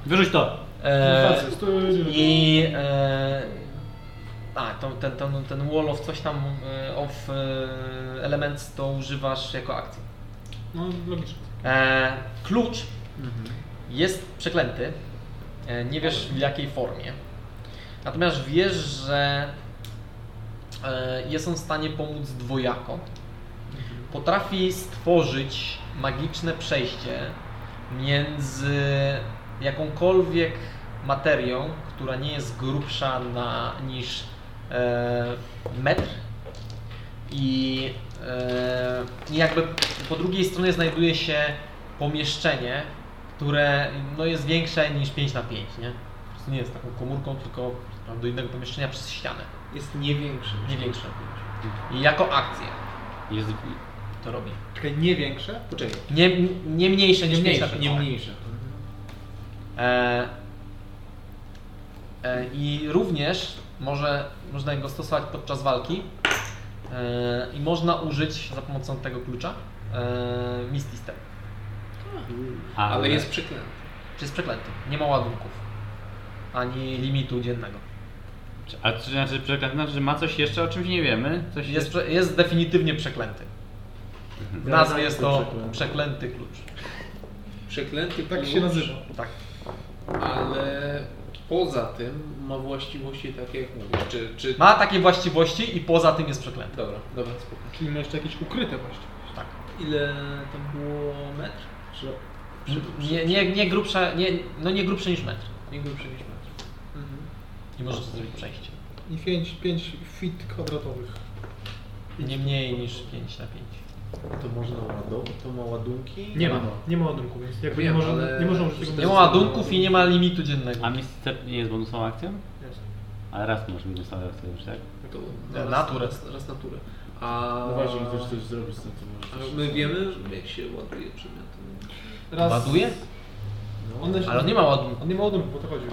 C: Wyrzuć to!
A: E,
B: Facet, to będzie-
A: I e, a, to, ten, ten, ten wall of coś tam, e, of e, elements to używasz jako akcji.
F: No logicznie.
A: E, klucz jest przeklęty, e, nie wiesz w jakiej formie. Natomiast wiesz, że e, jest on w stanie pomóc
F: Mhm.
A: dwojako. Potrafi stworzyć magiczne przejście między jakąkolwiek materią, która nie jest grubsza na, niż e, metr i e, i jakby po drugiej stronie znajduje się pomieszczenie, które no, jest większe niż 5 na 5, nie? Po prostu nie jest taką komórką, tylko do innego pomieszczenia przez ścianę.
D: jest nie większy.
A: Nie większe. I jako akcję
C: Jest,
A: to robi.
F: Czekaj, nie większe?
D: Poczekaj,
A: Nie, nie mniejsze niż
D: nie
A: mniejsze.
D: mniejszy. Nie mniejszy.
A: E, e, I również może, można go stosować podczas walki e, i można użyć za pomocą tego klucza e, Misty Step.
C: ale,
D: Ale jest przeklęty.
A: Czy jest przeklęty? Nie ma ładunków ani limitu dziennego.
C: A to znaczy, przeklęty, znaczy, że ma coś jeszcze, o czymś nie wiemy? Coś
A: Jest, prze- jest definitywnie przeklęty. W nazwie jest to przeklęty klucz.
D: Przeklęty
G: Tak
D: klucz,
G: się nazywa.
A: Tak.
D: Ale poza tym ma właściwości takie jak mówisz. Czy, czy...
A: Ma takie właściwości i poza tym jest przeklęty.
D: Dobra, dobra, spoko.
F: Czyli ma jeszcze jakieś ukryte właściwie.
D: Ile tam było metr? Czy...
A: Nie, nie, nie, grubsze, nie, no nie grubsze niż metr.
D: Nie grubszy niż metr. Mhm.
A: I możesz zrobić przejście.
F: I 5, 5 fit kwadratowych.
A: Nie mniej niż 5 na 5.
E: To można ładować? To ma ładunki?
F: Nie ma.
G: Nie ma ładunku, więc jakby
D: Wiem,
G: nie, może,
D: ale-
G: nie można użyć tego.
A: Nie ma ładunków i nie ma limitu dziennego.
C: A Misstep nie jest bonusową akcją?
F: Jest.
C: Ale raz możesz bonusową akcję już, tak?
D: To
A: Na
D: raz-
A: naturę.
D: Raz, raz naturę. A...
E: No właśnie, jak chcesz coś zrobić, to
D: a
E: możesz.
D: my wiemy, jak się ładuje przedmioty.
F: Raz.
A: Ładuje?
F: One się...
A: Ale on nie ma ładunku.
F: On nie ma ładunku, o to chodzi.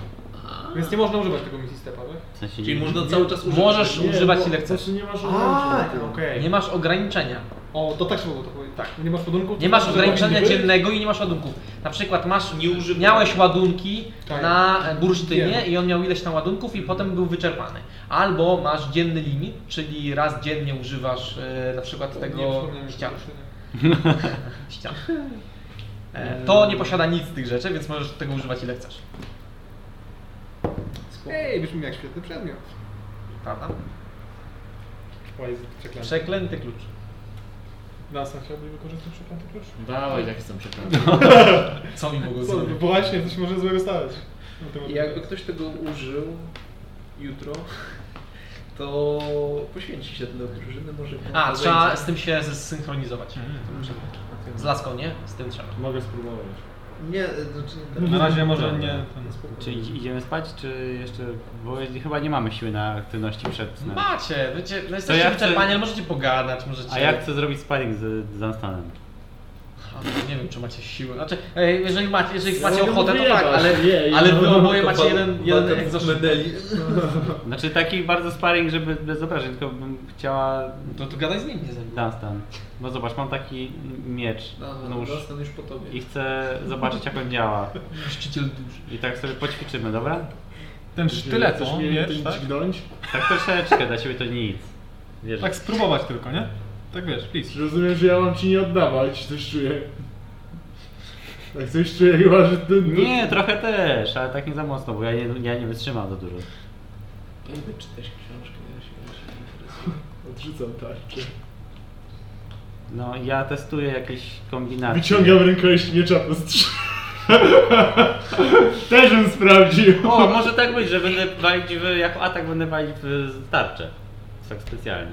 D: A,
F: Więc nie można używać tego misji stepa, tak?
C: W sensie
D: Czyli
C: nie-
D: można cały czas używać.
A: Możesz
G: Nie,
A: używać
G: bo-
A: ile chcesz.
G: Znaczy nie masz
F: A,
G: ładunku.
B: no.
F: okej.
A: Nie masz ograniczenia.
F: O, to tak się mogło to powiedzieć. Tak, nie masz ładunku.
A: Nie
G: Znaczy,
A: masz ograniczenia dziennego i nie masz ładunków. Na przykład masz, miałeś ładunki
F: Tak.
A: na e, bursztynie
F: Wiem.
A: i on miał ileś tam ładunków i potem był wyczerpany. Albo masz dzienny limit, czyli raz dziennie używasz e, na przykład
F: Tak,
A: tego ścian. ścian. E, To nie posiada nic z tych rzeczy, więc możesz tego używać ile chcesz.
F: Ej, byśmy mieli świetny przedmiot.
A: Prawda?
F: O, jest przeklęty.
A: Przeklęty klucz.
F: Nasa chciałby wykorzystać przeklęty klucz?
E: Dawaj, tak chcę przepraszam.
A: Co mi mogło
F: Co,
A: zrobić?
F: no właśnie, coś może złego stać.
D: I jakby ktoś tego użył jutro, to poświęci się dla drużyny, może...
A: A, trzeba z tym się zsynchronizować. Z laską, nie? Z tym trzeba.
E: Mogę spróbować.
D: Nie, znaczy nie
F: Na razie może nie.
C: Czy idź- idziemy spać, czy jeszcze... Bo chyba nie mamy siły na aktywności przed snem.
A: Macie, wiecie, no jesteście
C: ja chcę-
A: wyczerpani, ale możecie pogadać, możecie...
C: A ja chcę zrobić sparring z z Dunstanem.
A: A, no Nie wiem, czy macie siły. Znaczy, e, jeżeli macie, jeżeli macie
E: mogę
G: No
A: ochotę, to
E: wyjebać,
A: tak, ale,
E: jej,
A: ale wy
E: no.
A: oboje macie jeden,
B: tak
A: jeden egzorcyzm.
C: Znaczy taki bardzo sparring, żeby bez obrażeń, tylko bym chciała
A: To, to gadaj z nim, nie ze mną.
C: Dunstan. Bo zobacz, mam taki miecz,
D: No,
C: nóż
D: zostań już po tobie.
C: i chcę zobaczyć jak on działa.
A: Szczyciel duży.
C: I tak sobie poćwiczymy, dobra?
F: Ten
G: Tyle coś nie wiesz, tak?
C: Tak troszeczkę, dla ciebie to nic. Wiesz,
F: Tak spróbować tylko, nie? Tak wiesz, please.
B: Rozumiem, że ja mam ci nie oddawać, coś czuję. Tak coś czuję chyba, że ty...
C: Nie, trochę też, ale tak nie za mocno, bo ja nie, ja nie wytrzymam za dużo.
D: Ja idę czytać książkę, ja się, ja się interesuję.
B: Odrzucam tarczę.
C: No ja testuję jakieś kombinacje.
B: Wyciągam rękojeść miecza po strz- Też bym sprawdził.
C: O, może tak być, że będę walić w, jako atak będę walić w tarczę. Tak specjalnie.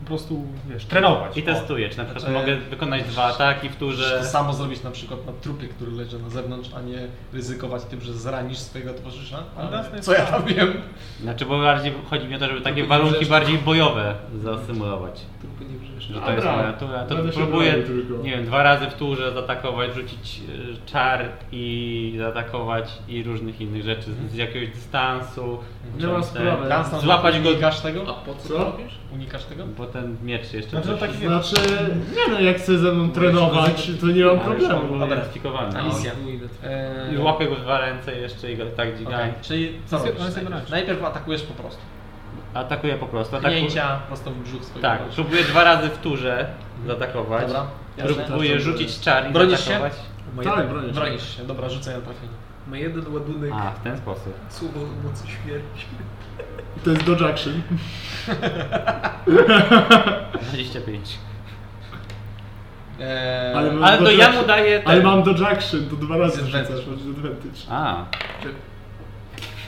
F: Po prostu, wiesz, trenować.
C: I testuję, czy na przykład
A: Znaczy-
C: mogę wykonać dwa ataki w turze.
A: To samo zrobić na przykład na trupie, który leży na zewnątrz, a nie ryzykować tym, że zranisz swojego towarzysza. Ale co ja tam wiem?
C: Znaczy, bo bardziej chodzi mi o to, żeby takie
D: Tylko
C: warunki
D: rzecz-
C: bardziej bojowe zasymulować.
D: Tylko nie wrzesz.
C: Że to
B: Dobra,
C: jest moja natura. To
B: tak. będę się
C: próbuję,
B: bronił tylko.
C: nie wiem, dwa razy w turze zaatakować, rzucić y, czar i zaatakować i różnych innych rzeczy z-
A: Mhm.
C: z jakiegoś dystansu.
B: Nie ma
C: czymś
B: sprawy.
C: tak.
A: Dunstan,
C: Złapać go,
A: Unikasz
D: A
A: tego?
D: po co,
B: Co?
D: to robisz?
A: Unikasz tego?
C: bo ten miecz jeszcze
F: Znaczy,
C: coś-
F: tak wiesz.
B: Znaczy, nie no, jak chce ze mną trenować, to nie mam
C: Ale już on
B: problemu.
C: był
A: Dobra.
C: identyfikowany.
A: A misja.
D: Chuj, no to-
A: Eee,
C: I Łapię go w dwa ręce jeszcze i go tak dzigam.
A: okej, no, Czyli co
F: On się-
A: robisz
F: on się
A: najpierw?
F: broni.
A: najpierw atakujesz po prostu.
C: Atakuję po prostu. Atakuję.
A: Pchnięcia prosto w brzuch swojego
C: Tak,
A: towarzysza.
C: próbuję dwa razy w turze zaatakować.
A: Mhm. Dobra. Jasne.
C: Próbuję rzucić czar i
A: Bronisz się?
C: zaatakować.
D: Ma
B: Tak,
D: jeden,
B: bronię się.
A: Bronisz się, dobra, rzucaj na trafienie.
D: ma jeden ładunek
C: A, w ten sposób.
D: słowo mocy śmierci.
B: To jest dodge action.
C: 25.
A: Eee,
B: Ale-
C: Ale to
B: Dodge
C: ja
B: action.
C: mu daję
A: Tak.
C: ten...
B: Ale mam dodge action, to dwa razy
A: Disadvantage.
B: rzucasz, masz advantage.
C: A,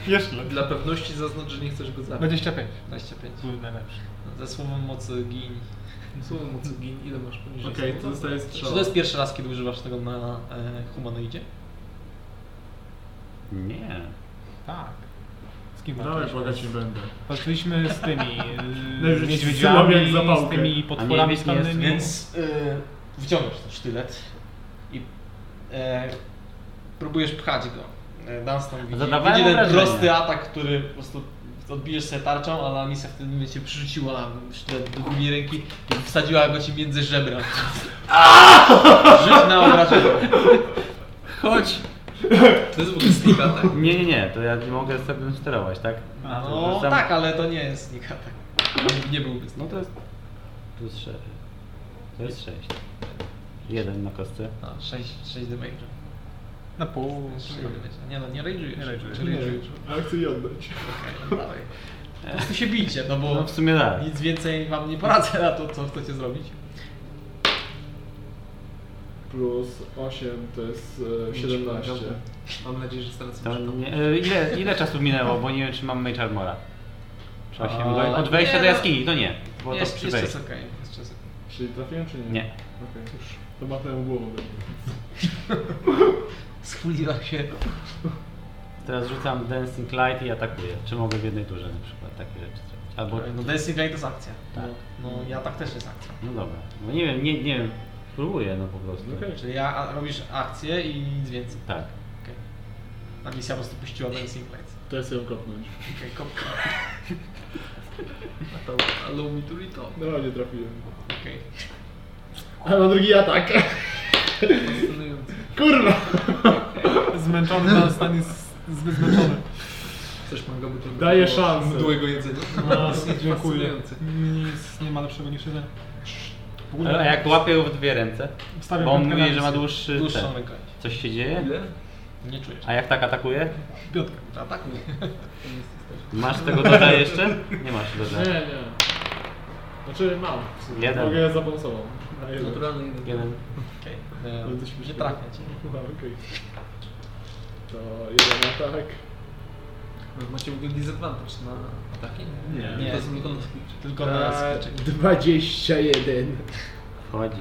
F: Jeszcze lepiej.
D: Dla pewności zaznacz, że nie chcesz go zabić.
F: 25.
A: 25.
F: Był najlepszy.
A: Ze słowem mocy gin.
D: Słowo mocy gin, ile masz poniżej?
B: Okej,
D: słowa?
B: to zostaje
A: Czy
B: strzał.
A: to jest pierwszy raz, kiedy używasz tego na e, humanoidzie?
C: nie.
F: Tak.
A: Z
G: wszystkim
B: Dalej
G: walczyliśmy.
B: błagać nie będę.
G: Walczyliśmy z tymi
B: No już
G: yy,
B: strzelam jak
G: niedźwiedziami,
B: zapałkę.
G: z tymi
C: A
G: potworami
C: niedźwiedź nie jest,
G: skalnymi.
A: Więc y, wyciągasz ten sztylet i e, próbujesz pchać go. E, Dunstan widzi,
C: Zadawałem
A: widzi ten
C: obrażenia.
A: prosty atak, który po prostu odbijesz sobie tarczą, a Anisa w tym momencie przyrzuciła sztylet do drugiej ręki i wsadziła go ci między żebra. Rzuć na obrażenie.
L: Chodź! To jest w ogóle sneak attack.
C: Nie, nie, nie, to ja nie mogę sobie sterować, tak? To
A: No
C: jest sam-
A: tak, ale to nie jest sneak attack. Nie- Nie byłby
C: No
A: sneak
C: to jest... Plus 6. To jest 6. Jeden na kostce.
A: attack. 6, 6 damage'a.
G: Na pół.
A: 6 damage'a. Nie no, nie rage'ujesz.
G: Nie rage'ujesz.
A: Czy rage'ujesz?
B: Ale chcę je oddać.
A: Okej, dawaj. Po prostu się bijcie, no bo
C: No w sumie tak.
A: Nic więcej wam nie poradzę na to, co chcecie zrobić.
B: Plus 8 to jest e, 17.
D: Mam nadzieję, że stracę
C: To
D: przytomność.
C: nie, e, ile, ile czasu minęło, bo nie wiem czy mam Mage Armora. Czy osiem
A: A,
C: do- Od wejścia
A: nie,
C: do
A: no.
C: jaskini, to nie. Bo to
A: Jeszcze,
C: przy
A: jeszcze
C: wejściu.
A: jest okej. jeszcze jest okej.
B: Czyli trafiłem czy nie?
C: Nie.
B: Okej. To machnę głową.
A: Schuliła się.
C: Teraz rzucam Dancing Light i atakuję. Czy mogę w jednej turze na przykład takie rzeczy zrobić? Albo...
A: No Dancing Light to jest akcja.
C: Tak.
A: No, no i atak też jest akcja.
C: No dobra. No nie wiem, nie, nie wiem. Spróbuję no po prostu.
B: Okej.
A: Czyli Znaczy, ja a, robisz akcję i nic więcej.
C: Tak.
A: A misja po prostu puściła Dancing Light.
B: To ja chcę ją kopnąć.
A: Okej, kopka.
D: Allow me to read to.
B: No nie trafiłem.
A: Okej.
B: Ale mam no drugi atak.
D: Fascynujące.
B: Kurwa!
G: Zmęczony na stan jest zbyt zmęczony.
D: Coś manga by to
B: Daję
D: było
B: szansę.
D: Mdłego jedzenia.
G: No, dziękuję.
D: Fascynujące.
G: Nic nie ma lepszego niż jeden. W ogóle
C: A jak łapię ją w dwie ręce?
G: wstawiam
C: Bo on
G: piątkę
C: mówi,
G: na
C: że ma
G: misję.
C: dłuższy
A: Dłuższą
C: ten.
A: rękę.
C: Coś się dzieje?
D: Ile?
A: Nie czujesz.
C: A jak tak atakuje?
G: Piątka.
A: Atakuj.
C: Masz tego doda jeszcze? Nie masz doda.
B: Nie, nie. Znaczy mam. w sumie.
C: Jeden.
B: Mogę za pomocową. Na jeden.
D: Naturalny jeden.
C: Jeden.
A: Okej.
B: Ale to
A: Okay.
B: śmieszne.
A: E, Nie trafia cię.
B: Aha, okej. To jeden atak.
D: No, Macie w ogóle disadvantage na ataki?
B: Nie.
A: Nie.
D: To jest wykonane.
A: Tylko na
B: Eee,
A: skrzyczek.
B: 21.
C: Wchodzi.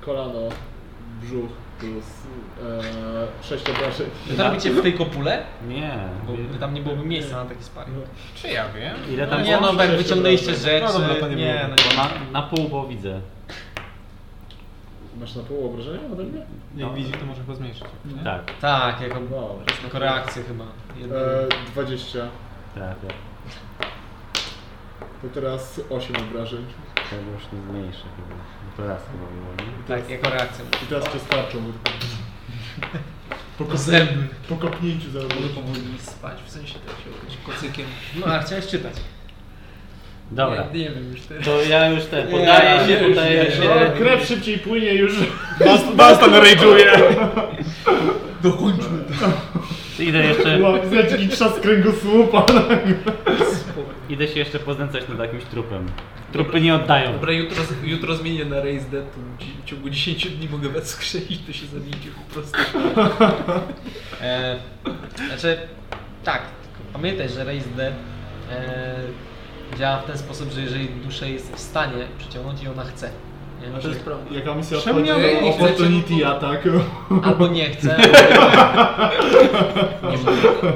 B: Kolano, brzuch plus e, 6 obrażeń.
A: Wy to robicie w tej kopule?
C: Nie.
A: Bo by tam nie byłoby miejsca na taki sparring.
D: Czy ja wiem?
C: Ile
A: No
C: tam
A: nie no,
C: było?
A: bo jak wyciągnęliście rzeczy.
G: No dobra, to nie
A: nie,
G: było.
A: no
C: Bo na, na pół, bo widzę.
B: Masz na pół obrażenia ode mnie?
G: Jak
C: No.
G: widzi, to może chyba zmniejszyć. nie?
C: Tak,
A: Tak, jako,
B: Wow.
A: jako reakcję chyba. Jednego.
B: E, 20.
C: trafia.
B: To teraz 8 obrażeń.
C: To już nie zmniejszy chyba. No To raz chyba było, nie?
A: Tak, jako reakcję.
B: I teraz cię starczą.
A: Po zęby.
B: Po kopnięciu zaraz.
D: Może powoli spać, w sensie tak się urodzić kocykiem.
A: No, a chciałeś czytać.
C: Dobra.
D: Nie, nie wiem już teraz.
C: To ja już te
A: Nie,
C: podaję się,
A: już nie.
C: podaję
B: No,
C: się.
B: krew szybciej płynie już.
G: Baston rage'uje!
D: Dokończmy to.
C: Idę jeszcze,
B: Łapzeczki trzask kręgosłupa.
C: idę się jeszcze poznęcać nad jakimś trupem. Trupy nie oddają.
D: Dobra, jutro, jutro zmienię na Raise Dead, to dzi- w ciągu 10 dni mogę was skrzesić, to się zamienicie po prostu.
A: E, znaczy, tak, tylko pamiętaj, że Raise Dead e, działa w ten sposób, że jeżeli duszę jest w stanie przyciągnąć i ona chce. Nie?
D: To jest prawda.
B: Jaka misja
G: Czemu
B: odchodzi?
G: ja
B: Ej,
D: nie chcecie?
B: Opportunity attack.
A: Albo nie chce. Może,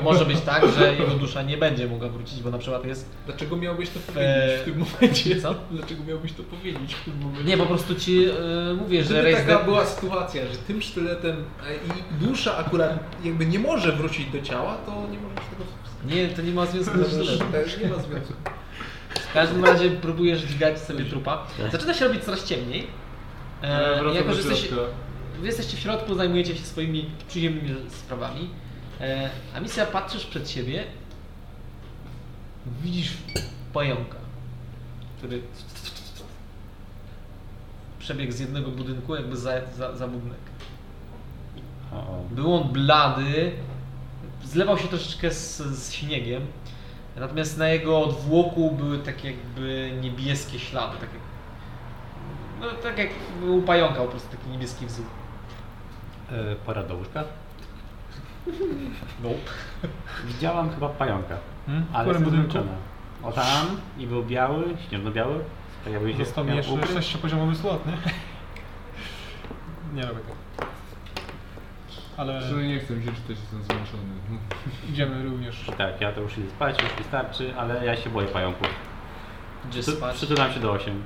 A: może być tak, że jego dusza nie będzie mogła wrócić, bo na przykład jest.
D: Dlaczego miałbyś to
A: Eee,
D: powiedzieć w tym momencie?
A: co?
D: Dlaczego miałbyś to powiedzieć w tym momencie?
A: Nie, po prostu ci e, mówię, że
D: Gdyby
A: Raise
D: taka
A: Dead.
D: była sytuacja, że tym sztyletem e, i dusza akurat jakby nie może wrócić do ciała, to nie możesz tego
A: Nie, to nie ma związku z sztyletem.
D: wskazać. No, Nie ma
A: E,
D: związku.
A: W każdym razie próbujesz dźgać sobie trupa. Zaczyna się robić coraz ciemniej.
D: No,
A: E, jako, że jesteś, wy jesteście w środku, zajmujecie się swoimi przyjemnymi sprawami. E, a misja patrzysz przed siebie. Widzisz pająka, który przebiegł z jednego budynku, jakby za, za, za budynek.
C: O, o.
A: Był on blady, zlewał się troszeczkę z, z śniegiem, natomiast na jego odwłoku były takie jakby niebieskie ślady, tak jak, no, tak jak u pająka po prostu taki niebieski wzór.
C: E, pora do łóżka.
A: No.
C: Widziałam chyba pająka,
G: Hmm? W
C: ale
G: którym
C: jestem
G: budynku?
C: zmęczona. O tam i był biały, śnieżno-biały. Pojawił się
G: Został mi
C: miał
G: jeszcze
C: ukryć.
G: 6 poziomowy slot, nie? Nie robię tego. ale
M: Przynajmniej nie chcę mi się czytać, jestem zmęczony.
G: idziemy również.
C: Tak, ja to już idę spać, już wystarczy, ale ja się boję pająków.
A: Gdzie
C: Przy-
A: spać?
C: Przytulam się do 8.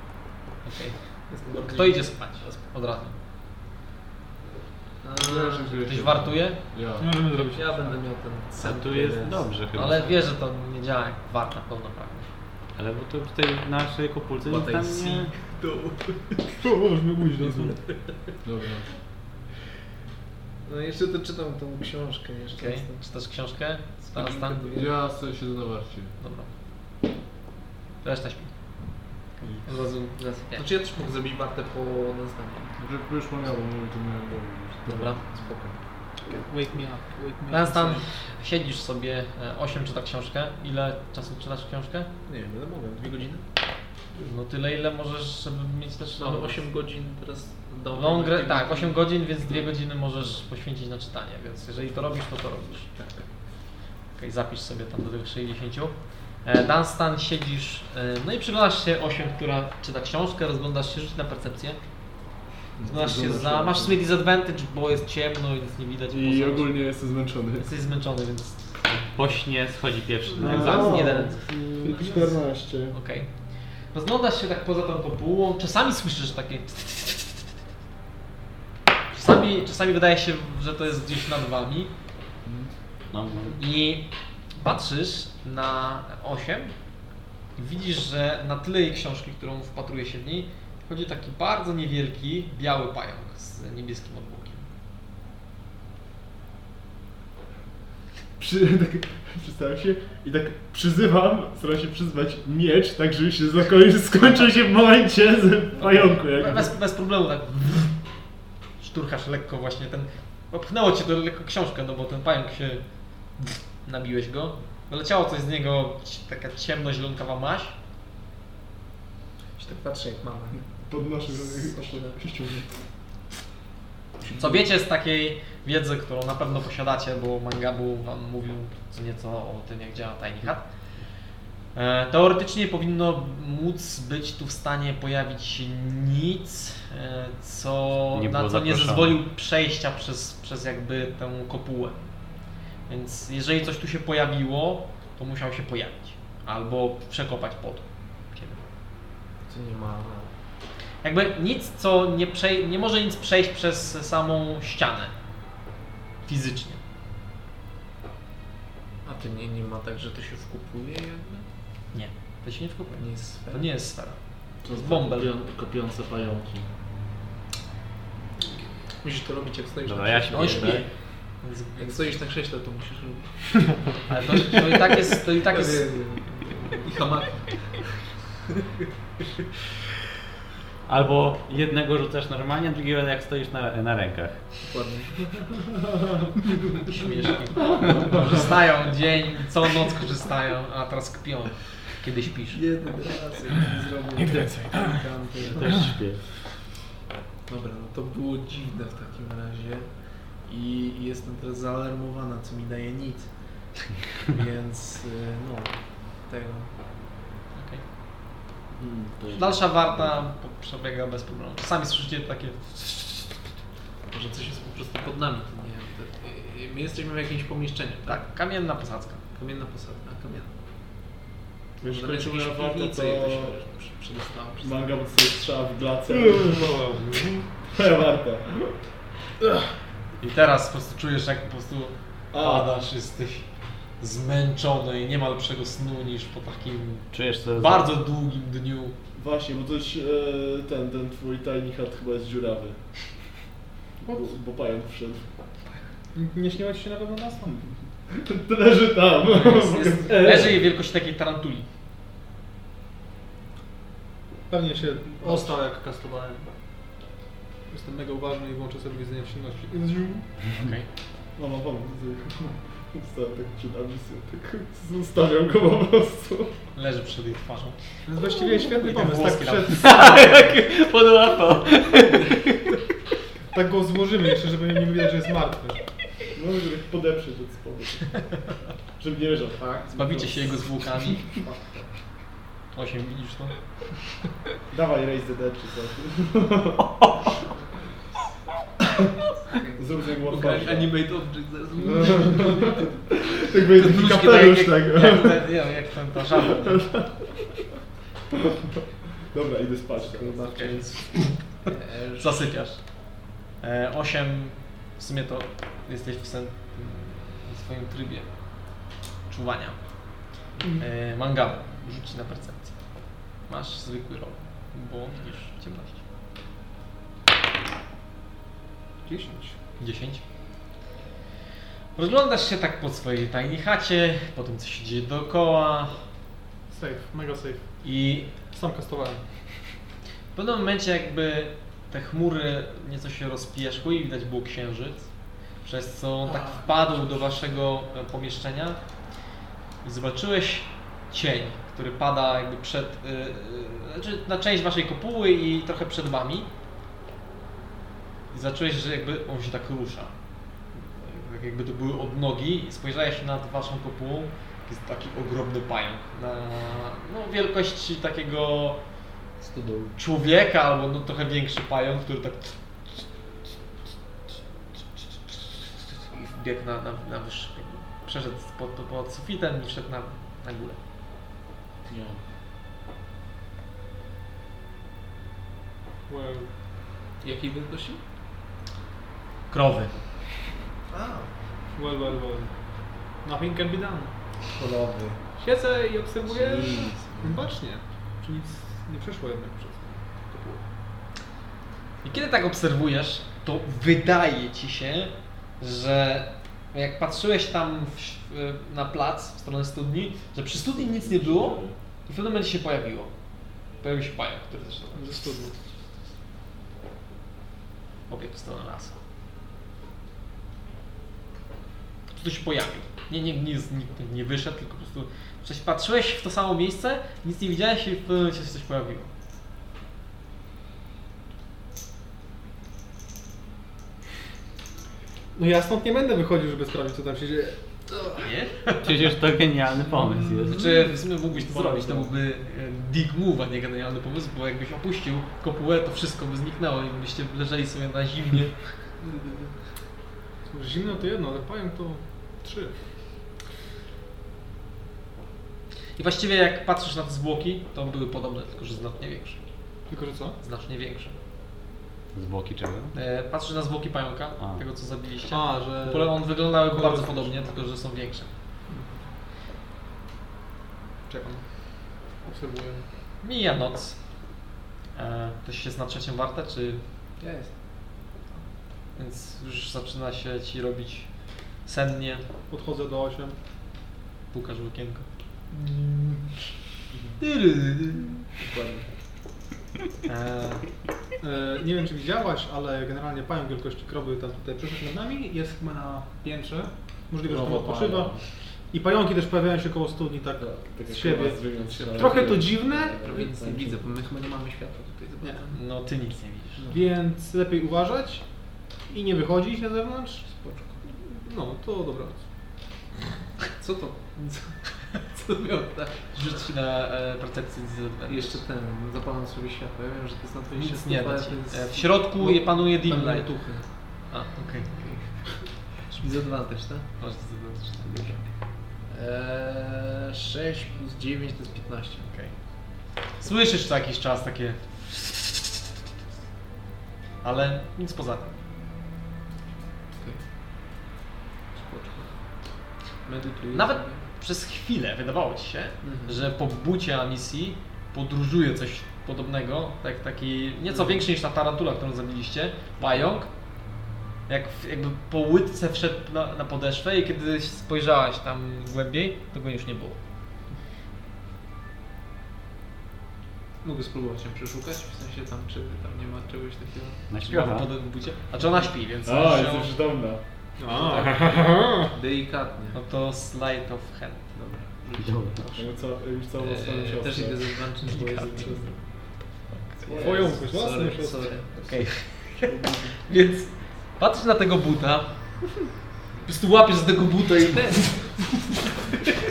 A: Okej. Kto idzie spać? Od razu.
M: Zależy, że
A: Ktoś
M: się-
A: wartuje?
M: Ja.
G: Nie możemy zrobić.
D: Ja będę miał ten
C: A
D: sam.
C: tu jest dobrze chyba.
A: Ale wie, że to nie działa jak warta pełnoprawnie.
C: Ale bo tu tutaj w naszej kopulce nic tam nie...
N: Możemy pójść do tego.
M: Dobra.
D: No jeszcze to czytam tą książkę jeszcze.
A: Okej.
D: jestem-
A: Czytasz książkę? Stara stan?
M: Ja sobie siedzę na warcie.
A: Dobra. Reszta śpi.
D: Rozum,
A: Nie.
D: Znaczy ja też mógł zabić Bartę po naznaniu.
M: Że już pomagało, mówię, to miałem dobrze.
A: Dobra.
D: Spoko.
O: Wake me up, wake me up.
A: Lanstan, siedzisz sobie, e, 8 czyta książkę. Ile czasu czytasz książkę?
D: Nie wiem, ile mogłem? Dwie godziny?
A: No tyle, ile możesz, żeby mieć też...
D: No, 8 godzin teraz do.
A: Long, re- tak, 8 godzin, więc 2 godziny możesz poświęcić na czytanie, więc jeżeli to robisz, to to robisz. Tak. Okej, zapisz sobie tam do tych 60. E, Dunstan, siedzisz, e, no i przyglądasz się 8, która czyta książkę, rozglądasz się, rzuć na percepcję. Rozglądasz się za, masz w sumie disadvantage, bo jest ciemno, więc nie widać
B: I
A: poza-
B: ogólnie jestem zmęczony.
A: Jesteś zmęczony, więc
C: Pośnie schodzi pierwszy na
B: No.
C: egzamin.
A: zaraz jeden.
B: I 14.
A: Okej. Rozglądasz się tak poza tą kopułą, czasami słyszysz takie... Czasami, czasami wydaje się, że to jest gdzieś nad wami.
C: No, no.
A: I patrzysz na 8 i widzisz, że na tyle jej książki, którą wpatruje się w niej, chodzi taki bardzo niewielki, biały pająk z niebieskim obłokiem.
B: Przy, tak, przystałem się i tak przyzywam, staram się przyzwać miecz, tak żeby się zakończy, skończył się w momencie z pająku.
A: Be-
B: Jakby.
A: Bez, bez problemu tak szturchasz lekko właśnie ten... Popchnęło cię to lekko książkę, no bo ten pająk się... Nabiłeś go. Wyleciało coś z niego, ci- taka ciemno-zielonkawa maś.
D: Się tak patrzę jak mama.
B: Podnoszę
A: Co wiecie z takiej wiedzy, którą na pewno posiadacie, bo Mangabu wam mówił co nieco o tym, jak działa Tiny Hat. E, Teoretycznie powinno móc być tu w stanie pojawić się nic, e, co,
C: Nie
A: na
C: było
A: co nie
C: zaproszone.
A: zezwolił przejścia przez, przez jakby tę kopułę. Więc jeżeli coś tu się pojawiło, to musiał się pojawić. Albo przekopać pod ciebie.
D: Co nie ma.
A: Jakby nic, co nie, przej- nie może nic przejść przez samą ścianę. Fizycznie.
D: A to nie, nie ma tak, że to się wkupuje jakby?
A: To się nie wkupuje.
D: Nie jest sfera.
A: To nie jest sfera.
M: To
A: jest bąbel.
M: Kopiące pająki.
D: Musisz to robić jak stoisz
C: Dobra,
D: na
C: No, ja
D: krześle.
C: się
A: On śpi.
C: biegnę.
A: Więc-
D: Jak stoisz na krześle, to musisz robić.
A: Ale to, to i tak jest. To i tak jest.
D: I hamak.
C: Albo jednego rzucasz normalnie, a drugiego jak stoisz na, na rękach.
D: Dokładnie.
A: Śmieszki. Korzystają dzień, całą noc korzystają, a teraz kpią. Kiedy śpisz.
D: Jeden raz, jak nie zrobię. Nie więcej.
C: Też śpię.
D: Dobra, no to było dziwne w takim razie. I jestem teraz zaalarmowana, co mi daje nic. Więc y, no, tego.
A: Okej.
M: Hmm, to jest-
A: Dalsza warta po- przebiega bez problemu. Sami słyszycie takie.
D: Może coś jest po prostu pod nami, to nie wiem. To, y, my jesteśmy w jakimś pomieszczeniu, tak?
A: Tak, kamienna posadzka.
D: Kamienna posadzka, kamienna.
B: Już
D: Może jest
B: kończymy
D: jakieś
B: na warto,
D: piwnice,
B: to No.
D: jak to się przy- przedostało. przez-
B: manga bo sobie strzała w glacę. warta.
A: I teraz po prostu czujesz, jak po prostu padasz, jesteś zmęczony i nie ma lepszego snu No, niż po takim
C: Czujesz co?
A: bardzo długim dniu.
B: Właśnie, bo coś e, ten, ten twój tiny hat chyba jest dziurawy. Bo, bo pająk wszedł.
G: Nie śniło ci się na pewno na sam.
B: Leży tam.
A: Jest, jest, leży jej wielkość takiej tarantuli.
G: Pewnie się ostał jak kastowałem. Jestem mega uważny i włączę sobie widzenie w ciemności.
A: Okej.
B: Mama, mama, Ustawiam tak przed Amisją, tak zostawiam go po prostu.
A: Leży przed jej twarzą.
G: Więc właściwie świetny
A: Idę
G: pomysł, tak,
A: włoski
G: przed,
C: Pod łapą.
G: tak go złożymy jeszcze, żeby nie widać, że jest martwy.
B: No, żeby podeprzeć od spodu. Żeby nie leżał. Tak?
A: Zbawicie się jego zwłokami. Osiem, widzisz to?
B: Dawaj Raise the Dead czy coś. Zrób z niego
P: Pokaż
B: warfarza.
P: animate object zaraz.
B: Tak będzie taki kapelusz tego.
D: Jak, jak, jak, jak ten ta żaba.
B: Dobra, idę spać. Dobra.
D: E, Zasypiasz. 8 w sumie to jesteś w, sen, w swoim trybie czuwania. E, Mangabu, rzuć na percepcję. Masz zwykły rol, bo widzisz w ciemności.
G: 10.
D: 10. Rozglądasz się tak po swojej tajnej chacie, po tym co się dzieje dookoła
G: Safe, mega safe.
D: i
G: Sam kastowałem.
D: W pewnym momencie jakby te chmury nieco się rozpierzchły i widać było księżyc, przez co on tak wpadł do waszego e, pomieszczenia i zobaczyłeś cień, który pada jakby przed, y, y, znaczy na część waszej kopuły i trochę przed wami. I zacząłeś, że jakby on się tak rusza. Tak jakby to były odnogi i spojrzałeś nad waszą kopułą, jest taki ogromny pająk na no, wielkości takiego człowieka, albo no trochę większy pająk, który tak i wbiegł na, na, na wyższy, jakby przeszedł pod, pod sufitem i wszedł na, na górę.
G: Wow.
P: Jakiej wielkości?
D: Krowy.
G: Well, well, well. Nothing can be done.
Q: Kolowy.
G: Siedzę i obserwuję Mhm.
Q: Jeez.
G: bacznie. Czy nic nie przeszło jednak przez kopułę.
D: I kiedy tak obserwujesz, to wydaje ci się, że jak patrzyłeś tam w, w- na plac w stronę studni, że przy studni nic nie było i w pewnym momencie się pojawiło. Pojawił się pająk, który też
G: Ze studni.
D: pobiegł w stronę lasu. Czy to się pojawił? Nie, nie, nie, nikt nie wyszedł, tylko po prostu coś patrzyłeś w to samo miejsce, nic nie widziałeś i w pewnym momencie się coś pojawiło.
G: No ja stąd nie będę wychodził, żeby sprawdzić co tam się dzieje.
D: Nie?
C: Przecież to genialny pomysł jest.
D: Znaczy, w sumie mógłbyś to zrobić, to byłby e, dig move, a nie genialny pomysł, bo jakbyś opuścił kopułę, to wszystko by zniknęło i byście leżeli sobie na zimnie.
G: Zimno to jedno, ale pająk to trzy.
D: I właściwie jak patrzysz na te zwłoki, to były podobne, tylko że znacznie większe.
G: Tylko że co?
D: Znacznie większe.
C: Z boki czego?
D: E, patrzysz na zwłoki pająka,
C: A.
D: tego co zabiliście.
G: A, że...
D: Pole on wyglądały
G: Kolor
D: bardzo
G: też.
D: podobnie, tylko że są większe.
G: Czekam. Obserwuję.
D: Mija noc. E, ktoś jest na trzecią wartę, czy...
A: Ja jestem.
D: Więc już zaczyna się ci robić sennie.
G: Podchodzę do 8.
D: Pukasz w okienko. E,
G: E, nie wiem czy widziałaś, ale generalnie pająk wielkości krowy tam tutaj przeszedł nad nami. Jest chyba na piętrze. Możliwe, że tam
Q: Krowa
G: odpoczywa.
Q: pająk.
G: I pająki też pojawiają się koło studni tak
Q: no. Tak
G: z
Q: jak
G: siebie.
Q: chyba zwinąć się na
G: Trochę
Q: lewo.
G: to dziwne,
A: Prawie nic nie widzę, bo my chyba nie mamy światła tutaj. za bardzo.
D: no ty nic nie widzisz.
G: więc lepiej uważać i nie wychodzić na zewnątrz. No, to dobra.
P: Co to? Co to miało tak?
D: Rzuć na e, percepcję z
A: Jeszcze ten, zapalam sobie światło. Ja wiem, że to jest na twoje
D: nic
A: światło,
D: nie da
A: ale
D: ci.
A: to jest-
D: E, W środku
G: No,
D: je panuje dim
A: Tam
D: light.
A: tuchy.
D: A, okej.
A: Widzę dwa też, tak?
D: Masz zewnętrzny.
A: Eee, 6 plus 9 to jest 15.
D: Okej. Słyszysz co jakiś czas takie... Ale nic poza tym.
A: Medytuję.
D: Nawet
A: sobie.
D: przez chwilę wydawało ci się,
A: Mhm.
D: że po bucie misji podróżuje coś podobnego, tak, taki nieco
A: Mhm.
D: większy niż ta tarantula, którą zabiliście, pająk. Jak w, jakby po łydce wszedł na, na podeszwę i kiedy spojrzałaś tam głębiej, to go już nie było.
A: Mogę spróbować się przeszukać, w sensie tam, czy tam nie ma czegoś takiego.
C: Na
D: Była w
C: śpiewa.
D: pod- bucie. Znaczy ona śpi, więc
B: A,
D: ją-
B: jestem przytomna.
A: Delikatnie.
D: no to slide of hand.
A: Dobra.
C: Dobra.
B: No co, już całą swoją
A: Eee,
B: siostrę.
A: też idę ze zwanczym, bo jest
G: Twoją własną
A: Sorry,
G: siostrę.
A: sorry.
D: Okej. Więc patrzysz na tego buta, po prostu łapiesz z tego buta i ten.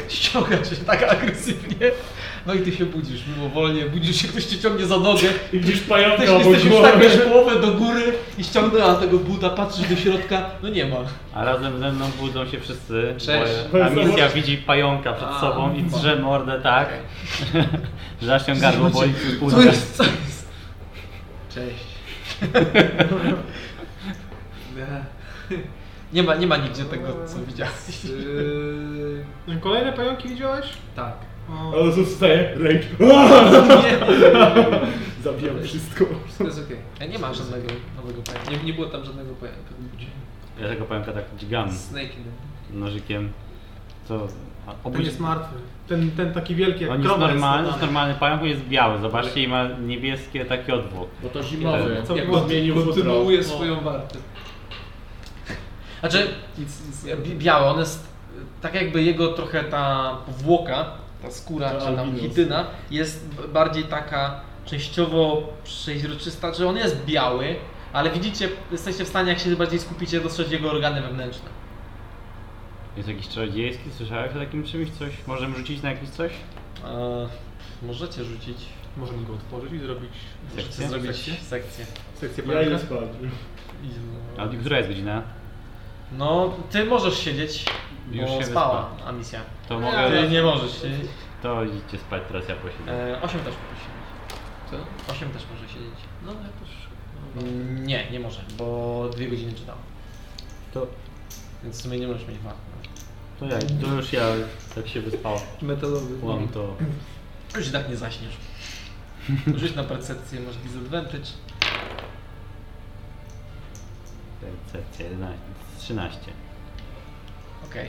D: ściąga cię tak agresywnie. No i ty się budzisz mimowolnie, budzisz się, ktoś cię ciągnie za nogę.
B: I widzisz
D: Ty
B: pająka obok
D: jesteś już tak
B: głowy.
D: wiesz, połowę do góry i ściągnęła tego buta, patrzysz do środka, no nie ma.
C: A razem ze mną budzą się wszyscy.
D: Cześć.
C: A misja widzi pająka przed
D: A,
C: sobą i drze mordę tak, że aż się gardło boli przy
D: Co
C: płucach.
D: jest, co jest?
A: Cześć.
D: Nie ma, nie ma nigdzie tego, co widziałeś.
A: Yy,
R: Kolejne pająki widziałeś?
A: tak.
R: O,
B: Ale zostaje rage. Zabijam wszystko.
A: To jest okej.
D: Ja nie ma żadnego nowego pojęcia.
S: Nie, nie było tam żadnego pojęcia.
C: Ja tego pająka tak dźgam
S: Snake in the-
C: nożykiem. Co? a
R: Ten
C: Obudzi...
R: jest martwy. Ten, ten taki wielki jak
C: On jest
R: krowa
C: normalny, jest
R: nadany.
C: normalny pająk, on jest biały, zobaczcie i ma niebieskie taki odwłok.
T: Bo to zimowy.
B: Co
S: Jak
B: by zmienił jutro?
S: Kontynuuje swoją wartę.
D: Znaczy, bi- białe, on jest tak jakby jego trochę ta powłoka, ta skóra
B: To
D: czy tam
B: albinos.
D: chityna jest b- bardziej taka częściowo przeźroczysta, że on jest biały, ale widzicie, jesteście w stanie jak się bardziej skupicie dostrzec jego organy wewnętrzne.
C: Jest jakiś czarodziejski, słyszałeś o takim czymś? Coś? Możemy rzucić na jakieś coś?
D: Eee, możecie rzucić,
G: Możemy go otworzyć i zrobić
D: możecie
C: Sekcję?
D: zrobić
G: Sekcję?
D: sekcję.
G: sekcję
B: Ja
G: pająka.
B: idę spać.
C: A która jest godzina?
D: No, ty możesz siedzieć, bo
C: Już się
D: spała a misja.
C: To
D: Ty
C: mogę...
D: nie możesz siedzieć.
C: To idźcie spać, teraz ja posiedzę.
D: E, 8 też może siedzieć. Co? 8 też może siedzieć. No ale też. Mm, Nie, nie może, bo dwie godziny czytał.
C: To,
D: Więc w sumie nie możesz mieć warty.
C: to jak? To już ja tak się wyspałem.
S: Metalowy.
C: Mam to...
D: Już i tak nie zaśniesz. Rzuć na percepcję, masz disadvantage.
C: Percepcja 11, 13.
D: Okej.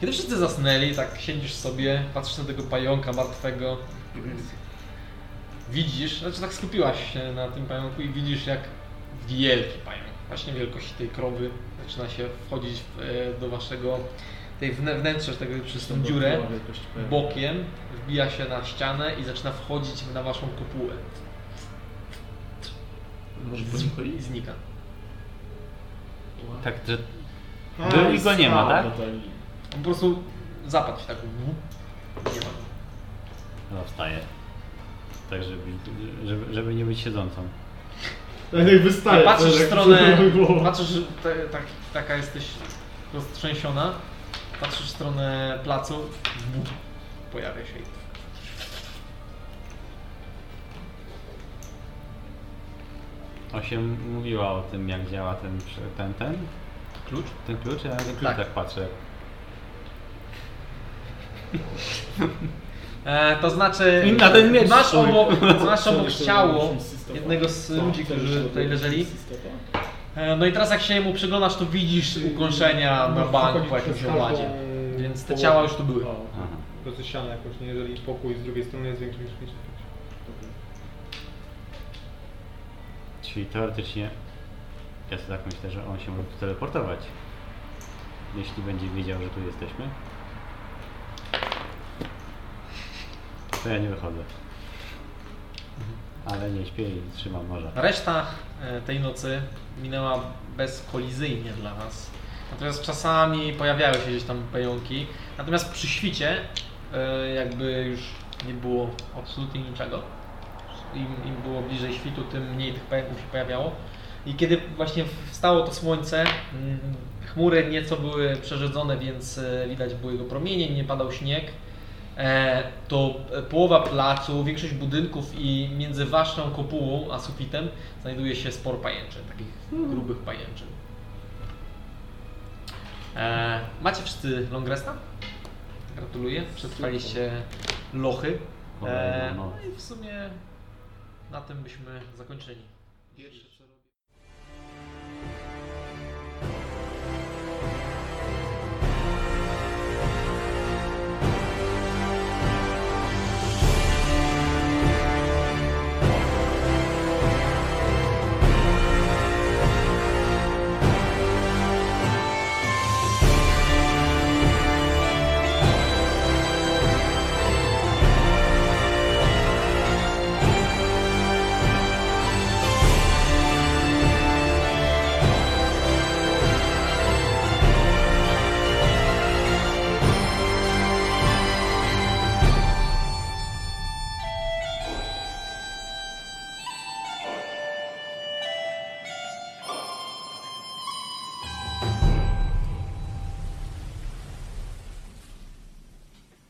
D: Kiedy wszyscy zasnęli, tak siedzisz sobie, patrzysz na tego pająka martwego. Widzisz, znaczy tak skupiłaś się na tym pająku i widzisz jak wielki pająk, właśnie wielkości tej krowy, zaczyna się wchodzić w, e, do waszego, tej wnę- wnętrza, tego, przez tą dziurę, bokiem, wbija się na ścianę i zaczyna wchodzić na waszą kopułę.
T: Może po nim
D: I znika.
C: Tak, że
B: A,
C: był i go nie ma,
B: spadł
C: tak?
B: ten-
D: On po prostu zapadł się tak. Nie ma.
C: No wstaję. Tak, żeby, żeby, żeby nie być siedzącą.
B: Tak jak wystaje.
D: Patrzysz
B: tak
D: w
B: jak
D: stronę,
B: przed moją głową.
D: patrzysz, że te, tak, taka jesteś roztrzęsiona, patrzysz w stronę placu, Bum. pojawia się i
C: Osiem mówiła o tym, jak działa ten, prze- ten, ten,
D: klucz.
C: ten klucz, ja na ten klucz
D: Tak.
C: tak, patrzę.
D: E, to znaczy,
C: I na ten miecz
D: masz
C: swój.
D: obok, masz obok
B: jeszcze
D: ciało
B: robisz z systopa?
D: jednego z
B: Co?
D: ludzi,
B: Co
D: którzy
B: jeszcze
D: tutaj
B: robisz
D: leżeli.
B: z systopa?
D: E, No i teraz jak się mu przyglądasz, to widzisz ukąszenia na
B: No,
R: Możesz
D: bank
R: wchodzić
D: po jakimś
R: przez każdą
D: okładzie. Więc te
R: połowę.
D: ciała już tu były.
B: O,
C: Aha.
G: Rozsiane jakoś, nie? Jeżeli pokój z drugiej strony jest większy niż 5
C: Czyli teoretycznie, ja sobie tak myślę, że on się może tu teleportować. Jeśli będzie wiedział, że tu jesteśmy. To ja nie wychodzę. Ale nie śpię i trzymam morza.
D: Reszta e, tej nocy minęła bezkolizyjnie dla Was. Natomiast czasami pojawiały się gdzieś tam pająki. Natomiast przy świcie e, jakby już nie było absolutnie niczego. Im, im było bliżej świtu, tym mniej tych pająków się pojawiało. I kiedy właśnie wstało to słońce, mm, chmury nieco były przerzedzone, więc e, widać było jego promienie, nie padał śnieg. E, to e, połowa placu, większość budynków i między waszą kopułą a sufitem znajduje się spor pajęczyn, takich grubych pajęczyn. E, macie wszyscy longresta? Gratuluję, przetrwaliście lochy.
C: Kolejną
D: E,
C: noc.
D: no i w sumie na tym byśmy zakończyli.